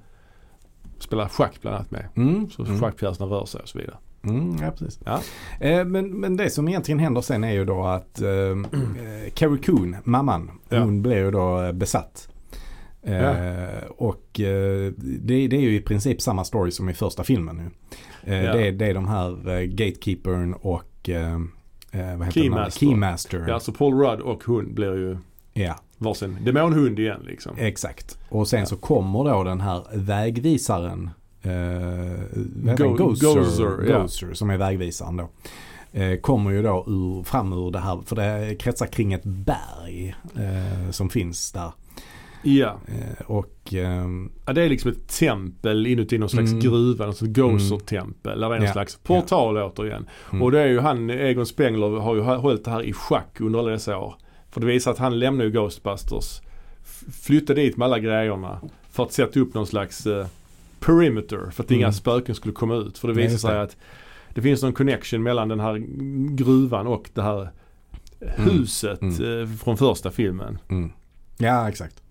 [SPEAKER 1] spelar schack bland annat med.
[SPEAKER 2] mm,
[SPEAKER 1] Så
[SPEAKER 2] mm,
[SPEAKER 1] schackpjäserna rör sig och så vidare.
[SPEAKER 2] mm, ja, precis.
[SPEAKER 1] Ja.
[SPEAKER 2] Eh, men, men det som egentligen händer sen är ju då att eh, eh, Carrie Coon, mamman,
[SPEAKER 1] Ja.
[SPEAKER 2] hon blir ju då eh, besatt. Eh, Och eh, det, det är ju i princip samma story som i första filmen nu. Eh,
[SPEAKER 1] Ja.
[SPEAKER 2] det, är- det är de här eh, Gatekeepern och eh, eh, vad heter
[SPEAKER 1] Keymaster.
[SPEAKER 2] Den? här? Keymaster.
[SPEAKER 1] Ja, så Paul Rudd och hon blir ju
[SPEAKER 2] Ja,
[SPEAKER 1] varsin demonhund igen liksom.
[SPEAKER 2] exakt. Och sen så kommer då den här vägvisaren. Eh, vad heter
[SPEAKER 1] Go-
[SPEAKER 2] den? Gozer,
[SPEAKER 1] Gozer, ja.
[SPEAKER 2] Gozer, som är vägvisaren då. Eh, kommer ju då ur, fram ur det här, för det kretsar kring ett berg eh, som finns där.
[SPEAKER 1] Ja.
[SPEAKER 2] Eh, och ehm,
[SPEAKER 1] ja, det är liksom ett tempel inuti någon slags
[SPEAKER 2] Mm.
[SPEAKER 1] gruva, något slags Gozer-tempel. Där det är någon
[SPEAKER 2] Ja.
[SPEAKER 1] slags portal återigen.
[SPEAKER 2] Mm.
[SPEAKER 1] Och det är ju han, Egon Spengler, har ju hållit det här i schack under alla dessa år. För det visar att han lämnar ju Ghostbusters, f- flyttar dit med alla grejerna för att sätta upp någon slags eh, perimeter för att inga
[SPEAKER 2] Mm.
[SPEAKER 1] spöken skulle komma ut. För det
[SPEAKER 2] Nej,
[SPEAKER 1] visar
[SPEAKER 2] just
[SPEAKER 1] sig
[SPEAKER 2] det.
[SPEAKER 1] att det finns någon connection mellan den här gruvan och det här eh, huset
[SPEAKER 2] Mm.
[SPEAKER 1] eh, från första filmen.
[SPEAKER 2] Mm. Ja, exakt.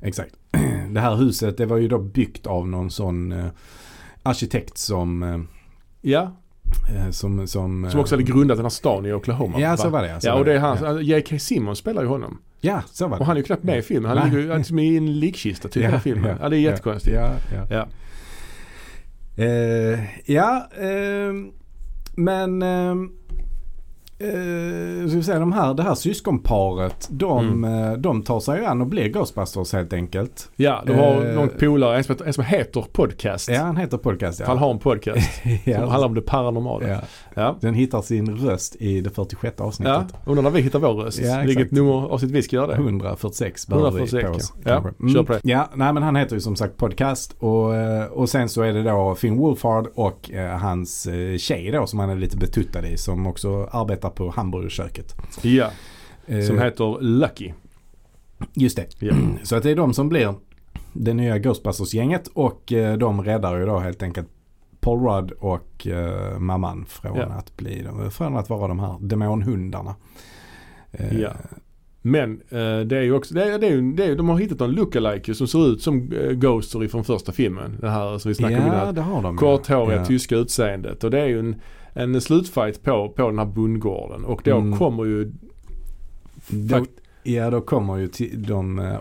[SPEAKER 2] Exakt. Det här huset det var ju då byggt av någon sån eh, arkitekt som,
[SPEAKER 1] Ja,
[SPEAKER 2] eh, som, som...
[SPEAKER 1] som också
[SPEAKER 2] eh,
[SPEAKER 1] hade grundat den här stan i Oklahoma.
[SPEAKER 2] Ja,
[SPEAKER 1] va?
[SPEAKER 2] så var det. så
[SPEAKER 1] Ja,
[SPEAKER 2] var
[SPEAKER 1] och det är han,
[SPEAKER 2] Ja,
[SPEAKER 1] J.K. Simmons spelar ju honom.
[SPEAKER 2] ja så var det.
[SPEAKER 1] Och han är ju knappt med i filmen. Han
[SPEAKER 2] Nej.
[SPEAKER 1] ligger ju han är liksom i en likkista typ
[SPEAKER 2] Ja,
[SPEAKER 1] hela filmen.
[SPEAKER 2] ja,
[SPEAKER 1] Ja, det är
[SPEAKER 2] ja.
[SPEAKER 1] jättekonstigt.
[SPEAKER 2] Ja, ja.
[SPEAKER 1] Ja.
[SPEAKER 2] Eh, ja, ehm, men ehm, eh, ska vi säga, de här, det här syskonparet de,
[SPEAKER 1] Mm.
[SPEAKER 2] eh, de tar sig ju an och blir Ghostbusters helt enkelt.
[SPEAKER 1] Ja, du har
[SPEAKER 2] Eh.
[SPEAKER 1] någon polare, en som, heter- en som heter Podcast.
[SPEAKER 2] Ja, han heter Podcast. Ja.
[SPEAKER 1] Han har en podcast som handlar om det paranormala. Ja.
[SPEAKER 2] ja. Den hittar sin röst i det 46
[SPEAKER 1] Ja,
[SPEAKER 2] avsnittet.
[SPEAKER 1] undrar när vi hittar vår röst.
[SPEAKER 2] Ja, exakt.
[SPEAKER 1] Vilket nummer avsnitt vi ska göra det.
[SPEAKER 2] 146 bör
[SPEAKER 1] 146,
[SPEAKER 2] vi på oss.
[SPEAKER 1] ja. Ja,
[SPEAKER 2] kanske. Mm.
[SPEAKER 1] kör på det.
[SPEAKER 2] Ja, nej men han heter ju som sagt Podcast och, eh, och sen så är det då Finn Wolfhard och eh, hans eh, tjej då som han är lite betuttad i som också arbetar på hamburgerköket.
[SPEAKER 1] Ja, som
[SPEAKER 2] Eh,
[SPEAKER 1] heter Lucky.
[SPEAKER 2] Just det.
[SPEAKER 1] Ja.
[SPEAKER 2] Så att det är de som blir det nya Ghostbusters-gänget och eh, de räddar ju då helt enkelt Paul Rudd och eh, mamman från,
[SPEAKER 1] Ja.
[SPEAKER 2] att bli de, från att vara de här demonhundarna. Eh,
[SPEAKER 1] Ja. Men eh, det är ju också, det är, det är, ju- det är, de har hittat en lookalike ju som ser ut som eh, Ghoster ifrån första filmen. Det här som vi snackade om
[SPEAKER 2] ja,
[SPEAKER 1] innan.
[SPEAKER 2] det har de.
[SPEAKER 1] Korthåriga,
[SPEAKER 2] Mm. ja.
[SPEAKER 1] E tyska utseendet. Och det är ju en, en slutfight på, på den här bondgården. Och då
[SPEAKER 2] Mm.
[SPEAKER 1] kommer ju...
[SPEAKER 2] Då,
[SPEAKER 1] Fakt,
[SPEAKER 2] ja, då kommer ju till, de eh,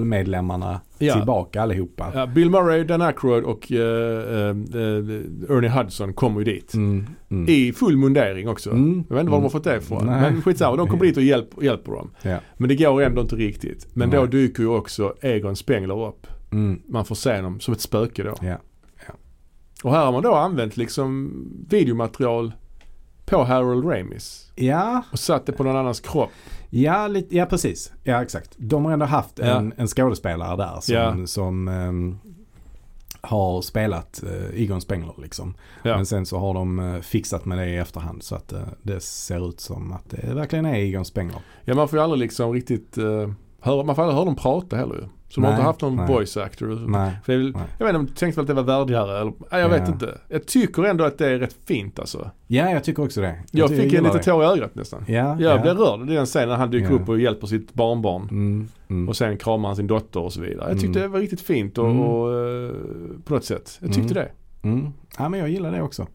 [SPEAKER 2] originalmedlemmarna
[SPEAKER 1] Ja.
[SPEAKER 2] tillbaka allihopa.
[SPEAKER 1] ja, Bill Murray, Dan Aykroyd och eh, eh, eh, Ernie Hudson kommer ju dit.
[SPEAKER 2] Mm, mm.
[SPEAKER 1] I full mundering också.
[SPEAKER 2] Mm.
[SPEAKER 1] Jag vet inte var de
[SPEAKER 2] Mm.
[SPEAKER 1] har fått det ifrån.
[SPEAKER 2] Nej.
[SPEAKER 1] Men skitsamma, de kommer dit och hjälp, hjälper dem.
[SPEAKER 2] Ja.
[SPEAKER 1] Men det går ändå inte riktigt. Men då
[SPEAKER 2] Nej.
[SPEAKER 1] dyker ju också Egon Spengler upp.
[SPEAKER 2] Mm.
[SPEAKER 1] Man får se honom som ett spöke då.
[SPEAKER 2] Ja.
[SPEAKER 1] Och här har man då använt liksom videomaterial på Harold Ramis.
[SPEAKER 2] Ja,
[SPEAKER 1] Och satt det på någon annans kropp.
[SPEAKER 2] ja, lite, ja, precis. Ja, exakt. De har ändå haft
[SPEAKER 1] Ja.
[SPEAKER 2] en, en skådespelare där som,
[SPEAKER 1] Ja.
[SPEAKER 2] som ehm, har spelat eh, Egon Spengler liksom.
[SPEAKER 1] Ja.
[SPEAKER 2] Men sen så har de eh, fixat med det i efterhand så att eh, det ser ut som att det verkligen är Egon Spengler.
[SPEAKER 1] Ja man får ju aldrig liksom riktigt eh, höra, man får aldrig höra dem prata heller ju. Så de har
[SPEAKER 2] Nej,
[SPEAKER 1] inte haft någon
[SPEAKER 2] nej.
[SPEAKER 1] voice actor.
[SPEAKER 2] Nej.
[SPEAKER 1] För det är väl,
[SPEAKER 2] Nej.
[SPEAKER 1] jag vet inte om de tänkte väl att det var värdigare eller, nej, jag vet
[SPEAKER 2] Ja.
[SPEAKER 1] inte. Jag tycker ändå att det är rätt fint alltså.
[SPEAKER 2] Ja, jag tycker också det.
[SPEAKER 1] Jag,
[SPEAKER 2] tycker-
[SPEAKER 1] fick en
[SPEAKER 2] gillar
[SPEAKER 1] liten
[SPEAKER 2] det.
[SPEAKER 1] tår i ögat nästan.
[SPEAKER 2] Ja,
[SPEAKER 1] Jag
[SPEAKER 2] ja.
[SPEAKER 1] blev rörd i den scenen när han dyker
[SPEAKER 2] Ja.
[SPEAKER 1] upp och hjälper sitt barnbarn.
[SPEAKER 2] Mm, mm.
[SPEAKER 1] Och sen kramar han sin dotter och så vidare. Jag tyckte
[SPEAKER 2] Mm.
[SPEAKER 1] det var riktigt fint och,
[SPEAKER 2] Mm.
[SPEAKER 1] och eh, på något sätt. Jag tyckte det.
[SPEAKER 2] Mm. Ja, men jag gillar det också.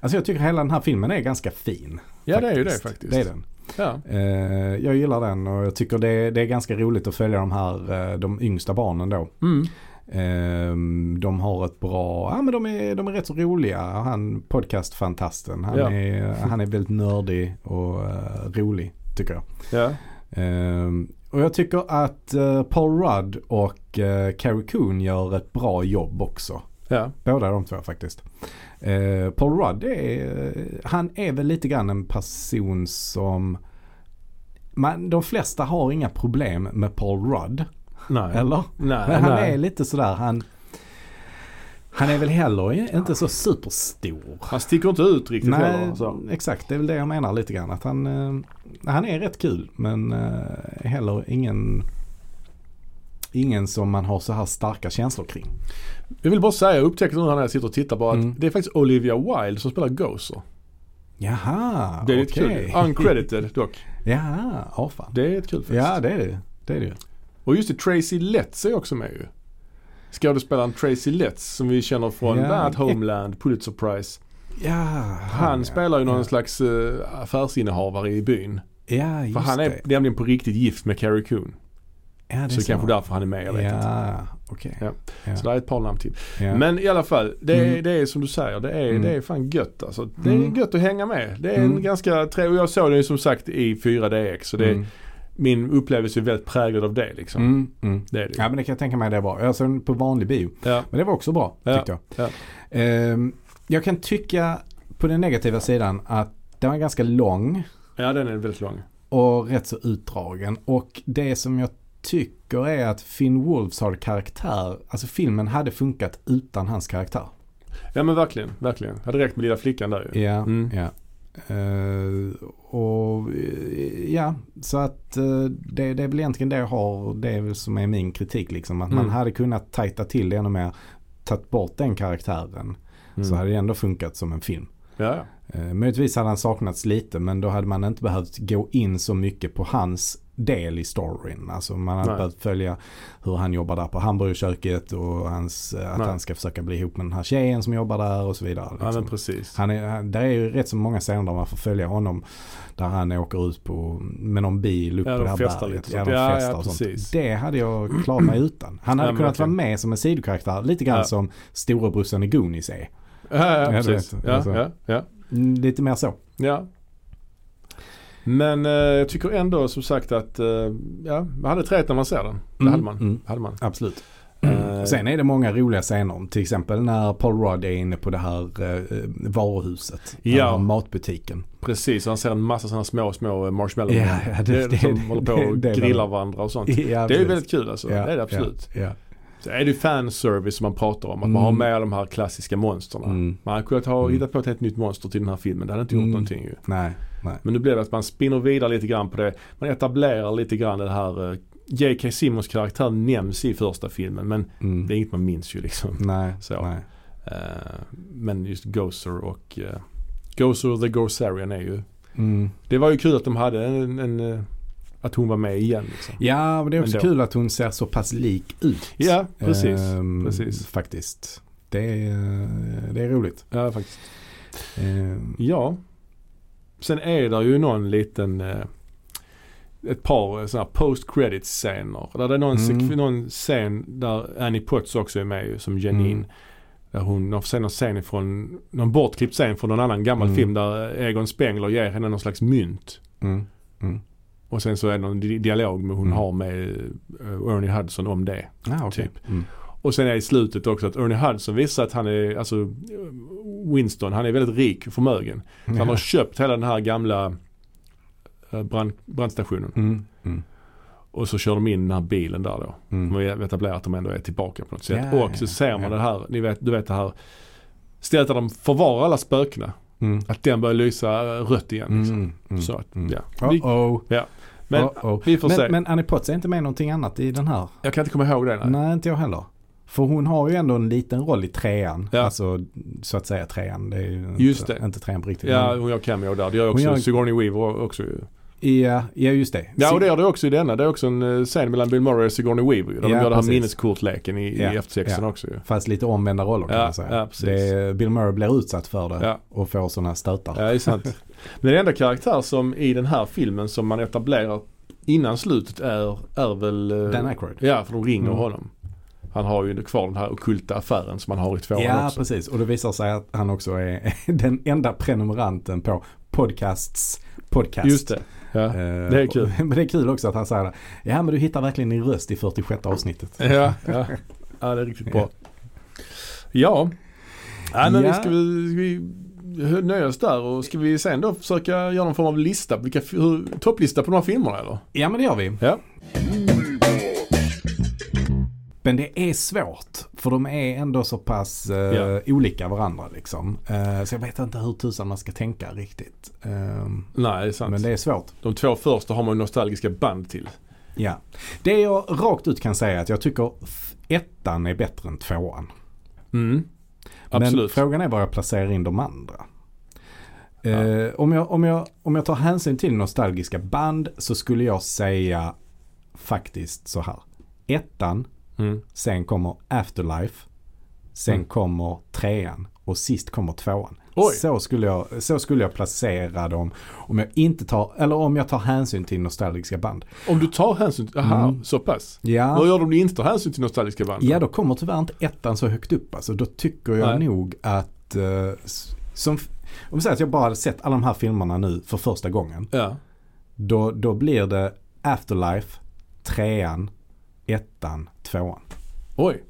[SPEAKER 2] Alltså jag tycker hela den här filmen är ganska fin.
[SPEAKER 1] Ja det är ju det faktiskt.
[SPEAKER 2] Det är den.
[SPEAKER 1] Ja.
[SPEAKER 2] Eh, jag gillar den och jag tycker det, det är ganska roligt att följa de här, eh, de yngsta barnen då.
[SPEAKER 1] Mm.
[SPEAKER 2] Eh, de har ett bra, ja men de är, de är rätt så roliga. Han podcastfantasten, han,
[SPEAKER 1] Ja.
[SPEAKER 2] är, han är väldigt nördig och eh, rolig tycker jag.
[SPEAKER 1] ja.
[SPEAKER 2] Eh, och jag tycker att eh, Paul Rudd och eh, Carrie Coon gör ett bra jobb också.
[SPEAKER 1] Ja.
[SPEAKER 2] Båda de två faktiskt. Eh, Paul Rudd är, han är väl lite grann en person som man, de flesta har inga problem med Paul Rudd.
[SPEAKER 1] Nej.
[SPEAKER 2] Eller?
[SPEAKER 1] Nej,
[SPEAKER 2] Men han
[SPEAKER 1] nej.
[SPEAKER 2] är lite sådär, han, han är väl heller inte så superstor.
[SPEAKER 1] Han sticker inte ut riktigt
[SPEAKER 2] Nej,
[SPEAKER 1] heller. alltså. Så.
[SPEAKER 2] exakt. Det är väl det jag menar lite grann. Att han, eh, han är rätt kul men eh, heller ingen, ingen som man har så här starka känslor kring.
[SPEAKER 1] Jag vill bara säga, jag upptäckte nu när jag sitter och tittar bara att
[SPEAKER 2] Mm.
[SPEAKER 1] det är faktiskt Olivia Wilde som spelar Gozer.
[SPEAKER 2] Jaha,
[SPEAKER 1] Det är lite
[SPEAKER 2] okej.
[SPEAKER 1] kul. Uncredited dock.
[SPEAKER 2] Jaha, ja ah, fan.
[SPEAKER 1] Det är ett kul faktiskt.
[SPEAKER 2] Ja det är det Det är det ju.
[SPEAKER 1] Och just det, Tracy Letts är också med ju. Skådespelaren Tracy Letts som vi känner från
[SPEAKER 2] Ja.
[SPEAKER 1] bland annat Homeland, Pulitzer Prize.
[SPEAKER 2] Ja,
[SPEAKER 1] Han
[SPEAKER 2] ja.
[SPEAKER 1] spelar ju någon
[SPEAKER 2] ja.
[SPEAKER 1] slags eh, affärsinnehavare i byn.
[SPEAKER 2] Ja, just
[SPEAKER 1] För han är
[SPEAKER 2] det.
[SPEAKER 1] nämligen på riktigt gift med Carrie Coon.
[SPEAKER 2] Ja, det är
[SPEAKER 1] Så det är kanske därför han är med, jag vet inte.
[SPEAKER 2] Ja, okej.
[SPEAKER 1] Ja.
[SPEAKER 2] Ja.
[SPEAKER 1] Så det är ett par namn till.
[SPEAKER 2] Ja.
[SPEAKER 1] Men i alla fall, det är,
[SPEAKER 2] Mm.
[SPEAKER 1] det är som du säger, det är,
[SPEAKER 2] Mm.
[SPEAKER 1] det är fan gött alltså. Det är
[SPEAKER 2] Mm.
[SPEAKER 1] gött att hänga med. Det är en
[SPEAKER 2] Mm.
[SPEAKER 1] ganska trevlig, och jag såg den ju som sagt i 4DX. Så det,
[SPEAKER 2] Mm.
[SPEAKER 1] min upplevelse är väldigt präglad av det liksom.
[SPEAKER 2] Mm, mm.
[SPEAKER 1] Det är det.
[SPEAKER 2] Ja men det kan jag tänka mig det är bra. Jag såg den på vanlig bio.
[SPEAKER 1] Ja.
[SPEAKER 2] Men det var också bra
[SPEAKER 1] Ja,
[SPEAKER 2] tyckte jag. Ehm, jag kan tycka på den negativa sidan att den var ganska lång
[SPEAKER 1] ja, den är väldigt lång.
[SPEAKER 2] och rätt så utdragen. Och det som jag tycker är att Finn Wolfs har karaktär, alltså filmen hade funkat utan hans karaktär.
[SPEAKER 1] Ja men verkligen, verkligen. Det hade räckt med lilla flickan där ju.
[SPEAKER 2] Ja,
[SPEAKER 1] Mm.
[SPEAKER 2] ja. Eh, och eh, ja, så att eh, det, det är väl egentligen det jag har. Det är väl som är min kritik liksom. Att
[SPEAKER 1] Mm.
[SPEAKER 2] man hade kunnat tajta till det ännu mer. Tagit bort den karaktären.
[SPEAKER 1] Mm.
[SPEAKER 2] Så hade det ändå funkat som en film.
[SPEAKER 1] Ja, ja.
[SPEAKER 2] Eh, möjligtvis hade han saknats lite men då hade man inte behövt gå in så mycket på hans del i storyn. Alltså man hade
[SPEAKER 1] Nej.
[SPEAKER 2] inte behövt följa hur han jobbar där på hamburgerköket och hans, eh, att
[SPEAKER 1] Nej.
[SPEAKER 2] han ska försöka bli ihop med den här tjejen som jobbar där och så vidare.
[SPEAKER 1] ja men
[SPEAKER 2] liksom.
[SPEAKER 1] precis.
[SPEAKER 2] Han är, han, det är ju rätt så många scener där man får följa honom. Där han åker ut på, med någon bil upp
[SPEAKER 1] Ja,
[SPEAKER 2] på
[SPEAKER 1] de
[SPEAKER 2] det här
[SPEAKER 1] festar
[SPEAKER 2] berget.
[SPEAKER 1] lite
[SPEAKER 2] ja,
[SPEAKER 1] och sånt. Ja,
[SPEAKER 2] de festar
[SPEAKER 1] ja,
[SPEAKER 2] och
[SPEAKER 1] precis.
[SPEAKER 2] sånt. Det hade jag klarat mig utan. Han hade
[SPEAKER 1] Ja, men
[SPEAKER 2] kunnat
[SPEAKER 1] verkligen.
[SPEAKER 2] vara med som en sidokaraktär. Lite grann
[SPEAKER 1] Ja.
[SPEAKER 2] som storebrorsan i Goonies är.
[SPEAKER 1] Ja, ja, ja
[SPEAKER 2] Ja, du
[SPEAKER 1] precis.
[SPEAKER 2] vet.
[SPEAKER 1] Ja,
[SPEAKER 2] Alltså.
[SPEAKER 1] ja, ja.
[SPEAKER 2] Mm, Lite mer så.
[SPEAKER 1] ja. Men eh, jag tycker ändå som sagt att eh, ja, man hade ett rätt när man ser den. Det
[SPEAKER 2] Mm,
[SPEAKER 1] hade man.
[SPEAKER 2] mm.
[SPEAKER 1] Hade man.
[SPEAKER 2] Absolut.
[SPEAKER 1] Eh,
[SPEAKER 2] Sen är det många roliga scener. Till exempel när Paul Rudd är inne på det här eh, varuhuset. Den
[SPEAKER 1] Ja.
[SPEAKER 2] här matbutiken.
[SPEAKER 1] Precis, han ser en massa sådana små, små marshmallows.
[SPEAKER 2] Ja, ja, det- det-
[SPEAKER 1] som
[SPEAKER 2] det-
[SPEAKER 1] håller på och
[SPEAKER 2] det- det-
[SPEAKER 1] grillar varandra och sånt.
[SPEAKER 2] Ja,
[SPEAKER 1] Det är ju
[SPEAKER 2] precis.
[SPEAKER 1] väldigt kul alltså.
[SPEAKER 2] Ja,
[SPEAKER 1] det är det absolut.
[SPEAKER 2] Ja, ja.
[SPEAKER 1] Så är det ju fanservice som man pratar om. Att
[SPEAKER 2] Mm.
[SPEAKER 1] man har med de här klassiska monstren.
[SPEAKER 2] Mm.
[SPEAKER 1] Man hade kunnat ha,
[SPEAKER 2] Mm.
[SPEAKER 1] hittat på ett helt nytt monster till den här filmen. Det hade inte gjort
[SPEAKER 2] Mm.
[SPEAKER 1] någonting ju.
[SPEAKER 2] Nej, nej.
[SPEAKER 1] Men nu blir det att man spinner vidare lite grann på det. Man etablerar lite grann det här. eh, J.K. Simmons karaktär nämns i första filmen men
[SPEAKER 2] Mm.
[SPEAKER 1] det är inget man minns ju liksom.
[SPEAKER 2] Nej,
[SPEAKER 1] Så.
[SPEAKER 2] nej.
[SPEAKER 1] Eh, men just Gozer och eh, Gozer the Gozerian är ju.
[SPEAKER 2] Mm.
[SPEAKER 1] Det var ju kul att de hade en, en eh, att hon var med igen liksom.
[SPEAKER 2] Ja, men det är också
[SPEAKER 1] Men då-
[SPEAKER 2] kul att hon ser så pass lik ut.
[SPEAKER 1] Ja, precis.
[SPEAKER 2] Ehm,
[SPEAKER 1] precis.
[SPEAKER 2] Faktiskt. Det är, eh, det är roligt.
[SPEAKER 1] Ja, faktiskt.
[SPEAKER 2] Ehm,
[SPEAKER 1] Ja. Sen är det ju någon liten eh, ett par sådana här post credits scener. Där det är någon,
[SPEAKER 2] Mm.
[SPEAKER 1] sek- någon scen där Annie Potts också är med ju, som Janine.
[SPEAKER 2] Mm.
[SPEAKER 1] Där hon, de får se någon scen från, någon bortklippt scen från någon annan gammal
[SPEAKER 2] Mm.
[SPEAKER 1] film där Egon Spengler ger henne någon slags mynt.
[SPEAKER 2] Mm.
[SPEAKER 1] Och sen så är det någon di- dialog med hon
[SPEAKER 2] Mm.
[SPEAKER 1] har med eh, Ernie Hudson om det.
[SPEAKER 2] Ah, okej.
[SPEAKER 1] Typ.
[SPEAKER 2] Mm.
[SPEAKER 1] Och sen är i slutet också att Ernie Hudson visar att han är, alltså eh, Winston, han är väldigt rik och förmögen. Så han har köpt hela den här gamla eh, brand, brandstationen.
[SPEAKER 2] Mm. Mm.
[SPEAKER 1] Och så kör de in den här bilen där då.
[SPEAKER 2] Mm.
[SPEAKER 1] De har etablerat att de ändå är tillbaka på något sätt.
[SPEAKER 2] Ja,
[SPEAKER 1] och så
[SPEAKER 2] ja,
[SPEAKER 1] ser man
[SPEAKER 2] ja.
[SPEAKER 1] det här, ni vet, du vet det här stället där de förvarar alla spökena.
[SPEAKER 2] Mm.
[SPEAKER 1] Att den börjar lysa rött igen. Liksom.
[SPEAKER 2] Mm. Mm.
[SPEAKER 1] Så att,
[SPEAKER 2] Mm.
[SPEAKER 1] ja. Vi,
[SPEAKER 2] Oh-oh.
[SPEAKER 1] men
[SPEAKER 2] oh-oh.
[SPEAKER 1] vi får se.
[SPEAKER 2] Men, men Annie Potts är inte med någonting annat i den här?
[SPEAKER 1] jag kan inte komma ihåg det. Nej.
[SPEAKER 2] Nej. inte jag heller. För hon har ju ändå en liten roll i trean.
[SPEAKER 1] Ja.
[SPEAKER 2] Alltså så att säga trean. Det är ju inte,
[SPEAKER 1] Just det.
[SPEAKER 2] inte trean på riktigt.
[SPEAKER 1] Ja,
[SPEAKER 2] men-
[SPEAKER 1] hon gör cameo där. Det gör
[SPEAKER 2] Hon
[SPEAKER 1] också
[SPEAKER 2] gör-
[SPEAKER 1] Sigourney Weaver också ju.
[SPEAKER 2] ja, ja, just det.
[SPEAKER 1] Ja, och det gör det också i denna. Det är också en eh, scen mellan Bill Murray och Sigourney Weaver ju. Där de
[SPEAKER 2] Ja,
[SPEAKER 1] gör den här
[SPEAKER 2] precis.
[SPEAKER 1] minneskortleken i,
[SPEAKER 2] Ja,
[SPEAKER 1] i F-texten
[SPEAKER 2] ja.
[SPEAKER 1] också ju.
[SPEAKER 2] Fast lite omvända roller kan
[SPEAKER 1] Ja,
[SPEAKER 2] man säga.
[SPEAKER 1] ja, precis.
[SPEAKER 2] det är, Bill Murray blir utsatt för det
[SPEAKER 1] Ja.
[SPEAKER 2] och får sådana stötar.
[SPEAKER 1] Ja, det är sant. Men den enda karaktär som i den här filmen som man etablerar innan slutet är, är väl... eh,
[SPEAKER 2] Dan Aykroyd.
[SPEAKER 1] Ja, för de ringer
[SPEAKER 2] Mm.
[SPEAKER 1] honom. Han har ju kvar den här ockulta affären som han har i tvåan
[SPEAKER 2] Ja,
[SPEAKER 1] också.
[SPEAKER 2] precis. Och det visar sig att han också är den enda prenumeranten på podcasts podcast.
[SPEAKER 1] Just det. Ja.
[SPEAKER 2] Eh,
[SPEAKER 1] Det är kul.
[SPEAKER 2] Men det är kul också att han säger det. Ja, men du hittar verkligen din röst i 46 avsnittet.
[SPEAKER 1] Ja, ja. ja, det är riktigt bra. Ja, ja men
[SPEAKER 2] Ja.
[SPEAKER 1] vi ska vi, ska vi nöja oss där och ska vi sen då försöka göra någon form av lista, på vilka, fi- hur, topplista på några filmer eller?
[SPEAKER 2] Ja, men det gör vi.
[SPEAKER 1] Ja.
[SPEAKER 2] Men det är svårt. För de är ändå så pass eh,
[SPEAKER 1] Ja.
[SPEAKER 2] olika varandra liksom. Eh, så jag vet inte hur tusan man ska tänka riktigt. Ehm,
[SPEAKER 1] Nej, det är sant.
[SPEAKER 2] men det är svårt.
[SPEAKER 1] De två första har man ju nostalgiska band till.
[SPEAKER 2] Ja. Det jag rakt ut kan säga är att jag tycker f- ettan är bättre än tvåan.
[SPEAKER 1] Mm.
[SPEAKER 2] Men
[SPEAKER 1] Absolut.
[SPEAKER 2] frågan är var jag placerar in de andra. Eh, om, jag, om, jag, om jag tar hänsyn till nostalgiska band så skulle jag säga faktiskt så här. Ettan,
[SPEAKER 1] Mm.
[SPEAKER 2] sen kommer Afterlife, sen
[SPEAKER 1] Mm.
[SPEAKER 2] kommer trean och sist kommer tvåan.
[SPEAKER 1] Oj.
[SPEAKER 2] Så skulle, jag, så skulle jag placera dem om jag inte tar, eller om jag tar hänsyn till nostalgiska band.
[SPEAKER 1] Om du tar hänsyn till, aha,
[SPEAKER 2] Mm.
[SPEAKER 1] så pass.
[SPEAKER 2] Ja.
[SPEAKER 1] Vad gör du om du inte tar hänsyn till nostalgiska band?
[SPEAKER 2] Ja, då kommer tyvärr inte ettan så högt upp. Alltså, då tycker jag
[SPEAKER 1] Nej.
[SPEAKER 2] nog att... eh, s- som, f- om vi säger att jag bara hade sett alla de här filmerna nu för första gången.
[SPEAKER 1] Ja.
[SPEAKER 2] Då, då blir det Afterlife, trean, ettan, tvåan.
[SPEAKER 1] Oj.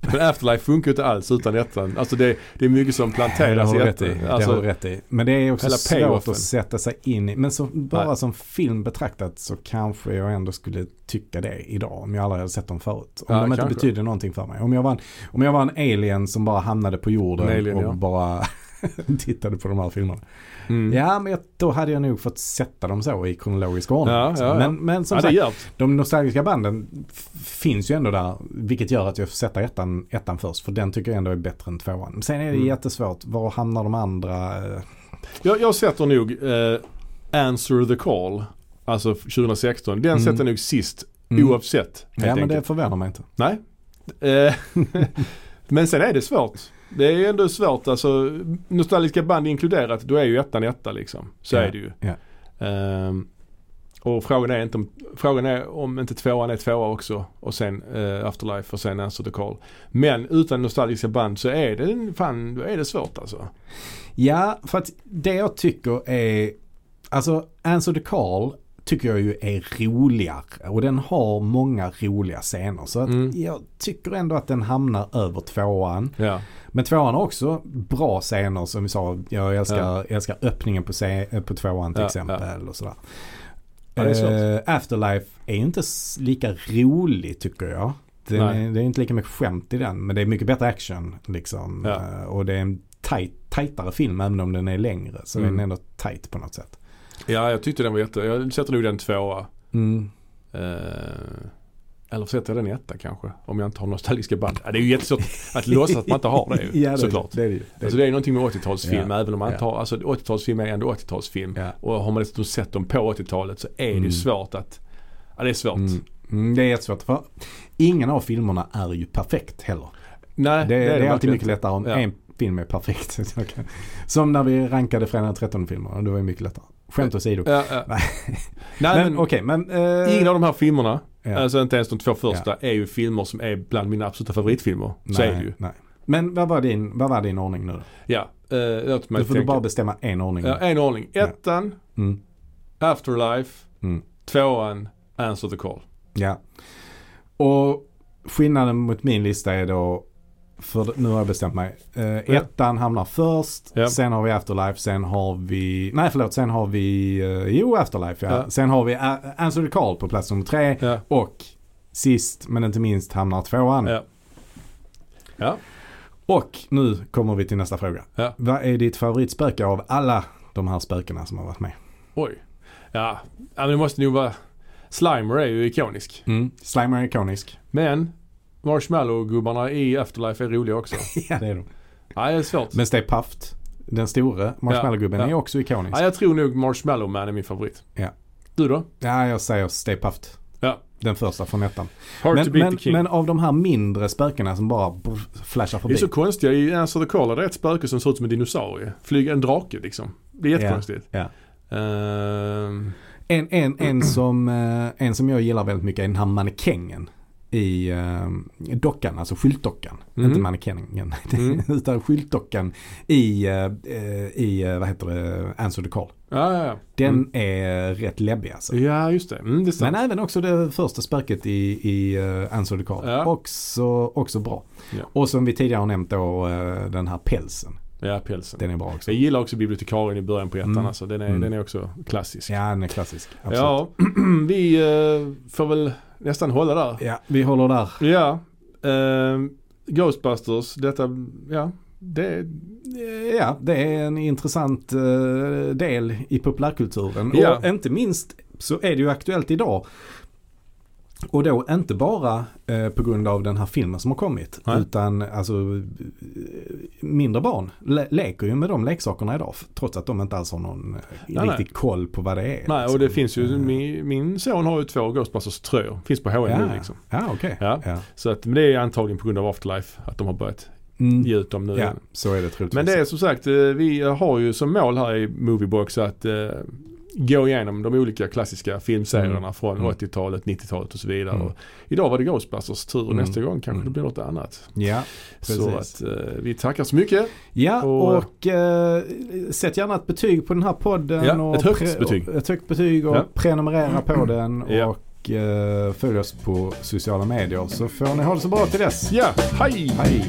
[SPEAKER 1] Men Afterlife funkar ju inte alls utan ettan. Alltså det, det är mycket som
[SPEAKER 2] det
[SPEAKER 1] planteras
[SPEAKER 2] har
[SPEAKER 1] i
[SPEAKER 2] du rätt i.
[SPEAKER 1] ettan.
[SPEAKER 2] det har
[SPEAKER 1] Alltså,
[SPEAKER 2] du rätt i. Men det är också
[SPEAKER 1] hela
[SPEAKER 2] svårt
[SPEAKER 1] payoffen.
[SPEAKER 2] att sätta sig in i. Men så, bara
[SPEAKER 1] Nej.
[SPEAKER 2] som film betraktat så kanske jag ändå skulle tycka det idag. Om jag aldrig hade sett dem förut. Om
[SPEAKER 1] Ja,
[SPEAKER 2] de inte
[SPEAKER 1] kanske.
[SPEAKER 2] betydde någonting för mig. Om jag, var en, om jag var en alien som bara hamnade på jorden
[SPEAKER 1] En alien,
[SPEAKER 2] och
[SPEAKER 1] ja.
[SPEAKER 2] bara tittade på de här filmerna.
[SPEAKER 1] mm.
[SPEAKER 2] Ja, men jag, då hade jag nog fått sätta dem så i kronologisk ordning.
[SPEAKER 1] Ja,
[SPEAKER 2] liksom.
[SPEAKER 1] ja, ja.
[SPEAKER 2] Men, men som
[SPEAKER 1] ja, det
[SPEAKER 2] sagt,
[SPEAKER 1] gör det.
[SPEAKER 2] de nostalgiska banden f- finns ju ändå där. Vilket gör att jag får sätta ettan, ettan först. För den tycker jag ändå är bättre än tvåan. Sen är det
[SPEAKER 1] Mm.
[SPEAKER 2] jättesvårt. Var hamnar de andra? eh,
[SPEAKER 1] Jag, jag sätter nog eh, Answer the Call, alltså 2016. Den
[SPEAKER 2] Mm.
[SPEAKER 1] sätter jag nog sist
[SPEAKER 2] Mm.
[SPEAKER 1] oavsett. Helt
[SPEAKER 2] Ja, men det
[SPEAKER 1] enkelt.
[SPEAKER 2] förvånar mig inte.
[SPEAKER 1] Nej. Eh, men sen är det svårt. Det är ju ändå svårt, alltså nostalgiska band inkluderat, då är ju ettan etta liksom. Så
[SPEAKER 2] Ja,
[SPEAKER 1] är det ju.
[SPEAKER 2] ja.
[SPEAKER 1] Ehm, och frågan är, inte om, frågan är om inte tvåan är tvåa också och sen eh, Afterlife och sen Answer the Call. Men utan nostalgiska band så är det fan, då är det svårt alltså.
[SPEAKER 2] Ja, för att det jag tycker är Alltså Answer the Call tycker jag ju är roligare och den har många roliga scener. Så att
[SPEAKER 1] Mm.
[SPEAKER 2] jag tycker ändå att den hamnar över tvåan.
[SPEAKER 1] Ja.
[SPEAKER 2] Men tvåan har också bra scener som vi sa. Jag älskar, jag älskar öppningen på, se- på tvåan till
[SPEAKER 1] Ja,
[SPEAKER 2] exempel. Och sådär.
[SPEAKER 1] Ja, det är
[SPEAKER 2] Eh,
[SPEAKER 1] svårt.
[SPEAKER 2] Afterlife är ju inte s- lika rolig tycker jag. Det
[SPEAKER 1] Nej.
[SPEAKER 2] är, det är inte lika mycket skämt i den men det är mycket bättre action. Liksom.
[SPEAKER 1] Ja.
[SPEAKER 2] Eh, Och det är en tajt, tajtare film även om den är längre. Så
[SPEAKER 1] Mm.
[SPEAKER 2] den är ändå tajt på något sätt.
[SPEAKER 1] ja, jag tyckte den var jätte... Jag sätter nog den tvåa.
[SPEAKER 2] Mm.
[SPEAKER 1] Eh, eller sätter jag den i etta kanske? Om jag inte har nostalgiska band. Ja, det är ju jättesvårt att låtsas att man inte har det ju,
[SPEAKER 2] ja, det,
[SPEAKER 1] såklart.
[SPEAKER 2] Det är det ju. Det är
[SPEAKER 1] Alltså
[SPEAKER 2] det.
[SPEAKER 1] det är någonting med 80-talsfilm
[SPEAKER 2] Ja.
[SPEAKER 1] även om man
[SPEAKER 2] Ja.
[SPEAKER 1] tar, alltså 80-talsfilm är ändå 80-talsfilm.
[SPEAKER 2] Ja.
[SPEAKER 1] Och har man dessutom sett dem på 80-talet så är det
[SPEAKER 2] Mm.
[SPEAKER 1] ju svårt att, ja det är svårt.
[SPEAKER 2] Mm. Mm, det är jättesvårt för ingen av filmerna är ju perfekt heller.
[SPEAKER 1] Nej,
[SPEAKER 2] Det, det, är alltid
[SPEAKER 1] verkligen
[SPEAKER 2] mycket
[SPEAKER 1] inte.
[SPEAKER 2] lättare om
[SPEAKER 1] Ja.
[SPEAKER 2] en film är perfekt. Jag kan- Som när vi rankade Fredag 13 filmerna, det var ju mycket lättare. Skämt åsido.
[SPEAKER 1] Ja, ja.
[SPEAKER 2] Nej.
[SPEAKER 1] Nej
[SPEAKER 2] Men
[SPEAKER 1] men,
[SPEAKER 2] okej, men... eh,
[SPEAKER 1] ingen av de här filmerna,
[SPEAKER 2] ja.
[SPEAKER 1] alltså inte ens de två första, är ju filmer som är bland mina absoluta favoritfilmer.
[SPEAKER 2] nej,
[SPEAKER 1] Så är det ju.
[SPEAKER 2] Nej. Men vad var, din, vad var din ordning nu då?
[SPEAKER 1] Ja, eh, låt mig
[SPEAKER 2] Då får du
[SPEAKER 1] tänka.
[SPEAKER 2] bara bestämma en ordning.
[SPEAKER 1] ja, en ordning.
[SPEAKER 2] Ja.
[SPEAKER 1] Ettan,
[SPEAKER 2] Mm.
[SPEAKER 1] Afterlife,
[SPEAKER 2] Mm.
[SPEAKER 1] tvåan, Answer the Call.
[SPEAKER 2] ja. Och skillnaden mot min lista är då, för nu har jag bestämt mig. Eh, ettan hamnar först,
[SPEAKER 1] Ja.
[SPEAKER 2] sen har vi Afterlife, sen har vi, nej förlåt, sen har vi, eh, jo Afterlife ja.
[SPEAKER 1] Ja.
[SPEAKER 2] Sen har vi A- Answer the Call på plats nummer tre.
[SPEAKER 1] Ja.
[SPEAKER 2] Och sist men inte minst hamnar tvåan.
[SPEAKER 1] Ja. Ja.
[SPEAKER 2] Och nu kommer vi till nästa fråga.
[SPEAKER 1] Ja.
[SPEAKER 2] Vad är ditt favoritspöke av alla de här spökena som har varit med?
[SPEAKER 1] Oj. Ja, ja men det måste nog vara... Slimer är ju ikonisk.
[SPEAKER 2] Slimer är ikonisk.
[SPEAKER 1] Men Marshmallow-gubbarna i Afterlife är roliga också.
[SPEAKER 2] ja det är de.
[SPEAKER 1] Nej, det är svårt.
[SPEAKER 2] Men Stay Puft, den store marshmallowgubben,
[SPEAKER 1] Ja, ja.
[SPEAKER 2] är också ikonisk.
[SPEAKER 1] Ja, jag tror nog Marshmallow Man är min favorit.
[SPEAKER 2] Ja.
[SPEAKER 1] Du då?
[SPEAKER 2] Ja, jag säger Stay Puft.
[SPEAKER 1] Ja.
[SPEAKER 2] Den första från ettan.
[SPEAKER 1] Hard to
[SPEAKER 2] Men,
[SPEAKER 1] beat
[SPEAKER 2] men,
[SPEAKER 1] the king.
[SPEAKER 2] men av de här mindre spökena som bara brr, flashar
[SPEAKER 1] det
[SPEAKER 2] förbi.
[SPEAKER 1] är så konstigt. I Answer the Call är det ett spöke som ser ut som en dinosaurie. Flyg, en drake liksom. Det är jättekonstigt.
[SPEAKER 2] Ja.
[SPEAKER 1] Ehm,
[SPEAKER 2] En, en, en, som, eh, en som jag gillar väldigt mycket är den här mannekängen i eh, dockan, alltså skyltdockan.
[SPEAKER 1] Mm.
[SPEAKER 2] Inte mannekängen,
[SPEAKER 1] Mm.
[SPEAKER 2] utan skyltdockan i, eh, eh, i eh, vad heter det, Answer the Call.
[SPEAKER 1] ja, ja, ja.
[SPEAKER 2] Den
[SPEAKER 1] Mm.
[SPEAKER 2] är rätt läbbig alltså.
[SPEAKER 1] Ja, just det. Mm, det är
[SPEAKER 2] Men
[SPEAKER 1] sant.
[SPEAKER 2] även också det första spöket i, i eh, Answer the Call.
[SPEAKER 1] Ja.
[SPEAKER 2] Också, också bra.
[SPEAKER 1] Ja.
[SPEAKER 2] Och som vi tidigare har nämnt då eh, den här pälsen.
[SPEAKER 1] Ja, pälsen.
[SPEAKER 2] Den är bra också.
[SPEAKER 1] Jag gillar också bibliotekarien i början på ettan
[SPEAKER 2] Mm.
[SPEAKER 1] alltså. Den är,
[SPEAKER 2] Mm.
[SPEAKER 1] den är också klassisk.
[SPEAKER 2] Ja, den är klassisk. Absolut. Ja.
[SPEAKER 1] Ja, vi eh, får väl nästan hålla där.
[SPEAKER 2] vi håller där.
[SPEAKER 1] Ja, ehm, Ghostbusters, detta, ja, det,
[SPEAKER 2] Eh, Ja, det är en intressant eh, del i populärkulturen.
[SPEAKER 1] Ja.
[SPEAKER 2] Och inte minst så är det ju aktuellt idag. Och då inte bara eh, på grund av den här filmen som har kommit.
[SPEAKER 1] Nej.
[SPEAKER 2] Utan alltså eh, mindre barn le- leker ju med de leksakerna idag. f- Trots att de inte alls har någon eh,
[SPEAKER 1] Nej,
[SPEAKER 2] riktig koll på vad det är.
[SPEAKER 1] nej och
[SPEAKER 2] liksom.
[SPEAKER 1] det finns ju,
[SPEAKER 2] Eh,
[SPEAKER 1] min, min son har ju två Ghostbusters-tröjor, finns på H&M
[SPEAKER 2] Ja,
[SPEAKER 1] nu liksom.
[SPEAKER 2] ja okej.
[SPEAKER 1] Ja. Så att, men det är antagligen på grund av Afterlife, att de har börjat
[SPEAKER 2] Mm.
[SPEAKER 1] ge ut dem nu
[SPEAKER 2] ja,
[SPEAKER 1] igen.
[SPEAKER 2] så är det troligtvis.
[SPEAKER 1] Men det är som sagt, eh, vi har ju som mål här i Moviebox att eh, gå igenom de olika klassiska filmserierna
[SPEAKER 2] Mm.
[SPEAKER 1] från
[SPEAKER 2] Mm.
[SPEAKER 1] 80-talet, 90-talet och så vidare.
[SPEAKER 2] Mm.
[SPEAKER 1] Och idag var det Ghostbusters tur,
[SPEAKER 2] Mm.
[SPEAKER 1] nästa gång kanske
[SPEAKER 2] Mm.
[SPEAKER 1] det blir något annat.
[SPEAKER 2] Ja, precis.
[SPEAKER 1] Så att eh, vi tackar så mycket.
[SPEAKER 2] Ja, och,
[SPEAKER 1] Och-
[SPEAKER 2] eh, sätt gärna ett betyg på den här podden.
[SPEAKER 1] Ja,
[SPEAKER 2] och
[SPEAKER 1] ett högt
[SPEAKER 2] pre-
[SPEAKER 1] betyg.
[SPEAKER 2] Och, ett högt betyg och
[SPEAKER 1] Ja.
[SPEAKER 2] prenumerera på den.
[SPEAKER 1] Ja.
[SPEAKER 2] Och eh, följ oss på sociala medier så får ni ha det så bra till dess.
[SPEAKER 1] Ja, hej!
[SPEAKER 2] Hej!